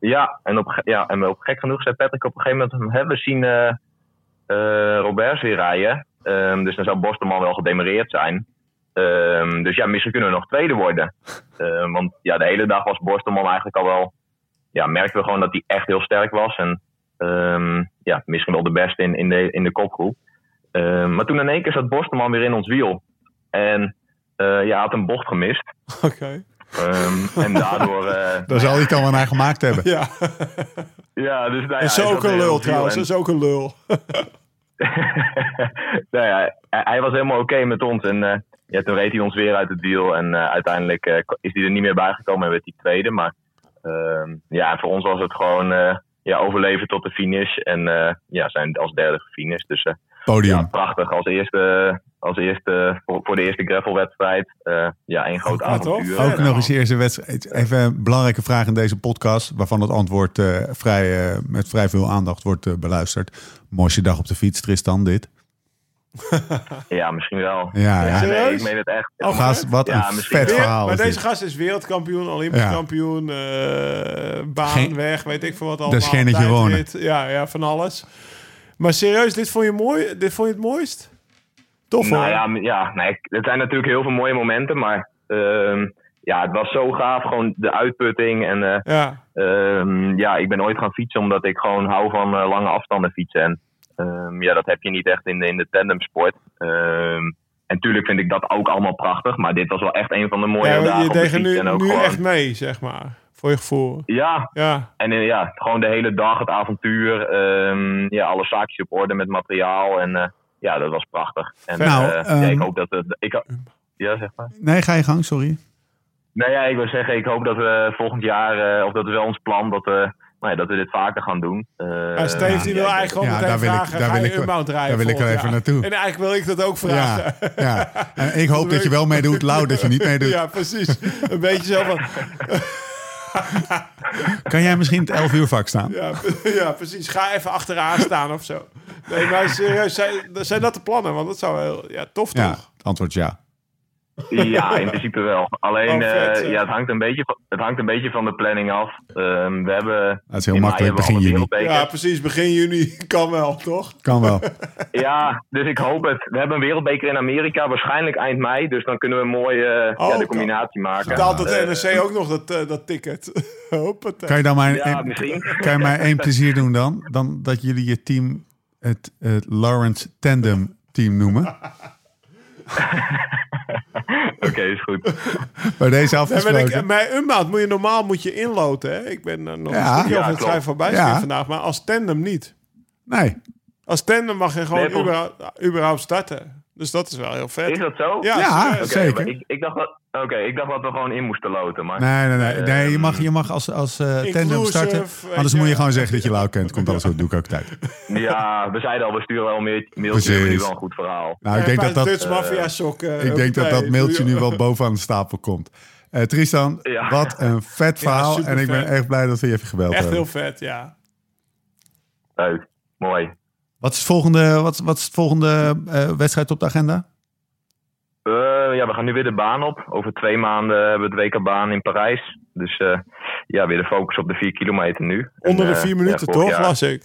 Speaker 5: Ja, en op, ge- ja, en op gek genoeg zei Patrick op een gegeven moment. Hè, we zien eh eh, Roberts weer rijden. Ehm, dus dan zou Bosterman wel gedemareerd zijn. Ehm, dus ja, misschien kunnen we nog tweede worden. Ehm, want ja, de hele dag was Bosterman eigenlijk al wel. Ja, merkten we gewoon dat hij echt heel sterk was. En ehm, ja, misschien wel de beste in, in, de, in de kopgroep. Ehm, maar toen in één keer zat Bosterman weer in ons wiel. En eh ja, had een bocht gemist.
Speaker 3: Oké.
Speaker 5: Ehm, en daardoor. eh,
Speaker 1: Daar zal hij het dan wel naar gemaakt hebben.
Speaker 3: Ja.
Speaker 5: Ja, dus nou ja,
Speaker 3: Dat is
Speaker 5: hij
Speaker 3: ook
Speaker 5: zat
Speaker 3: een
Speaker 5: heel
Speaker 3: lul
Speaker 5: veel
Speaker 3: trouwens. dus-
Speaker 5: en-
Speaker 3: Dat is ook een lul.
Speaker 5: nou ja, hij, hij was helemaal oké met ons. En eh, ja, toen reed hij ons weer uit het wiel. En eh, uiteindelijk eh, is hij er niet meer bij gekomen en werd hij tweede. Maar ehm, ja, voor ons was het gewoon eh, ja, overleven tot de finish. En eh, ja, zijn als derde finish. Dus eh, ja,
Speaker 1: Podium.
Speaker 5: prachtig. Als eerste, als eerste eh, voor, voor de eerste gravelwedstrijd. eh ja, één groot
Speaker 3: Ook wat, hoor.
Speaker 5: avontuur.
Speaker 3: Ja,
Speaker 1: Ook
Speaker 3: nou.
Speaker 1: nog eens de eerste wedstrijd. Even een belangrijke vraag in deze podcast, waarvan het antwoord eh, vrij, eh, met vrij veel aandacht wordt eh, beluisterd. Mooiste dag op de fiets, Tristan, dit.
Speaker 5: Ja, misschien wel.
Speaker 1: Ja, ja.
Speaker 5: nee,
Speaker 3: Serieus?
Speaker 5: ik meen het echt.
Speaker 3: Oh,
Speaker 1: Gast, wat
Speaker 5: Ja,
Speaker 1: een
Speaker 5: misschien
Speaker 1: vet
Speaker 5: wel.
Speaker 3: Weer-
Speaker 1: verhaal.
Speaker 3: maar
Speaker 1: is
Speaker 3: deze
Speaker 1: dit.
Speaker 3: gast is wereldkampioen, Olympisch
Speaker 1: Ja.
Speaker 3: kampioen, eh, baan,
Speaker 1: Geen-
Speaker 3: weg, weet ik veel wat allemaal.
Speaker 1: Dat is geen dat je
Speaker 3: Tijdrit, Ja, ja, van alles. Maar serieus, dit vond je mooi? Dit vond je het mooist? Tof hoor.
Speaker 5: Nou ja, m- ja nee, ik- het zijn natuurlijk heel veel mooie momenten, maar ehm, ja, het was zo gaaf. Gewoon de uitputting. En eh,
Speaker 3: Ja.
Speaker 5: ehm, ja, ik ben ooit gaan fietsen omdat ik gewoon hou van eh, lange afstanden fietsen. En ehm, ja, dat heb je niet echt in de, in de tandemsport. Ehm, en tuurlijk vind ik dat ook allemaal prachtig, maar dit was wel echt een van de mooie
Speaker 3: Ja,
Speaker 5: dagen
Speaker 3: je
Speaker 5: op de
Speaker 3: deed er
Speaker 5: fiets.
Speaker 3: nu,
Speaker 5: en ook
Speaker 3: nu
Speaker 5: gewoon,
Speaker 3: echt mee, zeg maar. Voor je gevoel.
Speaker 5: Ja,
Speaker 3: Ja,
Speaker 5: en eh, ja, gewoon de hele dag, het avontuur. ehm, ja, alle zaakjes op orde met materiaal. En eh, ja, dat was prachtig. En
Speaker 1: Nou,
Speaker 5: eh, ja,
Speaker 1: ehm,
Speaker 5: ik hoop dat het... Ik, ho- ja, zeg maar.
Speaker 1: Nee, ga je gang, sorry.
Speaker 5: Nou ja, ik wil zeggen, ik hoop dat we volgend jaar, eh, of dat is wel ons plan, dat we, nou ja, dat we dit vaker gaan doen. Eh,
Speaker 3: Maar Steve
Speaker 5: ja,
Speaker 3: die wil
Speaker 5: ik denk-
Speaker 3: eigenlijk gewoon
Speaker 1: Ja,
Speaker 3: meteen
Speaker 1: daar wil ik-
Speaker 3: vragen,
Speaker 1: daar
Speaker 3: ga
Speaker 1: wil
Speaker 3: je
Speaker 1: ik wel-
Speaker 3: inbound rijden
Speaker 1: daar wil ik wel
Speaker 3: volgend
Speaker 1: even
Speaker 3: jaar?
Speaker 1: naartoe.
Speaker 3: En eigenlijk wil ik dat ook
Speaker 1: Ja,
Speaker 3: vragen.
Speaker 1: ja. En ik hoop dat je wel meedoet. Lau, dat je niet meedoet.
Speaker 3: Ja, precies. Een beetje zo van...
Speaker 1: Kan jij misschien het 11 uur vak staan?
Speaker 3: Ja, ja, precies. Ga even achteraan staan of zo. Nee, maar serieus, zijn, zijn dat de plannen? Want dat zou heel... Ja, tof
Speaker 1: Ja,
Speaker 3: toch?
Speaker 1: het antwoord is ja.
Speaker 5: Ja, in principe wel. Alleen,
Speaker 3: Oh, vet,
Speaker 5: eh,
Speaker 3: hè?
Speaker 5: ja, het, hangt een beetje, van- het hangt een beetje van de planning af. Ehm, we hebben...
Speaker 1: Dat is heel
Speaker 5: in mei
Speaker 1: makkelijk,
Speaker 5: hebben we
Speaker 1: begin
Speaker 5: al de
Speaker 1: juni.
Speaker 5: wereldbeker.
Speaker 3: Ja, precies. Begin juni kan wel, toch?
Speaker 1: Kan wel.
Speaker 5: Ja, dus ik hoop het. We hebben een wereldbeker in Amerika, waarschijnlijk eind mei. Dus dan kunnen we mooi eh,
Speaker 3: Oh,
Speaker 5: ja, de
Speaker 3: kan.
Speaker 5: combinatie maken.
Speaker 3: Betaalt dat
Speaker 5: Eh,
Speaker 3: NRC ook nog dat, eh, dat ticket? Hoppatee.
Speaker 1: Kan je dan maar
Speaker 5: Ja,
Speaker 1: een-
Speaker 5: misschien.
Speaker 1: Kan je mij één plezier doen dan? Dan dat jullie je team het, het Lawrence Tandem team noemen.
Speaker 5: Oké, is goed.
Speaker 1: Bij deze
Speaker 3: Nee, maar ik,
Speaker 1: afgesproken.
Speaker 3: bij Unbound moet je normaal moet je inloten. Hè? Ik ben eh, nog
Speaker 1: Ja.
Speaker 3: een stukje
Speaker 5: Ja,
Speaker 3: over het
Speaker 5: klopt.
Speaker 3: schrijven voorbij
Speaker 1: Ja.
Speaker 3: zien vandaag. Maar als tandem niet.
Speaker 1: Nee.
Speaker 3: Als tandem mag je gewoon
Speaker 5: Nee, volgens-
Speaker 3: überhaupt, überhaupt starten. Dus dat is wel heel vet.
Speaker 5: Is dat zo?
Speaker 3: Ja,
Speaker 1: Ja,
Speaker 3: serieus.
Speaker 5: Oké,
Speaker 1: zeker.
Speaker 5: maar Ik, ik, dacht dat, oké, ik dacht dat we gewoon in moesten loten. Maar...
Speaker 1: Nee, nee, nee. nee je,
Speaker 5: Ehm,
Speaker 1: mag, je mag als, als eh, tandem
Speaker 3: Eh, Inclusive,
Speaker 1: starten.
Speaker 3: weet
Speaker 1: Anders
Speaker 3: je.
Speaker 1: moet je gewoon zeggen dat je Lau kent. Komt alles goed. Doe ik ook tijd. Nou,
Speaker 5: Ja, we zeiden al, we sturen wel een mail- mailtje.
Speaker 1: Precies.
Speaker 5: We hebben nu wel een goed verhaal.
Speaker 1: Nou, ik denk
Speaker 3: Bij
Speaker 1: dat dat,
Speaker 3: Dutch Mafia eh, sokken.
Speaker 1: ik denk dat, dat
Speaker 3: Nee,
Speaker 1: mailtje
Speaker 3: doe
Speaker 1: nu
Speaker 3: je-
Speaker 1: wel bovenaan de stapel komt. Eh, Tristan,
Speaker 5: Ja.
Speaker 1: wat een vet verhaal. en ik ben
Speaker 3: supervet.
Speaker 1: echt blij dat we je even gebeld
Speaker 3: Echt
Speaker 1: hebben.
Speaker 3: heel vet, ja.
Speaker 5: Leuk. Mooi.
Speaker 1: Wat is het volgende, wat, wat is het volgende eh, wedstrijd op de agenda?
Speaker 5: Eh, ja, we gaan nu weer de baan op. Over twee maanden hebben we het WK-baan in Parijs. Dus eh, ja, weer de focus op de vier kilometer nu.
Speaker 3: Onder
Speaker 5: En,
Speaker 3: de
Speaker 5: eh,
Speaker 3: vier
Speaker 5: ja,
Speaker 3: minuten,
Speaker 5: vorig
Speaker 3: toch?
Speaker 5: jaar-
Speaker 3: Las ik.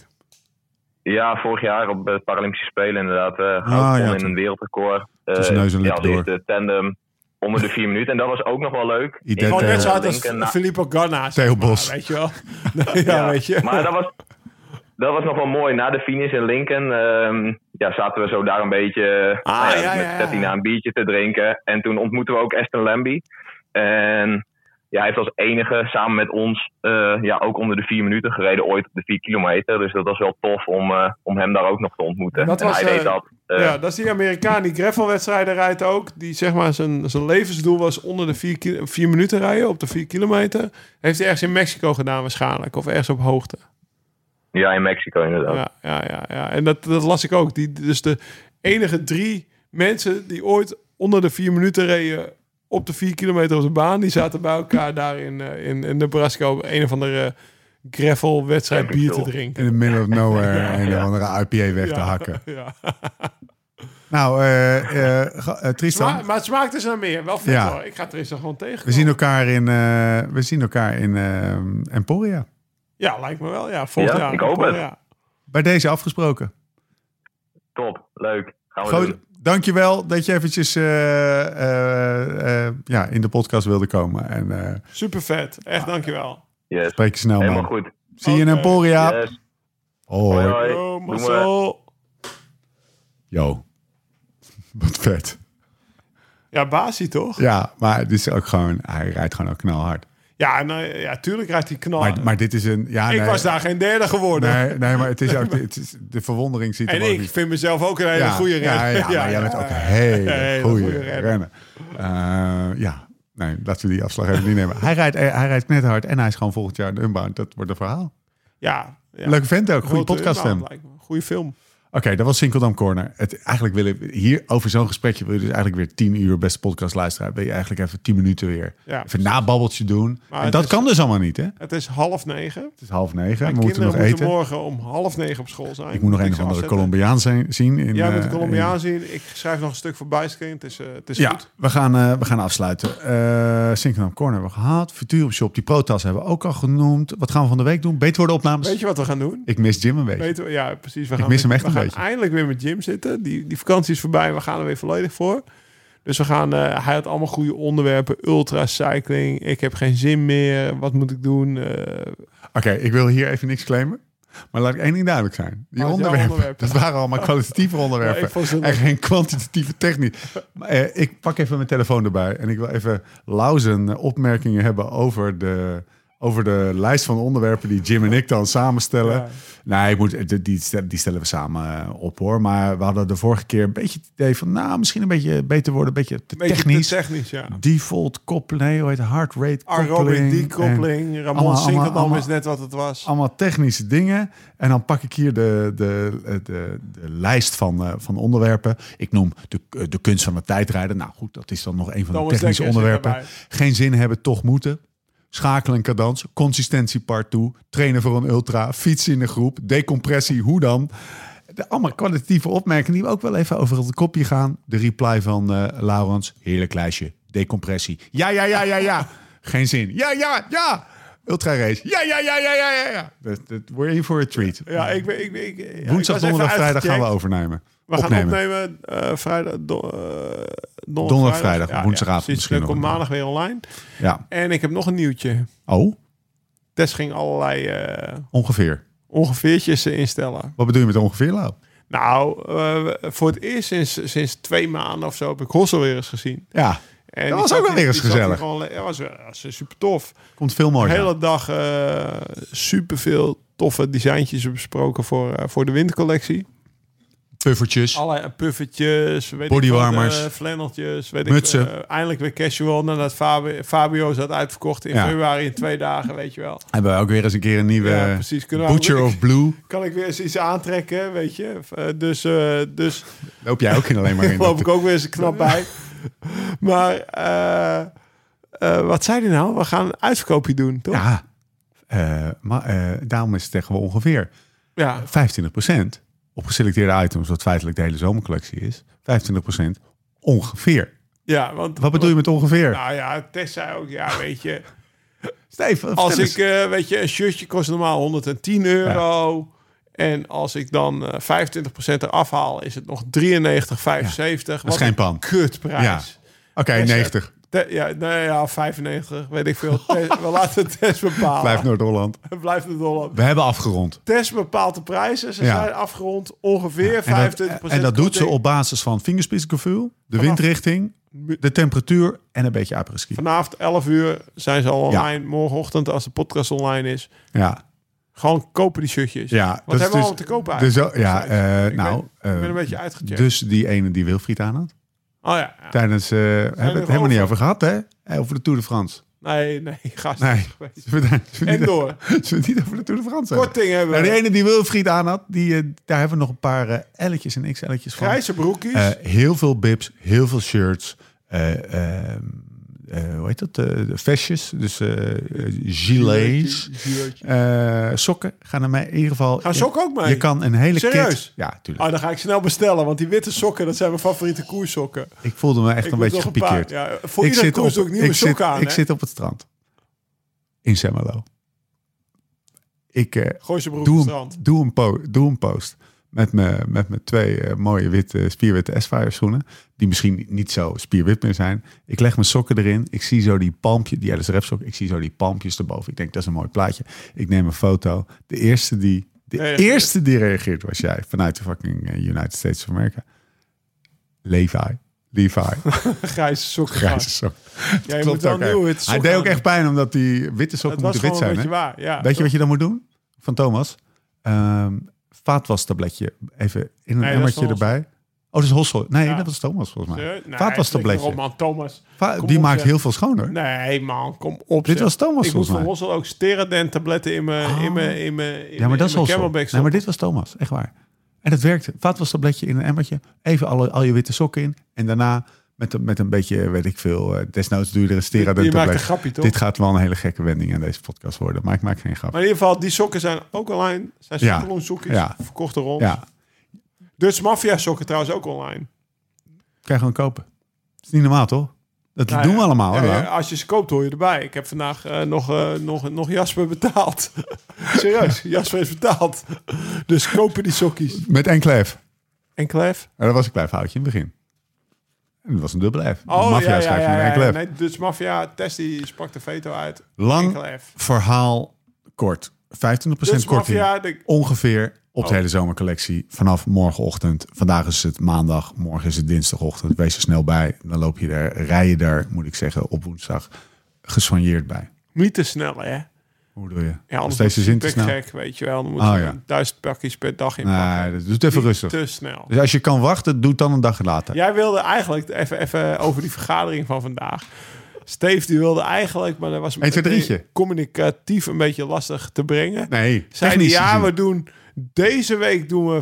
Speaker 5: Ja, vorig jaar op de Paralympische Spelen inderdaad. eh goud
Speaker 1: Ah, ja,
Speaker 5: gewonnen in
Speaker 1: toen-
Speaker 5: een wereldrecord. Eh,
Speaker 1: tussen neus en
Speaker 5: ja,
Speaker 1: lippen
Speaker 5: als eerste tandem onder de vier minuten. En dat was ook nog wel leuk.
Speaker 1: Ident-
Speaker 5: Ik,
Speaker 1: Oh,
Speaker 3: Gewoon
Speaker 5: eh,
Speaker 3: net zo hard als
Speaker 5: denk een-
Speaker 3: Filippo Ganna. zeg
Speaker 1: Theo
Speaker 3: maar,
Speaker 1: Bos.
Speaker 3: Weet je wel? ja, weet je.
Speaker 5: Maar dat was, dat was nog wel mooi. Na de finish in Lincoln ehm, ja, zaten we zo daar een beetje
Speaker 3: Ah,
Speaker 5: nou
Speaker 3: ja,
Speaker 5: met
Speaker 3: ja, ja.
Speaker 5: Stettina een biertje te drinken. En toen ontmoetten we ook Aston Lambie. En ja, hij heeft als enige samen met ons eh, ja, ook onder de vier minuten gereden ooit op de vier kilometer. Dus dat was wel tof om, eh, om hem daar ook nog te ontmoeten.
Speaker 3: Dat
Speaker 5: en
Speaker 3: was,
Speaker 5: hij deed
Speaker 3: eh,
Speaker 5: dat. eh,
Speaker 3: ja, dat is die Amerikaan die gravelwedstrijden rijdt ook. Die zeg maar zijn, zijn levensdoel was onder de vier, ki- vier minuten rijden op de vier kilometer. Heeft hij ergens in Mexico gedaan waarschijnlijk. Of ergens op hoogte.
Speaker 5: ja, in Mexico inderdaad.
Speaker 3: Ja, ja, ja. ja. En dat, dat las ik ook. Die, dus de enige drie mensen die ooit onder de vier minuten reden op de vier kilometer op de baan. Die zaten bij elkaar daar in, eh, in, in Nebraska op een of andere eh, gravelwedstrijd bier te drinken.
Speaker 1: In the middle of nowhere en een andere IPA weg te
Speaker 3: Ja.
Speaker 1: hakken.
Speaker 3: Ja.
Speaker 1: Nou, eh, eh, ga- eh, Tristan,
Speaker 3: Maar, maar het smaakt dus naar meer. Wel vet
Speaker 1: Ja.
Speaker 3: hoor. Ik ga er eens nog gewoon tegen.
Speaker 1: we zien elkaar in, eh, we zien elkaar in eh, Emporia.
Speaker 3: Ja, lijkt me wel. Ja, volgend
Speaker 5: Ja,
Speaker 3: jaar.
Speaker 5: ik hoop het.
Speaker 3: Ja.
Speaker 1: Bij deze afgesproken.
Speaker 5: Top, leuk. Gaan we
Speaker 1: Goed,
Speaker 5: doen.
Speaker 1: dankjewel dat je eventjes eh, eh, eh, ja, in de podcast wilde komen. En eh
Speaker 3: Super vet. Echt,
Speaker 5: Ah.
Speaker 3: dankjewel.
Speaker 5: Yes.
Speaker 1: spreek je snel,
Speaker 5: Helemaal
Speaker 1: man.
Speaker 5: goed.
Speaker 1: Zie je in
Speaker 3: Oké.
Speaker 1: Emporia.
Speaker 5: Yes.
Speaker 1: Hoi.
Speaker 5: Hoi, hoi.
Speaker 3: Oh,
Speaker 5: Doen we.
Speaker 3: Marcel.
Speaker 1: Yo. Wat vet.
Speaker 3: Ja, Basie toch?
Speaker 1: Ja, maar dit is ook gewoon, hij rijdt gewoon ook knalhard.
Speaker 3: Ja, nou, ja tuurlijk rijdt hij knal.
Speaker 1: Maar, maar dit is een... Ja,
Speaker 3: Ah. ik
Speaker 1: nee,
Speaker 3: was daar geen derde geworden.
Speaker 1: Nee, nee, maar het is ook... Het is, de verwondering ziet
Speaker 3: En
Speaker 1: er ook
Speaker 3: ik
Speaker 1: niet.
Speaker 3: vind mezelf ook een hele
Speaker 1: ja,
Speaker 3: goede
Speaker 1: ja,
Speaker 3: renner.
Speaker 1: Ja, maar jij bent ook een hele,
Speaker 3: hele
Speaker 1: goede,
Speaker 3: goede
Speaker 1: renner.
Speaker 3: renner.
Speaker 1: Eh, ja, nee, laten we die afslag even niet nemen. Hij rijdt, eh, hij rijdt knetterhard en hij is gewoon volgend jaar de Unbound. Dat wordt een verhaal.
Speaker 3: Ja, ja.
Speaker 1: Leuke vent ook, goede
Speaker 3: Grote
Speaker 1: podcast
Speaker 3: inhoud
Speaker 1: hem. Oké,
Speaker 3: lijkt me. Goede film.
Speaker 1: dat was Sinkeldam Corner. Het, eigenlijk willen we hier over zo'n gesprekje wil je dus eigenlijk weer tien uur beste podcast luisteren. Wil je eigenlijk even tien minuten weer
Speaker 3: Ja.
Speaker 1: even nababbeltje doen.
Speaker 3: Maar
Speaker 1: en
Speaker 3: het
Speaker 1: dat
Speaker 3: is-
Speaker 1: kan dus allemaal niet, hè? Het
Speaker 3: Het is half negen. Mijn
Speaker 1: is half negen. We
Speaker 3: kinderen
Speaker 1: moeten nog
Speaker 3: moeten
Speaker 1: eten.
Speaker 3: morgen om half negen op school zijn.
Speaker 1: Ik moet nog een
Speaker 3: Niks
Speaker 1: of andere
Speaker 3: afzetten.
Speaker 1: Colombiaan zijn, zien. In,
Speaker 3: Jij moet
Speaker 1: eh,
Speaker 3: de
Speaker 1: in-
Speaker 3: Colombiaan zien. Ik schrijf nog een stuk voor Bicycling. Het is, eh, het is
Speaker 1: Ja,
Speaker 3: goed.
Speaker 1: we gaan, eh, we gaan afsluiten. Eh Synchronom Corner hebben we gehad. Futurum Shop, die protas hebben we ook al genoemd. Wat gaan we van de week doen? Beter worden opnames.
Speaker 3: Weet je wat we gaan doen?
Speaker 1: Ik mis Jim een beetje.
Speaker 3: Weten we, ja, precies. We
Speaker 1: Ik
Speaker 3: gaan
Speaker 1: mis hem
Speaker 3: met-
Speaker 1: echt
Speaker 3: we
Speaker 1: een
Speaker 3: gaan
Speaker 1: beetje.
Speaker 3: eindelijk weer met Jim zitten. Die, die vakantie is voorbij. We gaan er weer volledig voor. Dus we gaan, eh, hij had allemaal goede onderwerpen. Ultracycling. Ik heb geen zin meer. Wat moet ik doen? Eh,
Speaker 1: Oké, ik wil hier even niks claimen. Maar laat ik één ding duidelijk zijn. Die
Speaker 3: Laat jouw
Speaker 1: onderwerpen,
Speaker 3: Oh, onderwerpen.
Speaker 1: dat waren allemaal kwalitatieve onderwerpen.
Speaker 3: ik vond ze-
Speaker 1: en geen kwantitatieve techniek. Maar, eh, ik pak even mijn telefoon erbij. En ik wil even lauzen eh, opmerkingen hebben over de, over de lijst van onderwerpen die Jim en ik dan samenstellen.
Speaker 3: Ja.
Speaker 1: Nee, ik moet, die- die, stellen, die stellen we samen eh, op hoor. Maar we hadden de vorige keer een beetje het idee van... nou, misschien een beetje beter worden, een beetje te
Speaker 3: Beetje te
Speaker 1: technisch.
Speaker 3: technisch, ja.
Speaker 1: Default koppeling, nee, hoe heet het? Heart rate koppeling.
Speaker 3: Aerobic
Speaker 1: en-
Speaker 3: decoupling.
Speaker 1: allemaal-
Speaker 3: Ramon
Speaker 1: allemaal-
Speaker 3: Sinkerdam is net wat het was.
Speaker 1: allemaal technische dingen. En dan pak ik hier de, de, de, de lijst van, eh, van onderwerpen. Ik noem de, eh, de kunst van het tijdrijden. Nou goed, dat is dan nog een van de
Speaker 3: Thomas
Speaker 1: technische
Speaker 3: Dekker zit
Speaker 1: onderwerpen. Geen zin hebben, toch moeten. Schakelen en cadans, consistentie part 2, trainen voor een ultra, fietsen in de groep, decompressie, hoe dan? De, allemaal kwalitatieve opmerkingen die we ook wel even over het kopje gaan. De reply van eh, Laurens, heerlijk lijstje, decompressie. Ja, ja, ja, ja, ja. Geen zin. Ja, ja, ja. Ultra race. Ja, ja, ja, ja, ja, ja, ja. Dat, dat, we're in for a treat.
Speaker 3: Ja, ik, ben- ik, ben- ik, ja, ik was
Speaker 1: Woensdag,
Speaker 3: even
Speaker 1: donderdag, vrijdag gaan we
Speaker 3: uitgecheckt.
Speaker 1: overnemen.
Speaker 3: We gaan opnemen, eh, vrijdag, do- eh,
Speaker 1: Donderdag, vrijdag, woensdagavond
Speaker 3: precies.
Speaker 1: misschien
Speaker 3: Dan
Speaker 1: nog
Speaker 3: komt
Speaker 1: wel.
Speaker 3: maandag weer online.
Speaker 1: Ja.
Speaker 3: En ik heb nog een nieuwtje.
Speaker 1: Oh,
Speaker 3: Tess ging allerlei eh,
Speaker 1: ongeveer.
Speaker 3: ongeveertjes eh, instellen.
Speaker 1: Wat bedoel je met ongeveer, Lau?
Speaker 3: Nou, eh, voor het eerst sinds, sinds twee maanden of zo heb ik Hossel weer eens gezien.
Speaker 1: Ja,
Speaker 3: En
Speaker 1: Dat
Speaker 3: die
Speaker 1: was
Speaker 3: zat
Speaker 1: ook wel
Speaker 3: hier-
Speaker 1: weer eens
Speaker 3: die zat hier
Speaker 1: gezellig. Oh,
Speaker 3: gewoon le- Ja, was, eh, was super tof.
Speaker 1: komt veel
Speaker 3: De
Speaker 1: mooier.
Speaker 3: hele dag eh superveel toffe designtjes besproken voor, eh, voor de wintercollectie.
Speaker 1: Puffertjes.
Speaker 3: Allerlei puffertjes, weet
Speaker 1: Bodywarmers.
Speaker 3: ik wat, eh, flanneltjes, weet
Speaker 1: Mutsen.
Speaker 3: ik eh, Eindelijk weer casual nadat Fabio, Fabio zat uitverkocht in
Speaker 1: Ja.
Speaker 3: februari in twee dagen, weet je wel.
Speaker 1: Hebben we ook weer eens een keer een nieuwe
Speaker 3: Ja, precies. Kunnen we
Speaker 1: Butcher
Speaker 3: ook-
Speaker 1: of Blue.
Speaker 3: Kan ik weer eens iets aantrekken, weet je. Eh, dus eh, dus
Speaker 1: Loop jij ook in alleen maar in.
Speaker 3: loop ik ook weer eens knap bij. maar eh, eh, wat zei hij nou? We gaan een uitverkoopje doen, toch?
Speaker 1: Ja, eh, maar eh, daarom is het tegen we ongeveer.
Speaker 3: Ja,
Speaker 1: 25% op geselecteerde items, wat feitelijk de hele zomercollectie is. 25% ongeveer.
Speaker 3: ja want...
Speaker 1: Wat bedoel je met ongeveer?
Speaker 3: Nou ja, Tess zei ook, ja, weet je...
Speaker 1: Steef, vertel
Speaker 3: Als
Speaker 1: eens.
Speaker 3: ik, eh, weet je, een shirtje kost normaal 110 euro. En als ik dan eh, 25% eraf haal, is het nog 93,75.
Speaker 1: dat is geen pan.
Speaker 3: Kutprijs.
Speaker 1: Ja. Oké,
Speaker 3: Tess,
Speaker 1: 90.
Speaker 3: Te- ja, nou ja, 95, weet ik veel. Tess- we laten Tess bepalen.
Speaker 1: Blijf Noord-Holland.
Speaker 3: Blijft het dollar.
Speaker 1: We hebben afgerond.
Speaker 3: Tess bepaalt de prijzen. Ze
Speaker 1: Ja.
Speaker 3: zijn afgerond ongeveer 25%.
Speaker 1: En dat, en dat doet ze op basis van vingerspitsgevoel, de windrichting, de temperatuur en een beetje apres-ski.
Speaker 3: Vanavond 11 uur zijn ze al
Speaker 1: Ja.
Speaker 3: online. Morgenochtend, als de podcast online is.
Speaker 1: Ja,
Speaker 3: Gewoon kopen die shirtjes.
Speaker 1: ja.
Speaker 3: Wat hebben we al te kopen
Speaker 1: Dus,
Speaker 3: eigenlijk?
Speaker 1: wel- ja, eh,
Speaker 3: Ik
Speaker 1: nou...
Speaker 3: ben, ik ben
Speaker 1: eh,
Speaker 3: een beetje uitgecheckt.
Speaker 1: dus die ene die Wilfried aan had.
Speaker 3: oh ja, ja.
Speaker 1: Tijdens, eh hebben we het
Speaker 3: er
Speaker 1: helemaal
Speaker 3: over?
Speaker 1: niet over gehad, hè? Eh, Over de Tour de France.
Speaker 3: Nee, nee, gast.
Speaker 1: Nee. Zullen we- zullen we
Speaker 3: En
Speaker 1: niet-
Speaker 3: door.
Speaker 1: Zullen we het niet over de Tour de France hebben?
Speaker 3: Korting hebben
Speaker 1: Nou, die
Speaker 3: we.
Speaker 1: ene die Wilfried aan had, die, eh, daar hebben we nog een paar eh L'tjes en XL'tjes van.
Speaker 3: Grijze broekjes.
Speaker 1: Eh, heel veel bips, heel veel shirts. eh, ehm, eh, hoe heet dat? eh, vestjes, dus eh, eh, gilets. Eh, sokken gaan er mee. In ieder geval.
Speaker 3: Gaan sokken ook mee?
Speaker 1: Je kan een hele kit.
Speaker 3: Serieus?
Speaker 1: Ja, tuurlijk.
Speaker 3: Ah, dan ga ik snel bestellen, want die witte sokken, dat zijn mijn favoriete koerssokken.
Speaker 1: Ik voelde me echt
Speaker 3: Ik
Speaker 1: een
Speaker 3: moet
Speaker 1: beetje
Speaker 3: nog een paar-
Speaker 1: gepikeerd.
Speaker 3: ja, voor iedere koers doe ik nieuwe
Speaker 1: ik
Speaker 3: sokken
Speaker 1: zit,
Speaker 3: aan,
Speaker 1: Ik
Speaker 3: hè?
Speaker 1: zit op het strand. In Semmelo. Ik eh,
Speaker 3: Gooi ze broek op
Speaker 1: doe,
Speaker 3: het
Speaker 1: een,
Speaker 3: strand.
Speaker 1: doe, een po- doe een post. Met mijn met mijn twee eh, mooie witte, spierwitte S-Fire schoenen. Die misschien niet zo spierwit meer zijn. Ik leg mijn sokken erin. Ik zie zo die palmpje. Die, ja, dat is een repsok. Ik zie zo die palmpjes erboven. Ik denk, dat is een mooi plaatje. Ik neem een foto. De eerste die, de
Speaker 3: Reageert.
Speaker 1: eerste die reageert was jij. Vanuit de fucking eh, United States of America. Levi. Levi.
Speaker 3: Grijze sokken.
Speaker 1: Grijze
Speaker 3: gast.
Speaker 1: sok.
Speaker 3: Ja, je
Speaker 1: Klopt
Speaker 3: moet wel
Speaker 1: ook,
Speaker 3: een
Speaker 1: hè.
Speaker 3: nieuwe witte
Speaker 1: Hij
Speaker 3: sokken
Speaker 1: deed ook
Speaker 3: aan.
Speaker 1: echt pijn omdat die witte
Speaker 3: Het
Speaker 1: sokken
Speaker 3: was
Speaker 1: moeten wit
Speaker 3: gewoon een
Speaker 1: zijn.
Speaker 3: beetje
Speaker 1: hè?
Speaker 3: waar. Ja.
Speaker 1: Weet je wat je dan moet doen? Van Thomas. Ehm vaatwastabletje. Even in een
Speaker 3: Nee, dat is
Speaker 1: emmertje
Speaker 3: Thomas.
Speaker 1: erbij. Oh, dat is Hossel. Nee,
Speaker 3: Ja.
Speaker 1: dat was Thomas volgens mij.
Speaker 3: Serieus? Eh, Nee,
Speaker 1: vaatwastabletje.
Speaker 3: flikker op, man, Thomas.
Speaker 1: Va-
Speaker 3: Kom
Speaker 1: die
Speaker 3: op,
Speaker 1: maakt
Speaker 3: zeg.
Speaker 1: heel veel schoner.
Speaker 3: Nee, man, kom op.
Speaker 1: Dit
Speaker 3: zeg.
Speaker 1: was Thomas
Speaker 3: Ik moet
Speaker 1: volgens
Speaker 3: van
Speaker 1: mij. Oh.
Speaker 3: Hossel ook steradent tabletten in mijn in mijn in mijn in
Speaker 1: Ja, maar dat
Speaker 3: mijn-
Speaker 1: is
Speaker 3: in mijn
Speaker 1: Hossel.
Speaker 3: Camelback
Speaker 1: Nee, maar dit was Thomas. Echt waar. En dat werkte. Vaatwastabletje in een emmertje. Even alle, al je witte sokken in. En daarna met, een- met een beetje, weet ik veel, eh, desnoods doe je er een stera
Speaker 3: Je maakt een grapje, toch?
Speaker 1: Dit gaat wel een hele gekke wending aan deze podcast worden. Maar ik maak geen grap.
Speaker 3: Maar in ieder geval, die sokken zijn ook online. Zijn
Speaker 1: Ja.
Speaker 3: superloon sokken.
Speaker 1: Ja.
Speaker 3: Verkocht er rond.
Speaker 1: Ja,
Speaker 3: Dutch Mafia sokken trouwens ook online.
Speaker 1: kan je gewoon kopen. Het is niet normaal, toch? Dat
Speaker 3: Nou
Speaker 1: doen we
Speaker 3: ja,
Speaker 1: allemaal.
Speaker 3: ja,
Speaker 1: hè,
Speaker 3: ja,
Speaker 1: Lau?
Speaker 3: als je ze koopt, hoor je erbij. Ik heb vandaag eh, nog, eh, nog, nog Jasper betaald. Serieus, Jasper is betaald. Dus kopen die sokkies.
Speaker 1: Met enkele F.
Speaker 3: En Klef?
Speaker 1: Ja, dat was een klein foutje in het begin. En dat was een dubbele F.
Speaker 3: Oh,
Speaker 1: Mafia
Speaker 3: ja, ja,
Speaker 1: schrijf je met
Speaker 3: ja,
Speaker 1: enkele
Speaker 3: ja.
Speaker 1: F.
Speaker 3: Nee, Dutch Mafia, Tess die sprak de veto uit.
Speaker 1: Lang
Speaker 3: Enkele F.
Speaker 1: verhaal kort. 25%
Speaker 3: Dutch
Speaker 1: korting.
Speaker 3: Mafia, Dus de,
Speaker 1: Ongeveer op de
Speaker 3: Oh.
Speaker 1: hele zomercollectie. Vanaf morgenochtend. Vandaag is het maandag. Morgen is het dinsdagochtend. Wees er snel bij. Dan loop je er, rij je daar, moet ik zeggen, op woensdag gesoigneerd bij.
Speaker 3: niet te snel, hè?
Speaker 1: Hoe doe je?
Speaker 3: Ja,
Speaker 1: Als
Speaker 3: anders
Speaker 1: deze
Speaker 3: deze
Speaker 1: zin
Speaker 3: wordt
Speaker 1: te
Speaker 3: het
Speaker 1: snel.
Speaker 3: gek, weet je wel. Dan moeten
Speaker 1: Oh,
Speaker 3: we
Speaker 1: ja.
Speaker 3: duizend pakjes per dag inpakken.
Speaker 1: Nee, dat doet even
Speaker 3: Niet
Speaker 1: rustig.
Speaker 3: Te snel.
Speaker 1: Dus als je kan wachten, doe het dan een dag later.
Speaker 3: Jij wilde eigenlijk even, even over die vergadering van vandaag. Steve die wilde eigenlijk, maar dat was
Speaker 1: Eén, twee, drietje.
Speaker 3: communicatief een beetje lastig te brengen.
Speaker 1: Nee,
Speaker 3: Zeiden
Speaker 1: technisch
Speaker 3: ja,
Speaker 1: gezien.
Speaker 3: we doen deze week doen we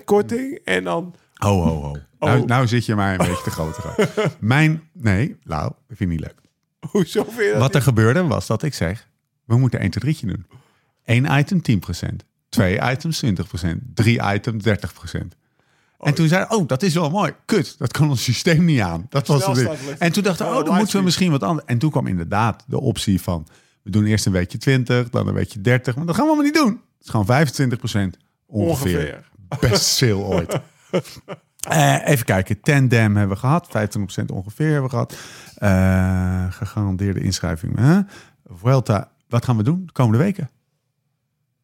Speaker 3: 25% korting en dan
Speaker 1: Ho, ho, ho.
Speaker 3: Oh.
Speaker 1: Nou, nou zit je mij een beetje te groot. Mijn, nee, Lau, dat vind ik niet leuk.
Speaker 3: hoezo vind je dat
Speaker 1: Wat
Speaker 3: niet?
Speaker 1: er gebeurde was dat ik zeg, we moeten 1 tot 3 doen. Eén item 10%, twee items 20%, drie items 30%. En toen zei oh, dat is wel mooi. Kut, dat kan ons systeem niet aan. Dat was het.
Speaker 3: Snelstaat
Speaker 1: ding.
Speaker 3: lucht.
Speaker 1: En toen dachten we,
Speaker 3: Oh,
Speaker 1: oh, dan moeten we
Speaker 3: livestream.
Speaker 1: misschien wat anders. En toen kwam inderdaad de optie van, we doen eerst een weekje 20, dan een weekje 30. Maar dat gaan we allemaal niet doen. Het is gewoon 25% ongeveer.
Speaker 3: Ongeveer.
Speaker 1: Best sale ooit. Eh, even kijken, Tandem hebben we gehad, 25% ongeveer hebben we gehad. Eh, gegarandeerde inschrijving. Huh? Vuelta, wat gaan we doen de komende weken?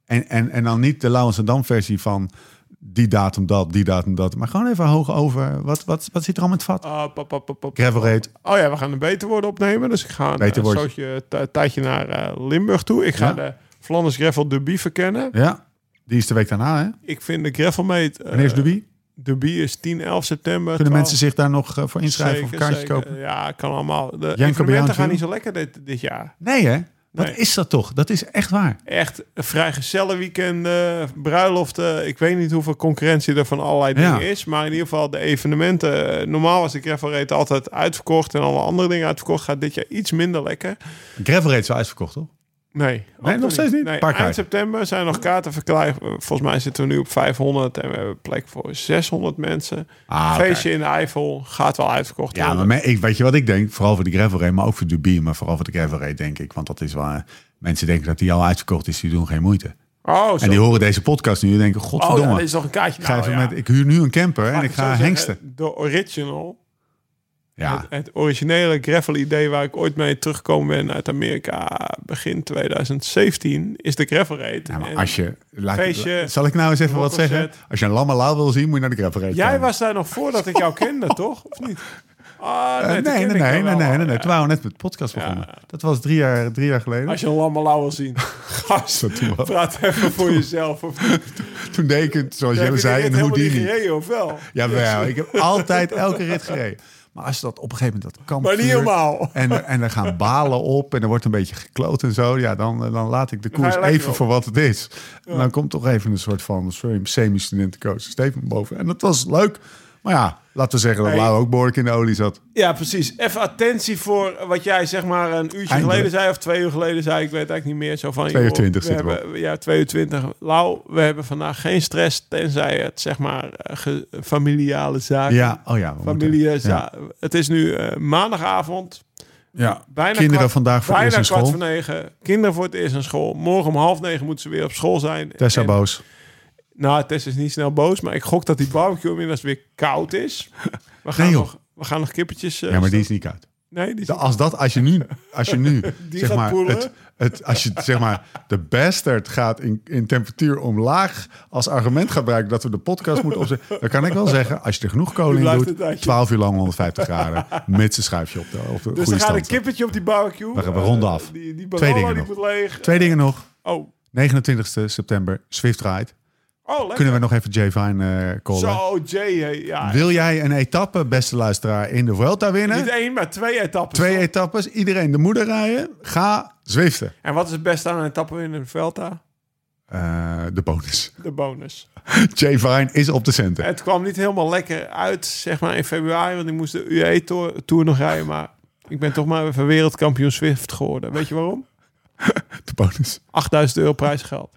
Speaker 1: En, en, en dan niet de Lauwens en Dam versie van die datum dat, die datum dat. Maar gewoon even hoog over. Wat, wat, wat zit er allemaal in het vat?
Speaker 3: Ah, pap, pap, pap, pap.
Speaker 1: Gravel rate.
Speaker 3: Oh ja, we gaan een beter worden opnemen. Dus ik ga een,
Speaker 1: Beter
Speaker 3: eh,
Speaker 1: worden.
Speaker 3: zootje, ti- tijdje naar eh, Limburg toe. Ik ga
Speaker 1: Ja.
Speaker 3: de Flanders Gravel Derby verkennen.
Speaker 1: Ja, die is de week daarna hè?
Speaker 3: Ik vind de Gravelmeet... meet.
Speaker 1: Wanneer is de wie?
Speaker 3: Derby is 10, 11 september.
Speaker 1: Kunnen
Speaker 3: 12.
Speaker 1: mensen zich daar nog eh, voor inschrijven of
Speaker 3: Zeker,
Speaker 1: kaartjes
Speaker 3: zeker.
Speaker 1: kopen?
Speaker 3: Ja, kan allemaal. De
Speaker 1: Jan Kabeljauw
Speaker 3: evenementen gaan
Speaker 1: too.
Speaker 3: niet zo lekker dit, dit jaar.
Speaker 1: Nee hè? Wat
Speaker 3: Nee.
Speaker 1: is dat toch? Dat is echt waar.
Speaker 3: Echt vrijgezellenweekenden, eh, bruiloften. Ik weet niet hoeveel concurrentie er van allerlei dingen
Speaker 1: Ja.
Speaker 3: is. Maar in ieder geval de evenementen. eh, Normaal was de Gravel Rate altijd uitverkocht en alle andere dingen uitverkocht. Gaat dit jaar iets minder lekker.
Speaker 1: Gravel Rate is wel uitverkocht toch?
Speaker 3: Nee,
Speaker 1: nog
Speaker 3: Anthony.
Speaker 1: steeds niet?
Speaker 3: Nee,
Speaker 1: Paar
Speaker 3: eind
Speaker 1: kaarten.
Speaker 3: september zijn nog kaarten verkrijgbaar. Volgens mij zitten we nu op 500 en we hebben plek voor 600 mensen.
Speaker 1: Ah, oké.
Speaker 3: Feestje in de Eifel gaat wel uitverkocht
Speaker 1: Ja, maar
Speaker 3: worden.
Speaker 1: me- ik, weet je wat ik denk? Vooral voor de gravel race, maar ook voor Dubier, maar vooral voor de gravel race denk ik. Want dat is waar eh, mensen denken dat die al uitverkocht is, die doen geen moeite.
Speaker 3: Oh, zo.
Speaker 1: En die horen deze podcast nu en denken,
Speaker 3: oh ja,
Speaker 1: godverdomme.
Speaker 3: dit is nog een kaartje.
Speaker 1: ik, ga
Speaker 3: Nou,
Speaker 1: even
Speaker 3: ja.
Speaker 1: met, ik huur nu een camper en
Speaker 3: Laat
Speaker 1: ik
Speaker 3: het
Speaker 1: ga
Speaker 3: zo
Speaker 1: hengsten.
Speaker 3: zeggen, Eh, De original,
Speaker 1: Ja,
Speaker 3: het, het originele gravel idee waar ik ooit mee teruggekomen ben uit Amerika begin 2017, is de gravel rate.
Speaker 1: Ja, maar
Speaker 3: En
Speaker 1: als je, laat,
Speaker 3: eh, feestje,
Speaker 1: zal ik nou eens even wat
Speaker 3: rockconcert.
Speaker 1: zeggen? Als je een lamme lauw wil zien, moet je naar de gravel race
Speaker 3: Jij
Speaker 1: komen.
Speaker 3: was daar nog voordat ik jou kende, toch? Of niet? Ah,
Speaker 1: Eh, nee, nee,
Speaker 3: toen kende
Speaker 1: nee,
Speaker 3: ik jou
Speaker 1: nee, nee,
Speaker 3: wel.
Speaker 1: nee, nee.
Speaker 3: Ja.
Speaker 1: Toen waren we net met de podcast begonnen. Dat was drie jaar, drie jaar geleden.
Speaker 3: Als je een lamme lauw wil zien. Gast,
Speaker 1: Dat doen we.
Speaker 3: praat even voor jezelf. Of niet.
Speaker 1: Toen deed ik het, zoals
Speaker 3: Heb
Speaker 1: jij
Speaker 3: je die
Speaker 1: zei,
Speaker 3: rit
Speaker 1: een
Speaker 3: helemaal niet
Speaker 1: Houdini.
Speaker 3: gereden, of wel?
Speaker 1: Jawel, ik heb altijd elke rit gereden. Maar als dat op een gegeven moment dat kamp
Speaker 3: Maar niet
Speaker 1: vuurt
Speaker 3: helemaal.
Speaker 1: En, er- en er gaan balen op en er wordt een beetje gekloot en zo. Ja, dan, dan laat ik de koers
Speaker 3: lekker
Speaker 1: even
Speaker 3: op.
Speaker 1: voor wat het is. En dan komt toch even een soort van sorry, semi-studentencoach Steven boven. En dat was leuk. Maar ja, laten we zeggen dat
Speaker 3: Hey.
Speaker 1: Lau ook behoorlijk in de olie zat.
Speaker 3: Ja, precies. Even attentie voor wat jij zeg maar een uurtje
Speaker 1: Eindelijk.
Speaker 3: geleden zei of twee uur geleden zei. Ik weet eigenlijk niet meer. Zo van,
Speaker 1: 22
Speaker 3: joh, we
Speaker 1: zitten we
Speaker 3: hebben, Ja, 22. Lau, we hebben vandaag geen stress tenzij het zeg maar eh, ge- familiale zaken.
Speaker 1: Ja, oh ja. we moeten-
Speaker 3: Familie,
Speaker 1: ja.
Speaker 3: Het is nu eh, maandagavond.
Speaker 1: Ja.
Speaker 3: Bijna
Speaker 1: Kinderen
Speaker 3: kwart-
Speaker 1: vandaag voor het
Speaker 3: bijna
Speaker 1: eerst naar
Speaker 3: kwart
Speaker 1: school.
Speaker 3: voor negen. Kinderen voor het eerst naar school. Morgen om half negen moeten ze weer op school zijn.
Speaker 1: Tessa
Speaker 3: En-
Speaker 1: boos.
Speaker 3: Nou, Tess is niet snel boos, maar ik gok dat die barbecue inmiddels weer koud is. We gaan,
Speaker 1: Nee, joh.
Speaker 3: nog, we gaan nog kippertjes... eh,
Speaker 1: Ja, maar die is niet koud.
Speaker 3: Nee, die is
Speaker 1: De- als dat, als je nu, als je nu zeg
Speaker 3: gaat
Speaker 1: maar,
Speaker 3: poelen.
Speaker 1: het, het, als je zeg maar, de bastard gaat in, in temperatuur omlaag als argument gaat gebruiken dat we de podcast moeten opzetten, dan kan ik wel zeggen, als je er genoeg kolen in
Speaker 3: Blijft het
Speaker 1: doet,
Speaker 3: uitje.
Speaker 1: 12 uur lang 150 graden, met zijn schuifje op de, op de
Speaker 3: Dus
Speaker 1: goede
Speaker 3: dan gaat een
Speaker 1: stand.
Speaker 3: kippertje op die barbecue.
Speaker 1: We gaan- we ronden af.
Speaker 3: Eh, die die
Speaker 1: Twee dingen
Speaker 3: Barolo die
Speaker 1: nog.
Speaker 3: moet leeg.
Speaker 1: Twee dingen nog.
Speaker 3: Oh,
Speaker 1: 29 september, Swift Ride.
Speaker 3: oh lekker.
Speaker 1: Kunnen we nog even Jay Vine eh callen?
Speaker 3: Zo, Jay. hé, Ja.
Speaker 1: Wil jij een etappe, beste luisteraar, in de Vuelta
Speaker 3: Niet
Speaker 1: winnen?
Speaker 3: één, maar twee etappes.
Speaker 1: Twee
Speaker 3: toch?
Speaker 1: etappes, iedereen de moeder rijden. Ga zwiften.
Speaker 3: En wat is het beste aan een etappe in een Velta?
Speaker 1: Eh, de bonus.
Speaker 3: De bonus.
Speaker 1: Jay Vine is op de centen.
Speaker 3: Het kwam niet helemaal lekker uit, zeg maar, in februari. Want ik moest de UE-tour nog rijden. Maar ik ben toch maar even wereldkampioen Swift geworden. Weet je waarom?
Speaker 1: De bonus.
Speaker 3: 8000 euro prijsgeld.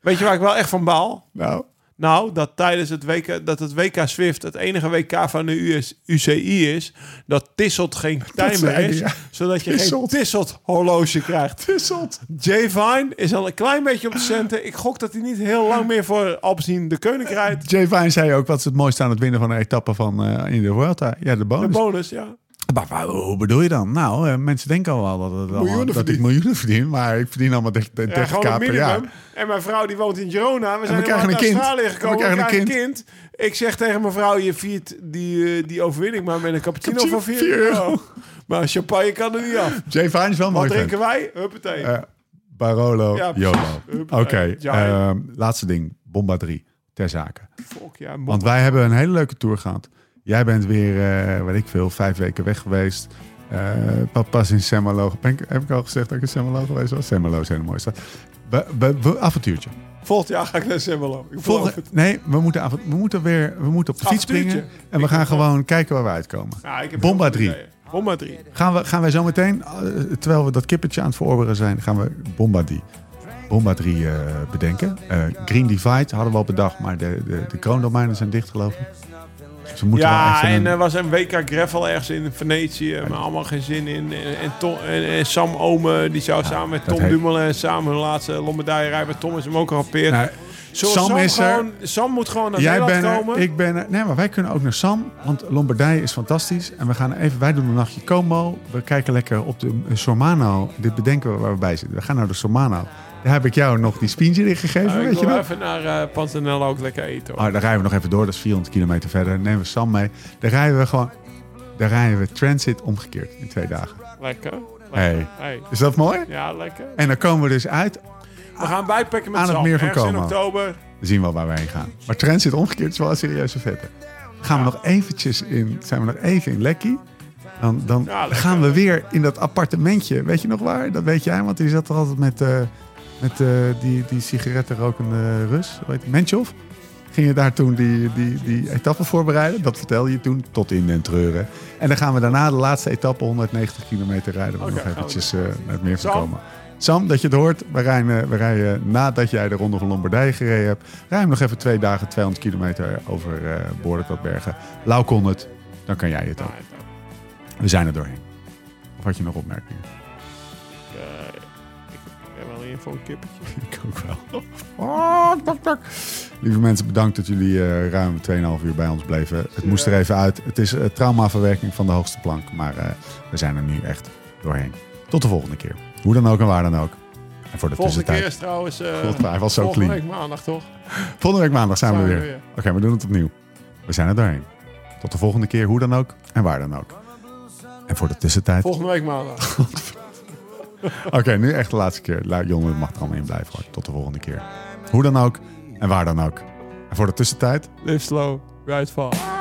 Speaker 3: Weet je waar ik wel echt van baal?
Speaker 1: Nou,
Speaker 3: Nou, dat tijdens het WK, dat het WK Swift het enige WK van de US, UCI is, dat Tisselt geen tijd meer
Speaker 1: zei
Speaker 3: is,
Speaker 1: hij, ja.
Speaker 3: zodat je
Speaker 1: Tisselt.
Speaker 3: geen Tisselt horloge krijgt.
Speaker 1: Tisselt.
Speaker 3: Jay Vine is al een klein beetje op de centen. Ik gok dat hij niet heel lang meer voor Alpecin de Keuning rijdt.
Speaker 1: Jay Vine zei ook, wat is het mooiste aan het winnen van een etappe van eh, in de Vuelta? Ja, de
Speaker 3: De
Speaker 1: bonus.
Speaker 3: bonus, ja.
Speaker 1: maar waar- hoe bedoel je dan? Nou, eh, mensen denken al wel dat, het allemaal-
Speaker 3: Miljoenen
Speaker 1: dat ik
Speaker 3: verdient.
Speaker 1: miljoenen verdien, maar ik verdien allemaal 30,
Speaker 3: Ja,
Speaker 1: 30
Speaker 3: gewoon
Speaker 1: k
Speaker 3: een
Speaker 1: per
Speaker 3: minimum.
Speaker 1: jaar.
Speaker 3: En mijn vrouw die woont in Girona. We zijn
Speaker 1: we krijgen
Speaker 3: helemaal
Speaker 1: een
Speaker 3: naar
Speaker 1: kind.
Speaker 3: Australië
Speaker 1: En we
Speaker 3: gekomen. We
Speaker 1: krijgen
Speaker 3: krijgen
Speaker 1: een
Speaker 3: een kind. Ik zeg tegen mijn vrouw, je viert die, eh, die overwinning maar met een cappuccino
Speaker 1: Cappuccino,
Speaker 3: van 4
Speaker 1: 4
Speaker 3: euro.
Speaker 1: euro.
Speaker 3: Maar champagne kan er niet af.
Speaker 1: Jay Vine is wel een
Speaker 3: Wat
Speaker 1: mooi.
Speaker 3: drinken
Speaker 1: vent.
Speaker 3: wij? Huppatee.
Speaker 1: Eh, Barolo,
Speaker 3: Ja, precies.
Speaker 1: Jolo. Oké,
Speaker 3: Hup, eh, Jai.
Speaker 1: ehm, laatste ding. Bomba 3, ter zake.
Speaker 3: Fok, ja, mop.
Speaker 1: Want wij hebben een hele leuke tour gehad. Jij bent weer, eh, weet ik veel, vijf weken weg geweest. Eh, papa's in Semmelo. Ben ik- Heb ik al gezegd dat ik in Semmelo geweest was? Semmelo is een hele mooie stad. We- we- we- avontuurtje.
Speaker 3: Volgend jaar ga ik naar Semmelo. Ik beloof
Speaker 1: Volgende,
Speaker 3: het.
Speaker 1: nee, we moeten, avond- we moeten weer we moeten op de fiets
Speaker 3: Avontuurtje.
Speaker 1: springen. En we gaan gewoon kijken waar we uitkomen.
Speaker 3: Ja, ik heb
Speaker 1: Bomba
Speaker 3: heel veel
Speaker 1: 3.
Speaker 3: ideeën. Bomba 3.
Speaker 1: Gaan, we, gaan wij zo meteen, eh, terwijl we dat kippetje aan het verorberen zijn, gaan we Bomba 3, Bomba 3 eh, bedenken. Eh, Green Divide hadden we al bedacht, maar de, de, de kroondomeinen zijn dicht geloof ik. Dus we moeten wel
Speaker 3: Ja,
Speaker 1: even
Speaker 3: en
Speaker 1: een-
Speaker 3: er was een WK Gravel ergens in Venetië. eh, Maar allemaal geen zin in. En, en, Tom- en, en Sam Ome, die zou samen met
Speaker 1: dat
Speaker 3: Tom
Speaker 1: heet-
Speaker 3: Dumoulin samen hun laatste Lombardije rijden. Maar Tom is hem ook al gepeerd.
Speaker 1: Nou,
Speaker 3: Zullen
Speaker 1: Sam is er.
Speaker 3: gewoon- Sam moet gewoon naar
Speaker 1: Jij
Speaker 3: Nederland
Speaker 1: bent er,
Speaker 3: komen.
Speaker 1: ik ben er. Nee, maar wij kunnen ook naar Sam, want Lombardije is fantastisch. En we gaan even, wij doen een nachtje Como. We kijken lekker op de eh, Sormano. Dit bedenken we waar we bij zitten. We gaan naar de Sormano. Daar heb ik jou nog die spientje in gegeven,
Speaker 3: Maar ik
Speaker 1: weet je
Speaker 3: wil
Speaker 1: wel.
Speaker 3: even naar eh Pantanella ook lekker eten. hoor.
Speaker 1: Oh, daar rijden we nog even door, dat is 400 kilometer verder. Dan nemen we Sam mee. Daar rijden we gewoon, daar rijden we transit omgekeerd in twee dagen.
Speaker 3: Lekker.
Speaker 1: Hey.
Speaker 3: lekker. Hey.
Speaker 1: Is dat mooi?
Speaker 3: Ja, lekker.
Speaker 1: En dan komen we dus uit.
Speaker 3: We gaan bijpakken met
Speaker 1: Aan het
Speaker 3: Sam.
Speaker 1: meer van
Speaker 3: Ergens in
Speaker 1: Como.
Speaker 3: oktober.
Speaker 1: We zien wel waar we heen gaan. Maar transit omgekeerd is wel een serieuze vette. Gaan we nog eventjes in, zijn we nog even in Lekkie? Dan, dan
Speaker 3: Ja, lekker.
Speaker 1: gaan we weer in dat appartementje. Weet je nog waar? Dat weet jij, want die zat er altijd met, eh, met eh, die, die sigarettenrokende Rus. Hoe heet die? Menchov. Ging je daar toen die, die, die etappe voorbereiden? Dat vertelde je toen, tot in den treuren. En dan gaan we daarna de laatste etappe, 190 kilometer, rijden. We
Speaker 3: Oké,
Speaker 1: nog
Speaker 3: gaan we
Speaker 1: eventjes eh, naar het meer
Speaker 3: Sam?
Speaker 1: voorkomen. Sam, dat je het hoort. We rijden, we rijden nadat jij de Ronde van Lombardije gereden hebt. Rijden we nog even twee dagen 200 kilometer over eh Boorden tot Bergen. Lau kon het, dan kan jij het ook. We zijn er doorheen. Of had je nog opmerkingen?
Speaker 3: Eh, Ik heb wel hier voor een kippetje.
Speaker 1: Ik ook wel.
Speaker 3: Oh,
Speaker 1: Ah, tak, tak. Lieve mensen, bedankt dat jullie eh, ruim 2,5 uur bij ons bleven. Het moest er even uit. Het is eh, traumaverwerking van de hoogste plank. Maar eh, we zijn er nu echt doorheen. Tot de volgende keer. Hoe dan ook en waar dan ook. En voor de
Speaker 3: Volgende keer
Speaker 1: tussentijd.
Speaker 3: is trouwens... eh,
Speaker 1: God, hij was zo
Speaker 3: volgende
Speaker 1: clean.
Speaker 3: week maandag, toch?
Speaker 1: Volgende week maandag zijn we
Speaker 3: Zijn we
Speaker 1: weer.
Speaker 3: weer.
Speaker 1: Oké, we doen het opnieuw. We zijn er doorheen. Tot de volgende keer, hoe dan ook en waar dan ook. En voor de tussentijd.
Speaker 3: Volgende week maandag.
Speaker 1: Oké, nu echt de laatste keer. La- Jongen, het mag er allemaal in blijven. Hoor. Tot de volgende keer. Hoe dan ook en waar dan ook. En voor de tussentijd.
Speaker 3: Live slow, ride fast.